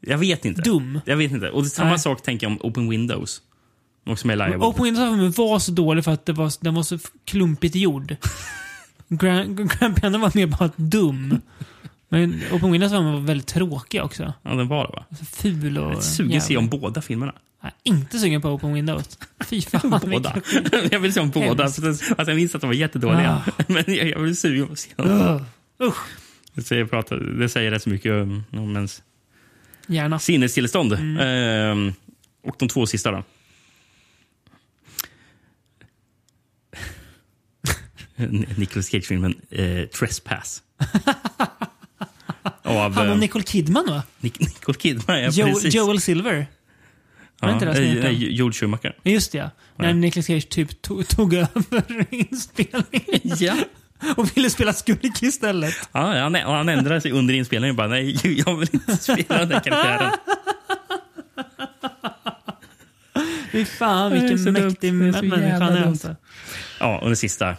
[SPEAKER 2] Jag vet inte.
[SPEAKER 1] Dum.
[SPEAKER 2] Jag vet inte. Och det är samma
[SPEAKER 1] Nej.
[SPEAKER 2] sak tänker jag om Open Windows. Också med Elijah Wood.
[SPEAKER 1] Open Windows Open var så dålig för att det var, den var så klumpigt
[SPEAKER 2] (laughs)
[SPEAKER 1] gjord. Grand, Grand Piano var mer bara dum. Men Open Windows Open var väldigt tråkig också.
[SPEAKER 2] Ja, den var det va?
[SPEAKER 1] Så ful och...
[SPEAKER 2] Jag är sugen att se om båda filmerna.
[SPEAKER 1] Nej, inte sugen på Open Windows. Fy fan.
[SPEAKER 2] (laughs) Båda. (laughs) jag vill se om båda.
[SPEAKER 1] Hemskt.
[SPEAKER 2] Alltså, alltså, jag minns att de var jättedåliga.
[SPEAKER 1] Ah.
[SPEAKER 2] (laughs) Men jag, jag vill sugen på att se dem.
[SPEAKER 1] Ugh. Usch.
[SPEAKER 2] Det säger, prata, det säger rätt så mycket um, om ens
[SPEAKER 1] Gärna.
[SPEAKER 2] sinnestillstånd.
[SPEAKER 1] Mm.
[SPEAKER 2] Ehm, och de två sista då. (laughs) Nicolas Cage-filmen eh,
[SPEAKER 1] (laughs)
[SPEAKER 2] Trespass. Av
[SPEAKER 1] Han och
[SPEAKER 2] eh,
[SPEAKER 1] Nicole Kidman va?
[SPEAKER 2] Nic- Nicole Kidman, ja,
[SPEAKER 1] jo,
[SPEAKER 2] precis.
[SPEAKER 1] Joel Silver. var det inte det som
[SPEAKER 2] eh,
[SPEAKER 1] hette?
[SPEAKER 2] eh, Joel Schumacher.
[SPEAKER 1] Just det ja. När Nicolas Cage typ to tog över (laughs) inspelningen
[SPEAKER 2] Ja.
[SPEAKER 1] och ville spela skurk istället.
[SPEAKER 2] han, och han ändrade sig under inspelningen. Bara, Nej, (laughs) jag vill inte spela den här karaktären.
[SPEAKER 1] Fy fan
[SPEAKER 2] Det är så
[SPEAKER 1] vilken
[SPEAKER 2] dumt.
[SPEAKER 1] mäktig
[SPEAKER 2] Det är så
[SPEAKER 1] människa
[SPEAKER 2] jävla
[SPEAKER 1] han är.
[SPEAKER 2] dumt.
[SPEAKER 1] Alltså.
[SPEAKER 2] Ja, och den sista.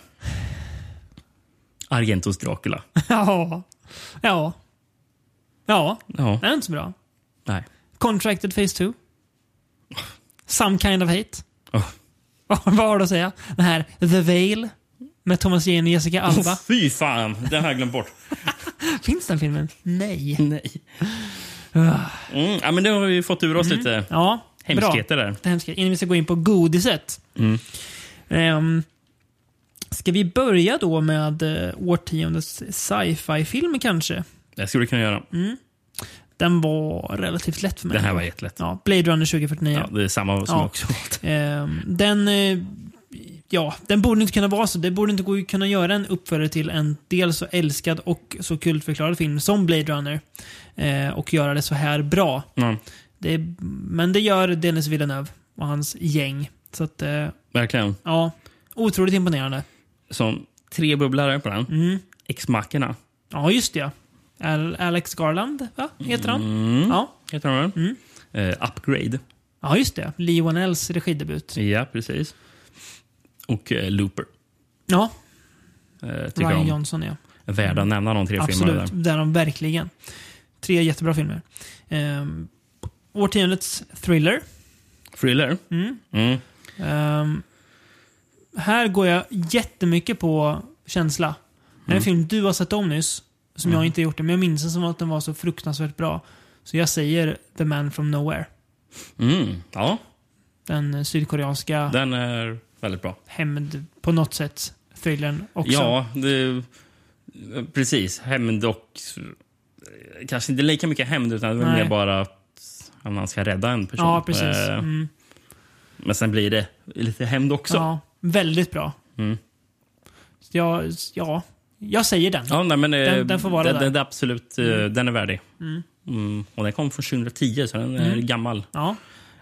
[SPEAKER 2] Argentos Dracula.
[SPEAKER 1] Ja. Ja. Ja,
[SPEAKER 2] Ja,
[SPEAKER 1] det är inte så bra.
[SPEAKER 2] nej.
[SPEAKER 1] Contracted Phase 2. Some Kind of Hate.
[SPEAKER 2] Oh.
[SPEAKER 1] (laughs) Vad har du att säga? Den här The Veil med Thomas Jane och Jessica Alba.
[SPEAKER 2] Oh, fy fan, den har jag glömt bort.
[SPEAKER 1] Finns den filmen? (laughs) Nej.
[SPEAKER 2] Nej. Mm, ja, men nu har vi fått ur oss lite
[SPEAKER 1] Ja, bra.
[SPEAKER 2] hemskheter där.
[SPEAKER 1] Det är hemskt. Innan vi ska gå in på godiset.
[SPEAKER 2] Mm.
[SPEAKER 1] Ehm, ska vi börja då med eh, årtiondets sci-fi-film kanske? Mm.
[SPEAKER 2] Det skulle du kunna göra.
[SPEAKER 1] Den var relativt lätt för mig.
[SPEAKER 2] Den här var jättelätt.
[SPEAKER 1] Ja, Blade Runner 2049.
[SPEAKER 2] Ja, det är samma som
[SPEAKER 1] Ja.
[SPEAKER 2] jag också valt.
[SPEAKER 1] Ehm, den, eh, ja, den borde inte kunna vara så. Det borde inte gå, kunna göra en uppföljare till en dels så älskad och så kultförklarad film som Blade Runner. eh, och göra det så här bra.
[SPEAKER 2] Ja,
[SPEAKER 1] Det, men det gör Dennis Villeneuve och hans gäng. Så att, eh,
[SPEAKER 2] verkligen.
[SPEAKER 1] ja. Otroligt imponerande.
[SPEAKER 2] Som tre bubblare på den.
[SPEAKER 1] Mm.
[SPEAKER 2] Ex-Machina.
[SPEAKER 1] Ja, just det. ja. Al Alex Garland, va? Heter han?
[SPEAKER 2] Mm.
[SPEAKER 1] Ja.
[SPEAKER 2] Heter den
[SPEAKER 1] Mm.
[SPEAKER 2] eh, Upgrade.
[SPEAKER 1] ja, just det. Lee Wanells regidebut.
[SPEAKER 2] Ja, precis. Och eh, Looper.
[SPEAKER 1] Ja,
[SPEAKER 2] Eh, tycker jag
[SPEAKER 1] Ryan
[SPEAKER 2] om.
[SPEAKER 1] Johnson, ja.
[SPEAKER 2] Värd att nämna de tre filmerna
[SPEAKER 1] Absolut,
[SPEAKER 2] där.
[SPEAKER 1] där de verkligen. Tre jättebra filmer. Um, årtiondets thriller.
[SPEAKER 2] Thriller.
[SPEAKER 1] Mm.
[SPEAKER 2] Mm.
[SPEAKER 1] Ehm, här går jag jättemycket på känsla. Det är
[SPEAKER 2] Mm.
[SPEAKER 1] en film du har sett om nyss, som jag inte gjort det, men jag minns den som att den var så fruktansvärt bra. Så jag säger The Man from Nowhere.
[SPEAKER 2] Mm. Ja,
[SPEAKER 1] Den eh, sydkoreanska
[SPEAKER 2] den är väldigt bra.
[SPEAKER 1] hämnd på något sätt thrillern också.
[SPEAKER 2] Ja, det, eh, precis. Hämnd och... Kanske inte lika mycket hämnd, utan det var
[SPEAKER 1] Nej.
[SPEAKER 2] mer bara att om man ska rädda en person.
[SPEAKER 1] ja precis.
[SPEAKER 2] Eh,
[SPEAKER 1] Mm.
[SPEAKER 2] Men sen blir det lite hämnd också. Ja,
[SPEAKER 1] Ja, väldigt bra.
[SPEAKER 2] Mm.
[SPEAKER 1] Så Jag, ja, jag säger den.
[SPEAKER 2] nej, men, eh,
[SPEAKER 1] Den- den får vara
[SPEAKER 2] den,
[SPEAKER 1] där.
[SPEAKER 2] Den, är absolut, eh, den är värdig. Mm. Och den kom från 2010, så den
[SPEAKER 1] Mm.
[SPEAKER 2] är gammal.
[SPEAKER 1] Ja,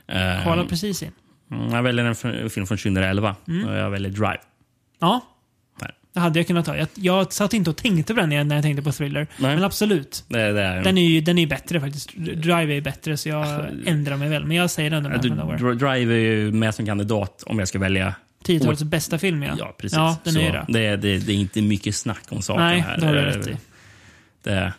[SPEAKER 2] Eh,
[SPEAKER 1] kvala precis in. Mm.
[SPEAKER 2] mm, jag väljer en f- film från 2011. Och jag väljer Drive.
[SPEAKER 1] Ja.
[SPEAKER 2] Där.
[SPEAKER 1] Det hade jag kunnat ta. Jag, jag satt inte och tänkte på den när jag tänkte på Thriller.
[SPEAKER 2] Nej.
[SPEAKER 1] Men absolut.
[SPEAKER 2] Det, det är,
[SPEAKER 1] Den är ju den är ju bättre faktiskt. Drive är bättre så jag ändrar mig väl. Men jag säger ändå
[SPEAKER 2] Ja,
[SPEAKER 1] Man
[SPEAKER 2] du,
[SPEAKER 1] of the Hour.
[SPEAKER 2] Dr- Drive är ju med som kandidat om jag ska välja.
[SPEAKER 1] 10-talets bästa film ja.
[SPEAKER 2] Oh. Ja, precis.
[SPEAKER 1] Ja, den
[SPEAKER 2] Så
[SPEAKER 1] är ju det.
[SPEAKER 2] Det, det, det är inte mycket snack om saken
[SPEAKER 1] Nej,
[SPEAKER 2] här. Eh,
[SPEAKER 1] det har du rätt i.
[SPEAKER 2] Det,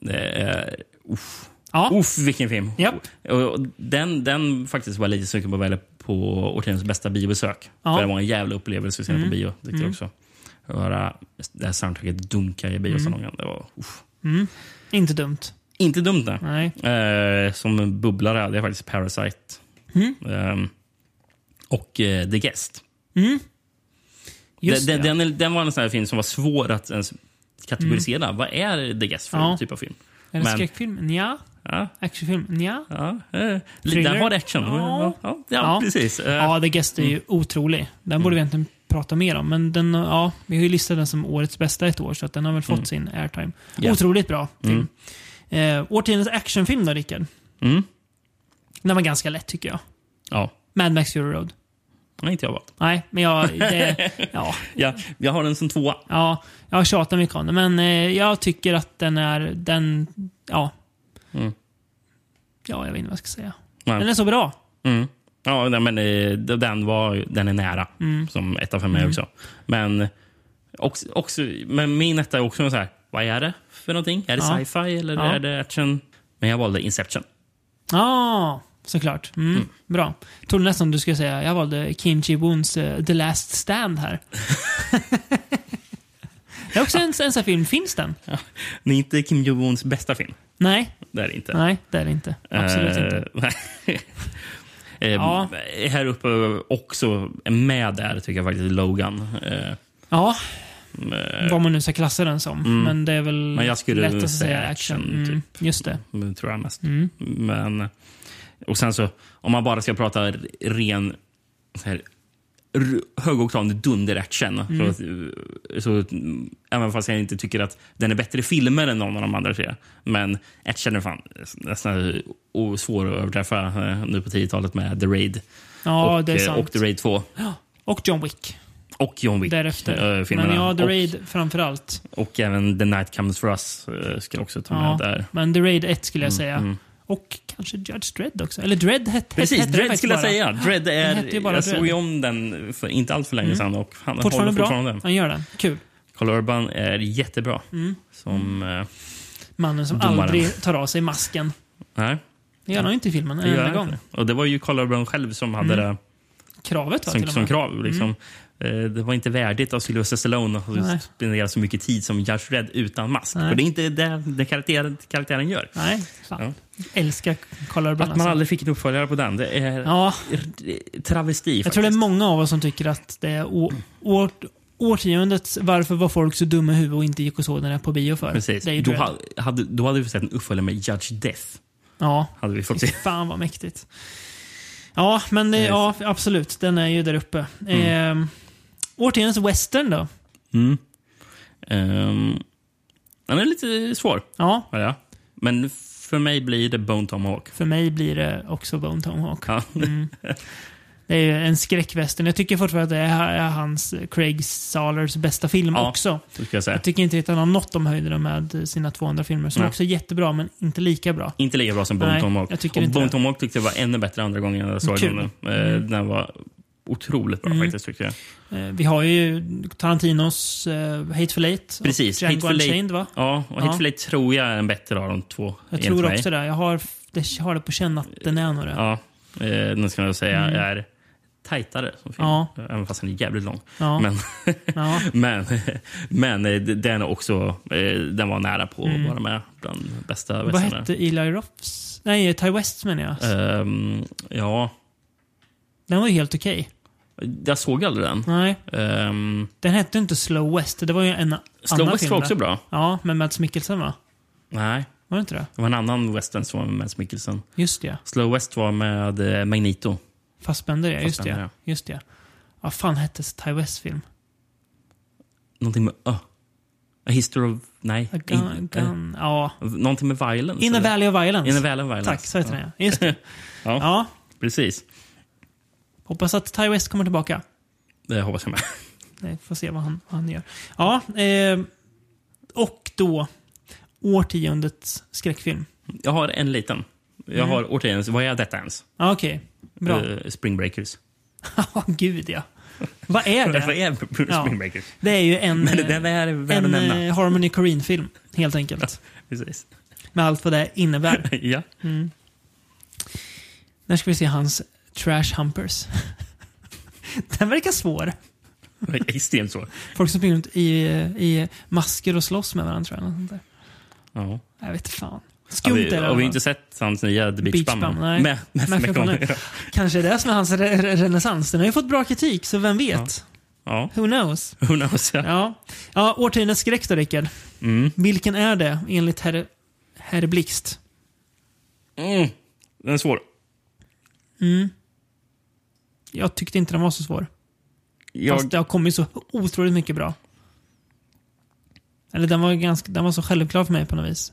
[SPEAKER 2] det är... Uff.
[SPEAKER 1] Ja.
[SPEAKER 2] Uff, vilken film!
[SPEAKER 1] Japp.
[SPEAKER 2] Och, och den, den faktiskt var lite sugen på att välja på årtiondets bästa biobesök.
[SPEAKER 1] Ja. Mm.
[SPEAKER 2] För det var en jävla upplevelse att se den på bio. Tyckte jag också. Att höra det här soundtracket dunka
[SPEAKER 1] Mm.
[SPEAKER 2] i biosalongen. Det var uff.
[SPEAKER 1] Inte dumt.
[SPEAKER 2] inte dumt. Nej.
[SPEAKER 1] Nej.
[SPEAKER 2] Eh, som en bubblare hade jag faktiskt Parasite.
[SPEAKER 1] Mm.
[SPEAKER 2] Ehm, och eh, The Guest.
[SPEAKER 1] Just
[SPEAKER 2] den,
[SPEAKER 1] det.
[SPEAKER 2] den, den, är- den var en sån här film som var svår att ens kategorisera. Vad är The Guest för
[SPEAKER 1] Mm. Ja.
[SPEAKER 2] typ av film?
[SPEAKER 1] Är det
[SPEAKER 2] men-
[SPEAKER 1] skräckfilm? Nja.
[SPEAKER 2] Ja,
[SPEAKER 1] Actionfilm? Nja.
[SPEAKER 2] ja, eh,
[SPEAKER 1] Thriller?
[SPEAKER 2] där var det action.
[SPEAKER 1] Ja.
[SPEAKER 2] Ja, ja, Mm. precis. Eh,
[SPEAKER 1] Ja, The Guest är ju otrolig. Den borde vi egentligen prata mer om. Men den, ja, vi har ju listat den som årets bästa ett år, så att den har väl fått sin airtime.
[SPEAKER 2] Mm. Ja.
[SPEAKER 1] Otroligt bra film. Eh, årtiondets actionfilm då, Rickard?
[SPEAKER 2] Mm.
[SPEAKER 1] Den var ganska lätt tycker jag.
[SPEAKER 2] ja.
[SPEAKER 1] Mad Max Fury Road.
[SPEAKER 2] Nej, inte jag valt.
[SPEAKER 1] Nej, men jag...
[SPEAKER 2] (laughs)
[SPEAKER 1] Det, ja,
[SPEAKER 2] Ja, jag har den som tvåa.
[SPEAKER 1] ja, jag tjatar mycket om den, men eh, jag tycker att den är... Den, ja.
[SPEAKER 2] Mm.
[SPEAKER 1] Ja, jag vet inte vad jag ska säga.
[SPEAKER 2] Nej.
[SPEAKER 1] Den är så bra.
[SPEAKER 2] Mm. Ja, nej, men eh, d- den, var, den är nära
[SPEAKER 1] Mm.
[SPEAKER 2] som etta för mig också. Men, också, också, men min etta är också en så här, vad är det för någonting? Är det
[SPEAKER 1] Ja.
[SPEAKER 2] sci-fi eller
[SPEAKER 1] Ja.
[SPEAKER 2] är det action? Men jag valde Inception.
[SPEAKER 1] Ja, såklart. Mm, Bra. Trodde nästan du skulle säga, jag valde Kim Ji-Woons eh, The Last Stand
[SPEAKER 2] (laughs)
[SPEAKER 1] här. det är också en, en sån här film. Finns den?
[SPEAKER 2] Det är inte Kim Jong-Uns bästa film.
[SPEAKER 1] Nej,
[SPEAKER 2] Det är det inte.
[SPEAKER 1] nej, det är det inte. Absolut
[SPEAKER 2] Eh,
[SPEAKER 1] inte.
[SPEAKER 2] (laughs) eh,
[SPEAKER 1] Ja.
[SPEAKER 2] Här uppe också med där tycker jag faktiskt Logan. Eh,
[SPEAKER 1] Ja,
[SPEAKER 2] eh, Mm.
[SPEAKER 1] vad man nu ska klassa den som. Men det är väl
[SPEAKER 2] Men jag skulle
[SPEAKER 1] lätt att säga
[SPEAKER 2] säga
[SPEAKER 1] action.
[SPEAKER 2] action, typ.
[SPEAKER 1] mm, Just det. Mm.
[SPEAKER 2] Det tror jag mest. Men, och sen så, om man bara ska prata ren så här, r- högoktanig dunder-action.
[SPEAKER 1] Mm.
[SPEAKER 2] Så, så, mm, även fast jag inte tycker att den är bättre i filmer än någon av de andra tre. Men action är fan nästan o- svår att överträffa eh, nu på 10-talet med The Raid.
[SPEAKER 1] Ja,
[SPEAKER 2] och,
[SPEAKER 1] det är
[SPEAKER 2] eh,
[SPEAKER 1] sant.
[SPEAKER 2] och The Raid 2.
[SPEAKER 1] Och John Wick
[SPEAKER 2] Och John Wick.
[SPEAKER 1] därefter.
[SPEAKER 2] eh, filmerna.
[SPEAKER 1] men ja, The
[SPEAKER 2] och,
[SPEAKER 1] Raid framför allt.
[SPEAKER 2] och även The Night Comes For Us eh, ska jag också ta med
[SPEAKER 1] Ja,
[SPEAKER 2] där. Mm,
[SPEAKER 1] men The Raid 1 skulle jag säga. Och kanske Judge Dredd också. Eller Dredd hette
[SPEAKER 2] Precis,
[SPEAKER 1] hette den
[SPEAKER 2] Dread
[SPEAKER 1] faktiskt
[SPEAKER 2] skulle jag
[SPEAKER 1] bara.
[SPEAKER 2] säga. Dread
[SPEAKER 1] hette ju
[SPEAKER 2] är,
[SPEAKER 1] bara
[SPEAKER 2] jag
[SPEAKER 1] Dread. Mm.
[SPEAKER 2] såg ju om den för inte allt för länge sedan och han
[SPEAKER 1] Fortfarande
[SPEAKER 2] håller
[SPEAKER 1] bra.
[SPEAKER 2] fortfarande. den.
[SPEAKER 1] Han gör den. Kul.
[SPEAKER 2] Carl Urban är jättebra. Som...
[SPEAKER 1] Mm.
[SPEAKER 2] Eh,
[SPEAKER 1] Mannen som
[SPEAKER 2] Domaren.
[SPEAKER 1] aldrig tar av sig masken.
[SPEAKER 2] nej,
[SPEAKER 1] Det gör han ju inte i filmen
[SPEAKER 2] det
[SPEAKER 1] en
[SPEAKER 2] gör
[SPEAKER 1] enda
[SPEAKER 2] han
[SPEAKER 1] gång.
[SPEAKER 2] inte. Och det var ju Carl Urban själv som hade det
[SPEAKER 1] Kravet var till
[SPEAKER 2] som,
[SPEAKER 1] och
[SPEAKER 2] som
[SPEAKER 1] med. Mm.
[SPEAKER 2] krav. Liksom. Eh, det var inte värdigt av Sylvester Stallone att
[SPEAKER 1] Nej.
[SPEAKER 2] spendera så mycket tid som Judge Dredd utan mask.
[SPEAKER 1] Nej.
[SPEAKER 2] För det är inte det, det karaktären, karaktären gör.
[SPEAKER 1] Nej, fan. Älskar Karl Urban
[SPEAKER 2] Att man
[SPEAKER 1] alltså.
[SPEAKER 2] aldrig fick en uppföljare på den, det är
[SPEAKER 1] Ja,
[SPEAKER 2] r- travesti.
[SPEAKER 1] jag tror det är
[SPEAKER 2] faktiskt.
[SPEAKER 1] många av oss som tycker att det är å- år, årtiondets varför var folk så dumma i huvudet och inte gick och såg den här på bio för.
[SPEAKER 2] Precis.
[SPEAKER 1] Det är ju
[SPEAKER 2] Då,
[SPEAKER 1] Dredd.
[SPEAKER 2] ha- hade, då hade vi fått se en uppföljare med Judge Death.
[SPEAKER 1] Ja,
[SPEAKER 2] Hade vi fått
[SPEAKER 1] Fy
[SPEAKER 2] se.
[SPEAKER 1] fan vad mäktigt. Ja, men det, ja, absolut. Den är ju där uppe. Eh, årtiondets western då?
[SPEAKER 2] Mm. Ehm, den är lite svår,
[SPEAKER 1] Ja,
[SPEAKER 2] var jag. Men för mig blir det Bone Tomahawk.
[SPEAKER 1] för mig blir det också Bone Tomahawk.
[SPEAKER 2] Ja.
[SPEAKER 1] Mm. Det är ju en skräckvästern. Jag tycker fortfarande att det är hans, Craig Salers, bästa film
[SPEAKER 2] Ja.
[SPEAKER 1] också.
[SPEAKER 2] Så ska jag säga.
[SPEAKER 1] Jag tycker inte att han har nått de höjderna med sina två andra filmer som
[SPEAKER 2] Nej.
[SPEAKER 1] också är jättebra, men inte lika bra.
[SPEAKER 2] Inte lika bra som Bone
[SPEAKER 1] Nej,
[SPEAKER 2] Tomahawk.
[SPEAKER 1] jag tycker
[SPEAKER 2] Och
[SPEAKER 1] inte
[SPEAKER 2] Bone
[SPEAKER 1] det.
[SPEAKER 2] Tomahawk tyckte jag var ännu bättre andra gången jag såg
[SPEAKER 1] Kul. Mm.
[SPEAKER 2] den. Eh, Den var otroligt bra faktiskt, tyckte jag.
[SPEAKER 1] Eh, Vi har ju Tarantinos eh, Hateful Eight
[SPEAKER 2] Precis.
[SPEAKER 1] och Django
[SPEAKER 2] Hateful Eight-
[SPEAKER 1] Unchained, va?
[SPEAKER 2] Ja, och
[SPEAKER 1] Ja.
[SPEAKER 2] Hateful Eight tror jag är en bättre av de två.
[SPEAKER 1] Jag
[SPEAKER 2] enligt
[SPEAKER 1] tror
[SPEAKER 2] mig.
[SPEAKER 1] också det. Jag har, det, har det på känn att den är nog det. Mm.
[SPEAKER 2] Ja, eh, den ska jag säga är tajtare som film.
[SPEAKER 1] Ja.
[SPEAKER 2] Även fast den är jävligt lång.
[SPEAKER 1] Ja.
[SPEAKER 2] Men,
[SPEAKER 1] (laughs) Ja.
[SPEAKER 2] men, (laughs) men eh, den är också, eh, den var nära på att vara med bland de bästa
[SPEAKER 1] Mm. Vad
[SPEAKER 2] västarna.
[SPEAKER 1] hette Eli Roths? Nej, Ty West menar jag.
[SPEAKER 2] Ehm, ja,
[SPEAKER 1] Den var ju helt okej.
[SPEAKER 2] jag såg aldrig den.
[SPEAKER 1] Nej,
[SPEAKER 2] Ehm,
[SPEAKER 1] den hette ju inte Slow West. Det var ju en annan
[SPEAKER 2] Slow West
[SPEAKER 1] film
[SPEAKER 2] var
[SPEAKER 1] där.
[SPEAKER 2] också bra.
[SPEAKER 1] Ja, med Mats Mikkelsen va?
[SPEAKER 2] Nej,
[SPEAKER 1] Var det inte det?
[SPEAKER 2] det var en annan western som var med Mads Mikkelsen.
[SPEAKER 1] Just det.
[SPEAKER 2] Slow West var med eh, Magneto.
[SPEAKER 1] Fassbender ja, just
[SPEAKER 2] Fassbender,
[SPEAKER 1] det. Just det. Vad fan hette Ty West film?
[SPEAKER 2] Någonting med Ö. A History of... Nej.
[SPEAKER 1] A Gun,
[SPEAKER 2] eh,
[SPEAKER 1] gun, ja.
[SPEAKER 2] någonting med Violence.
[SPEAKER 1] In the
[SPEAKER 2] eller?
[SPEAKER 1] Valley of Violence.
[SPEAKER 2] In a Valley of Violence.
[SPEAKER 1] Tack, så heter den ja. Just det.
[SPEAKER 2] (laughs) Ja,
[SPEAKER 1] Ja,
[SPEAKER 2] precis.
[SPEAKER 1] hoppas att Ty West kommer tillbaka.
[SPEAKER 2] Det hoppas jag med.
[SPEAKER 1] nej, får se vad han, vad han gör. Ja, eh, och då årtiondets skräckfilm.
[SPEAKER 2] Jag har en liten. Jag
[SPEAKER 1] Mm.
[SPEAKER 2] har återigen, vad är detta ens?
[SPEAKER 1] Ja, Okej, bra.
[SPEAKER 2] Eh, Spring Breakers.
[SPEAKER 1] (laughs) Ja, gud ja. Vad är
[SPEAKER 2] Vad
[SPEAKER 1] det?
[SPEAKER 2] är Spring
[SPEAKER 1] Ja.
[SPEAKER 2] Breakers?
[SPEAKER 1] Det är ju
[SPEAKER 2] (laughs)
[SPEAKER 1] en,
[SPEAKER 2] Men
[SPEAKER 1] eh,
[SPEAKER 2] den är värd att
[SPEAKER 1] en
[SPEAKER 2] nämna.
[SPEAKER 1] eh, Harmony Korine-film, helt
[SPEAKER 2] (laughs)
[SPEAKER 1] enkelt.
[SPEAKER 2] Precis.
[SPEAKER 1] Med allt vad det innebär.
[SPEAKER 2] ja.
[SPEAKER 1] Mm. När ska vi se hans Trash Humpers? (laughs) Den verkar svår.
[SPEAKER 2] Det är Extremt så.
[SPEAKER 1] Folk som springer runt i, i masker och slåss med varandra tror jag. Något sånt där.
[SPEAKER 2] Ja.
[SPEAKER 1] Jag vet fan.
[SPEAKER 2] Har
[SPEAKER 1] Skumt
[SPEAKER 2] vi,
[SPEAKER 1] är det.
[SPEAKER 2] har vi
[SPEAKER 1] i alla
[SPEAKER 2] inte
[SPEAKER 1] fall.
[SPEAKER 2] sett hans nya The Beach,
[SPEAKER 1] Beach
[SPEAKER 2] Bum?
[SPEAKER 1] Bum, nej.
[SPEAKER 2] Med, med,
[SPEAKER 1] Matthew
[SPEAKER 2] med, med,
[SPEAKER 1] Connelly. Kanske är det som är hans re re renässans. Den har ju fått bra kritik, så vem vet?
[SPEAKER 2] Ja,
[SPEAKER 1] Who knows?
[SPEAKER 2] who knows? Ja.
[SPEAKER 1] Ja, ja årtiondets skräck då, Rickard.
[SPEAKER 2] Mm.
[SPEAKER 1] Vilken är det enligt herr, herr Blixt?
[SPEAKER 2] Mm. Den är svår.
[SPEAKER 1] Mm. Jag tyckte inte den var så svår.
[SPEAKER 2] Jag,
[SPEAKER 1] Fast det har kommit så otroligt mycket bra. Eller den var, ganska, den var så självklar för mig på något vis.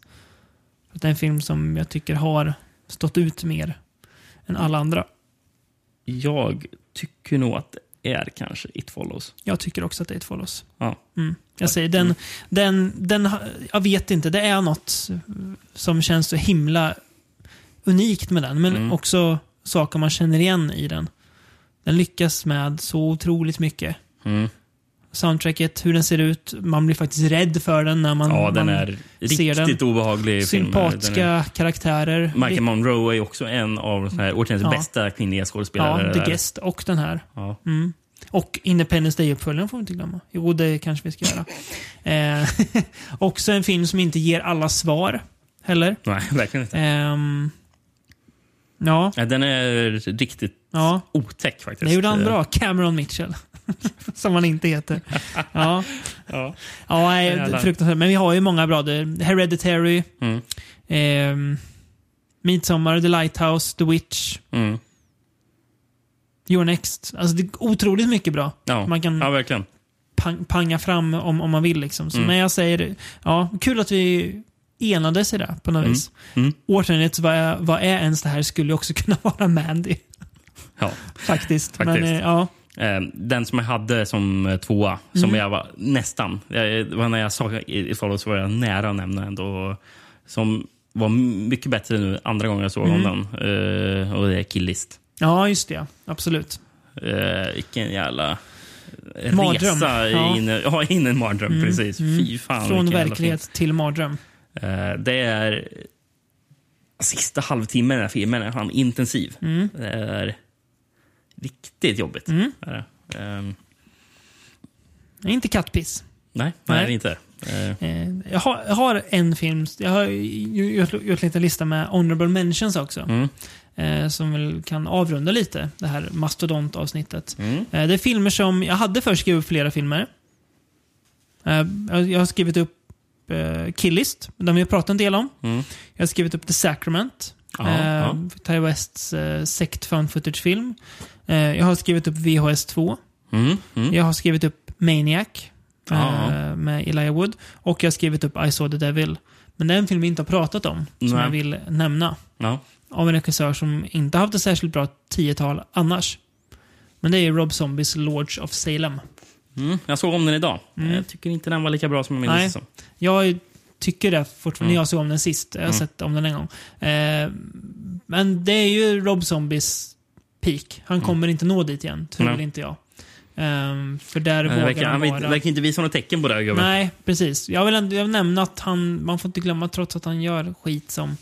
[SPEAKER 1] Att det är en film som jag tycker har stått ut mer än alla andra.
[SPEAKER 2] jag tycker nog att det är kanske It Follows.
[SPEAKER 1] Jag tycker också att det är ett follows.
[SPEAKER 2] Ja.
[SPEAKER 1] Mm. Jag säger den, den, den, ha- jag vet inte, det är något som känns så himla unikt med den, men
[SPEAKER 2] Mm.
[SPEAKER 1] också saker man känner igen i den. Den lyckas med så otroligt mycket.
[SPEAKER 2] Mm.
[SPEAKER 1] Soundtracket, hur den ser ut, man blir faktiskt rädd för den när man...
[SPEAKER 2] ja, den
[SPEAKER 1] man
[SPEAKER 2] är
[SPEAKER 1] ser
[SPEAKER 2] riktigt
[SPEAKER 1] den.
[SPEAKER 2] obehaglig. film. Den
[SPEAKER 1] sympatiska
[SPEAKER 2] är-
[SPEAKER 1] karaktärer.
[SPEAKER 2] Michael Monroe är också en av de här årtiondets
[SPEAKER 1] Ja.
[SPEAKER 2] bästa kvinnliga skådespelare.
[SPEAKER 1] ja, The
[SPEAKER 2] där.
[SPEAKER 1] Guest och den här.
[SPEAKER 2] Ja.
[SPEAKER 1] Mm. Och Independence Day-uppföljaren får vi inte glömma. Jo, det kanske vi ska
[SPEAKER 2] (laughs)
[SPEAKER 1] göra. eh, (laughs) också en film som inte ger alla svar heller.
[SPEAKER 2] Nej, (laughs) verkligen inte.
[SPEAKER 1] Ehm, ja,
[SPEAKER 2] Ja, den är riktigt
[SPEAKER 1] ja.
[SPEAKER 2] otäck faktiskt.
[SPEAKER 1] Det gjorde han bra. Cameron Mitchell. (laughs) som han inte
[SPEAKER 2] (laughs)
[SPEAKER 1] heter. Ja,
[SPEAKER 2] Ja.
[SPEAKER 1] ja nej,
[SPEAKER 2] Jävlar.
[SPEAKER 1] fruktansvärt. Men vi har ju många bra. Det- Hereditary,
[SPEAKER 2] Mm.
[SPEAKER 1] ehm, Midsommar, The Lighthouse, The Witch,
[SPEAKER 2] Mm.
[SPEAKER 1] Your Next. Alltså, det är otroligt mycket bra.
[SPEAKER 2] Ja.
[SPEAKER 1] Man kan-
[SPEAKER 2] ja, verkligen.
[SPEAKER 1] pang, panga fram om, om man vill. Liksom. Så,
[SPEAKER 2] Mm.
[SPEAKER 1] Men jag säger, ja, kul att vi enades i det på något
[SPEAKER 2] Mm.
[SPEAKER 1] vis.
[SPEAKER 2] Mm.
[SPEAKER 1] Återigen, vad, är- vad är ens det här skulle ju också (laughs) kunna vara Mandy.
[SPEAKER 2] Ja.
[SPEAKER 1] Faktiskt. Men,
[SPEAKER 2] Faktiskt.
[SPEAKER 1] eh, ja,
[SPEAKER 2] Eh, Den som jag hade som eh, tvåa,
[SPEAKER 1] Mm.
[SPEAKER 2] som jag var nästan... Jag, eh, det var när jag sa i i Follow så var jag nära att nämna ändå. Som var mycket bättre nu andra gången jag såg
[SPEAKER 1] Mm.
[SPEAKER 2] om den. Eh, och det är Killist.
[SPEAKER 1] ja, just det. Absolut.
[SPEAKER 2] Eh, vilken jävla
[SPEAKER 1] Mardröm.
[SPEAKER 2] resa
[SPEAKER 1] Ja. Mm.
[SPEAKER 2] in, ja, in i en mardröm. Precis. Fy fan.
[SPEAKER 1] Från
[SPEAKER 2] vilken jävla
[SPEAKER 1] verklighet till mardröm.
[SPEAKER 2] film. Eh, det är... Sista halvtimmen i den här filmen är fan intensiv.
[SPEAKER 1] Mm.
[SPEAKER 2] Det är riktigt jobbigt. Är det. Ehm,
[SPEAKER 1] Inte kattpiss.
[SPEAKER 2] nej,
[SPEAKER 1] Nej.
[SPEAKER 2] nej, det är inte. Eh,
[SPEAKER 1] Eh, jag, har, jag har en film, jag har ju gjort, gjort en liten lista med honorable mentions också.
[SPEAKER 2] Mm.
[SPEAKER 1] Eh, som väl kan avrunda lite det här mastodontavsnittet.
[SPEAKER 2] mm,
[SPEAKER 1] Eh, det är filmer som, jag hade först skrivit upp flera filmer. Eh, jag, jag har skrivit upp eh, Killist, den vi har pratat en del om.
[SPEAKER 2] Mm.
[SPEAKER 1] Jag har skrivit upp The Sacrament,
[SPEAKER 2] Ja,
[SPEAKER 1] eh,
[SPEAKER 2] ja.
[SPEAKER 1] Ty Wests eh, sekt found footage-film. Eh, jag har skrivit upp VHS 2.
[SPEAKER 2] Mm, mm.
[SPEAKER 1] Jag har skrivit upp Maniac
[SPEAKER 2] Ja.
[SPEAKER 1] eh, med Elijah Wood. Och jag har skrivit upp I saw the devil. Men det är en film vi inte har pratat om, som
[SPEAKER 2] Nej.
[SPEAKER 1] jag vill nämna.
[SPEAKER 2] Ja.
[SPEAKER 1] Av en regissör som inte haft ett särskilt bra tiotal annars. Men det är Rob Zombies Lords of Salem.
[SPEAKER 2] Mm. Jag såg om den idag. Jag tycker inte den var lika bra som jag minns
[SPEAKER 1] Mm. Nej.
[SPEAKER 2] det som.
[SPEAKER 1] Jag tycker det fortfarande.
[SPEAKER 2] Mm.
[SPEAKER 1] Jag såg om den sist. Jag har sett om den en gång. Eh, men det är ju Rob Zombies peak. Han kommer inte nå dit igen, tror
[SPEAKER 2] Mm. Nej.
[SPEAKER 1] inte jag. Eh, för där
[SPEAKER 2] Men det
[SPEAKER 1] vågar
[SPEAKER 2] verkar, han
[SPEAKER 1] han
[SPEAKER 2] verkar,
[SPEAKER 1] vara...
[SPEAKER 2] verkar inte visa några tecken på det här gubben.
[SPEAKER 1] Nej, precis. Jag vill ändå jag vill nämna att han, man får inte glömma, trots att han gör skit som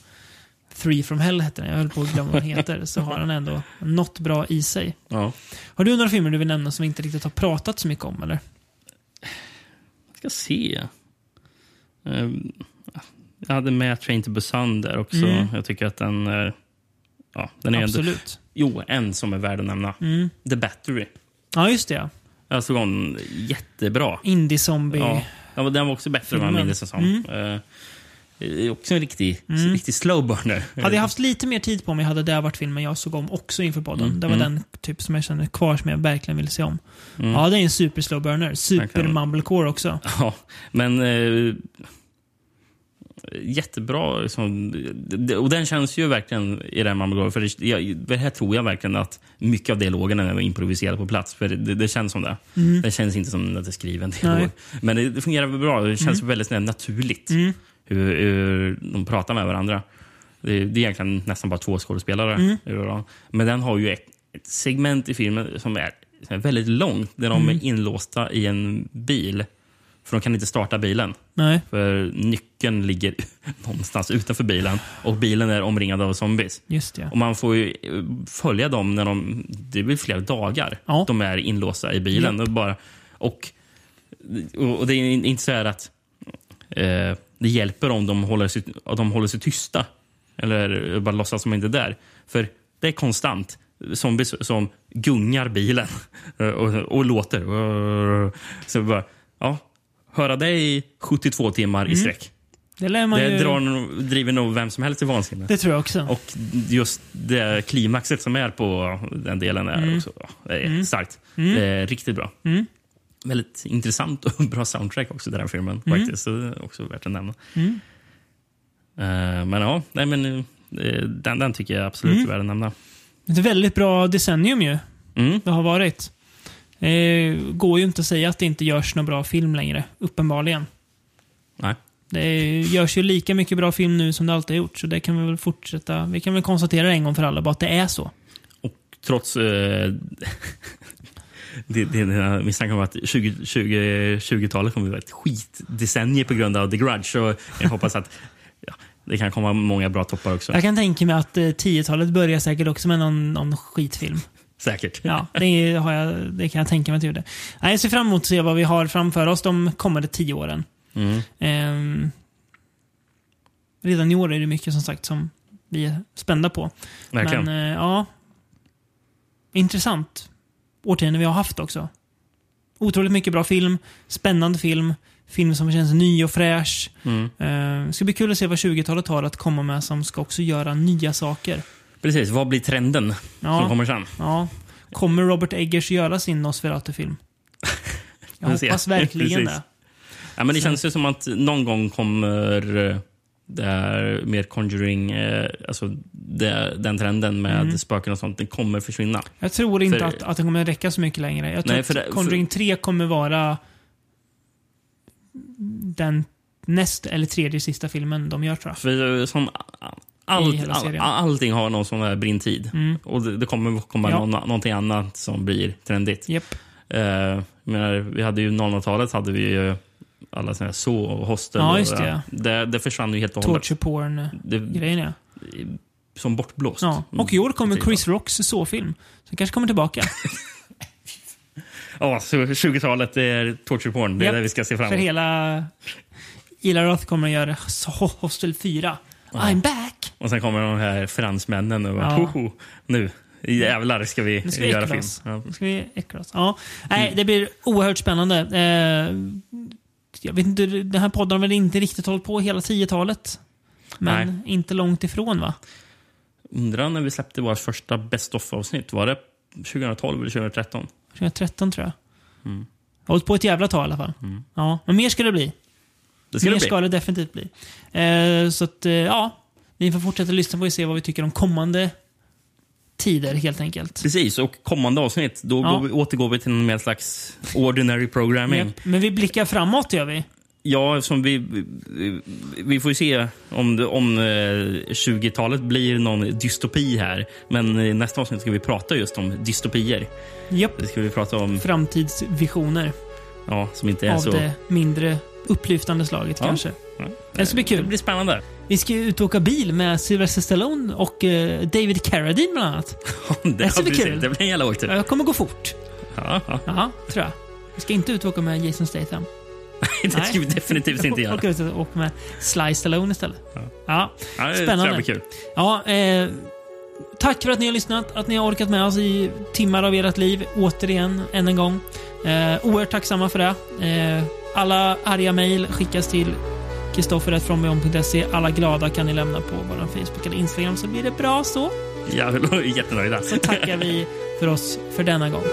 [SPEAKER 1] Three from Hell heter den, jag höll på att glömma vad den heter, så har han ändå något bra i sig.
[SPEAKER 2] Ja.
[SPEAKER 1] Har du några filmer du vill nämna som vi inte riktigt har pratat så mycket om eller?
[SPEAKER 2] Jag ska se. Ehm, Jag hade med Train to Busan där också.
[SPEAKER 1] Mm.
[SPEAKER 2] Jag tycker att den är... Ja, den är ändå,
[SPEAKER 1] Absolut.
[SPEAKER 2] jo, en som är värd att nämna.
[SPEAKER 1] Mm.
[SPEAKER 2] The Battery.
[SPEAKER 1] Ja, just det. ja.
[SPEAKER 2] Jag såg om den jättebra.
[SPEAKER 1] Indie-zombie.
[SPEAKER 2] Ja, den var- den var också bättre än vad jag
[SPEAKER 1] Filmen. Mm.
[SPEAKER 2] minns det som. Eh, det är också en riktig, riktig slow burner.
[SPEAKER 1] (laughs) Hade jag haft lite mer tid på mig hade det här varit filmen jag såg om också inför podden.
[SPEAKER 2] Mm.
[SPEAKER 1] Det var den typ som jag kände kvar som jag verkligen ville se om.
[SPEAKER 2] Mm.
[SPEAKER 1] Ja, det är en super slow burner. Super
[SPEAKER 2] Alltså. Verkligen.
[SPEAKER 1] mumblecore också.
[SPEAKER 2] Ja, men eh, jättebra. Liksom, det- och den känns ju verkligen i den man begår. För det, jag, det här tror jag verkligen att mycket av dialogen är improviserad på plats. För det, det känns som det. Det känns inte som att det är skriven dialog. Men det, det fungerar väl bra. Det känns väldigt sådär naturligt
[SPEAKER 1] Mm.
[SPEAKER 2] hur, hur de pratar med varandra. Det, det är egentligen nästan bara två skådespelare. ur dem. Men den har ju ett, ett segment i filmen som är som är väldigt långt där de är inlåsta i en bil. För de kan inte starta bilen.
[SPEAKER 1] Nej.
[SPEAKER 2] För nyckeln ligger (laughs) någonstans utanför bilen och bilen är omringad av zombies.
[SPEAKER 1] Just ja.
[SPEAKER 2] Och Man får ju eh, följa dem när de... Det blir flera dagar
[SPEAKER 1] Ja.
[SPEAKER 2] de är inlåsta i bilen. Och, bara, och, och det är inte så här att eh, det hjälper om de håller sig, att de håller sig tysta. Eller bara låtsas som de inte är där. För det är konstant zombies som gungar bilen (laughs) och, och låter. Så bara, ja, höra det i 72 timmar i sträck.
[SPEAKER 1] Det lär Mm. man
[SPEAKER 2] Det
[SPEAKER 1] ju...
[SPEAKER 2] drar, nog- driver nog vem som helst till vansinne.
[SPEAKER 1] Det tror jag också.
[SPEAKER 2] Och just det klimaxet som är på den delen är
[SPEAKER 1] Mm.
[SPEAKER 2] också det är starkt. Det är riktigt bra. Väldigt intressant och (laughs) bra soundtrack också till den här filmen.
[SPEAKER 1] Mm.
[SPEAKER 2] Faktiskt. Så det är också värt att nämna. Eh, men ja, nej, men, eh, den, den tycker jag absolut
[SPEAKER 1] Mm.
[SPEAKER 2] är värd att nämna.
[SPEAKER 1] Ett väldigt bra decennium ju.
[SPEAKER 2] Mm.
[SPEAKER 1] Det har varit. Eh, går ju inte att säga att det inte görs någon bra film längre. Uppenbarligen.
[SPEAKER 2] Nej.
[SPEAKER 1] Det görs ju lika mycket bra film nu som det alltid har gjort. Så det kan vi väl fortsätta. Vi kan väl konstatera en gång för alla bara att det är så.
[SPEAKER 2] Och trots eh, (laughs) det, det, det misstanken om att 20, 20, 20-talet kommer att vara ett skitdecennium på grund av The Grudge. Så jag hoppas att (laughs) ja, det kan komma många bra toppar också.
[SPEAKER 1] Jag kan tänka mig att eh, 10-talet börjar säkert också med någon, någon skitfilm.
[SPEAKER 2] Säkert.
[SPEAKER 1] Ja, det, har jag, det kan jag tänka mig att det gjorde. Nej, Jag ser fram emot att se vad vi har framför oss de kommande tio åren.
[SPEAKER 2] Mm.
[SPEAKER 1] Ehm, redan i år är det mycket som sagt som vi är spända på.
[SPEAKER 2] Verkligen.
[SPEAKER 1] Men eh, ja, intressant årtionde vi har haft också. Otroligt mycket bra film, spännande film, film som känns ny och fräsch.
[SPEAKER 2] Mm.
[SPEAKER 1] Eh, det ska bli kul att se vad 20-talet har att komma med som ska också göra nya saker.
[SPEAKER 2] Precis, vad blir trenden som
[SPEAKER 1] Ja,
[SPEAKER 2] kommer sen?
[SPEAKER 1] ja. Kommer Robert Eggers göra sin
[SPEAKER 2] (laughs)
[SPEAKER 1] Nosferatu-film? Jag
[SPEAKER 2] Vi får se.
[SPEAKER 1] hoppas verkligen
[SPEAKER 2] Precis.
[SPEAKER 1] det.
[SPEAKER 2] Ja, men det känns ju som att någon gång kommer eh, det här mer Conjuring, eh, alltså det, den trenden med
[SPEAKER 1] Mm.
[SPEAKER 2] spöken och sånt, den kommer försvinna.
[SPEAKER 1] Jag tror inte
[SPEAKER 2] För-
[SPEAKER 1] att, att den kommer räcka så mycket längre. Jag tror
[SPEAKER 2] Nej,
[SPEAKER 1] att
[SPEAKER 2] för det- för-
[SPEAKER 1] Conjuring 3 kommer vara den näst eller tredje sista filmen de gör tror jag.
[SPEAKER 2] För eh, som allt,
[SPEAKER 1] I hela
[SPEAKER 2] all,
[SPEAKER 1] serien.
[SPEAKER 2] allting har någon sån här brintid.
[SPEAKER 1] Mm.
[SPEAKER 2] Och det, det kommer komma
[SPEAKER 1] Ja.
[SPEAKER 2] någon, någonting annat som blir trendigt.
[SPEAKER 1] Japp.
[SPEAKER 2] Eh, jag menar, vi hade ju 00-talet hade vi ju alla såna här så och hostel.
[SPEAKER 1] Ja,
[SPEAKER 2] och
[SPEAKER 1] just det,
[SPEAKER 2] där. det. Det försvann ju helt och Mm. hållet.
[SPEAKER 1] Torture porn-grejen
[SPEAKER 2] Det,
[SPEAKER 1] ja.
[SPEAKER 2] som bortblåst. Mm.
[SPEAKER 1] ja. Och i år kommer Chris Rocks så-film. Så den kanske kommer
[SPEAKER 2] (laughs)
[SPEAKER 1] tillbaka.
[SPEAKER 2] Ja, så 20-talet är torture porn. Det är
[SPEAKER 1] Japp.
[SPEAKER 2] det vi ska se fram
[SPEAKER 1] För
[SPEAKER 2] emot.
[SPEAKER 1] hela... Ila Roth kommer att göra so- Hostel 4. I'm back!
[SPEAKER 2] Och sen kommer de här fransmännen och bara,
[SPEAKER 1] Ja.
[SPEAKER 2] "Hoho, nu jävlar ska vi,
[SPEAKER 1] Nu ska vi
[SPEAKER 2] göra
[SPEAKER 1] äckla
[SPEAKER 2] film.
[SPEAKER 1] oss.
[SPEAKER 2] Ja.
[SPEAKER 1] Nu ska vi äckla oss. Ja. Nej, det blir oerhört spännande. Eh, jag vet inte, den här podden har väl inte riktigt hållit på hela 10-talet? Men inte långt ifrån va?
[SPEAKER 2] Undrar när vi släppte vårt första Best of-avsnitt. Var det 2012 eller 2013?
[SPEAKER 1] 2013 tror jag.
[SPEAKER 2] Mm.
[SPEAKER 1] Jag har hållit på ett jävla tag i alla fall. Ja, men mer ska det bli.
[SPEAKER 2] Det ska
[SPEAKER 1] Mer
[SPEAKER 2] det bli.
[SPEAKER 1] ska det definitivt bli. Eh, så att, eh, ja. Ni får fortsätta lyssna på och se vad vi tycker om kommande tider helt enkelt.
[SPEAKER 2] Precis, och kommande avsnitt då
[SPEAKER 1] Ja.
[SPEAKER 2] går vi, återgår vi till någon mer slags ordinary programming.
[SPEAKER 1] Japp, Men vi blickar framåt gör vi.
[SPEAKER 2] Ja, eftersom vi, vi- vi får ju se om, det- om eh, 20-talet blir någon dystopi här. Men i nästa avsnitt ska vi prata just om dystopier.
[SPEAKER 1] Japp.
[SPEAKER 2] Det ska vi prata om,
[SPEAKER 1] Framtidsvisioner
[SPEAKER 2] ja, som inte är
[SPEAKER 1] av
[SPEAKER 2] så...
[SPEAKER 1] det mindre upplyftande slaget
[SPEAKER 2] Ja.
[SPEAKER 1] kanske.
[SPEAKER 2] Ja.
[SPEAKER 1] Det ska bli
[SPEAKER 2] Det
[SPEAKER 1] kul.
[SPEAKER 2] blir spännande. (laughs)
[SPEAKER 1] Vi ska ju ut och åka bil med Sylvester Stallone och eh, David Carradine bland annat.
[SPEAKER 2] det,
[SPEAKER 1] ska bli
[SPEAKER 2] precis.
[SPEAKER 1] kul.
[SPEAKER 2] det blir en jävla åktur.
[SPEAKER 1] Jag kommer gå fort.
[SPEAKER 2] Ja, (laughs) ja.
[SPEAKER 1] Ja, tror jag. Vi ska inte ut och åka med Jason Statham.
[SPEAKER 2] Det ska vi definitivt inte göra.
[SPEAKER 1] Och ut och åka med Sly Stallone istället.
[SPEAKER 2] Ja.
[SPEAKER 1] Ja.
[SPEAKER 2] Ja, det tror jag
[SPEAKER 1] Spännande.
[SPEAKER 2] blir kul.
[SPEAKER 1] Ja, eh, tack för att ni har lyssnat, att ni har orkat med oss i timmar av ert liv. Återigen, än en gång. Eh, oerhört tacksamma för det. Eh, alla arga mejl skickas till kristoffer.frombeom.se. Alla glada kan ni lämna på vår Facebook eller Instagram så blir det bra så.
[SPEAKER 2] Jag är jättenöjda.
[SPEAKER 1] Så tackar vi för oss för denna gång.